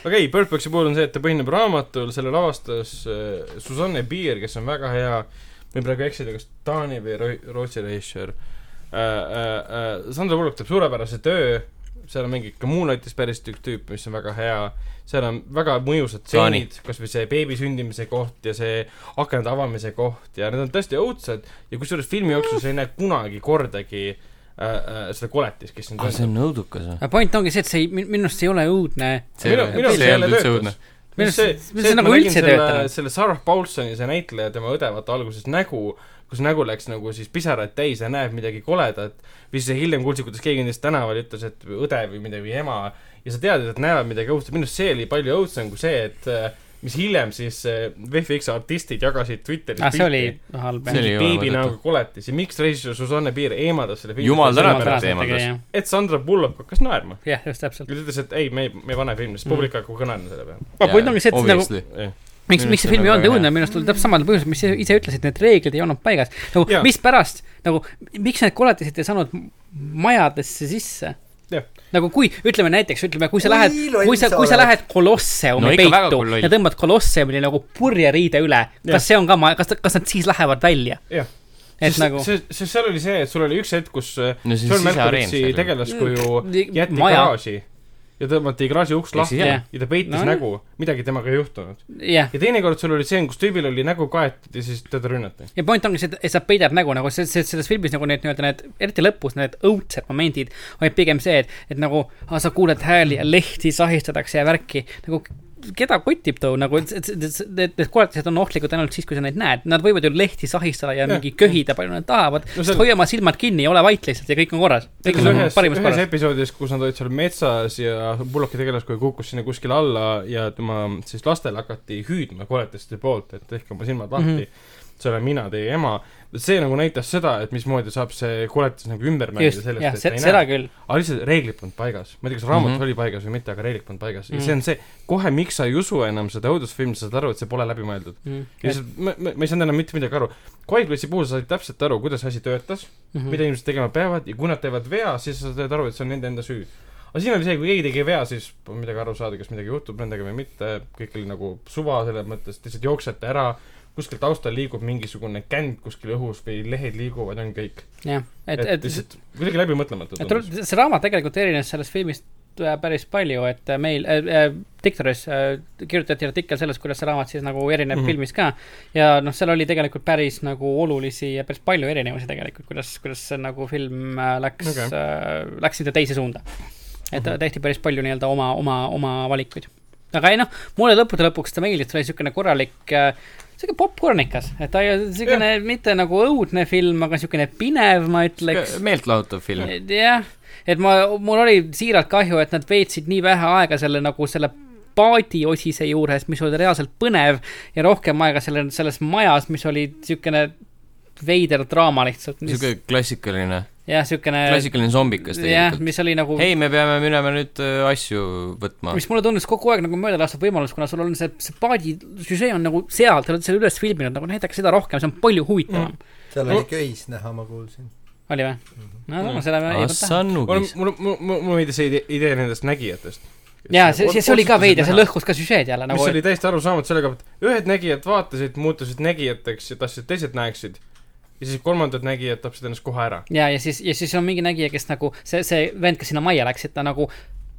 Speaker 4: aga ei , Bird Boxi puhul on see , et ta põhineb raamatul , selle lavastas äh, Susanne Bier , kes on väga hea , ma võin praegu eksida , kas Taani või Ro- Rootsi režissöör äh, . Äh, äh, Sandra Bullock teeb suurepärase töö , seal on mingi ka Moonlightis päris tükk tüüp , mis on väga hea , seal on väga mõjusad
Speaker 1: Taani.
Speaker 4: stseenid , kas või see beebi sündimise koht ja see akende avamise koht ja need on tõesti õudsed ja kusjuures filmi jooksul sa ei näe kunagi kordagi äh, äh, seda koletist , kes
Speaker 1: aa , Ah, see
Speaker 4: on
Speaker 1: on õudukas või ?
Speaker 3: aga point ongi see , et see ei , minu arust see ei ole õudne .
Speaker 1: see
Speaker 4: Minu- minu
Speaker 1: see
Speaker 4: arust
Speaker 1: ei
Speaker 4: jälle
Speaker 1: olnud üldse
Speaker 4: töötas.
Speaker 1: õudne .
Speaker 3: Minu
Speaker 4: see , see,
Speaker 3: arust- see-
Speaker 4: see ,
Speaker 3: see
Speaker 4: et ma
Speaker 3: nagu
Speaker 4: nägin
Speaker 3: üldse ei
Speaker 4: selle ,
Speaker 3: töötanud.
Speaker 4: selle Sarah Paulsoni , see näitleja , tema õde , vaata alguses nägu , kus nägu läks nagu siis pisaraid täis ja näeb midagi koledat , või siis hiljem kuulsid , kuidas keegi nendest tänaval ütles , et õde või midagi või ema , ja sa tead , et nad näevad midagi õudset , minu arust see oli palju õudsem kui see , et äh, mis hiljem siis äh, VFX artistid jagasid Twitteris
Speaker 3: ah , see oli halb
Speaker 1: See oli
Speaker 4: mingi
Speaker 1: jumala
Speaker 4: beebinäoga
Speaker 1: mõttetu.
Speaker 4: koletis ja miks režissöör Susanne Piir eemaldas selle filmi
Speaker 1: Jumal tänatud,
Speaker 4: sellepärast,
Speaker 1: teema, kas-
Speaker 3: jah .
Speaker 4: et Sandra Bullock hakkas naerma .
Speaker 3: jah , just täpselt .
Speaker 4: ja ta ütles , et ei , me ei , me ei pane filmi ,
Speaker 3: Mm.
Speaker 4: sest publik hakkab ka naerma selle peale
Speaker 3: aga point ongi see , et see nagu ,
Speaker 4: Jah.
Speaker 3: miks , miks see film ei olnud õudne , minu arust oli täpselt samal põhjusel , mis sa ise ütlesid , need reeglid ei olnud paigas . nagu
Speaker 4: Jaa. ,
Speaker 3: mispärast , nagu , miks need koletised ei saanud m- majadesse sisse ?
Speaker 4: Jah.
Speaker 3: nagu kui , ütleme näiteks , ütleme , kui sa
Speaker 2: Oi,
Speaker 3: lähed ,
Speaker 2: loll
Speaker 3: kui sa ,
Speaker 2: sa
Speaker 3: kui sa
Speaker 2: oled.
Speaker 3: lähed
Speaker 1: No
Speaker 3: kolosseumi
Speaker 1: ikka väga
Speaker 3: peitu
Speaker 1: kui loll.
Speaker 3: ja tõmbad kolosseumile nagu purjeriide üle ,
Speaker 4: Jah.
Speaker 3: kas see on ka ma- , kas , kas nad siis lähevad välja ?
Speaker 4: jah ,
Speaker 3: et
Speaker 4: sest
Speaker 3: nagu
Speaker 4: see , sest seal oli see , et sul oli üks hetk , kus äh,
Speaker 1: No see on siseareen
Speaker 4: John Malkovichi
Speaker 1: seal.
Speaker 4: tegelaskuju
Speaker 3: Mm,
Speaker 4: jäeti
Speaker 3: maja.
Speaker 4: garaaži ja tõmmati garaaži
Speaker 1: Ehk
Speaker 4: uks
Speaker 1: siis
Speaker 4: lahti ja,
Speaker 3: jah.
Speaker 4: ta peitis
Speaker 3: No
Speaker 4: no,
Speaker 3: nii.
Speaker 4: nägu , midagi temaga ei juhtunud .
Speaker 3: jah ,
Speaker 4: ja teinekord sul oli see , kus tüübil oli nägu kaetud ja siis teda rünnati .
Speaker 3: ja point ongi see , et sa peidad nägu nagu see , see , selles filmis nagu need nii-öelda need , eriti lõpus need õudsed momendid olid pigem see , et , et nagu ah, sa kuuled hääli ja lehti sahistatakse ja värki nagu keda kotib too nagu , et , et , et et need , need koletised on ohtlikud ainult siis , kui sa neid näed , nad võivad ju lehti sahistada ja
Speaker 4: Jah.
Speaker 3: mingi köhida , palju nad tahavad no, ,
Speaker 4: No see-
Speaker 3: seal... hoia oma silmad kinni ja ole vait lihtsalt ja kõik on korras . kõik on
Speaker 4: ühes ,
Speaker 3: parimas
Speaker 4: ühes
Speaker 3: korras .
Speaker 4: episoodis , kus nad olid seal metsas ja Bulloki tegelaskuju kukkus sinna kuskile
Speaker 3: Mhm.
Speaker 4: alla ja tema siis lastele hakati hüüdma koletiste poolt , et tehke oma silmad lahti mm . -hmm. see olen mina , teie ema . see nagu näitas seda , et mismoodi saab see koletis nagu ümber mängida
Speaker 3: just ,
Speaker 4: sellest ,
Speaker 3: jah ,
Speaker 4: et ei
Speaker 3: seda
Speaker 4: näe .
Speaker 3: küll .
Speaker 4: aga lihtsalt reeglid polnud paigas . ma ei tea , kas raamatus mm
Speaker 1: Mhm.
Speaker 4: -hmm. oli paigas või mitte , aga reeglid polnud paigas mm .
Speaker 3: Mhm.
Speaker 4: -hmm. ja see on see , kohe miks sa ei usu enam seda õudusfilmi , sa saad aru , et see pole läbi mõeldud . ja
Speaker 3: jah ,
Speaker 4: lihtsalt ma , ma , ma ei saanud enam mitte midagi aru . Quiet Place'i puhul sa said täpselt aru , kuidas asi töötas
Speaker 3: Mhm.
Speaker 4: mm. , mida inimesed tegema peavad ja kui nad teevad vea , siis sa saad aru , et see on nende enda süü . aga siin oli see , kui keegi tegi vea , siis polnud midagi aru saada , kas midagi juhtub nendega või mitte , kõik oli nagu suva selles mõttes , et lihtsalt jooksete ära , kuskil taustal liigub mingisugune känd kuskil õhus või lehed liiguvad , on kõik .
Speaker 3: et , et
Speaker 4: lihtsalt kuidagi läbimõtlematult
Speaker 3: et tul-
Speaker 4: tundus .
Speaker 3: see raamat tegelikult erines sellest filmist äh, päris palju , et äh, meil äh, äh, Diktoris äh, kirjutati artikkel sellest , kuidas see raamat siis nagu erineb mm
Speaker 4: Mhm.
Speaker 3: -hmm. filmis ka . ja noh , seal oli tegelikult päris nagu olulisi ja päris palju erinevusi tegelikult , kuidas , kuidas see nagu film äh, läks
Speaker 4: Okei. Mhm.
Speaker 3: okay. , äh, läks sinna teise suunda . et mm -hmm. tehti päris palju nii-öelda oma , oma , oma valikuid . aga ei noh , mulle lõppude lõpuks ta meeldis , ta oli niisugune korralik äh, sihuke popkornikas , et ta ei ole niisugune mitte nagu õudne film , aga niisugune pinev , ma ütleks .
Speaker 1: meeltlahutav
Speaker 3: Äh,
Speaker 1: film .
Speaker 3: jah , et ma , mul oli siiralt kahju , et nad veetsid nii vähe aega selle nagu selle paadiosise juures , mis oli reaalselt põnev ja rohkem aega selle , selles majas , mis oli siukene veider draama lihtsalt .
Speaker 1: niisugune klassikaline ,
Speaker 3: jah , siukene .
Speaker 1: klassikaline zombikas
Speaker 3: Äh, jah ,
Speaker 1: tegelikult .
Speaker 3: mis oli nagu .
Speaker 1: ei , me peame minema nüüd äh, asju võtma .
Speaker 3: mis mulle tundus kogu aeg nagu mööda lastud võimalus , kuna sul on see , see paadi süžee on nagu seal , te olete selle üles filminud , nagu näidake seda rohkem , see on palju huvitavam mm. .
Speaker 2: seal oli köis näha , ma kuulsin .
Speaker 3: oli või ? no
Speaker 4: Mhm.
Speaker 3: ma seda
Speaker 1: Ah,
Speaker 3: ei võta .
Speaker 4: mul
Speaker 1: Assannugis ,.
Speaker 4: mul , mul , mul meeldis see idee- idee nendest nägijatest .
Speaker 3: jaa , see , see , see oli ka veider , see . lõhkus ka süžeed jälle
Speaker 4: nagu
Speaker 3: nagu .
Speaker 4: mis oli täiesti arusaamatu sellega , et ühed nägijad vaatasid , muutusid nägijateks ja tahtsid , et teised näeksid . ja siis kolmandad nägijad tapsid ennast kohe ära .
Speaker 3: ja , ja siis , ja siis on mingi nägija , kes nagu see , see vend , kes sinna majja läks , et ta nagu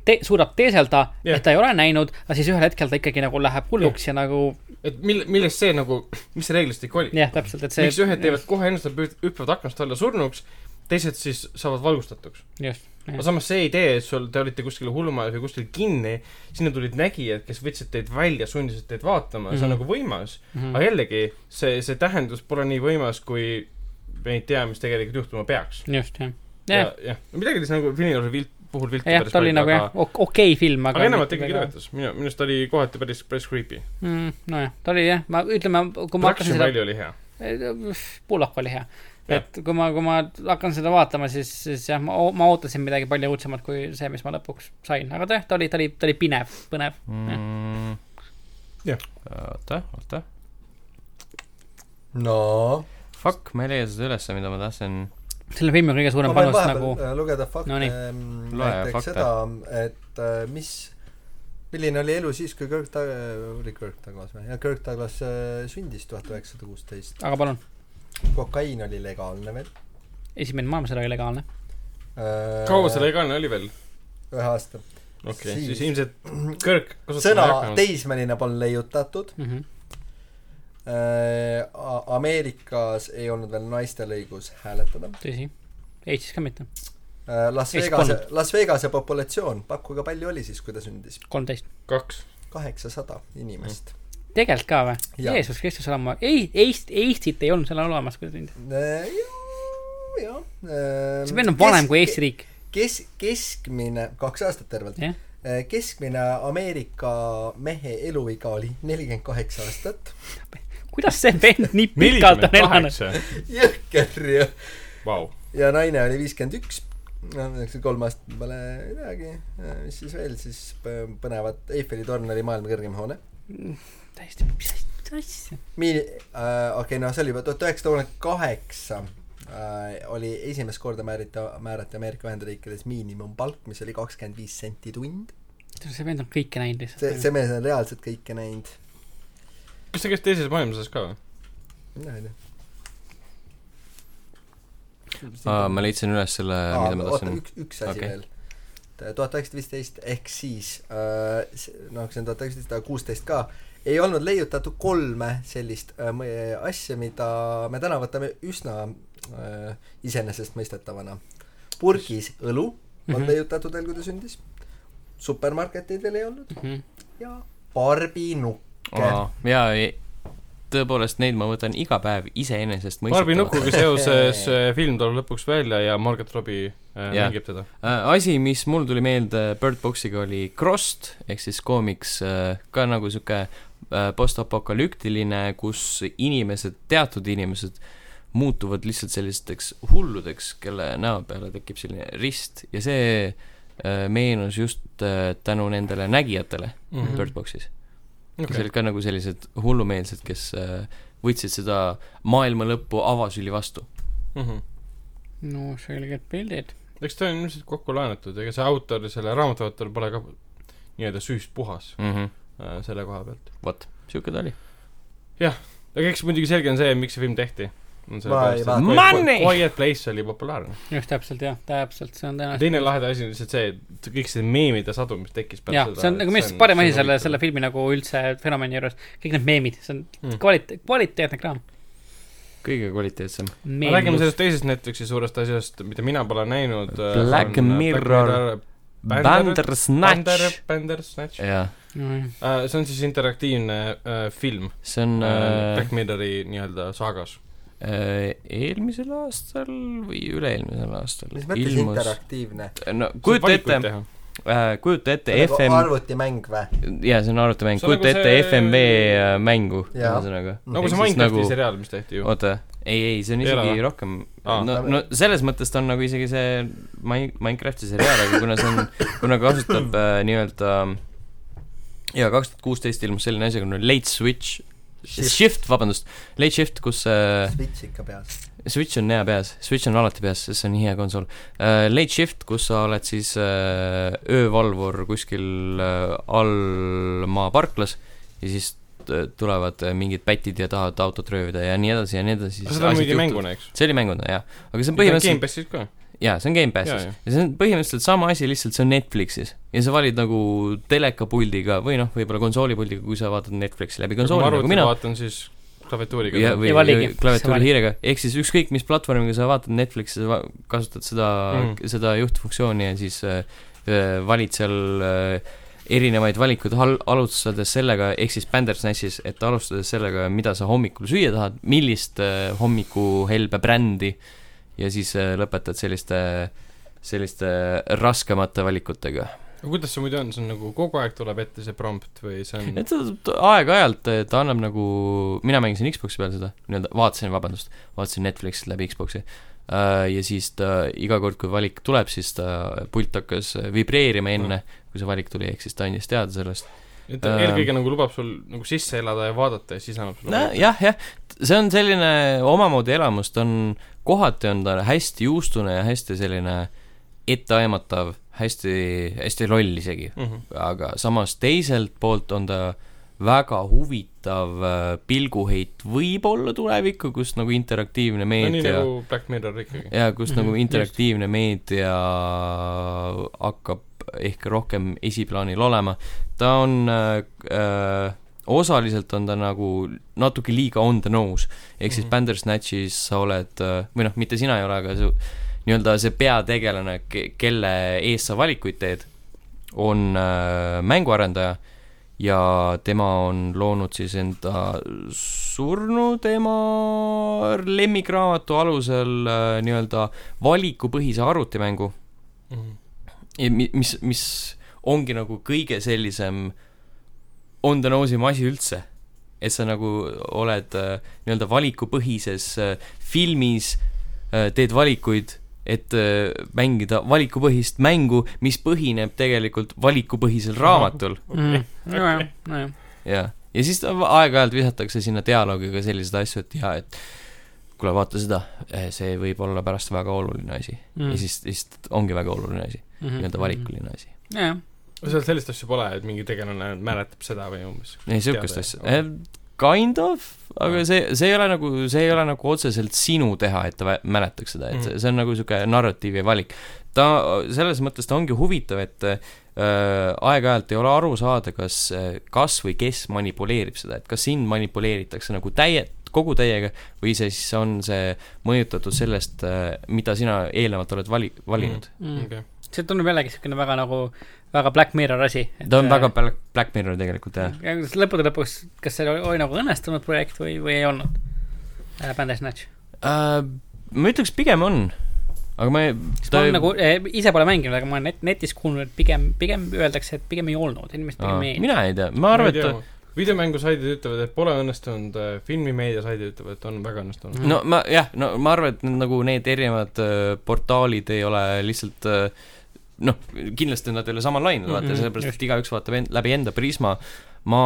Speaker 3: te, suudab teeselda
Speaker 4: Jah.
Speaker 3: yeah. , et ta ei ole näinud , aga siis ühel hetkel ta ikkagi nagu läheb hulluks yeah. ja nagu
Speaker 4: et mil- , millest see nagu , mis see reeglistik oli ?
Speaker 3: jah , täpselt , et see .
Speaker 4: miks ühed teevad kohe ennast , hüppavad aknast alla surnuks , teised siis saavad valgustatuks .
Speaker 3: just ,
Speaker 4: aga samas see idee , et sul , te olite kuskil hullumajas või kuskil kinni , sinna tulid nägijad , kes võtsid teid välja , sundisid teid vaatama mm , -hmm. see on
Speaker 3: Mhm.
Speaker 4: nagu võimas . aga
Speaker 3: jah .
Speaker 4: jällegi , see , see tähendus pole nii võimas , kui me ei tea , mis tegelikult juhtuma peaks .
Speaker 3: just , jah .
Speaker 4: ja
Speaker 3: jah ,,
Speaker 4: jah , midagi oli see nagu Finlanduse vilt , puhul viltu
Speaker 3: jah , ta oli nagu jah , okei okay film ,
Speaker 4: aga
Speaker 3: aga .
Speaker 4: enamalt ikkagi töötas , minu , minu arust oli kohati päris , päris creepy .
Speaker 3: mm, . nojah , ta oli jah , ma ütleme , kui ma hakkasin
Speaker 4: Production
Speaker 3: seda
Speaker 4: value oli hea .
Speaker 3: Pullak oli hea .
Speaker 4: Jah.
Speaker 3: et kui ma , kui ma hakkan seda vaatama , siis , siis jah , ma , ma ootasin midagi palju õudsemat kui see , mis ma lõpuks sain , aga ta jah , ta oli , ta oli , ta oli pinev , põnev .
Speaker 4: Jah.
Speaker 1: Mm. oota , oota .
Speaker 2: no .
Speaker 1: Fuck , ma ei leia seda ülesse , mida ma tahtsin .
Speaker 3: selle filmi kõige suurem
Speaker 2: ma võin
Speaker 3: panus nagu
Speaker 2: vahepeal äh, lugeda fakte
Speaker 3: Nonii.
Speaker 2: mm,
Speaker 1: Loe
Speaker 2: näiteks
Speaker 1: fakte.
Speaker 2: seda , et äh, mis , milline oli elu siis , kui Kirk Doug- , oli Kirk Douglas või , jah , Kirk Douglas äh, sündis tuhat üheksasada kuusteist .
Speaker 3: aga palun ,
Speaker 2: kokaiin oli legaalne veel .
Speaker 3: esimene maailmasõda oli legaalne .
Speaker 4: kaua see ? legaalne oli veel ?
Speaker 2: ühe aasta .
Speaker 4: okei okay, ,
Speaker 2: Siis-
Speaker 4: siis ilmselt Kirk kasutas
Speaker 2: sõna . teismeline polnud leiutatud . Ameerikas ei olnud veel naistel õigus hääletada .
Speaker 3: tõsi , Eestis ka mitte ,
Speaker 2: Las
Speaker 3: Ei, siis
Speaker 2: Vegase
Speaker 3: polnud. ,
Speaker 2: Las Vegase populatsioon , pakkuge , palju oli siis , kui ta sündis ?
Speaker 3: kolmteist .
Speaker 4: kaks .
Speaker 2: kaheksasada inimest .
Speaker 3: tegelikult ka või ?
Speaker 2: Jaa.
Speaker 3: Jeesus Kristus olema , ei , Eest- , Eestit ei olnud seal olemas , kui ta tundis .
Speaker 2: Äh, jah .
Speaker 3: see vend on vanem kui Eesti . riik ,
Speaker 2: Äh, kes , keskmine , kaks aastat tervelt Äh,
Speaker 3: Jah. .
Speaker 2: keskmine Ameerika mehe eluiga oli nelikümmend kaheksa aastat .
Speaker 3: kuidas see vend nii pikalt
Speaker 4: nelikümmend
Speaker 3: on elanud ?
Speaker 4: kaheksa ,
Speaker 2: jõhker ju .
Speaker 4: vau .
Speaker 2: ja naine oli viiskümmend üks . noh , üheksakümmend kolm aastat pole midagi . mis siis veel siis põ- põnevat , Eiffeli torn oli maailma kõrgem hoone .
Speaker 3: Mm, täiesti , mis asja- mis asja ,
Speaker 2: Mi- , äh, okei okay, , no see oli juba tuhat üheksasada kolmkümmend kaheksa Äh, oli esimest korda määrita , määrati Ameerika Ühendriikides miinimumpalk , mis oli kakskümmend viis senti tund .
Speaker 3: see vend on kõike näinud
Speaker 2: see ,
Speaker 3: lihtsalt .
Speaker 2: see mees on reaalselt kõike näinud .
Speaker 4: kas ta käis teises maailmasõjas ka või ?
Speaker 2: mina ei
Speaker 1: aa , ma
Speaker 2: tea .
Speaker 1: leidsin üles selle , Äh, mida ma
Speaker 2: oota
Speaker 1: tahtsin ,.
Speaker 2: üks , üks asi
Speaker 1: Okei.
Speaker 2: okay. veel . tuhat üheksasada viisteist ehk siis äh, , noh , see on tuhat üheksasada kuusteist ka , ei olnud leiutatud kolme sellist äh, mõ- asja , mida me täna võtame üsna äh, iseenesestmõistetavana . purgis õlu on
Speaker 3: Mhm.
Speaker 2: leiutatud veel , kui ta sündis ,
Speaker 3: Mhm.
Speaker 2: supermarketeid veel ei olnud ja barbinukk .
Speaker 1: jaa , tõepoolest neid ma võtan iga päev
Speaker 4: Barbi nukuga
Speaker 1: iseenesestmõistetavalt .
Speaker 4: seoses äh, film tuleb lõpuks välja ja Margot Robbie äh,
Speaker 1: Jah.
Speaker 4: mängib teda .
Speaker 1: asi , mis mul tuli meelde Bird Boxiga oli Crossed ehk siis koomiks äh, ka nagu sihuke äh, postapokalüptiline , kus inimesed , teatud inimesed muutuvad lihtsalt sellisteks hulludeks , kelle näo peale tekib selline rist ja see äh, meenus just äh, tänu nendele nägijatele mm
Speaker 4: Mhm.
Speaker 1: -hmm. Bird Boxis . kes
Speaker 4: Okay.
Speaker 1: olid ka nagu sellised hullumeelsed , kes äh, võtsid seda maailma lõppu avasüli vastu .
Speaker 4: Mm -hmm.
Speaker 3: no selged pildid .
Speaker 4: eks ta on ilmselt kokku laenatud , ega see autor , selle raamatu autor pole ka nii-öelda süüst puhas
Speaker 1: mm . -hmm.
Speaker 4: äh, selle koha pealt .
Speaker 1: vot , siuke ta oli .
Speaker 4: aga eks muidugi selge on see , miks see film tehti . on
Speaker 2: Ma ei vaata-
Speaker 1: Money!
Speaker 4: Quiet Place oli populaarne .
Speaker 3: just täpselt jah , täpselt , see on tõenäoliselt .
Speaker 4: teine laheda asi on lihtsalt see , et kõik see meemide sadu , mis tekkis
Speaker 3: jah , see on nagu minu arust parem asi selle , selle filmi nagu üldse fenomeni juures , kõik need meemid , see on
Speaker 4: Mm.
Speaker 3: kvaliteet , kvaliteetne kraam .
Speaker 1: kõige kvaliteetsem .
Speaker 4: räägime sellest teisest Netflixi suurest asjast , mida mina pole näinud . äh,
Speaker 1: Black Mirror. .
Speaker 4: Bander
Speaker 1: Bandersnatch .,
Speaker 4: Bandersnatch .
Speaker 1: jaa ,
Speaker 3: sellest .
Speaker 4: Äh, see on siis interaktiivne äh, film
Speaker 1: see on
Speaker 4: äh,
Speaker 1: äh,
Speaker 4: Black Mirrori nii-öelda saagas .
Speaker 1: äh, eelmisel aastal või üle-eelmisel aastal
Speaker 2: mis mõttes Ilmus.
Speaker 1: ilmus ,
Speaker 2: interaktiivne ?
Speaker 1: no kujuta ette ,. äh, kujuta ette
Speaker 2: nagu
Speaker 1: FM ,
Speaker 2: arvutimäng või ?
Speaker 1: jaa , see on arvutimäng ,
Speaker 4: See on
Speaker 1: kujuta
Speaker 4: nagu
Speaker 1: ette
Speaker 4: see-
Speaker 1: FMV äh, mängu ,
Speaker 2: Jaa.
Speaker 1: ühesõnaga .
Speaker 4: nagu see
Speaker 1: Ehk siis
Speaker 4: Minecrafti
Speaker 1: nagu-
Speaker 4: nagu... seriaal , mis tehti ju .
Speaker 1: oota , ei , ei , see on
Speaker 4: Ei
Speaker 1: isegi
Speaker 4: ole vä?
Speaker 1: rohkem
Speaker 4: Aa.
Speaker 1: no , no selles mõttes ta on nagu isegi see Min- , Minecrafti seriaal , aga kuna see on , kuna kasutab äh, nii-öelda jaa , kaks tuhat kuusteist ilmus selline asi nagu late switch ,
Speaker 2: Shift.
Speaker 1: shift , vabandust , late shift , kus äh,
Speaker 2: Switch ikka peas .
Speaker 1: Switch on hea peas , Switch on alati peas , sest see on hea konsool uh, . Late Shift , kus sa oled siis uh, öövalvur kuskil uh, all maaparklas ja siis t- tulevad äh, mingid pätid ja tahavad autot röövida ja nii edasi ja nii edasi .
Speaker 4: seda müüdi . mänguna , eks .
Speaker 1: see oli mänguna , jah . aga see on põhimõtteliselt ,
Speaker 4: Gamepassis ka .
Speaker 1: jaa , see on
Speaker 4: Jaa,
Speaker 1: Gamepassis .
Speaker 4: jaa.
Speaker 1: ja see on põhimõtteliselt sama asi , lihtsalt see on Netflixis . ja sa valid nagu telekapuldiga või noh , võib-olla konsoolipuldiga , kui sa vaatad Netflixi läbi konsooli , nagu mina .
Speaker 4: vaatan siis klaviatuuriga .
Speaker 1: ja , või
Speaker 3: Ei valigi.
Speaker 1: või
Speaker 3: Sa valid.
Speaker 1: klaviatuurihiirega , ehk siis ükskõik , mis platvormiga sa vaatad Netflixi , sa va- kasutad seda
Speaker 4: Mm.
Speaker 1: mm. , seda juhtfunktsiooni ja siis äh, äh, valid seal äh, erinevaid valikuid hal- , alustades sellega , ehk siis Bandersnatchis , et alustades sellega , mida sa hommikul süüa tahad , millist äh, hommikuhelbe brändi ja siis äh, lõpetad selliste , selliste äh, raskemate valikutega .
Speaker 4: aga kuidas see muidu on , see on nagu kogu aeg tuleb ette see prompt või see on
Speaker 1: et ta ta aeg-ajalt eh, ta annab nagu , mina mängisin Xbox'i peal seda , nii-öelda vaatasin , vabandust , vaatasin Netflixist läbi Xbox'i . ja siis ta iga kord , kui valik tuleb , siis ta pult hakkas vibreerima enne , kui see valik tuli , ehk siis ta andis teada sellest .
Speaker 4: et ta
Speaker 1: Äh.
Speaker 4: eelkõige nagu lubab sul nagu sisse elada ja vaadata ja siis annab sulle
Speaker 1: jah , jah , see on selline omamoodi elamus , ta on , kohati on ta hästi juustune ja hästi selline etteaimatav , hästi , hästi loll isegi
Speaker 4: mm . -hmm.
Speaker 1: aga samas teiselt poolt on ta väga huvitav äh, pilguheit võib-olla tulevikku , kus nagu interaktiivne
Speaker 4: no nii
Speaker 1: meedia
Speaker 4: nagu Black Mirror ikkagi .
Speaker 1: ja kus nagu
Speaker 3: Mhm,
Speaker 1: interaktiivne meedia hakkab ehk rohkem esiplaanil olema . ta on äh, äh, osaliselt on ta nagu natuke liiga on the nose , ehk siis
Speaker 4: Mhm.
Speaker 1: Bandersnatchis sa oled äh, või noh , mitte sina ei ole , aga su nii-öelda see peategelane , kelle ees sa valikuid teed , on äh, mänguarendaja ja tema on loonud siis enda surnud ema lemmikraamatu alusel äh, nii-öelda valikupõhise arvutimängu ,
Speaker 4: Mhm.
Speaker 1: mis , mis ongi nagu kõige sellisem on the nose'im asi üldse . et sa nagu oled äh, nii-öelda valikupõhises äh, filmis , teed valikuid , et äh, mängida valikupõhist mängu , mis põhineb tegelikult valikupõhisel raamatul .
Speaker 3: Mm. nojah , nojah .
Speaker 1: jaa , ja siis ta va- aeg-ajalt visatakse sinna dialoogiga selliseid asju , et jaa , et kuule , vaata seda , see võib olla pärast väga oluline asi mm. . ja siis , siis ongi väga oluline asi mm. ,
Speaker 3: Mhm. Mm-hmm.
Speaker 1: nii-öelda . valikuline asi .
Speaker 3: jajah ,
Speaker 4: seal sellist asja pole , et mingi tegelane mäletab seda või umbes .
Speaker 1: ei , niisugust asja Eh,
Speaker 4: Okei. ,
Speaker 1: kind of , aga
Speaker 4: Mm.
Speaker 1: see , see ei ole nagu , see ei ole nagu otseselt sinu teha , et ta vä- mäletaks seda , et
Speaker 4: Mm.
Speaker 1: see see on nagu niisugune narratiivi valik . ta , selles mõttes ta ongi huvitav , et äh, aeg-ajalt ei ole aru saada , kas , kas või kes manipuleerib seda , et kas sind manipuleeritakse nagu täie , kogu täiega või see siis on see mõjutatud äh,
Speaker 3: Mm.
Speaker 1: sellest , mida sina eelnevalt oled vali- , valinud .
Speaker 4: okei .
Speaker 3: see tundub jällegi siukene väga nagu väga Black Mirror asi .
Speaker 1: ta on
Speaker 3: äh,
Speaker 1: väga Black , Black Mirror tegelikult jah .
Speaker 3: Mm. lõppude lõpuks , kas see oli, oli nagu õnnestunud projekt või , või ei olnud ? Bandersnatch .
Speaker 1: Äh, ma ütleks , pigem on . aga ma ei ,
Speaker 3: ma
Speaker 1: ta
Speaker 3: olen
Speaker 1: ei ,
Speaker 3: nagu eh, ise pole mänginud , aga ma olen net, netis kuulnud , et pigem , pigem öeldakse , et pigem ei olnud , inimesed pigem ei .
Speaker 1: mina ei tea , ma arvan , et ta ,
Speaker 4: videomängusaidid ütlevad , et pole õnnestunud , filmimeediasaidid ütlevad , et on väga õnnestunud .
Speaker 1: no ma jah , no ma arvan , et need nagu need erinevad öö, portaalid ei ole lihtsalt öö, noh , kindlasti nad ei ole samal lainel , vaata mm
Speaker 3: Mhm,
Speaker 1: -hmm, , sellepärast
Speaker 3: just.
Speaker 1: et igaüks vaatab end, läbi enda prisma . ma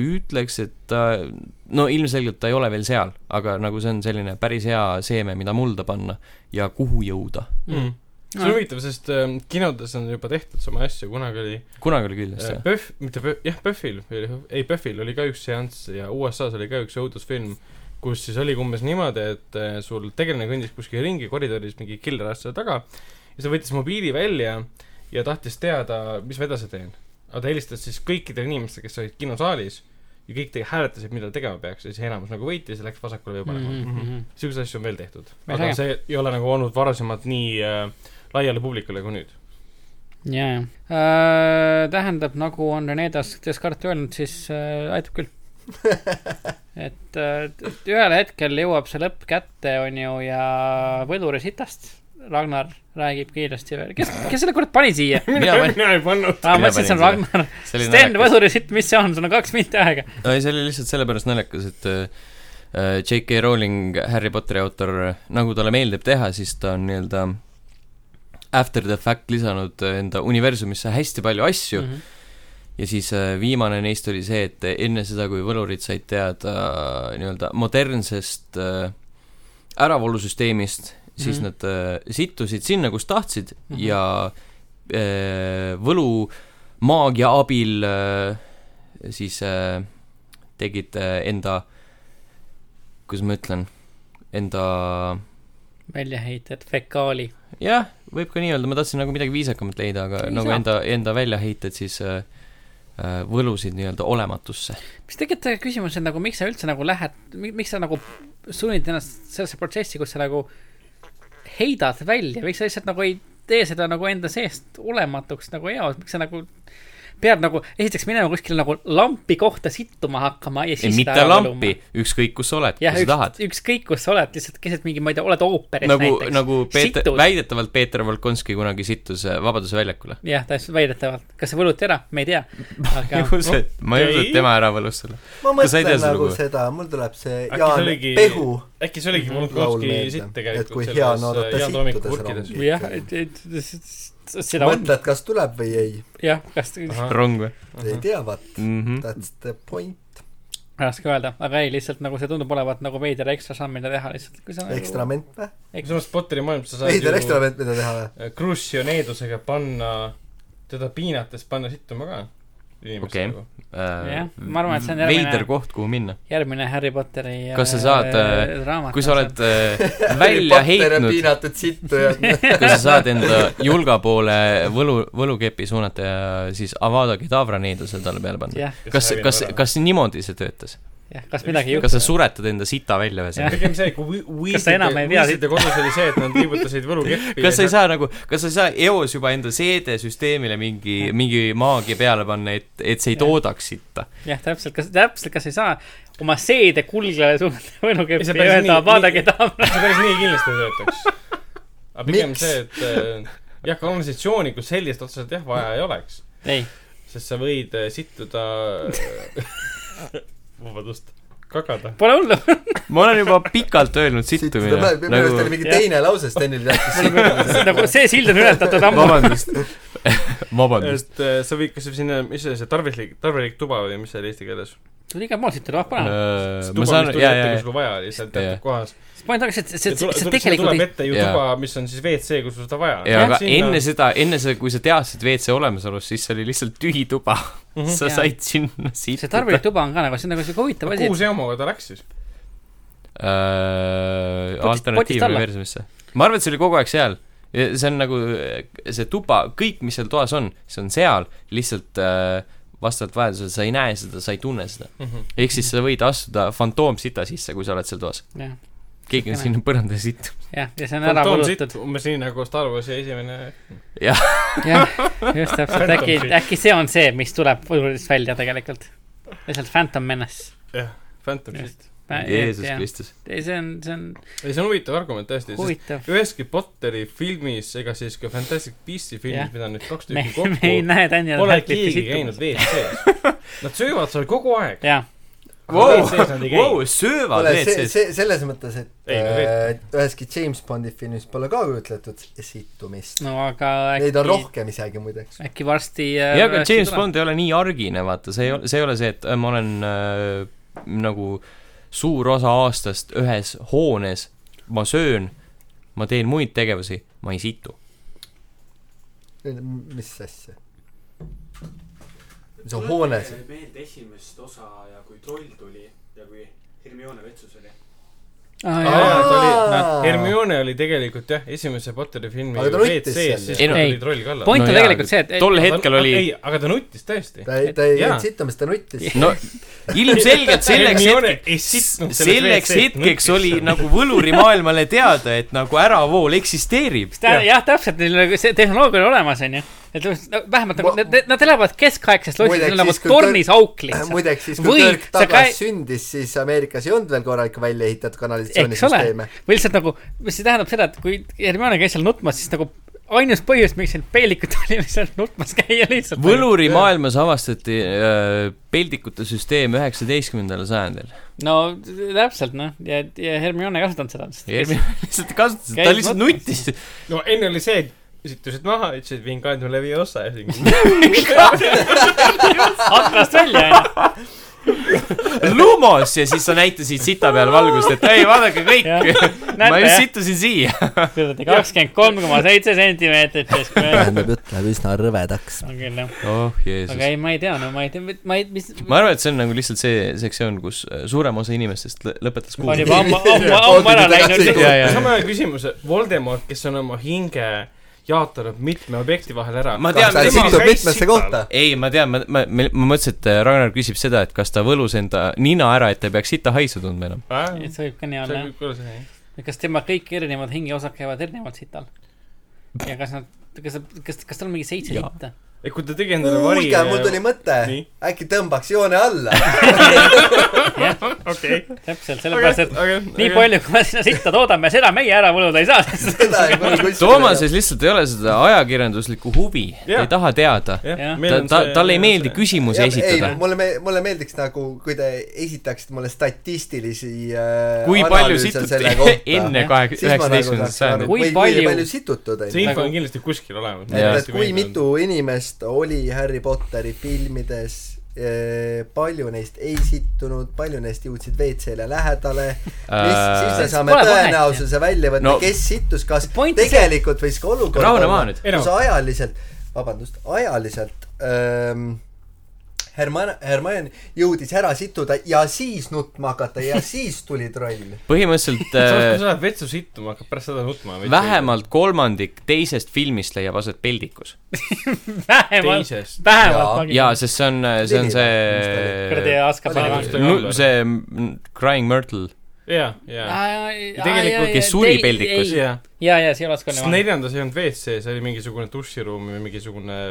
Speaker 1: ütleks , et ta- no ilmselgelt ta ei ole veel seal , aga nagu see on selline päris hea seeme , mida mulda panna ja kuhu jõuda .
Speaker 4: mm. . see on huvitav , sest ähm, kinodes on juba tehtud sama asja , kunagi oli
Speaker 1: kunagi oli küll ,
Speaker 4: äh,
Speaker 1: eks ju .
Speaker 4: PÖFF , mitte PÖFF , jah , PÖFFil , ei PÖFFil oli ka üks seanss ja USA-s oli ka üks õudusfilm , kus siis oligi umbes niimoodi , et äh, sul tegelane kõndis kuskil ringi koridoris mingi killer asja taga ja ta võttis mobiili välja ja tahtis teada , mis ma edasi teen . aga ta helistas siis kõikidele inimestele , kes olid kinosaalis ja kõik tegi , hääletasid , mida tegema peaks ja siis enamus nagu võitis ja läks vasakule või
Speaker 3: Mhm,
Speaker 4: paremale mm -hmm. .
Speaker 1: Mhm.
Speaker 4: niisuguseid asju on veel tehtud ,
Speaker 3: Väga
Speaker 4: aga
Speaker 3: hea.
Speaker 4: see ei ole nagu olnud varasemalt nii äh, laiale publikule kui nüüd .
Speaker 3: ja , ja . tähendab , nagu on Rene Das- , Descartes öelnud , siis äh, aitab küll . et äh, et ühel hetkel jõuab see lõpp kätte , on ju , ja võluri sitast Ragnar räägib kiiresti veel . kes , kes selle kurat pani siia ?
Speaker 1: mina panin ,
Speaker 4: mina ei pannud .
Speaker 3: aa ,
Speaker 1: Mina
Speaker 3: ma mõtlesin , et see on
Speaker 1: panin
Speaker 3: Ragnar .
Speaker 1: see oli
Speaker 3: Äh, Sten ,
Speaker 1: naljakas .
Speaker 3: võluri sitt , mis see on , sul on kaks minti aega .
Speaker 1: ei , see oli lihtsalt sellepärast naljakas , et äh, äh, J.K. Rowling , Harry Potteri autor , nagu talle meeldib teha , siis ta on nii-öelda after the fact lisanud äh, enda universumisse hästi palju asju mm
Speaker 3: jah ,
Speaker 1: -hmm. ja siis äh, viimane neist oli see , et enne seda , kui võlurid said teada äh, nii-öelda modernsest äh, äravoolusüsteemist , siis
Speaker 3: Mhm.
Speaker 1: mm -hmm. nad äh, sittusid sinna , kus tahtsid mm
Speaker 3: Mhm.
Speaker 1: -hmm. ja äh, võlumaagia abil äh, siis äh, tegid äh, enda , kuidas ma ütlen , enda
Speaker 3: väljaheited , fekaali .
Speaker 1: jah , võib ka nii öelda , ma tahtsin nagu midagi viisakamat leida , aga
Speaker 3: Ei
Speaker 1: ei nagu
Speaker 3: saa.
Speaker 1: saa. enda , enda väljaheited siis äh, äh, võlusid nii-öelda olematusse .
Speaker 3: mis tegelikult tegelikult küsimus on nagu , miks sa üldse nagu lähed , miks sa nagu sunnid ennast sellesse protsessi , kus sa nagu heidad välja , miks sa lihtsalt nagu ei tee seda nagu enda seest olematuks nagu eos , miks sa nagu pead nagu esiteks minema kuskile nagu lampi kohta sittuma hakkama ja siis
Speaker 1: mitte lampi , ükskõik kus sa oled , kui
Speaker 3: jah ,
Speaker 1: sa tahad
Speaker 3: üks ,. ükskõik kus sa oled , lihtsalt keset mingi , ma ei tea , oled ooperis
Speaker 1: nagu ,
Speaker 3: näiteks .
Speaker 1: nagu Peeter ,
Speaker 3: Situd.
Speaker 1: väidetavalt Peeter Volkonski kunagi sittus äh, Vabaduse väljakule .
Speaker 3: jah , täpselt väidetavalt , kas see võluti ära , me ei tea , aga
Speaker 1: ma ei usu , et tema ära võlus selle .
Speaker 2: ma
Speaker 1: Kas sa ei
Speaker 2: mõtlen
Speaker 1: tea seda
Speaker 2: nagu
Speaker 1: lugu?
Speaker 2: seda , mul tuleb see
Speaker 4: Äkki see
Speaker 2: Jaan
Speaker 4: oligi-
Speaker 2: Pehu
Speaker 4: äkki see oligi
Speaker 2: Mhm. laul
Speaker 4: Volkovski
Speaker 2: meelde.
Speaker 4: sitt
Speaker 2: et kui
Speaker 4: tegelikult
Speaker 2: hea on oodata
Speaker 4: äh, Jaan Toomiku
Speaker 2: sittudes
Speaker 4: kurkides .
Speaker 2: rongi .
Speaker 3: jah , et , et s- s- seda on ,
Speaker 2: mõtled , kas tuleb või ei ,
Speaker 3: jah , kas
Speaker 1: rong või ? Mhm.
Speaker 2: ei tea , vaat ,
Speaker 1: mhmh .
Speaker 2: that's the point .
Speaker 3: raske öelda , aga ei , lihtsalt nagu see tundub olevat nagu veider ekstra samm , mida teha lihtsalt , kui sa nagu...
Speaker 2: ekstrament või ?
Speaker 4: samas Potteri maailmas sa saad
Speaker 2: veider
Speaker 4: ju
Speaker 2: ekstrament , mida teha või ?
Speaker 4: Krussi ja Needusega panna , teda piinates panna sittuma ka . nagu.
Speaker 1: Okei.
Speaker 3: Jah, ma arvan, et see on
Speaker 1: Äh,
Speaker 3: järgmine-
Speaker 1: veider koht , kuhu minna .
Speaker 3: järgmine Harry Potteri
Speaker 1: Kas sa saad,
Speaker 3: äh, raamat
Speaker 1: kui sa oled äh, välja heitnud ,
Speaker 2: piinatud sittu ja
Speaker 1: kui sa saad enda julga poole võlu , võlukepi suunata ja siis Avada Kedavra needusel talle peale panna .
Speaker 3: jah ,
Speaker 1: kas , kas , kas niimoodi see töötas ?
Speaker 3: jah , kas midagi ei
Speaker 1: kas
Speaker 3: juhtu
Speaker 1: sa suretad enda sita välja ühesõnaga ?
Speaker 4: pigem see , kui Wii-
Speaker 3: Kas sa enam ei vea
Speaker 4: Weasley'de kodus oli see , et nad liigutasid võlukeppi .
Speaker 1: kas sa ei saa nagu , kas sa ei saa eos juba enda seedesüsteemile mingi , mingi maagia peale panna , et , et see ei
Speaker 3: Jah.
Speaker 1: toodaks sitta ?
Speaker 3: jah , täpselt , kas täpselt , kas ei saa oma seede kulglale suunata
Speaker 4: Ei, see
Speaker 3: võlukeppi ja
Speaker 4: päris
Speaker 3: öelda
Speaker 4: nii-
Speaker 3: vaadake taha ,
Speaker 4: see päris nii kindlasti ei töötaks . aga pigem
Speaker 2: Miks?
Speaker 4: see , et äh, jah , kanalisatsiooni kui sellist otseselt jah , vaja ei oleks .
Speaker 3: ei ,
Speaker 4: sest sa võid äh, sittuda vabandust , kagada .
Speaker 3: pole hullu ,
Speaker 1: ma olen juba pikalt öelnud
Speaker 2: sittu . Nagu-
Speaker 1: sittumine
Speaker 2: minu . arust oli mingi
Speaker 3: Jah.
Speaker 2: teine lause Stenil rääkis sittu .
Speaker 3: nagu see sild on ületatud ammu ,
Speaker 1: vabandust , vabandust .
Speaker 4: et äh, sa võid kas või sinna , mis see , see tarvilik , tarvilik tuba või mis see oli eesti keeles ?
Speaker 3: tuli igal pool siit tuleb ah, panema ,
Speaker 1: Äh, ma
Speaker 4: tuba ,
Speaker 1: saan
Speaker 4: mis , tuli
Speaker 1: jaa ,
Speaker 4: ette , kui
Speaker 1: jaa ,
Speaker 4: sul vaja oli , seal teatud
Speaker 1: Jaa.
Speaker 4: kohas .
Speaker 3: siis ma ei tahaks , et see , see
Speaker 4: tuleb
Speaker 3: tegelikult ei ,
Speaker 4: ette ju
Speaker 1: Jaa.
Speaker 4: tuba , mis on siis WC , kus sul seda vaja on .
Speaker 1: jaa , aga enne seda , enne seda , kui sa teadsid WC olemasolust , siis see oli lihtsalt tühi tuba . sa
Speaker 3: Jaa.
Speaker 1: said sinna sittuda .
Speaker 3: see tarvilik tuba on ka nagu , see on nagu siuke huvitav asi ,
Speaker 4: kuhu see omaga ta läks siis ?
Speaker 1: äh,
Speaker 3: Potist- potist alla.
Speaker 1: alternatiivuniversumisse . ma arvan , et see oli kogu aeg seal . see on nagu äh, see tuba , kõik , mis seal toas on , see on seal , lihtsalt äh, vastavalt vajadusele sa ei
Speaker 3: Mhm.
Speaker 1: näe seda , sa ei tunne seda . ehk siis sa võid astuda fantoomsita sisse , kui sa oled seal toas .
Speaker 3: jah ,
Speaker 1: keegi on sinna põrandale sitt .
Speaker 3: jah , ja see on ära võlutud .
Speaker 4: umbes nii nagu Star Warsi esimene .
Speaker 3: jah , just täpselt ,
Speaker 4: Phantom
Speaker 3: äkki ,
Speaker 4: Thread.
Speaker 3: äkki see on see , mis tuleb uudist välja tegelikult . lihtsalt Phantom Menace .
Speaker 4: jah , Phantom Shit .
Speaker 3: just .
Speaker 1: Jeesus . Kristus .
Speaker 3: ei , see on , see on
Speaker 4: ei , see on huvitav argument tõesti , sest
Speaker 3: huvitav .
Speaker 4: üheski Potteri filmis ega siis ka Fantastic Beast'i filmis
Speaker 3: Jah. ,
Speaker 4: mida on nüüd kaks
Speaker 3: me
Speaker 4: tükki ,
Speaker 3: me ei
Speaker 4: kokku ,
Speaker 3: näe Daniel
Speaker 4: pole
Speaker 3: Radcliffe'i
Speaker 4: keegi käinud
Speaker 3: situmas .
Speaker 4: WC-s . Nad söövad seal kogu aeg .
Speaker 3: jah ,
Speaker 4: WC-s nad ei käi .
Speaker 1: söövad
Speaker 2: kuule , see ,
Speaker 1: WC-s .
Speaker 2: see , selles mõttes , et
Speaker 4: Ei, no
Speaker 2: äh, üheski James Bondi filmis pole ka kujutletud situmist .
Speaker 3: no aga
Speaker 2: Neid on
Speaker 3: äkki ,
Speaker 2: rohkem isegi muideks .
Speaker 3: äkki varsti .
Speaker 1: ja ,
Speaker 3: Äh,
Speaker 1: aga James Bond ei ole nii argine , vaata , see ei ole , see ei ole see , et äh, ma olen äh, nagu suur osa aastast ühes hoones , ma söön , ma teen muid tegevusi , ma ei situ .
Speaker 2: mis asja ? see on hoones .
Speaker 5: meelde esimest osa ja kui troll tuli ja kui Hermione vetsus oli .
Speaker 4: Aa,
Speaker 3: Bond .
Speaker 4: jaa. ta oli-
Speaker 2: Aa.
Speaker 4: Hermione oli tegelikult jah , esimese Potteri filmi
Speaker 2: Aga ta nuttis seal
Speaker 4: WC-s ,
Speaker 2: ju.
Speaker 4: siis
Speaker 1: Ei, no-
Speaker 4: tuli troll kallale .
Speaker 3: point
Speaker 1: No
Speaker 3: on
Speaker 1: jaa,
Speaker 3: tegelikult see , et ,
Speaker 1: tol hetkel oli ,
Speaker 4: ei , aga ta nuttis tõesti .
Speaker 2: ta ei , ta ei
Speaker 4: Jaa.
Speaker 2: jäänud situmist , ta nuttis .
Speaker 1: no ilmselgelt selleks hetkeks
Speaker 4: hetkeks
Speaker 1: selleks hetkeks oli . nagu võlurimaailmale teada , et nagu äravool eksisteerib .
Speaker 3: Ta, äh, jah , täpselt , neil on nagu see tehnoloogia on olemas , onju . et no, vähemalt nagu
Speaker 2: Ma-
Speaker 3: nad , nad elavad keskaegsest lossist ,
Speaker 2: Muideks
Speaker 3: nad elavad
Speaker 2: siis, kui
Speaker 3: tornis auk
Speaker 2: Äh,
Speaker 3: lihtsalt .
Speaker 2: muideks siis , kui
Speaker 3: Või
Speaker 2: Kirk
Speaker 3: sa
Speaker 2: tagas
Speaker 3: käi-
Speaker 2: sündis , siis Ameerikas ei olnud veel korralikku välja ehitatud
Speaker 3: eks ole ,
Speaker 2: kanalisatsioonisüsteeme .
Speaker 3: või lihtsalt nagu , mis see tähendab seda , et kui Hermione käis seal nutmas , siis nagu ainus põhjus , miks need peelikud olid seal nutmas käia lihtsalt .
Speaker 1: võlurimaailmas avastati äh, peldikute süsteem üheksateistkümnendal sajandil .
Speaker 3: no täpselt noh , ja , ja Hermione ei kasutanud seda lihtsalt .
Speaker 1: Hermione lihtsalt kasutas , ta
Speaker 3: Käis
Speaker 1: lihtsalt
Speaker 3: nutmas.
Speaker 1: nuttis .
Speaker 4: no enne oli see , et situsid maha , ütlesid Vingandium levi osa ja siis
Speaker 3: aknast välja onju ,
Speaker 1: Lumos ja siis sa näitasid sita peal valgust , et ei , vaadake kõik .
Speaker 3: Jah.
Speaker 1: ma
Speaker 3: näete
Speaker 1: just
Speaker 3: jah ,
Speaker 1: sittusin siia .
Speaker 3: kuradi kakskümmend kolm koma seitse sentimeetrit keskmine .
Speaker 2: tähendab , jutt läheb üsna rõvedaks .
Speaker 3: on küll jah ,
Speaker 1: oh
Speaker 3: aga
Speaker 1: Jeesus .
Speaker 3: ei , ma ei tea , no ma ei tea , ma ei , mis
Speaker 1: ma arvan , et see on nagu lihtsalt see sektsioon , kus äh, suurem osa inimestest lõ- lõpetas
Speaker 3: ma olen
Speaker 1: kuulama .
Speaker 3: juba ammu , ammu , ammu ära läinud .
Speaker 1: Jaa, jaa.
Speaker 4: sama hea küsimus , Voldemort , kes on oma hinge jaotanud mitme objekti vahel ära .
Speaker 1: Ma tean,
Speaker 2: kas ta
Speaker 1: tema
Speaker 2: situb mitmesse kohta ?
Speaker 1: ei , ma tean , ma , ma , ma mõtlesin , et äh, Ragnar küsib seda , et kas ta võlus enda nina ära , et ta ei peaks sita haisu tundma enam .
Speaker 4: see
Speaker 3: see võib ka nii olla jah
Speaker 4: võib küll see .
Speaker 3: kas tema kõik erinevad hingeosad käivad erinevalt sital ? ja kas nad , kas , kas , kas tal on mingi seitse
Speaker 1: Jaa.
Speaker 3: sitta ?
Speaker 4: et kui ta tegi endale vari .
Speaker 2: kuulge ,
Speaker 1: äh,
Speaker 2: mul tuli mõte
Speaker 4: Nii. .
Speaker 2: äkki tõmbaks joone alla .
Speaker 4: okei .
Speaker 3: täpselt , sellepärast , et nii
Speaker 4: nii .
Speaker 3: palju , kui me sinna sitta toodame , seda meie ära võluda ei saa .
Speaker 2: seda ei või kuskil .
Speaker 1: Toomases lihtsalt ei ole seda ajakirjanduslikku huvi , ta ei
Speaker 4: Jah.
Speaker 1: taha teada .
Speaker 3: Jah.
Speaker 4: jah ,
Speaker 1: ta , ta , talle ei meeldi küsimusi
Speaker 2: Jah,
Speaker 1: esitada
Speaker 2: ei ,. mulle me- , mulle meeldiks nagu , kui te esitaksite mulle statistilisi äh,
Speaker 1: kui palju
Speaker 2: analüüse
Speaker 1: situti
Speaker 2: selle kohta.
Speaker 1: enne kaheksa ,
Speaker 2: Siis ma nagu
Speaker 1: üheksateistkümnendat
Speaker 2: saaks
Speaker 1: sajandit .
Speaker 2: aru,
Speaker 3: Kui
Speaker 2: või
Speaker 3: palju-
Speaker 2: kui palju situtud on
Speaker 4: see
Speaker 2: ju .
Speaker 4: info
Speaker 3: Nagu-
Speaker 4: on kindlasti kuskil olemas .
Speaker 1: Jaa.
Speaker 2: et , et kui mitu inimest oli Harry Potteri filmides eh, palju neist ei sittunud , palju neist jõudsid WC-le lähedale , siis me
Speaker 1: Äh,
Speaker 2: saame
Speaker 3: Äh, Pole vahet,
Speaker 2: tõenäosuse välja võtta
Speaker 1: No-
Speaker 2: no, , kes sittus , kas
Speaker 3: Point on see-
Speaker 2: tegelikult võis ka olukord
Speaker 1: Rahune maha nüüd.
Speaker 4: Ei, no.
Speaker 2: kus ajaliselt , vabandust , ajaliselt ähm, Herman- , Hermione jõudis ära situda ja siis nutma hakata ja siis tuli troll .
Speaker 1: põhimõtteliselt
Speaker 4: samas , kui
Speaker 1: äh,
Speaker 4: sa lähed vetsu sittuma , hakkab pärast seda nutma .
Speaker 1: vähemalt kolmandik teisest filmist leiab aset peldikus .
Speaker 3: vähemalt ,
Speaker 4: teisest .
Speaker 3: vähemalt .
Speaker 1: jaa , sest see on , see on
Speaker 3: kuradi
Speaker 1: see
Speaker 3: Askapani
Speaker 4: Oli-
Speaker 3: vangla .
Speaker 1: nu- see m- Crying Myrtle ,
Speaker 4: jaa , jaa .
Speaker 1: tegelikult, kes suri peldikus.
Speaker 3: ja ,
Speaker 4: jaa ,
Speaker 3: ja see ei ole Askapani
Speaker 4: sest
Speaker 3: vangla .
Speaker 4: neljandas ei olnud WC , see oli mingisugune duširuum või mingisugune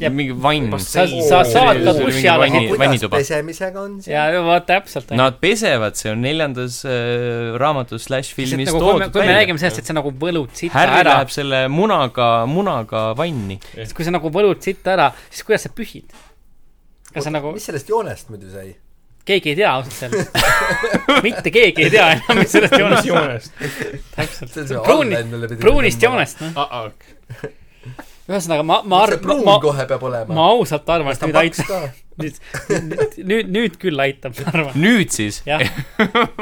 Speaker 3: Jep.
Speaker 1: mingi vann .
Speaker 3: sa ,
Speaker 4: bassein .
Speaker 3: sa saad
Speaker 2: See
Speaker 3: ka
Speaker 2: oli
Speaker 3: duši
Speaker 1: mingi
Speaker 3: alla
Speaker 1: vanni-
Speaker 3: sitta .
Speaker 2: kuidas
Speaker 1: vannituba.
Speaker 2: pesemisega on see ?
Speaker 3: ja , vot täpselt .
Speaker 1: Nad pesevad , see on neljandas äh, raamatus slaš filmis
Speaker 3: nagu, kui me,
Speaker 1: toodud
Speaker 3: kui me
Speaker 1: välja .
Speaker 3: räägime sellest , et sa nagu võlud sita
Speaker 1: Harry
Speaker 3: ära
Speaker 1: läheb , selle munaga , munaga vanni .
Speaker 3: siis kui sa nagu võlud sita ära , siis kuidas sa pühid ? kas sa nagu
Speaker 2: mis sellest joonest muidu sai ?
Speaker 3: keegi ei tea ausalt öeldes . mitte keegi ei tea enam , mis sellest joonest on .
Speaker 4: joonest .
Speaker 3: täpselt
Speaker 2: See on see .
Speaker 3: pruuni
Speaker 2: online, mille , pidi
Speaker 3: pruunist
Speaker 2: tõmbama.
Speaker 3: joonest , noh .
Speaker 4: aa ,
Speaker 3: ühesõnaga , ma , ma
Speaker 2: see
Speaker 3: arvan ,
Speaker 2: pruun
Speaker 3: ma ,
Speaker 2: kohe peab olema .
Speaker 3: ma ausalt arvan , et
Speaker 2: ta
Speaker 3: nüüd
Speaker 2: paks
Speaker 3: aitab .
Speaker 2: ka .
Speaker 3: nüüd , nüüd , nüüd küll aitab , ma arvan .
Speaker 1: nüüd siis ,
Speaker 3: jah ,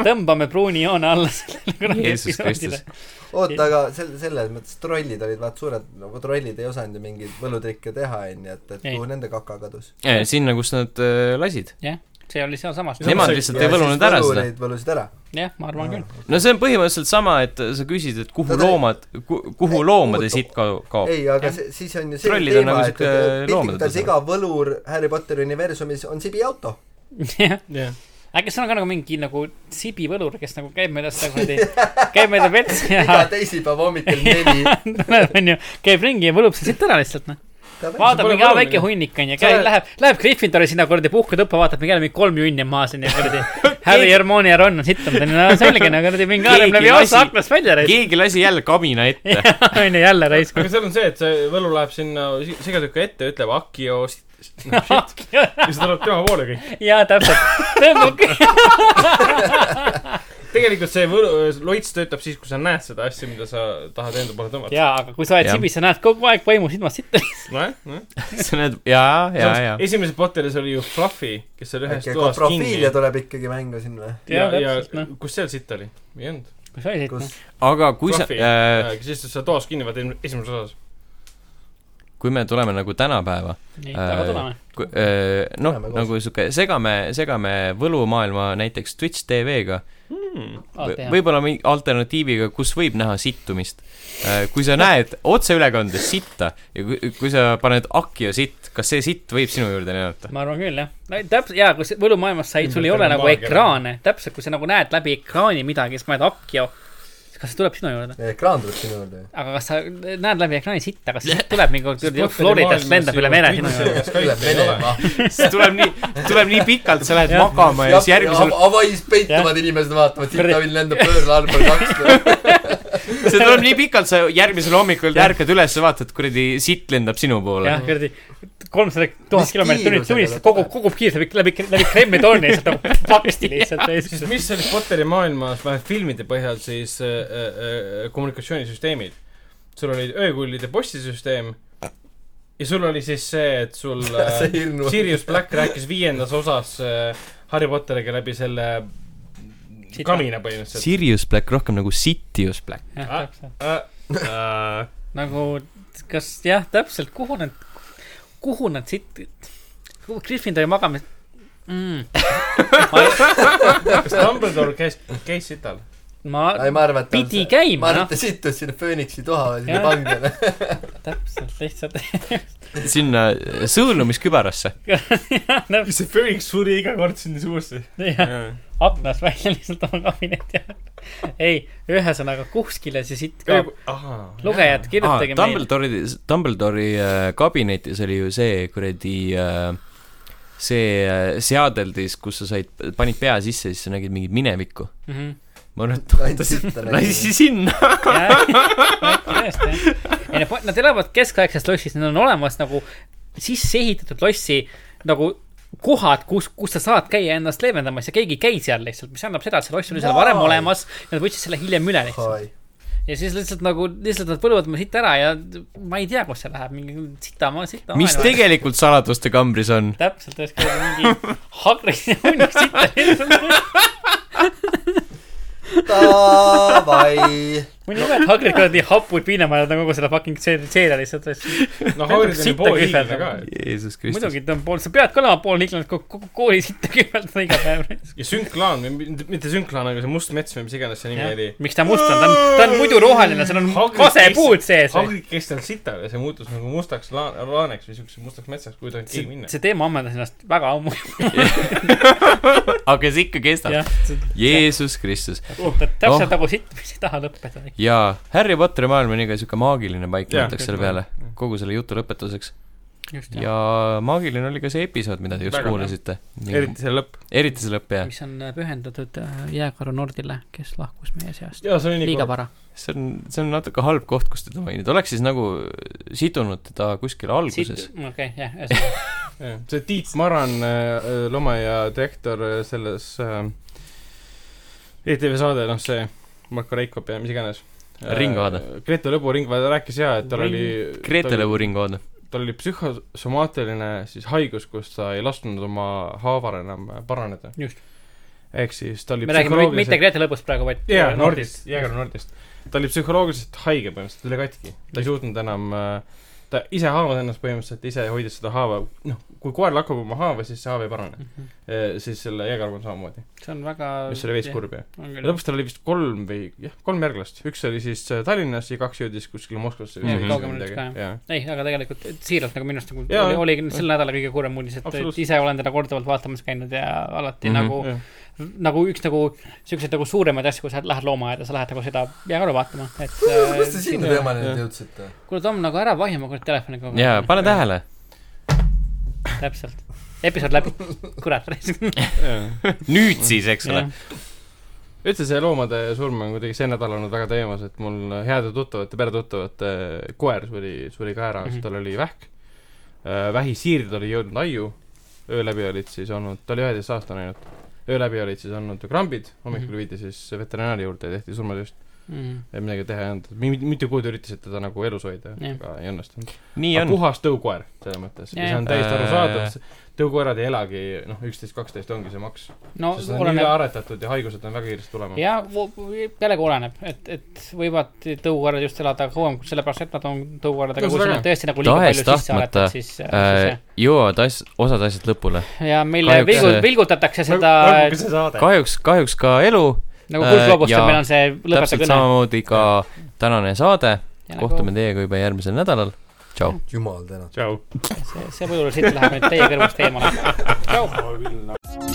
Speaker 3: tõmbame pruuni joone alla sellele kuradi
Speaker 1: Jeesus
Speaker 3: episoodile
Speaker 1: Kristus ..
Speaker 2: oota , aga sel- , selles mõttes trollid olid vaat suured , nagu trollid ei osanud ju mingeid võlutrikke teha , onju , et , et
Speaker 3: Ei.
Speaker 2: kuhu nende kaka kadus .
Speaker 1: eh, sinna , kus nad äh, lasid .
Speaker 3: see oli sealsamas ,
Speaker 4: Nema-
Speaker 1: Nemad lihtsalt ei võlunud ära seda .
Speaker 2: võlusid ära .
Speaker 3: jah , ma arvan küll .
Speaker 1: no see on põhimõtteliselt sama , et sa küsid , et kuhu
Speaker 2: Nad ei-
Speaker 1: loomad , kuhu
Speaker 2: ei,
Speaker 1: loomade
Speaker 2: kuhu-
Speaker 1: siit ka- kaob .
Speaker 2: ei , aga
Speaker 3: Jah.
Speaker 2: see , siis on ju see
Speaker 1: Oh. Trollid on
Speaker 2: teema ,
Speaker 1: nagu
Speaker 2: et ,
Speaker 1: sihuke
Speaker 2: et
Speaker 1: loomade
Speaker 2: piltlikult öeldes
Speaker 1: tasand.
Speaker 2: iga võlur Harry Potteri universumis on sibiauto .
Speaker 3: jah ,
Speaker 4: jah .
Speaker 3: äkki seal on ka nagu mingi nagu sibivõlur , kes nagu käib mööda seda kuradi , käib mööda vetsi ja
Speaker 2: iga teisipäeva hommikul neli .
Speaker 3: tuleb , onju , käib ringi ja võlub sind siit ära lihtsalt , noh .
Speaker 4: See
Speaker 3: vaatab
Speaker 4: pole
Speaker 3: mingi aa,
Speaker 4: võlumine.
Speaker 3: väike hunnik , onju ,
Speaker 4: See-
Speaker 3: käib , läheb , läheb Gryffindori sinna kuradi puhketõppe , vaatab , mingi jälle mingi kolm junni on maas , onju , kuradi . Harry , Hermione ja Ron on sittunud , onju , no selge , no kuradi mingi
Speaker 1: Keegi
Speaker 3: haarem läbi
Speaker 1: lasi-
Speaker 3: otsa aknast välja raisk .
Speaker 1: keegi lasi jälle kabina ette .
Speaker 3: onju , jälle raisk .
Speaker 4: aga seal on see , et see võlu läheb sinna si- sigatükku ette , ütleb Akio s- s- no, shit ja siis tuleb tema poole kõik .
Speaker 3: jaa , täpselt . tõmbab kõik .
Speaker 4: tegelikult see võlu , loits töötab siis , kui sa näed seda asja , mida sa tahad enda poole tõmmata .
Speaker 3: jaa , aga kui sa oled
Speaker 1: Jah.
Speaker 3: sibis , sa näed kogu aeg vaimu silmast sitta .
Speaker 4: nojah , nojah .
Speaker 1: sa näed , jaa , jaa , jaa .
Speaker 4: esimeses Potteris oli ju Fluffy , kes oli ühes
Speaker 2: äkki
Speaker 4: toas kinni
Speaker 2: profiilia . tuleb ikkagi mängu siin või ?
Speaker 4: ja ,
Speaker 3: Jaa,
Speaker 4: ja
Speaker 3: täpselt, noh.
Speaker 4: kus seal sitt oli ? ei olnud .
Speaker 3: kus sa olid ?
Speaker 2: kus ,
Speaker 1: aga kui sa , äh,
Speaker 4: Fluffy , kes istus seal toas kinni , vaata esim- esimeses osas .
Speaker 1: kui me tuleme nagu tänapäeva ,
Speaker 3: nii , aga tuleme .
Speaker 1: kui- äh, noh
Speaker 2: Läheme , koos.
Speaker 1: nagu sihuke , segame , segame võlumaailma näiteks Twitch TV-ga Või- võib-olla mingi alternatiiviga , kus võib näha sittumist . kui sa näed otseülekandes sitta ja kui, kui sa paned Akio sitt , kas see sitt võib sinu juurde lennata ?
Speaker 3: ma arvan küll , jah . no täpselt , jaa , kui see võlumaailmas sai , sul ei ole nagu
Speaker 4: Ilmselt on
Speaker 3: ekraane , täpselt , kui sa nagu näed läbi ekraani midagi , siis kui näed akki , siis kas see tuleb sinu juurde ?
Speaker 2: ekraan tuleb sinu juurde või ?
Speaker 3: aga kas sa näed läbi ekraani sitta , kas see tuleb mingi kord kuradi Floridast lendab üle mere sinu juurde ?
Speaker 2: tuleb Venemaa .
Speaker 1: siis tuleb nii , tuleb nii pikalt , sa lähed
Speaker 3: Jah.
Speaker 1: magama ja siis järgmisel ,
Speaker 2: Hawaii's peituvad inimesed vaatavad , siit Tallinn lendab pöörle allpool kaks .
Speaker 1: see tuleb nii pikalt , sa järgmisel hommikul ärkad üles , vaatad , kuradi sitt lendab sinu poole
Speaker 3: jah ,. kuradi kolmsada tuhat
Speaker 2: Mis
Speaker 3: kilomeetrit tunnis ,
Speaker 2: kiirusega
Speaker 3: tunnis
Speaker 2: ta
Speaker 3: kogub ,
Speaker 2: tuleb?
Speaker 3: kogub kiirust läbi , läbi , läbi Kremli torni lihtsalt nagu paksti lihtsalt .
Speaker 4: mis selles Potteri maailmas , vähemalt filmide põhjal siis äh, äh, äh, kommunikatsioonisüsteemid . sul oli öökullide postisüsteem ja sul oli siis see , et sul äh,
Speaker 2: see hirmu .
Speaker 4: Sirius Black rääkis viiendas osas äh, Harry Potteriga läbi selle
Speaker 3: Sita.
Speaker 4: kamina põhimõtteliselt .
Speaker 1: Sirius Black rohkem nagu Sitius Black .
Speaker 3: jah ,
Speaker 4: Ah.
Speaker 3: täpselt .
Speaker 4: Äh,
Speaker 3: nagu , kas jah , täpselt , kuhu nad , kuhu nad siit , Gryffindori magamis- mm. .
Speaker 4: kas Dumbledore käis , käis sital ?
Speaker 3: ma
Speaker 2: ei , ma arvan , et ta on
Speaker 3: pidi
Speaker 2: see-
Speaker 3: käima,
Speaker 2: ma arvan ,
Speaker 3: noh.
Speaker 2: et ta sittus sinna Phoenixi toha või sinna
Speaker 3: Jah.
Speaker 2: pangile .
Speaker 3: täpselt lihtsalt
Speaker 1: sinna sõõlumiskübarasse .
Speaker 3: täpselt
Speaker 4: see Phoenix suri iga kord sinna suusse .
Speaker 3: jah , aknast välja lihtsalt oma kabineti ajal . ei , ühesõnaga kuskile see siit ka . lugejad , kirjutage meile .
Speaker 1: Dumbledore'i , Dumbledore'i Ah, äh, kabinetis oli ju see kuradi äh, see äh, seadeldis , kus sa said , panid pea sisse , siis sa nägid mingit minevikku . ma arvan , et
Speaker 2: ainult sitta
Speaker 1: lasi sinna .
Speaker 3: tõesti , jah . ei , nad elavad keskaegses lossis , neil on olemas nagu sisse ehitatud lossi nagu kohad , kus , kus sa saad käia ennast leevendamas ja keegi ei käi seal lihtsalt , mis annab seda , et see loss oli seal varem
Speaker 2: Vau.
Speaker 3: olemas ja nad võtsid selle hiljem üle lihtsalt .
Speaker 2: nägid .
Speaker 3: ja siis lihtsalt nagu , lihtsalt nad põluvad oma siit ära ja ma ei tea , kus see läheb , mingi sitamaa , sitamaa .
Speaker 1: mis tegelikult saladuste kambris on ?
Speaker 3: täpselt , oleks ka mingi hagris ja hunnik sitta lihtsalt .
Speaker 2: Davai .
Speaker 3: mõni näeb hagrid kuradi hapud piinamajad on kogu selle fucking seeria seeria lihtsalt .
Speaker 4: noh , Hagrid oli
Speaker 3: sitta
Speaker 4: pool
Speaker 3: kühveldama.
Speaker 4: hiiglane ka .
Speaker 1: Jeesus Kristus .
Speaker 3: muidugi ta on pool , sa pead ka olema pool liiklane , kui kogu kooli sitta kühveldada iga päev .
Speaker 4: ja sünklaan , mitte sünklaan , aga see must mets või mis iganes see nimi oli .
Speaker 3: miks ta must on , ta on , ta on muidu roheline , seal on
Speaker 4: Hagrid
Speaker 3: kasepuud sees .
Speaker 4: Hagrid käis seal sital ja see muutus nagu mustaks laan- , laaneks või siukseks mustaks metsaks , kuhu ei tohinud keegi minna .
Speaker 3: see teema ammendas ennast väga ammu .
Speaker 1: aga see ikka kestab .
Speaker 3: jah ,
Speaker 1: Jeesus Kristus .
Speaker 4: Oh.
Speaker 3: täpselt nagu sitt , mis ei taha lõppeda .
Speaker 1: jaa , Harry Potteri maailm on iga sihuke maagiline paik ,
Speaker 4: Jah,
Speaker 1: mõtleks selle
Speaker 4: kõik
Speaker 1: peale
Speaker 4: maailm. .
Speaker 1: kogu selle jutu lõpetuseks .
Speaker 3: just ,
Speaker 1: ja maagiline oli ka see episood , mida te just
Speaker 4: Väga hea.
Speaker 1: kuulasite .
Speaker 4: eriti see lõpp .
Speaker 1: eriti see lõpp , jah .
Speaker 3: mis on pühendatud äh, jääkaru Nordile , kes lahkus meie seast .
Speaker 4: jaa , see oli nii
Speaker 3: liiga
Speaker 4: kurb .
Speaker 3: vara .
Speaker 1: see on , see on natuke halb koht , kus teda mainida , oleks siis nagu sidunud teda kuskil alguses .
Speaker 3: okei , jah , ühesõnaga .
Speaker 4: see Tiit Maran , äh, loomaia direktor äh, selles äh, ETV saade , noh see Marko Reikop ja mis iganes .
Speaker 1: Ringvaade. .
Speaker 4: Grete Lõbu Ringvaade rääkis jaa , et tal
Speaker 3: Ring-
Speaker 4: oli
Speaker 1: Grete Lõbu-ringoon .
Speaker 4: tal oli psühhosomaatiline siis haigus , kus ta ei lasknud oma haaval enam paraneda .
Speaker 3: Just.
Speaker 4: ehk siis ta oli
Speaker 3: me räägime mit- mitte
Speaker 4: psühholoogiliselt
Speaker 3: Grete lõbust praegu , vaid äh,
Speaker 4: jaa , Nordist , Jääger Nordist . ta oli psühholoogiliselt haige põhimõtteliselt , ta oli katki . ta ei suutnud enam , ta ise haavas ennast põhimõtteliselt , ise hoidis seda haava , noh , kui koer lakkab oma haava , siis see haav ei parane . siis selle Jäägerga on samamoodi ,
Speaker 3: Mhm. see on väga Mhm.
Speaker 4: mis oli veits kurb ja ja
Speaker 3: kurb
Speaker 4: lõpuks tal oli vist kolm või jah , kolm järglast , üks oli siis äh, Tallinnas ja kaks jõudis kuskile Moskvasse
Speaker 1: Jah,
Speaker 4: või
Speaker 3: kaugemale
Speaker 4: midagi.
Speaker 3: vist ka,
Speaker 4: Jaa.
Speaker 3: ei , aga tegelikult et siiralt nagu minu arust nagu
Speaker 4: Jaa,
Speaker 3: oli, oli sel nädalal kõige kurvem uudis , et
Speaker 4: Absoluutselt.
Speaker 3: ise olen teda korduvalt vaatamas käinud ja alati mm
Speaker 1: Mhm.
Speaker 3: -hmm. nagu
Speaker 4: Jah.
Speaker 3: nagu üks nagu siukseid nagu suuremaid asju , kui sa lähed loomaaeda , sa lähed nagu seda peaaegu vaatama , et .
Speaker 2: kuidas te sinna teemani nüüd jõudsite ?
Speaker 3: kuule , Tom , nagu ära vahi oma kuradi telefoni kogu
Speaker 1: jaa , pane . tähele .
Speaker 3: täpselt , episood läbi , kurat ,
Speaker 1: nüüd siis , eks ole .
Speaker 4: üldse see loomade surm on kuidagi see nädal olnud väga teemas , et mul heade tuttavate , peretuttavate koer suri , suri ka ära mm ,
Speaker 3: Mhm.
Speaker 4: -hmm. tal oli vähk . vähisiirded oli jõudnud aiu , öö läbi olid siis olnud , ta oli üheteistaastane ainult , öö läbi olid siis olnud krambid , hommikul
Speaker 3: Mhm.
Speaker 4: viidi siis veterinaari juurde ja tehti surmatööst ,
Speaker 3: jah .
Speaker 4: et midagi teha ei olnud , mitu kuud üritasid teda nagu elus hoida ,
Speaker 3: Jah.
Speaker 4: aga ei õnnestunud .
Speaker 1: nii
Speaker 4: aga
Speaker 1: on .
Speaker 4: puhas tõukoer selles mõttes ja
Speaker 3: Jajah.
Speaker 4: see on täiesti
Speaker 1: Äh.
Speaker 4: arusaadav , tõukoerad ei elagi noh , üksteist , kaksteist ongi see maks ,
Speaker 3: no
Speaker 4: sest nad on
Speaker 3: oleme
Speaker 4: üle aretatud ja haigused on väga kiiresti tulemas .
Speaker 3: ja jällegi oleneb , et , et võivad tõukoerad just elada kauem , sellepärast et nad on tõukoeradega ,
Speaker 4: No
Speaker 3: kui sa
Speaker 4: seda
Speaker 3: nad
Speaker 4: ka.
Speaker 3: tõesti nagu liiga palju sisse
Speaker 1: Tahes-tahtmata,
Speaker 3: aretad , siis , siis
Speaker 1: Äh, jõuavad as- , osad asjad lõpule .
Speaker 3: jah . ja meile
Speaker 1: kahjuks- äh,
Speaker 3: vilgu- , vilgutatakse seda
Speaker 4: see saade .
Speaker 1: kahjuks , kahjuks ka elu ,
Speaker 3: nagu
Speaker 1: äh,
Speaker 3: kuldloobustel
Speaker 1: jaa, ,
Speaker 3: meil on see lõpeta
Speaker 1: täpselt
Speaker 3: kõne .
Speaker 1: samamoodi ka tänane saade .
Speaker 3: Nagu,
Speaker 1: kohtume teiega juba järgmisel nädalal . tšau .
Speaker 2: jumal tänatud .
Speaker 4: tšau . Oh,
Speaker 3: see , see võidule siit läheb nüüd teie kõrvust eemale . tšau .
Speaker 5: küll , noh .